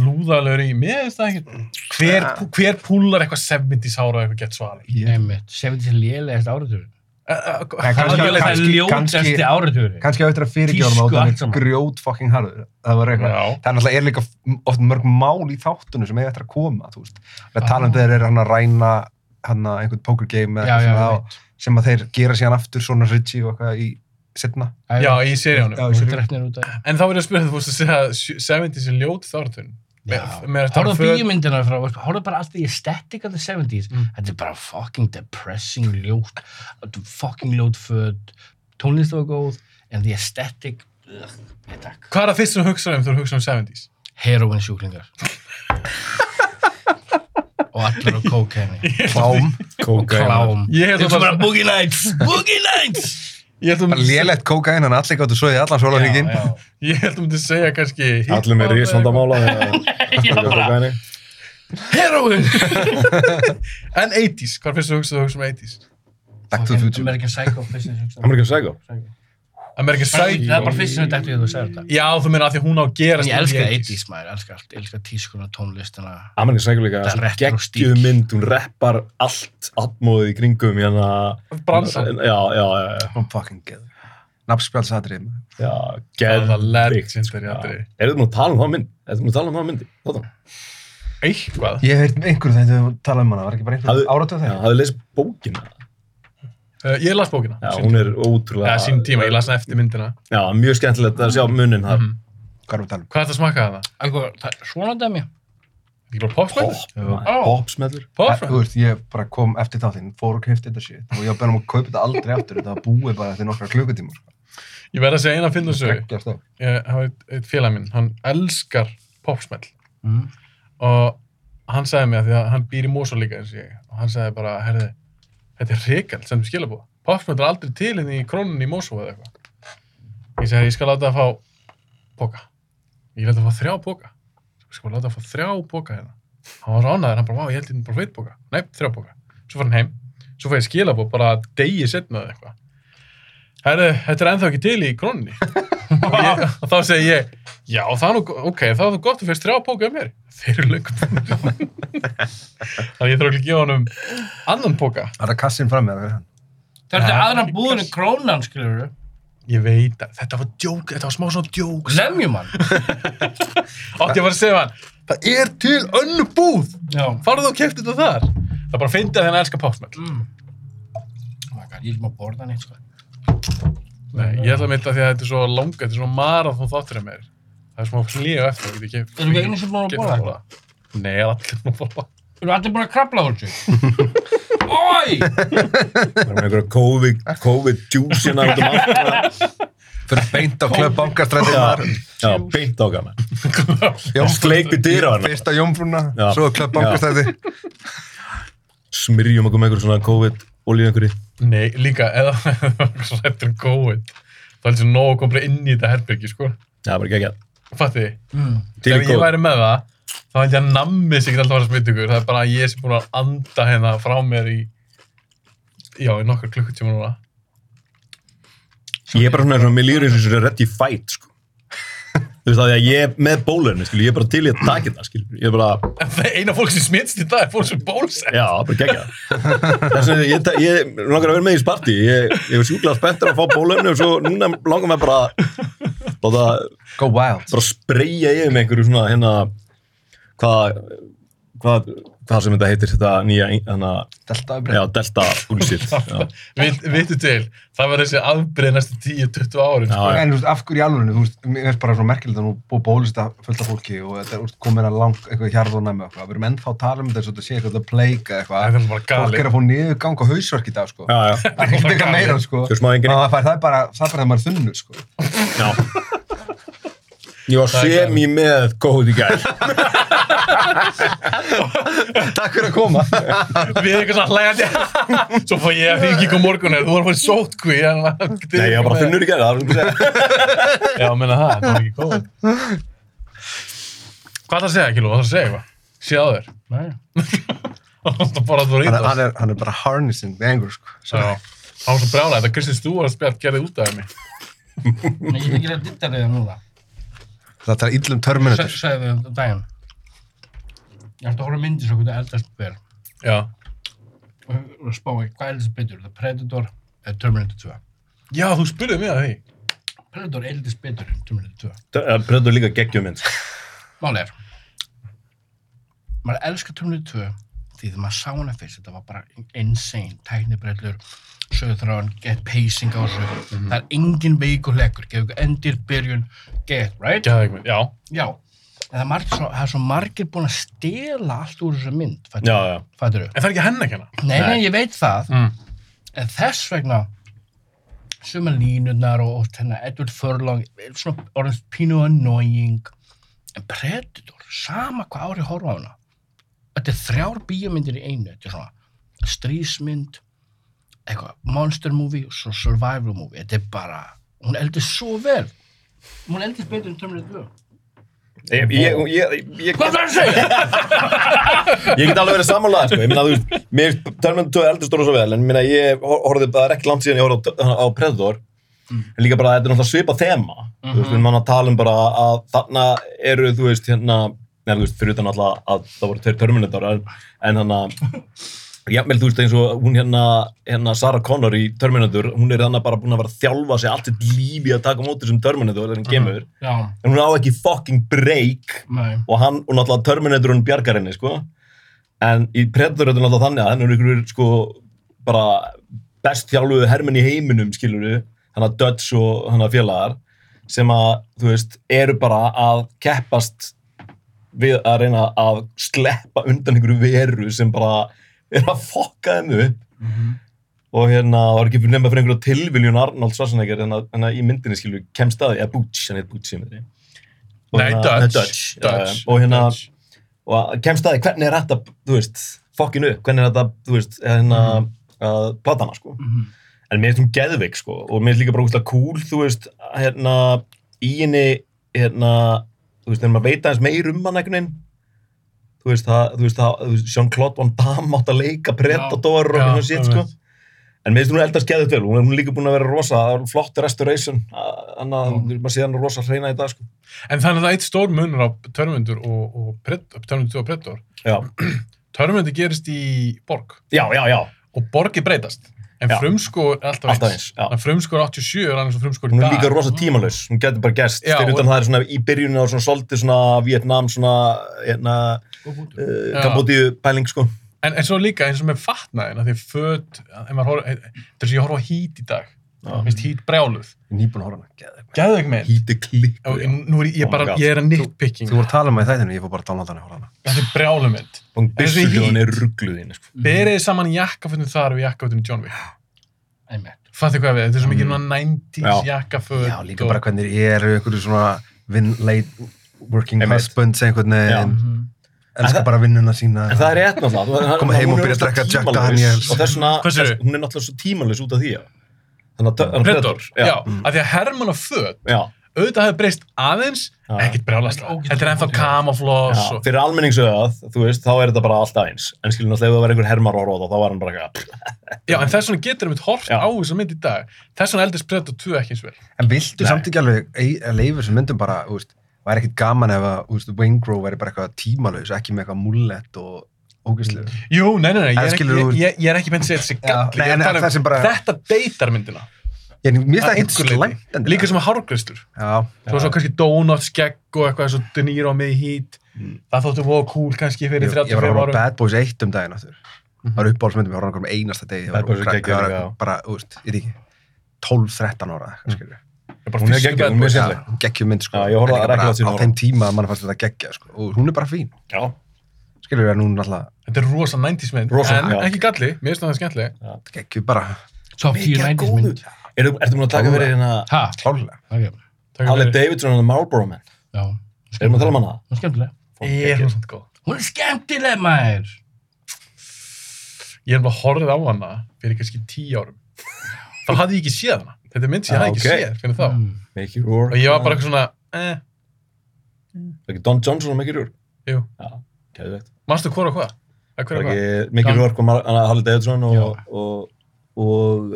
A: lúðalegur í, mér veist það ekki hver, hver púlar eitthvað 70s ára og eitthvað gett Eh, svo aðeins
G: nefnmitt, sem þetta er lélegast áratugurinn
A: eh,
H: kannski-
G: það er
H: kannski-
G: ljótasti
H: kannski-
G: áratugurinn
H: kannski á eftir að
G: Tísku
H: fyrirgjóðum á
G: allt
H: þannig
G: saman.
H: grjót fokkin harður, það var eitthvað,
A: Já.
H: það er náttúrulega er líka oft mörg mál í þáttunum sem eiga eftir að koma, þú veist,
G: Ah.
H: við talum þeir eru hann að ræna, hann að einhvern poker game
G: já,
H: eða
G: já,
H: eitthvað svona á-
G: veit.
H: sem að þeir gera síðan aftur svona Ritchie og eitthvað í setna
A: Já, í seríunum.
H: Já, í
G: og
H: seríunum.
G: drefnir út af
A: En þá verður ég að spyrja þú fórst að segja að sjö- 70s er ljót þáratun
G: Hóruðu bíómyndina frá, hóruðu bara alltaf í aesthetic of the 70s,
A: Mm.
G: þetta er bara fucking depressing ljót, fucking ljót föt, tónlist var góð, en the aesthetic, ugh, ég takk,
A: Hvað er það fyrst sem þú hugsaði um þegar þú hugsaði um 70s?
G: heroin sjúklingar. og allir á kókenni,
H: klám,
G: klám.
A: Ég held
G: Þetta
A: að
G: er bara
A: það-
G: Boogie Nights, Boogie Nights!
A: ég held að þú
H: bara
A: myndir-
H: lélegt kókain hann allir gáttu svo í allan sólarhingin
G: Já,
A: Ég held að þú myndir segja kannski
I: Allir með risvandamála.
G: já. Já, bara,
A: Heroin En 80s, hvað fyrst þú hugsaðu þú hugsaðu um 80s?
H: back to the
G: fucking
H: future
G: American Psycho, fyrst sem ég hugsaði.
I: Amerikan Psycho.
A: American
G: Bara-
A: Psycho
G: Það er bara fyrst sem ég dætti þegar þú sagði þetta.
A: Já, þú meina að því hún á að
G: En
A: gerast
G: ég
A: í
G: elska 80s maður, elska allt, elska tískuna, tónlistina.
I: Amerikan Psycho líka.
G: Það er
I: svo
G: retro stíl.
I: Geggjuð mynd, hún reppar allt atmóðið í kringum hérna.
A: Bransan
I: Já, já, já, já.
H: Hún fucking geð nafnspjálsatrið
I: já.
A: Það er
I: Geðvikt.
A: legend þegar ég aðri
I: Erum við nú að tala um það mynd? Erum við að tala um það myndi? Þáttan.
A: Eitthvað
H: ég hef heyrt einhverju þegar þú talaði um hana var ekki bara einhverju
I: Hafðu-
H: áratu
I: Já,
H: þegar
I: hafið lesið bókina.
A: Uh, Ég las bókina
I: Já, hún er ótrúlega...
A: Eða sín tíma, ég las hana eftir myndina
I: Já, mjög skemmtilegt að sjá munin þar.
A: Mhm.
H: hvað erum við að tala um
A: Hvað er það að smaka það?
G: Algo, það er svona dæmi.
A: Ekki bara popsmæður?
I: Popp, maður. Poppsmellur.
H: Það- Þú
A: Popsmæður?
H: veist, ég bara kom eftir þáttinn, fór og kefti þetta shit og ég var bæðin um að kaupa þetta aldrei aftur, þetta var búið bara eftir nokkra klukkutímur. sko.
A: Ég verð að segja eina að finna þessu
H: Geggjað stöf.
A: Ég hafa eitt- eitt félag minn, hann elskar popsmæll
G: Mm.
A: og hann sagði mér að því að hann býr í Mosó líka eins og ég og hann sagði bara, herði, þetta er reykjald sem við skilabóð, popsmönd er aldrei til henni í krónunni í Mosó eða eitthvað ég sagði, ég skal láta það fá póka, ég leta það fá þrjá póka ég skal bara láta það fá þrjá póka hérna hann var svo ánæður, hann bara, vá, ég held ég bara feit póka nei, þrjá póka, svo fór hann heim svo fór ég skilabóð, bara degi setna eða eitthvað herði, þetta er ennþá ekki til í krónunni og, ég, og þá segi ég Já, það er nú, ok, þá er þú gott að fyrst þrjá póka um mér. Þeir eru löngum. Þannig að ég þarf ekki að gefa honum annan póka.
H: Það er kassin fram með það.
G: Það er
A: Ja,
G: þetta aðra
A: ekki
G: búðin en
A: kannski.
G: krónan, skilur þú?
A: Ég veit að þetta var djók, þetta var smá svona djók.
G: Lemjum hann.
A: Átti ég bara að segja við hann, það er til önnu búð.
G: Já.
A: Farðu og keftu þetta þar. Það er bara að fyndi að þennan elska popsmell.
G: Mm. Oh my god, ég er sem að borða hann eitt, sko.
A: Nei, ég ætla að mynda því að þetta er svo langa, þetta er svo marathon þáttur af mér. Það er smá hlíu eftir, ég get ekki...
G: Erum við einu sem búin að
A: get
G: borða
A: ekki
G: eitthvað?
A: borðað. Nei, ég er allir nú bara...
G: Erum við allir búin að krabla úr þessu? Ói!
I: Það er með einhverja COVID, COVID djúsina út um allt.
J: Fyrir beint á klöf bankastrætið þar.
I: Já, beint á gana. Sleipi dyr á hana.
J: Fyrst á jómfrúna,
I: Já.
J: svo klöf bankastrætið.
I: Smyrjum okkur með einhverju svona COVID olíu einhverju.
A: Nei, líka, eða svo hættur um COVID. Það er þessi nóg að koma inn í þetta herbergi, sko.
I: Já, bara geggjað.
A: Fatti,
I: Til
A: ef ég
I: COVID.
A: væri með það, þá hætti að nammi sig alltaf að vera smittugur. Það er bara að ég sem búin að anda hérna frá mér í... Já, í nokkur klukkutíma núna.
I: Ég er bara svona, svona mér líður eins og þessu ready fight, sko. Þú veist það, því að ég er með bólerni, skilju, ég er bara til í að taka það, skilju. Ég er bara,
A: En það eina fólk sem smittst í dag er fólk sem bólsett.
I: já, bara geggjað. Þess vegna, ég, ta- ég langar að vera með í sparti. Ég, ég var sjúklega spenntur að fá bólerni og svo núna langar mér bara að láta
J: Go wild.
I: bara spreyja yfir með einhverju svona hérna hvað hvað hva sem þetta heitir þetta nýja hana,
J: Delta
I: já, delta bullshit já,
A: Vit, Vittu til, það var þessi afbreið næstu 10-20 árin.
I: já, já.
H: En þú veist, af hverju í alvörinu, þú veist, mér finnst bara svo merkilegt að nú búið bólusita fullt af fólki og þetta er úrst komin að lang eitthvað hjarðunæmi og eitthvað. Við erum ennþá að tala um þetta eins og þetta sé eitthvað að pleika eitthvað.
A: Það er bara
H: Fólk
A: galið.
H: er að fá niður gang og hausverk í dag, sko.
I: já, já.
H: Það er ekkert eitthvað meira, sko.
I: Þú veist maður enginn-
H: Ná, Það fær það er bara, það er bara þegar maður er þunnur, sko.
I: ég var semi með góð í gæl
H: Takk fyrir að koma.
A: við erum eitthvað svona hlægandi svo fá ég að þingi kom morgun þú var að fara í sótkví en-
I: nei, ég var bara þunnur í gæl það var ekki að segja.
A: já, menna það, það var ekki góð hvað það að segja, Kiló, það að segja eitthvað sé á þér
G: Nei.
A: það bara að þú
H: Hann,
A: rítast
H: hann, er, hann er bara harnessing the anger, sko.
A: það var svo brjálægt að Kristins Stúar spjart gerði út af mig
G: Ég er ekki að ditta við það núna.
H: Það um er illum törminutur.
G: Sæði við þetta daginn. Ég ætti að horfa á myndir svo hvernig eldast ber
A: já,
G: og og spá ekki hvað eldast betur, The Predator eða Terminator 2.
A: já þú spurðið mig að því
G: Predator eldast betur en Terminator 2.
I: það pröfðu líka geggjum minn
G: Mál er, maður elskar Terminator 2 því þegar maður sá hana fyrst, þetta var bara insane, tæknibrellur, söðurþráðan, get pacing á þessu, það er engin veikur leggur, gefur ykkur endir, byrjun, get, right?
A: gerði ekki minn, já,
G: Já, en það er, margir, svo, það er svo margir búin að stela allt úr þessu mynd,
I: já, já,
G: fættur þau?
A: en það er ekki henn ekki hana
G: Nei, nei, ég veit það,
A: Mm.
G: en þess vegna, suma línurnar og, og þennan Edward Furlong, er svona orðin pínu annoying, en Predator, sama hvað ári horfa á hana, þetta er þrjár bíómyndir í einu, þetta er svona strísmynd, eitthvað, monster movie og svo survival movie, þetta er bara, hún eldist svo vel, hún eldist betur en Terminator 2.
I: ég, ég, ég, ég,
G: Hvað það að segja?
I: ég get alveg verið samanlega sko. ég meina, þú veist, mér um törmendu tóð eldast stóra svo vel en ég meina, ég hor- horfði, það er ekki langt síðan ég horfði á, á Predator
G: Mm.
I: en líka bara, þetta er náttúrulega svipað þema þú veist, við
G: Mhm.
I: erum hann að tala um bara að þarna eru, þú veist, hérna nefnir, þú veist, fyrir utan alltaf að það voru tveir Terminator en, en hann að jafnvel, þú veist, eins og hún hérna, hérna Sarah Connor í Terminator hún er þannig bara búin að vera að þjálfa sig allt sitt lífi að taka á móti sem Terminator
G: Mhm.
I: þegar hann kemur
G: Já,
I: en hún á ekki fucking break
G: nei.
I: og hann, og náttúrulega Terminator hún bjargar henni, sko en í Predator er þetta náttúrulega þannig að hann er ykkur, sko, bara best þjálfuðu hermenn í heiminum, skilur við hann að Dutch og hann að félagar sem að, þú veist, eru bara að keppast við að reyna að sleppa undan einhverju veru sem bara er að fokka þeim upp
A: Mhm.
I: og hérna, það var ekki fyrir nefna fyrir einhverju tilviljun Arnold Schwarzenegger en að, en að í myndinni skilur við kemst að því, eða Butch, hann heit Butch í myndinni Og
A: Nei,
I: hérna-
A: Dutch.
I: Dutch,
A: Dutch.
I: Já, og hérna
A: Dutch.
I: og kemst að því hvernig er þetta, þú veist, fokkin upp, hvernig er þetta, þú veist, hérna,
A: Mhm.
I: mm. uh, platana, sko. En mér finnst hún geðveik, sko, og mér finnst líka bara úrslega cool, þú veist, hérna, í henni, hérna, þú veist, þegar maður veit aðeins meir um hann einhvern veginn, þú veist, það, þú veist, það, þú veist, Jean-Claude Van Damme átt að leika Predator og
A: Já,
I: eitthvað shit, sko.
A: einmitt.
I: En mér finnst hún eldast geðveikt vel, hún er hún er líka búin að vera rosa, það er flott restoration, annað, mm. maður sé hann rosa hreina í dag, sko.
A: en þannig að það er eitt stór munur á Törmundur og, og Predator, Törmundur og Predator
I: Já,
A: Törmundur gerist í borg
I: já, já, já,
A: og borgir breytast en
I: Já.
A: frumskóur er alltaf
I: Alltaf
A: eins
I: eins, já.
A: en frumskóur 87 er annars og frumskóur í
I: hún er
A: dag
I: líka rosa tímalaus, hún getur bara gerst
A: Já,
I: fyrir
A: og-
I: utan það er svona í byrjuninu og svona svolítið svona Vietnam svona hérna, uh,
A: Já.
I: Kambodíu pæling sko
A: en, en svo líka eins og með fatnaðin að því föt, ef maður horf, þess að ég horfa á hít í dag Mér finnst hít brjáluð.
H: Ég er nýbúin að horfa á hana Geðveik.
A: Gæðu ekki með.
H: Híti klík
A: Nú er ég- ég
I: Oh my
A: bara,
I: God.
A: ég er að nitpicking.
H: Þú voru að tala um það í þættinu, ég fór bara að downloada hana og horfa á hana
A: Þetta er brjálum mynd.
I: Og
A: Þessi
I: byssuhljóðan er ruggluðin, sko.
A: Berið saman jakkafötun þar og jakkafötun John Wick.
G: einmitt.
A: Fattu hvað við, þetta er svo mikið núna 90s jakkaföt.
H: Já, líka bara hvernig eru einhverju svona vin, late working
I: Einmitt.
H: husbands einhvern veginn
I: En
H: elskar
I: það-
H: bara vinnuna sína
I: En það er rétt náttúrulega.
H: Koma heim og byrja að drekka Jack Daniels.
I: Og þess vegna,
A: Hvað segirðu?
I: þess- hún er náttúrulega svo tímanlaus út af því, já. Þannig að...
A: Predator, já,
I: Já.
A: af því að Herman og Föt,
I: Já.
A: auðvitað hefur breyst aðeins,
I: Já.
A: ekkert brjálast.
G: Þetta er ógeðslega
A: Þetta er ennþá
G: gott, já.
A: camouflage
I: Já,
A: og...
I: fyrir almenningsauðað, þú veist, þá er þetta bara allt aðeins. En skilur náttúrulega, ef það var einhver hermar á róða, þá var hann bara eitthvað, pff,
A: Já, en þess vegna getur við hort
I: Já.
A: á þess mynd í dag. Þess vegna eldist Predator 2 ekki eins vel.
H: En viltu
I: Nei.
H: samt ekki alveg ei- að leifur sem myndum bara, þú veist, væri ekkit gaman ef að, þú veist, Wayne Grove væri bara eitthvað tímalaus, ekki með eitthvað mullett og ógæslu.
I: Mm.
A: Jú, nei, nei, nei, ég
H: En
A: er ekki,
H: skilur
A: ég,
H: þú-
A: ég, ég er ekki meint að segja þessi
H: Já,
A: galli,
H: nei,
A: ég er
H: en
A: að
H: það
A: tala
H: sem
A: um,
H: bara-
A: þetta deytar myndina.
H: Ég mér finnst
A: Að
H: það ekkit
A: einhverju leyti.
H: slæmt endilega.
A: Líka sem að hárgristur.
H: Já,
A: Svo svo kannski donut, skegg og eitthvað svo De Niro með í hít. Það þóttu voða cool kannski
H: Mm. ég,
A: fyrir
H: ég var að
A: 35
H: horfa á
A: árum.
H: Bad Boys 1 um daginn aftur. Það var uppáhaldsmyndum, ég horfa á einhverjum einasta degi. ég var
I: Mhm. Bad Boys er
H: krakki,
I: geggjuð
H: ég var
I: líka, já. Mm.
H: Bara, þú veist, ég er ekki 12-13 ára, kannski.
I: hún er geggjum, hún er
H: Já,
I: sérleg.
H: geggjum mynd, sko.
I: Já, ég
H: En
I: horfði á
H: líka bara
I: reglulega síðan
H: Á
I: ára.
H: þeim tíma að mann fannst þetta geggja, sko. Og hún er bara fín.
I: Já,
H: Skilur við að hún er alltaf
A: Þetta er rosa 90s mynd,
I: Rosa,
A: en
I: já.
A: ekki galli, mér finnst það skemmtileg.
H: geggjum bara
G: Top 10 90s mynd.
I: Eru- ertu múin að taka verið hérna
G: Ha,
H: klálega.
G: ok,
A: Takk
I: Harley
A: fyrir.
I: Davidson og Marlboro Man?
G: já.
I: Erum við að tala um hana?
G: Hún er skemmtileg.
A: Ég er hún samt góð.
G: Hún er skemmtileg, maður.
A: Ég er bara horfið á hana fyrir kannski 10 árum. Þá hafði ég ekki séð hana. Þetta er mynd sem ég
I: Ah,
A: hafði ekki
I: ok.
A: séð fyrir þá.
G: Mm.
I: Make it roar.
A: Og ég var bara eitthvað svona, eh,
I: Ekki Don Johnson og Make it roar?
A: Jú.
I: Já, geðvegt.
A: manstu hvora hvað? Að
I: Það
A: hverja
I: er
A: hvað?
I: ekki Make it roar kom Mar- hana Harley Davidson og, og, og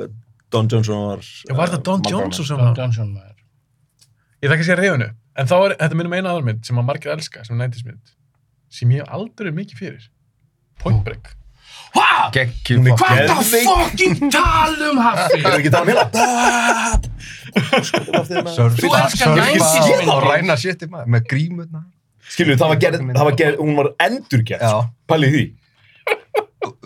I: Don Johnson var...
A: Já, var
I: eh,
A: þetta Don
I: Marlboro Man.
A: Johnson sem
G: Don
A: var?
G: Johnson, maður.
A: Ég þekki sér reyðinu, en þá er þetta minnum eina aðra mynd sem að margir elska, sem er 90s mynd, sem ég hef aldrei mikið fyrir. Point Break.
G: Hva?
H: Geggjum
I: Hún er
G: Hvað það
I: Geðveik.
G: fucking talum, Hafi?
I: Erum við ekki að tala um hérna?
G: Þú elskar 90s
H: Sörfa og
G: myndir.
H: ræna sétti maður með grímurna
I: Skilur, það var gerð, það var gerð, hún var endurgerð,
H: Já.
I: sko. pælið í því.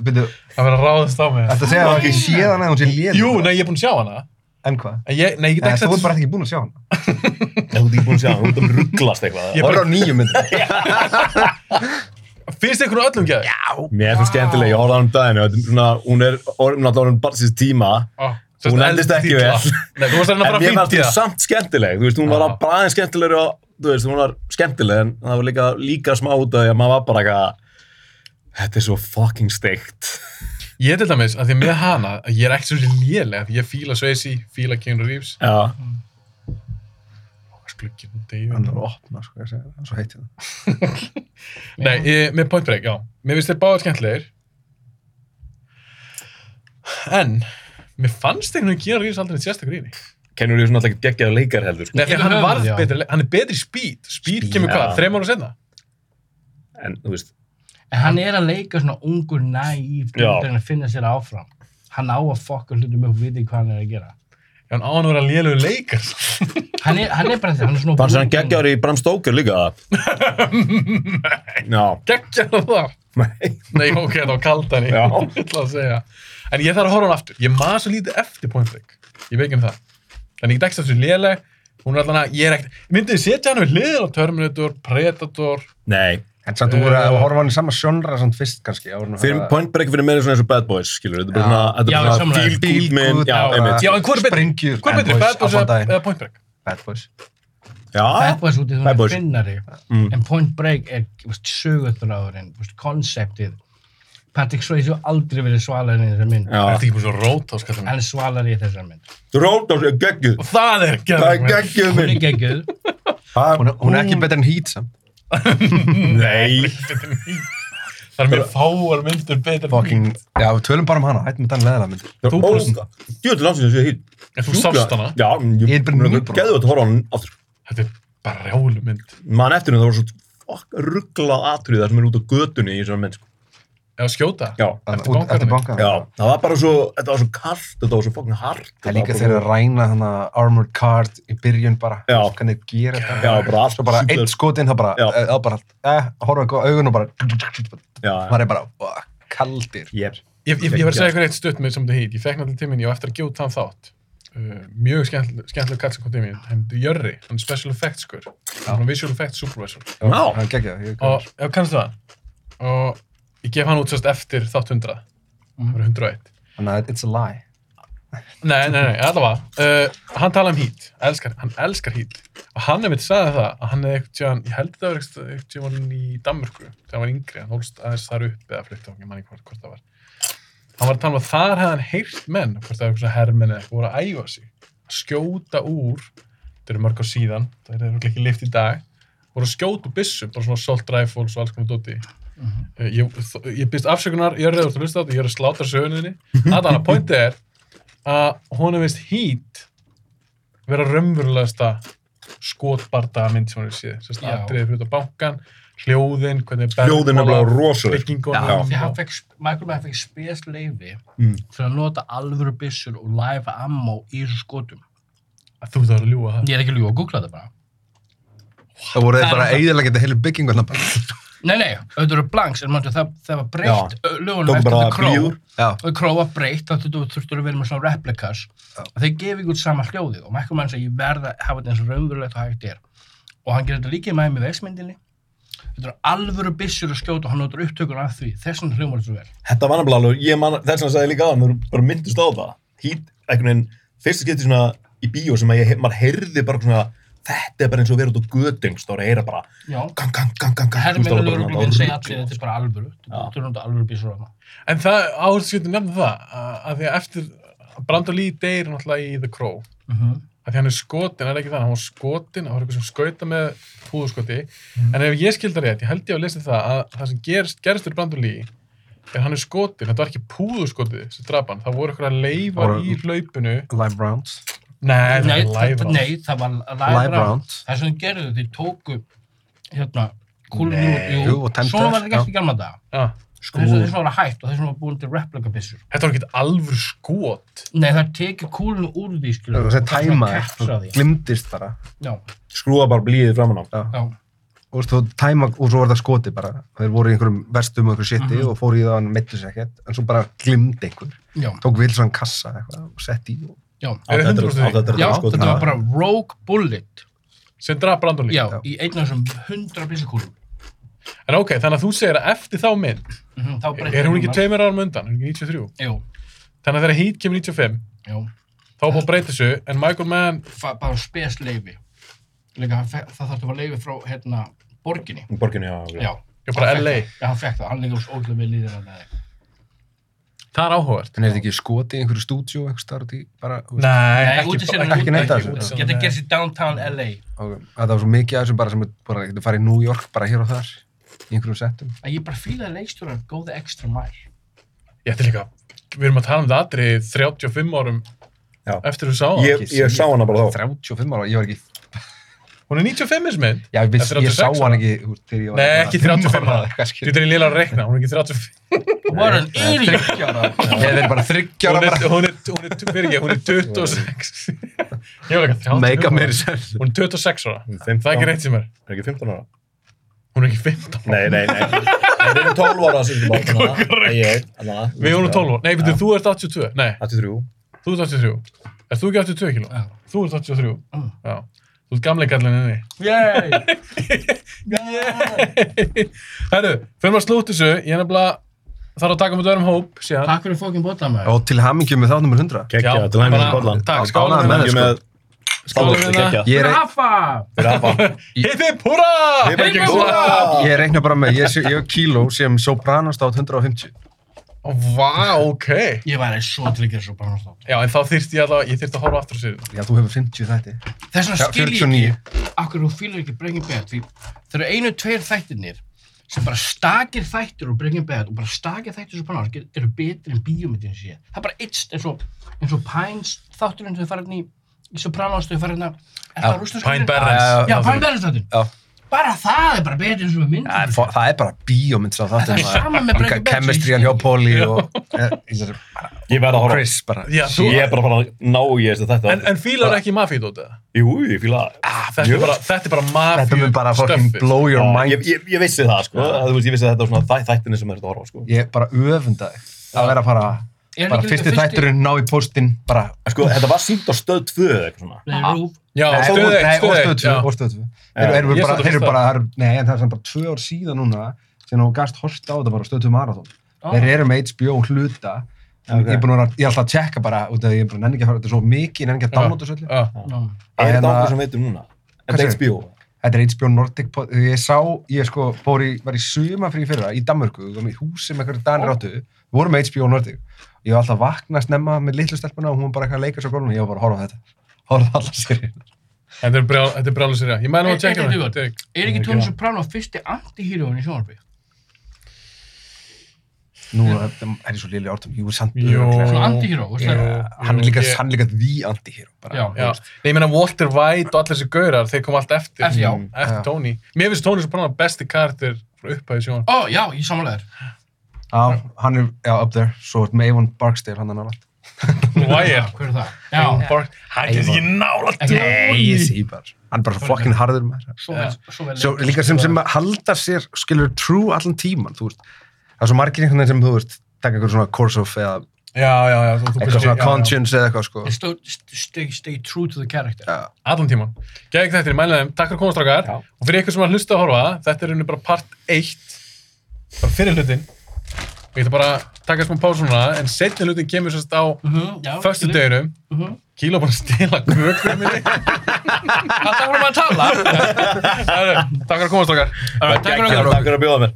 H: Byrju,
A: Það verður að ráðast á mig.
H: Þetta segja að það ekki séð hana eða hún sé léð
A: Jú, nei, ég er búinn að sjá hana.
H: En hvað?
A: En ég, nei, ég get
H: Eh,
A: ekki
H: Þú ert
A: sett...
H: bara ekki búin að sjá hana
I: Ef Þú ert ekki búin að segja, hún ert að rugglast eitthvað.
A: Ég
H: Bara á nýju mynd
A: Finnst þið einhvern öllum geða?
I: Mér finnst skemmtileg, ég horfði á hann um daginn og þetta er svona, hún er orðin náttúrulega orðin barnsins tíma
A: Já.
I: Hún endist ekki vel.
A: Nei, þú varst að reyna
I: en
A: að fara að
I: ég fannst hún
A: 50 það.
I: samt skemmtileg, þú veist, hún var
A: Já.
I: að bræðin skemmtilegri og þú veist, hún var skemmtileg en það var líka, líka smá út af því að maður var bara eitthvað Þetta er svo fucking steikt
A: Ég er til dæmis að því að með hana, að ég er ekki svo lélega, því ég fíla Sveisi, fíla Keanu Reeves,
I: Já,
A: sklukkinn og David.
H: Hann er að opna, sko, ég segja það Svo heitir það
A: Nei, ég, með Point Break, já. Mér finnst þeir báðar skemmtilegir. En, mér fannst einhvern veginn Keanu Reeves aldrei neitt sérstakkur í henni.
I: kennur ég svona alltaf geggjaða leikar heldur sko.
A: Nei, því
G: Getur
A: hann
G: höfðað,
A: varð
G: já.
A: betri, hann er betri í speed. Speed kemur hvað,
I: já.
A: þreim ára senna?
I: En þú veist,
G: En hann er að leika svona ungur næv
I: Já.
G: þegar hann finna sér áfram. Hann á að fokka hlutum upp og viti hvað hann er að gera.
A: Já, hann á hann að vera lélögur leikar.
G: Hann er, hann er bara þetta, hann er svona...
I: fannst hann geggjaður í Bram Stoker líka Nei Já,
A: Gekkjar það.
I: nei
A: Nei, ok, það var kaldan í.
I: Já.
A: Ég ætla að segja. En ég þarf að horfa hann aftur. Ég maður svo lítið eftir Point Break. Ég veit ekki um það. Þannig ég get ekki eftir léleg. Hún er allan að, ég er ekkert, myndið þið setja hann við hliðin á Terminator, Predator,
I: Nei,
H: En samt þú voru að horfa hann í sama sjónra samt fyrst kannski áður en að
I: fyrir
H: horfa-
I: Point Break fyrir mér er svona eins og Bad Boys, skilur Þetta er bara svona,
G: Já,
I: þetta er svona
G: samlega.
I: feel good mynd Já,
H: já,
I: einmitt
A: Já, en hvor er betri?
H: Sprengjur
A: Hvað er betri, Bad Boys eða
H: eða
A: eða Point Break?
H: Bad Boys
I: Já,
G: Bad Boys út í
I: Bad
G: hún
I: Boys.
G: er finnari.
I: Mm.
G: En Point Break er sögurður áðurinn, konseptið. Patrick Swayze hefur aldrei verið svalarinn í þessar mynd.
A: Það
I: já
A: er ekki búin svo rót á skattum.
G: Hann er svalarinn í þessar mynd.
I: Rótás er geggjuð
A: Og það er
I: Það er
A: geðveik mynd.
I: geggjuð
G: Hún er geggjöð.
I: mynd
H: Hún er- Hún er ekki betur en Heat samt
I: Nei
A: Það er mjög fáar myndur betur.
H: Fucking Já, við tölum bara um hana Hættum við þannig leðilega mynd
I: Þú búst Djúður landsins ég hýtt
A: En þú sást hana.
I: Já,
H: Ég er bara
I: mjög
H: nýbúinn.
I: Geðu þetta horfa á hann aftur
A: Þetta er bara rjálu mynd.
I: Man eftir henni það voru svo fokk rugglað atrið þar sem er út á götunni í þessum menn sko.
A: Eða skjóta.
I: Já
A: Eftir
H: Út-
A: bankanum.
H: Eftir bankanum.
I: Já, það var bara svo, þetta var svo kallt, þetta var svo fokkin hart
H: Það er líka þegar þeir ræna þannig Armored Card í byrjun bara,
I: Já.
H: hvernig þeir gera þetta.
I: Já, bara allt
H: Svo bara
I: super-
H: eitt skotinn, það bara,
I: Já.
H: eh, það bara, eh, horfa ekki á augun og bara,
I: Já, já
H: maður er bara, oh, kaldir.
I: Yep.
A: Ég, ég, ég var að segja ykkur eitt stutt með Some of the Heat. Ég fekk náttúrulega tíminn, ég var eftir að gjóta hann þátt. uh, mjög skemmtileg, skemmtileg kall sem kom til mér hann er Jörri, hann er special effects skur hann er visual effects supervisor
H: Já, hann geggja, ég
A: og já, kannstu það og ég gef hann út sérst eftir þátt 100 það var 101
H: Þannig að it's a lie.
A: Mhm. nei, nei, nei, allavega uh, hann tala um hít, elskar, hann elskar hít og hann er mitt sagði það að hann er eitthvað tján, ég held það var eitthvað- eitthvað tján í Danmörku þegar hann var yngri, hann hólst aðeins þar upp eða flytti hann, ég man ekki hvort, hvort það var hann var að tala um að þar hefði hann heyrt menn hvort það var eitthvað hermenn eða eitthvað voru að æfa sig að skjóta úr þetta eru mörg á síðan, það eru örugglega ekki lift í dag voru að skjóta úr byssum, bara svona assault rifles og alls konar dóti
I: Mhm.
A: Eh, ég, þó- ég byrst afsökunar, ég er reyður til að hlusta á þetta, ég er að sláta sögunni þinni Adana, pointið er að hún er vist hít vera raunverulegasta skotbarda mynd sem hún er séð sérst
G: Já.
A: atriðið fyrir út á bankan hljóðin, hvernig
I: Hljóðin er bara rosaleg.
A: bygginguna
G: Því hann fekk, Michael Mann fekk spes leifi
I: Mm.
G: til að nota alvöru byssur og live ammo í þessu skotum.
A: þú þarf að ljúga það
G: Ég er ekki að ljúga, googla þetta bara.
H: Það voru þeir
G: Það er
H: bara
G: það.
H: eiginlega getið heilu byggingu alltaf bara.
G: Nei, nei, auðvitað eru blanks, en mannstu, það, það var breytt ö, lögunum
I: Tóku
G: eftir
I: bara
G: The Crow.
I: bljúgur.
H: Já.
G: Og The Crow var breytt, þannig að þú þurftur að vera með svona replikas. Og þeir gefi ekki út sama hljóðið. Og Michael Mann segi, ég verð að hafa þetta eins raunverulegt og hægt er. Og hann gerir þetta líka í mæmi veismyndinni. Þetta eru alvöru byssur að skjóta og hann notur upptökur af því. Þessan hljómar þetta svo vel.
I: Þetta var nefnilega alveg, ég man, þess að sagði líka að maður bara myndist á það. Hít, einhvern veginn, fyrsta skipti svona í bíó sem að ég, maður heyrði bara svona, þetta er bara eins og verið út á gödung, stóra heyra bara,
G: Já.
I: gang, gang, gang, gang, gang. þú veist, það
G: Herminn
I: var bara
G: lögregluminn
I: svona-
G: segja allir þetta er bara alvöru. Þetta eru náttúrulega alvöru bísur hana.
A: en það, áherskutin nefnum það að, að því að eftir, Brandon Lee deyr náttúrulega í The Crow að því hann er skotin, hann er ekki þannig, hann var skotin, hann var eitthvað sem skauta með púðuskoti, en ef ég skildar rétt, ég held ég að lesa það að það sem gerst, gerst fyrir Brandon Lee, er hann er skotin, þetta var ekki púðuskotið sem draf hann, það voru eitthvað leifar
H: Það voru-
A: í hlaupinu,
H: Live rounds.
A: nei,
G: Mhm. Nei,
A: það var
G: þetta-
A: leifar,
G: nei, það var live
H: Live
G: round.
H: rounds.
G: Það er sem þau gerðu, þau tóku hérna, kúlun úr, jú,
H: Jú, og tæmdu
G: svona var
H: þær,
G: það gert í gamla daga.
A: ja,
G: Þess að þessum var hægt og þessum var búin til replika byssur.
A: Ah, þetta var ekki alvöru skot,
G: Nei, það tekið kúlun úr því, skilur.
H: Það er tæma,
G: því.
H: glimtist bara.
G: Já,
I: Skrúa bara blíðið framan á.
G: já.
H: og þú veist, þú tæma og svo var það skoti bara þeir voru í einhverjum verstum og einhverjum shiti og fóru í það hann meittu sér ekkert en svo bara glimdi einhver
G: Já,
H: tók vilsan kassa eitthvað og sett í og...
G: já,
A: er það 100% því,
G: já,
I: sko
G: þetta var bara rogue bullet,
A: sem draf Brandon Lee,
G: já, í einn af þessum hundra byssukúlum.
A: en ok, þannig að þú segir að eftir þá mynd,
G: Mhm, þá breytti
A: er hún ekki
G: það.
A: tveimur árum undan, er hún ekki 93,
G: Jú,
A: þannig að þegar Heat kemur 95,
G: jú,
A: þá er búið að breyta þessu, en Michael Mann,
G: Fa- bara spes leifi. Líka, hann fe- það þarf að fá leifi frá, hérna, borginni.
I: Borginu, já, já.
G: Já,
A: ég bara
G: Hann fékk
A: LA,
G: það. Já, hann fekk það, hann líka úr ótrúlega vel í þér að það.
A: það er áhugavert.
H: en er þetta ekki skoti í einhverju stúdíu eitthvað starf í bara þú veist,
A: Nei,
G: Nei, út í
A: ekki,
G: sinni,
H: ekki neitt af þessu.
G: Geta að gera sér downtown LA.
H: og það var svo mikið af þessum bara sem er bara getur farið í New York bara hér og þar í einhverjum settum
G: Að ég bara fílaði leikstjórar go the extra mile.
A: Ég ætti líka, við erum að tala um þetta aðri 35 árum
I: Já.
A: eftir þú sá það.
I: Ég, ég sá hana bara þá.
H: 35 ára, ég var ekki
A: Hún er 95 -is mynd.
H: já, ég, viss,
A: Þetta er
H: ég sá
A: 86
H: hann ekki úr, þegar ég var
A: Nei,
H: bara
A: ekki
H: fimm
A: 35 ára.
H: eitthvað, skilur.
A: Þetta er lélega að rekna, hún er ekki 35.
G: What an idiot!
H: ég er bara 30 ára
A: Hún er,
H: bara
A: hún er, hún er, fyrir ekki, hún er 26. ég var ekki 35
H: meika
A: ára.
H: meiri sér
A: Hún er 26 ára.
I: Fimmtán-
A: Það er ekki reitt sem er.
I: Er ekki 15 ára?
A: Hún er ekki 15 ára.
I: Nei, nei, nei. Það er 12 ára sem þú bátt hana. Ég, hana.
A: Við erum 12 ára. Nei, betur, þú ert 82. Nei,
I: 83.
A: þú ert 83. Er þú ekki 82 kíló?
G: Já.
A: Þú ert 83. Já. Þú ert gamlega gallin inni.
G: Yay!
A: Herru, fyrir maður slútt þessu, ég er nefnilega þarf að taka um þetta öðrum hóp síðan.
G: Takk fyrir fókin bótað maður.
H: og til hamingju með þáttumur 100
I: Kekja,
A: Já,
I: til hægum
A: bara-
I: með bollan.
A: Takk,
H: Ánægður
A: skálum
H: með
A: með
H: þig,
I: Ég með
A: Skálum
I: bollan,
A: hérna.
I: kekja.
H: ég er
G: Rafa!
I: Fyrir afa.
A: Hipp hipp húra!
I: Hipp, hipp, húrra!
H: Ég reikna bara með, ég, sé- ég hef kíló sem Sopranos státt 150.
A: Vá, ok.
G: Ég væri svo til að gera svo bara náttúrulega.
A: Já, en þá þyrfti ég allavega, ég þyrfti að horfa aftur á sér.
H: Já, þú hefur 50 þætti.
G: Þess
H: Já,
G: vegna skil ég
H: 49.
G: ekki akkur þú fílar ekki Breaking Bad því það eru einu, tveir þættirnir sem bara stakir þættir úr Breaking Bad og bara stakir þættir svo bara náttúrulega eru betri en bíómyndin sé. Það er bara eitt eins og, eins og Pines þátturinn þau fara hérna í, í Sopranos þau fara hérna Er það rústnarska
A: Pine
G: þátturinn?
H: Uh,
A: Barrens.
G: Já, Pine Barrens þátturinn. Bara það er bara betri en svona myndin.
H: Það, er- það er bara bíómynd sá
G: Það
H: þáttir.
G: er sama með Breaking Bad,
H: Chemistry
G: ég
H: hann hjá
G: skil.
H: Polly og eh, ég sagði,
I: Ég verð að horfa.
H: Chris bara.
A: Já, þú,
I: Ég er bara að fara að ná í þess að þetta.
A: en, Ah, en fílar ekki mafíudótið?
I: Jú, ég fíla
A: Þetta er bara, þetta er bara
H: Þetta mun bara fucking
A: mafíustöffi.
H: blow your
I: Já, ég,
H: mind.
I: ég, ég vissi það, sko. Þú veist, ég vissi að þetta var svona þæ- þættinni sem er þetta að horfa, sko.
H: Ég bara öfunda þig. Það verður að fara
G: Er
H: bara
G: ekki
H: fyrsti
G: fyrsti-
H: þætturinn ná í póstinn bara
I: Sko, þetta var sínt á stöð 2 eða eitthvað svona.
H: Ah.
G: Nei, Rúf,
A: Já,
H: Nei,
A: stöð
H: og-
A: eitt,
H: nei, og
A: stöð
H: stöð
A: eitt,
H: 2
A: já.
H: og stöð 2 Þeir eru
A: Ég
H: bara,
A: sat á
H: þeir eru
A: fyrsta.
H: bara, það eru- nei, en það er samt bara tvö ár síðan núna sem þú gast horft á þetta bara á stöð 2 marathón Þeir eru með HBO hluta en
I: Ok.
H: Ég er búin að vera, ég er alltaf að tjekka bara út af því ég er bara nenni ekki að fara þetta er svo mikið, ég nenni ekki að downloada þessu öllu
A: Já.
H: En
I: Er þetta
H: hérna-
I: okkur sem veitum núna? Er
H: Hvað
I: þetta HBO?
H: Þetta er HBO Nordic pod- Þegar ég sá, ég sko fór í, var í suma frí fyrra í Danmörku, við varum í húsi með einhverju danir áttu, við vorum með HBO Nordic Ég var alltaf að vakna snemma með litlu stelpuna og hún var bara eitthvað að leika svo gólun og ég var bara að horfa á þetta Horfa á alla séri
A: Þetta er brjál- þetta er brjálega sér, Ég mælu að
G: Hey,
A: tjekka
G: hey,
A: það.
G: hey, er ekki Tony Soprano fyrsti anti-híróin í sjónarbi?
H: Nú er er ég svo lili ártum, jú, samt
A: Jú.
H: örugglega.
G: Svona anti-híró, þú veist það?
A: Jú.
H: hann er líka,
A: Ég-
H: hann er líka the anti-hero bara.
G: Já,
A: Já, Nei, ég meina Walter White og allir þessi gaurar, þeir kom allt eftir, Mm.
G: Eftir, já.
A: eftir
H: Já.
A: Tony. Mér finnst Tony Soprano besti karakter frá upphæði sjón.
G: Ó, já, ég samanlegar.
H: Já, hann er já, up there, svo er með Avon Barksdale hann er nálægt
A: Wire.
G: Hver er það? Já,
A: Borg, hann getur ekki nála
G: Ekki
H: Nei, ég sé bara, hann er bara fucking harður maður
G: svo vel, svo vel.
H: svo, líka sem, sem að halda sér skilur true allan tíman, þú veist það er svo margir einhvern veginn sem þú veist taka einhver svona course of eða
A: Já, já, já. þú- þú- já, já,
H: eitthvað svona
A: já.
H: conscience eða eitthvað sko
G: They sto- st- Stay, stay true to the character.
A: Allan tíman. Gæði þetta, ég mælu þeim. Takk fyrir komastrákar. Og fyrir ykkur sem að hlusta að horfa, þetta er rauninu bara part 1. Bara fyrir hlutin. Við ætlum bara að taka smá pásu núna, en setni hlutin kemur sérst á
G: Mhm, já,
A: förstu
G: skilur.
A: deginum.
G: Mhm.
A: Kíla búin að stila kökum minni.
G: Alltaf vorum við að tala.
A: Herru, Takk fyrir komastrákar.
G: Takk fyrir okkur.
I: Takk fyrir að bjóða mér.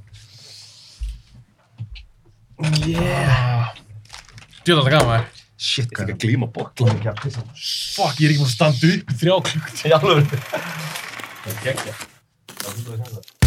A: Djóðan, það gama þér.
H: shit, hvað
I: Ég glýma bókla.
A: Fuck, ég er ekki búin að standa upp í þrjá klukk.
I: Í alveg.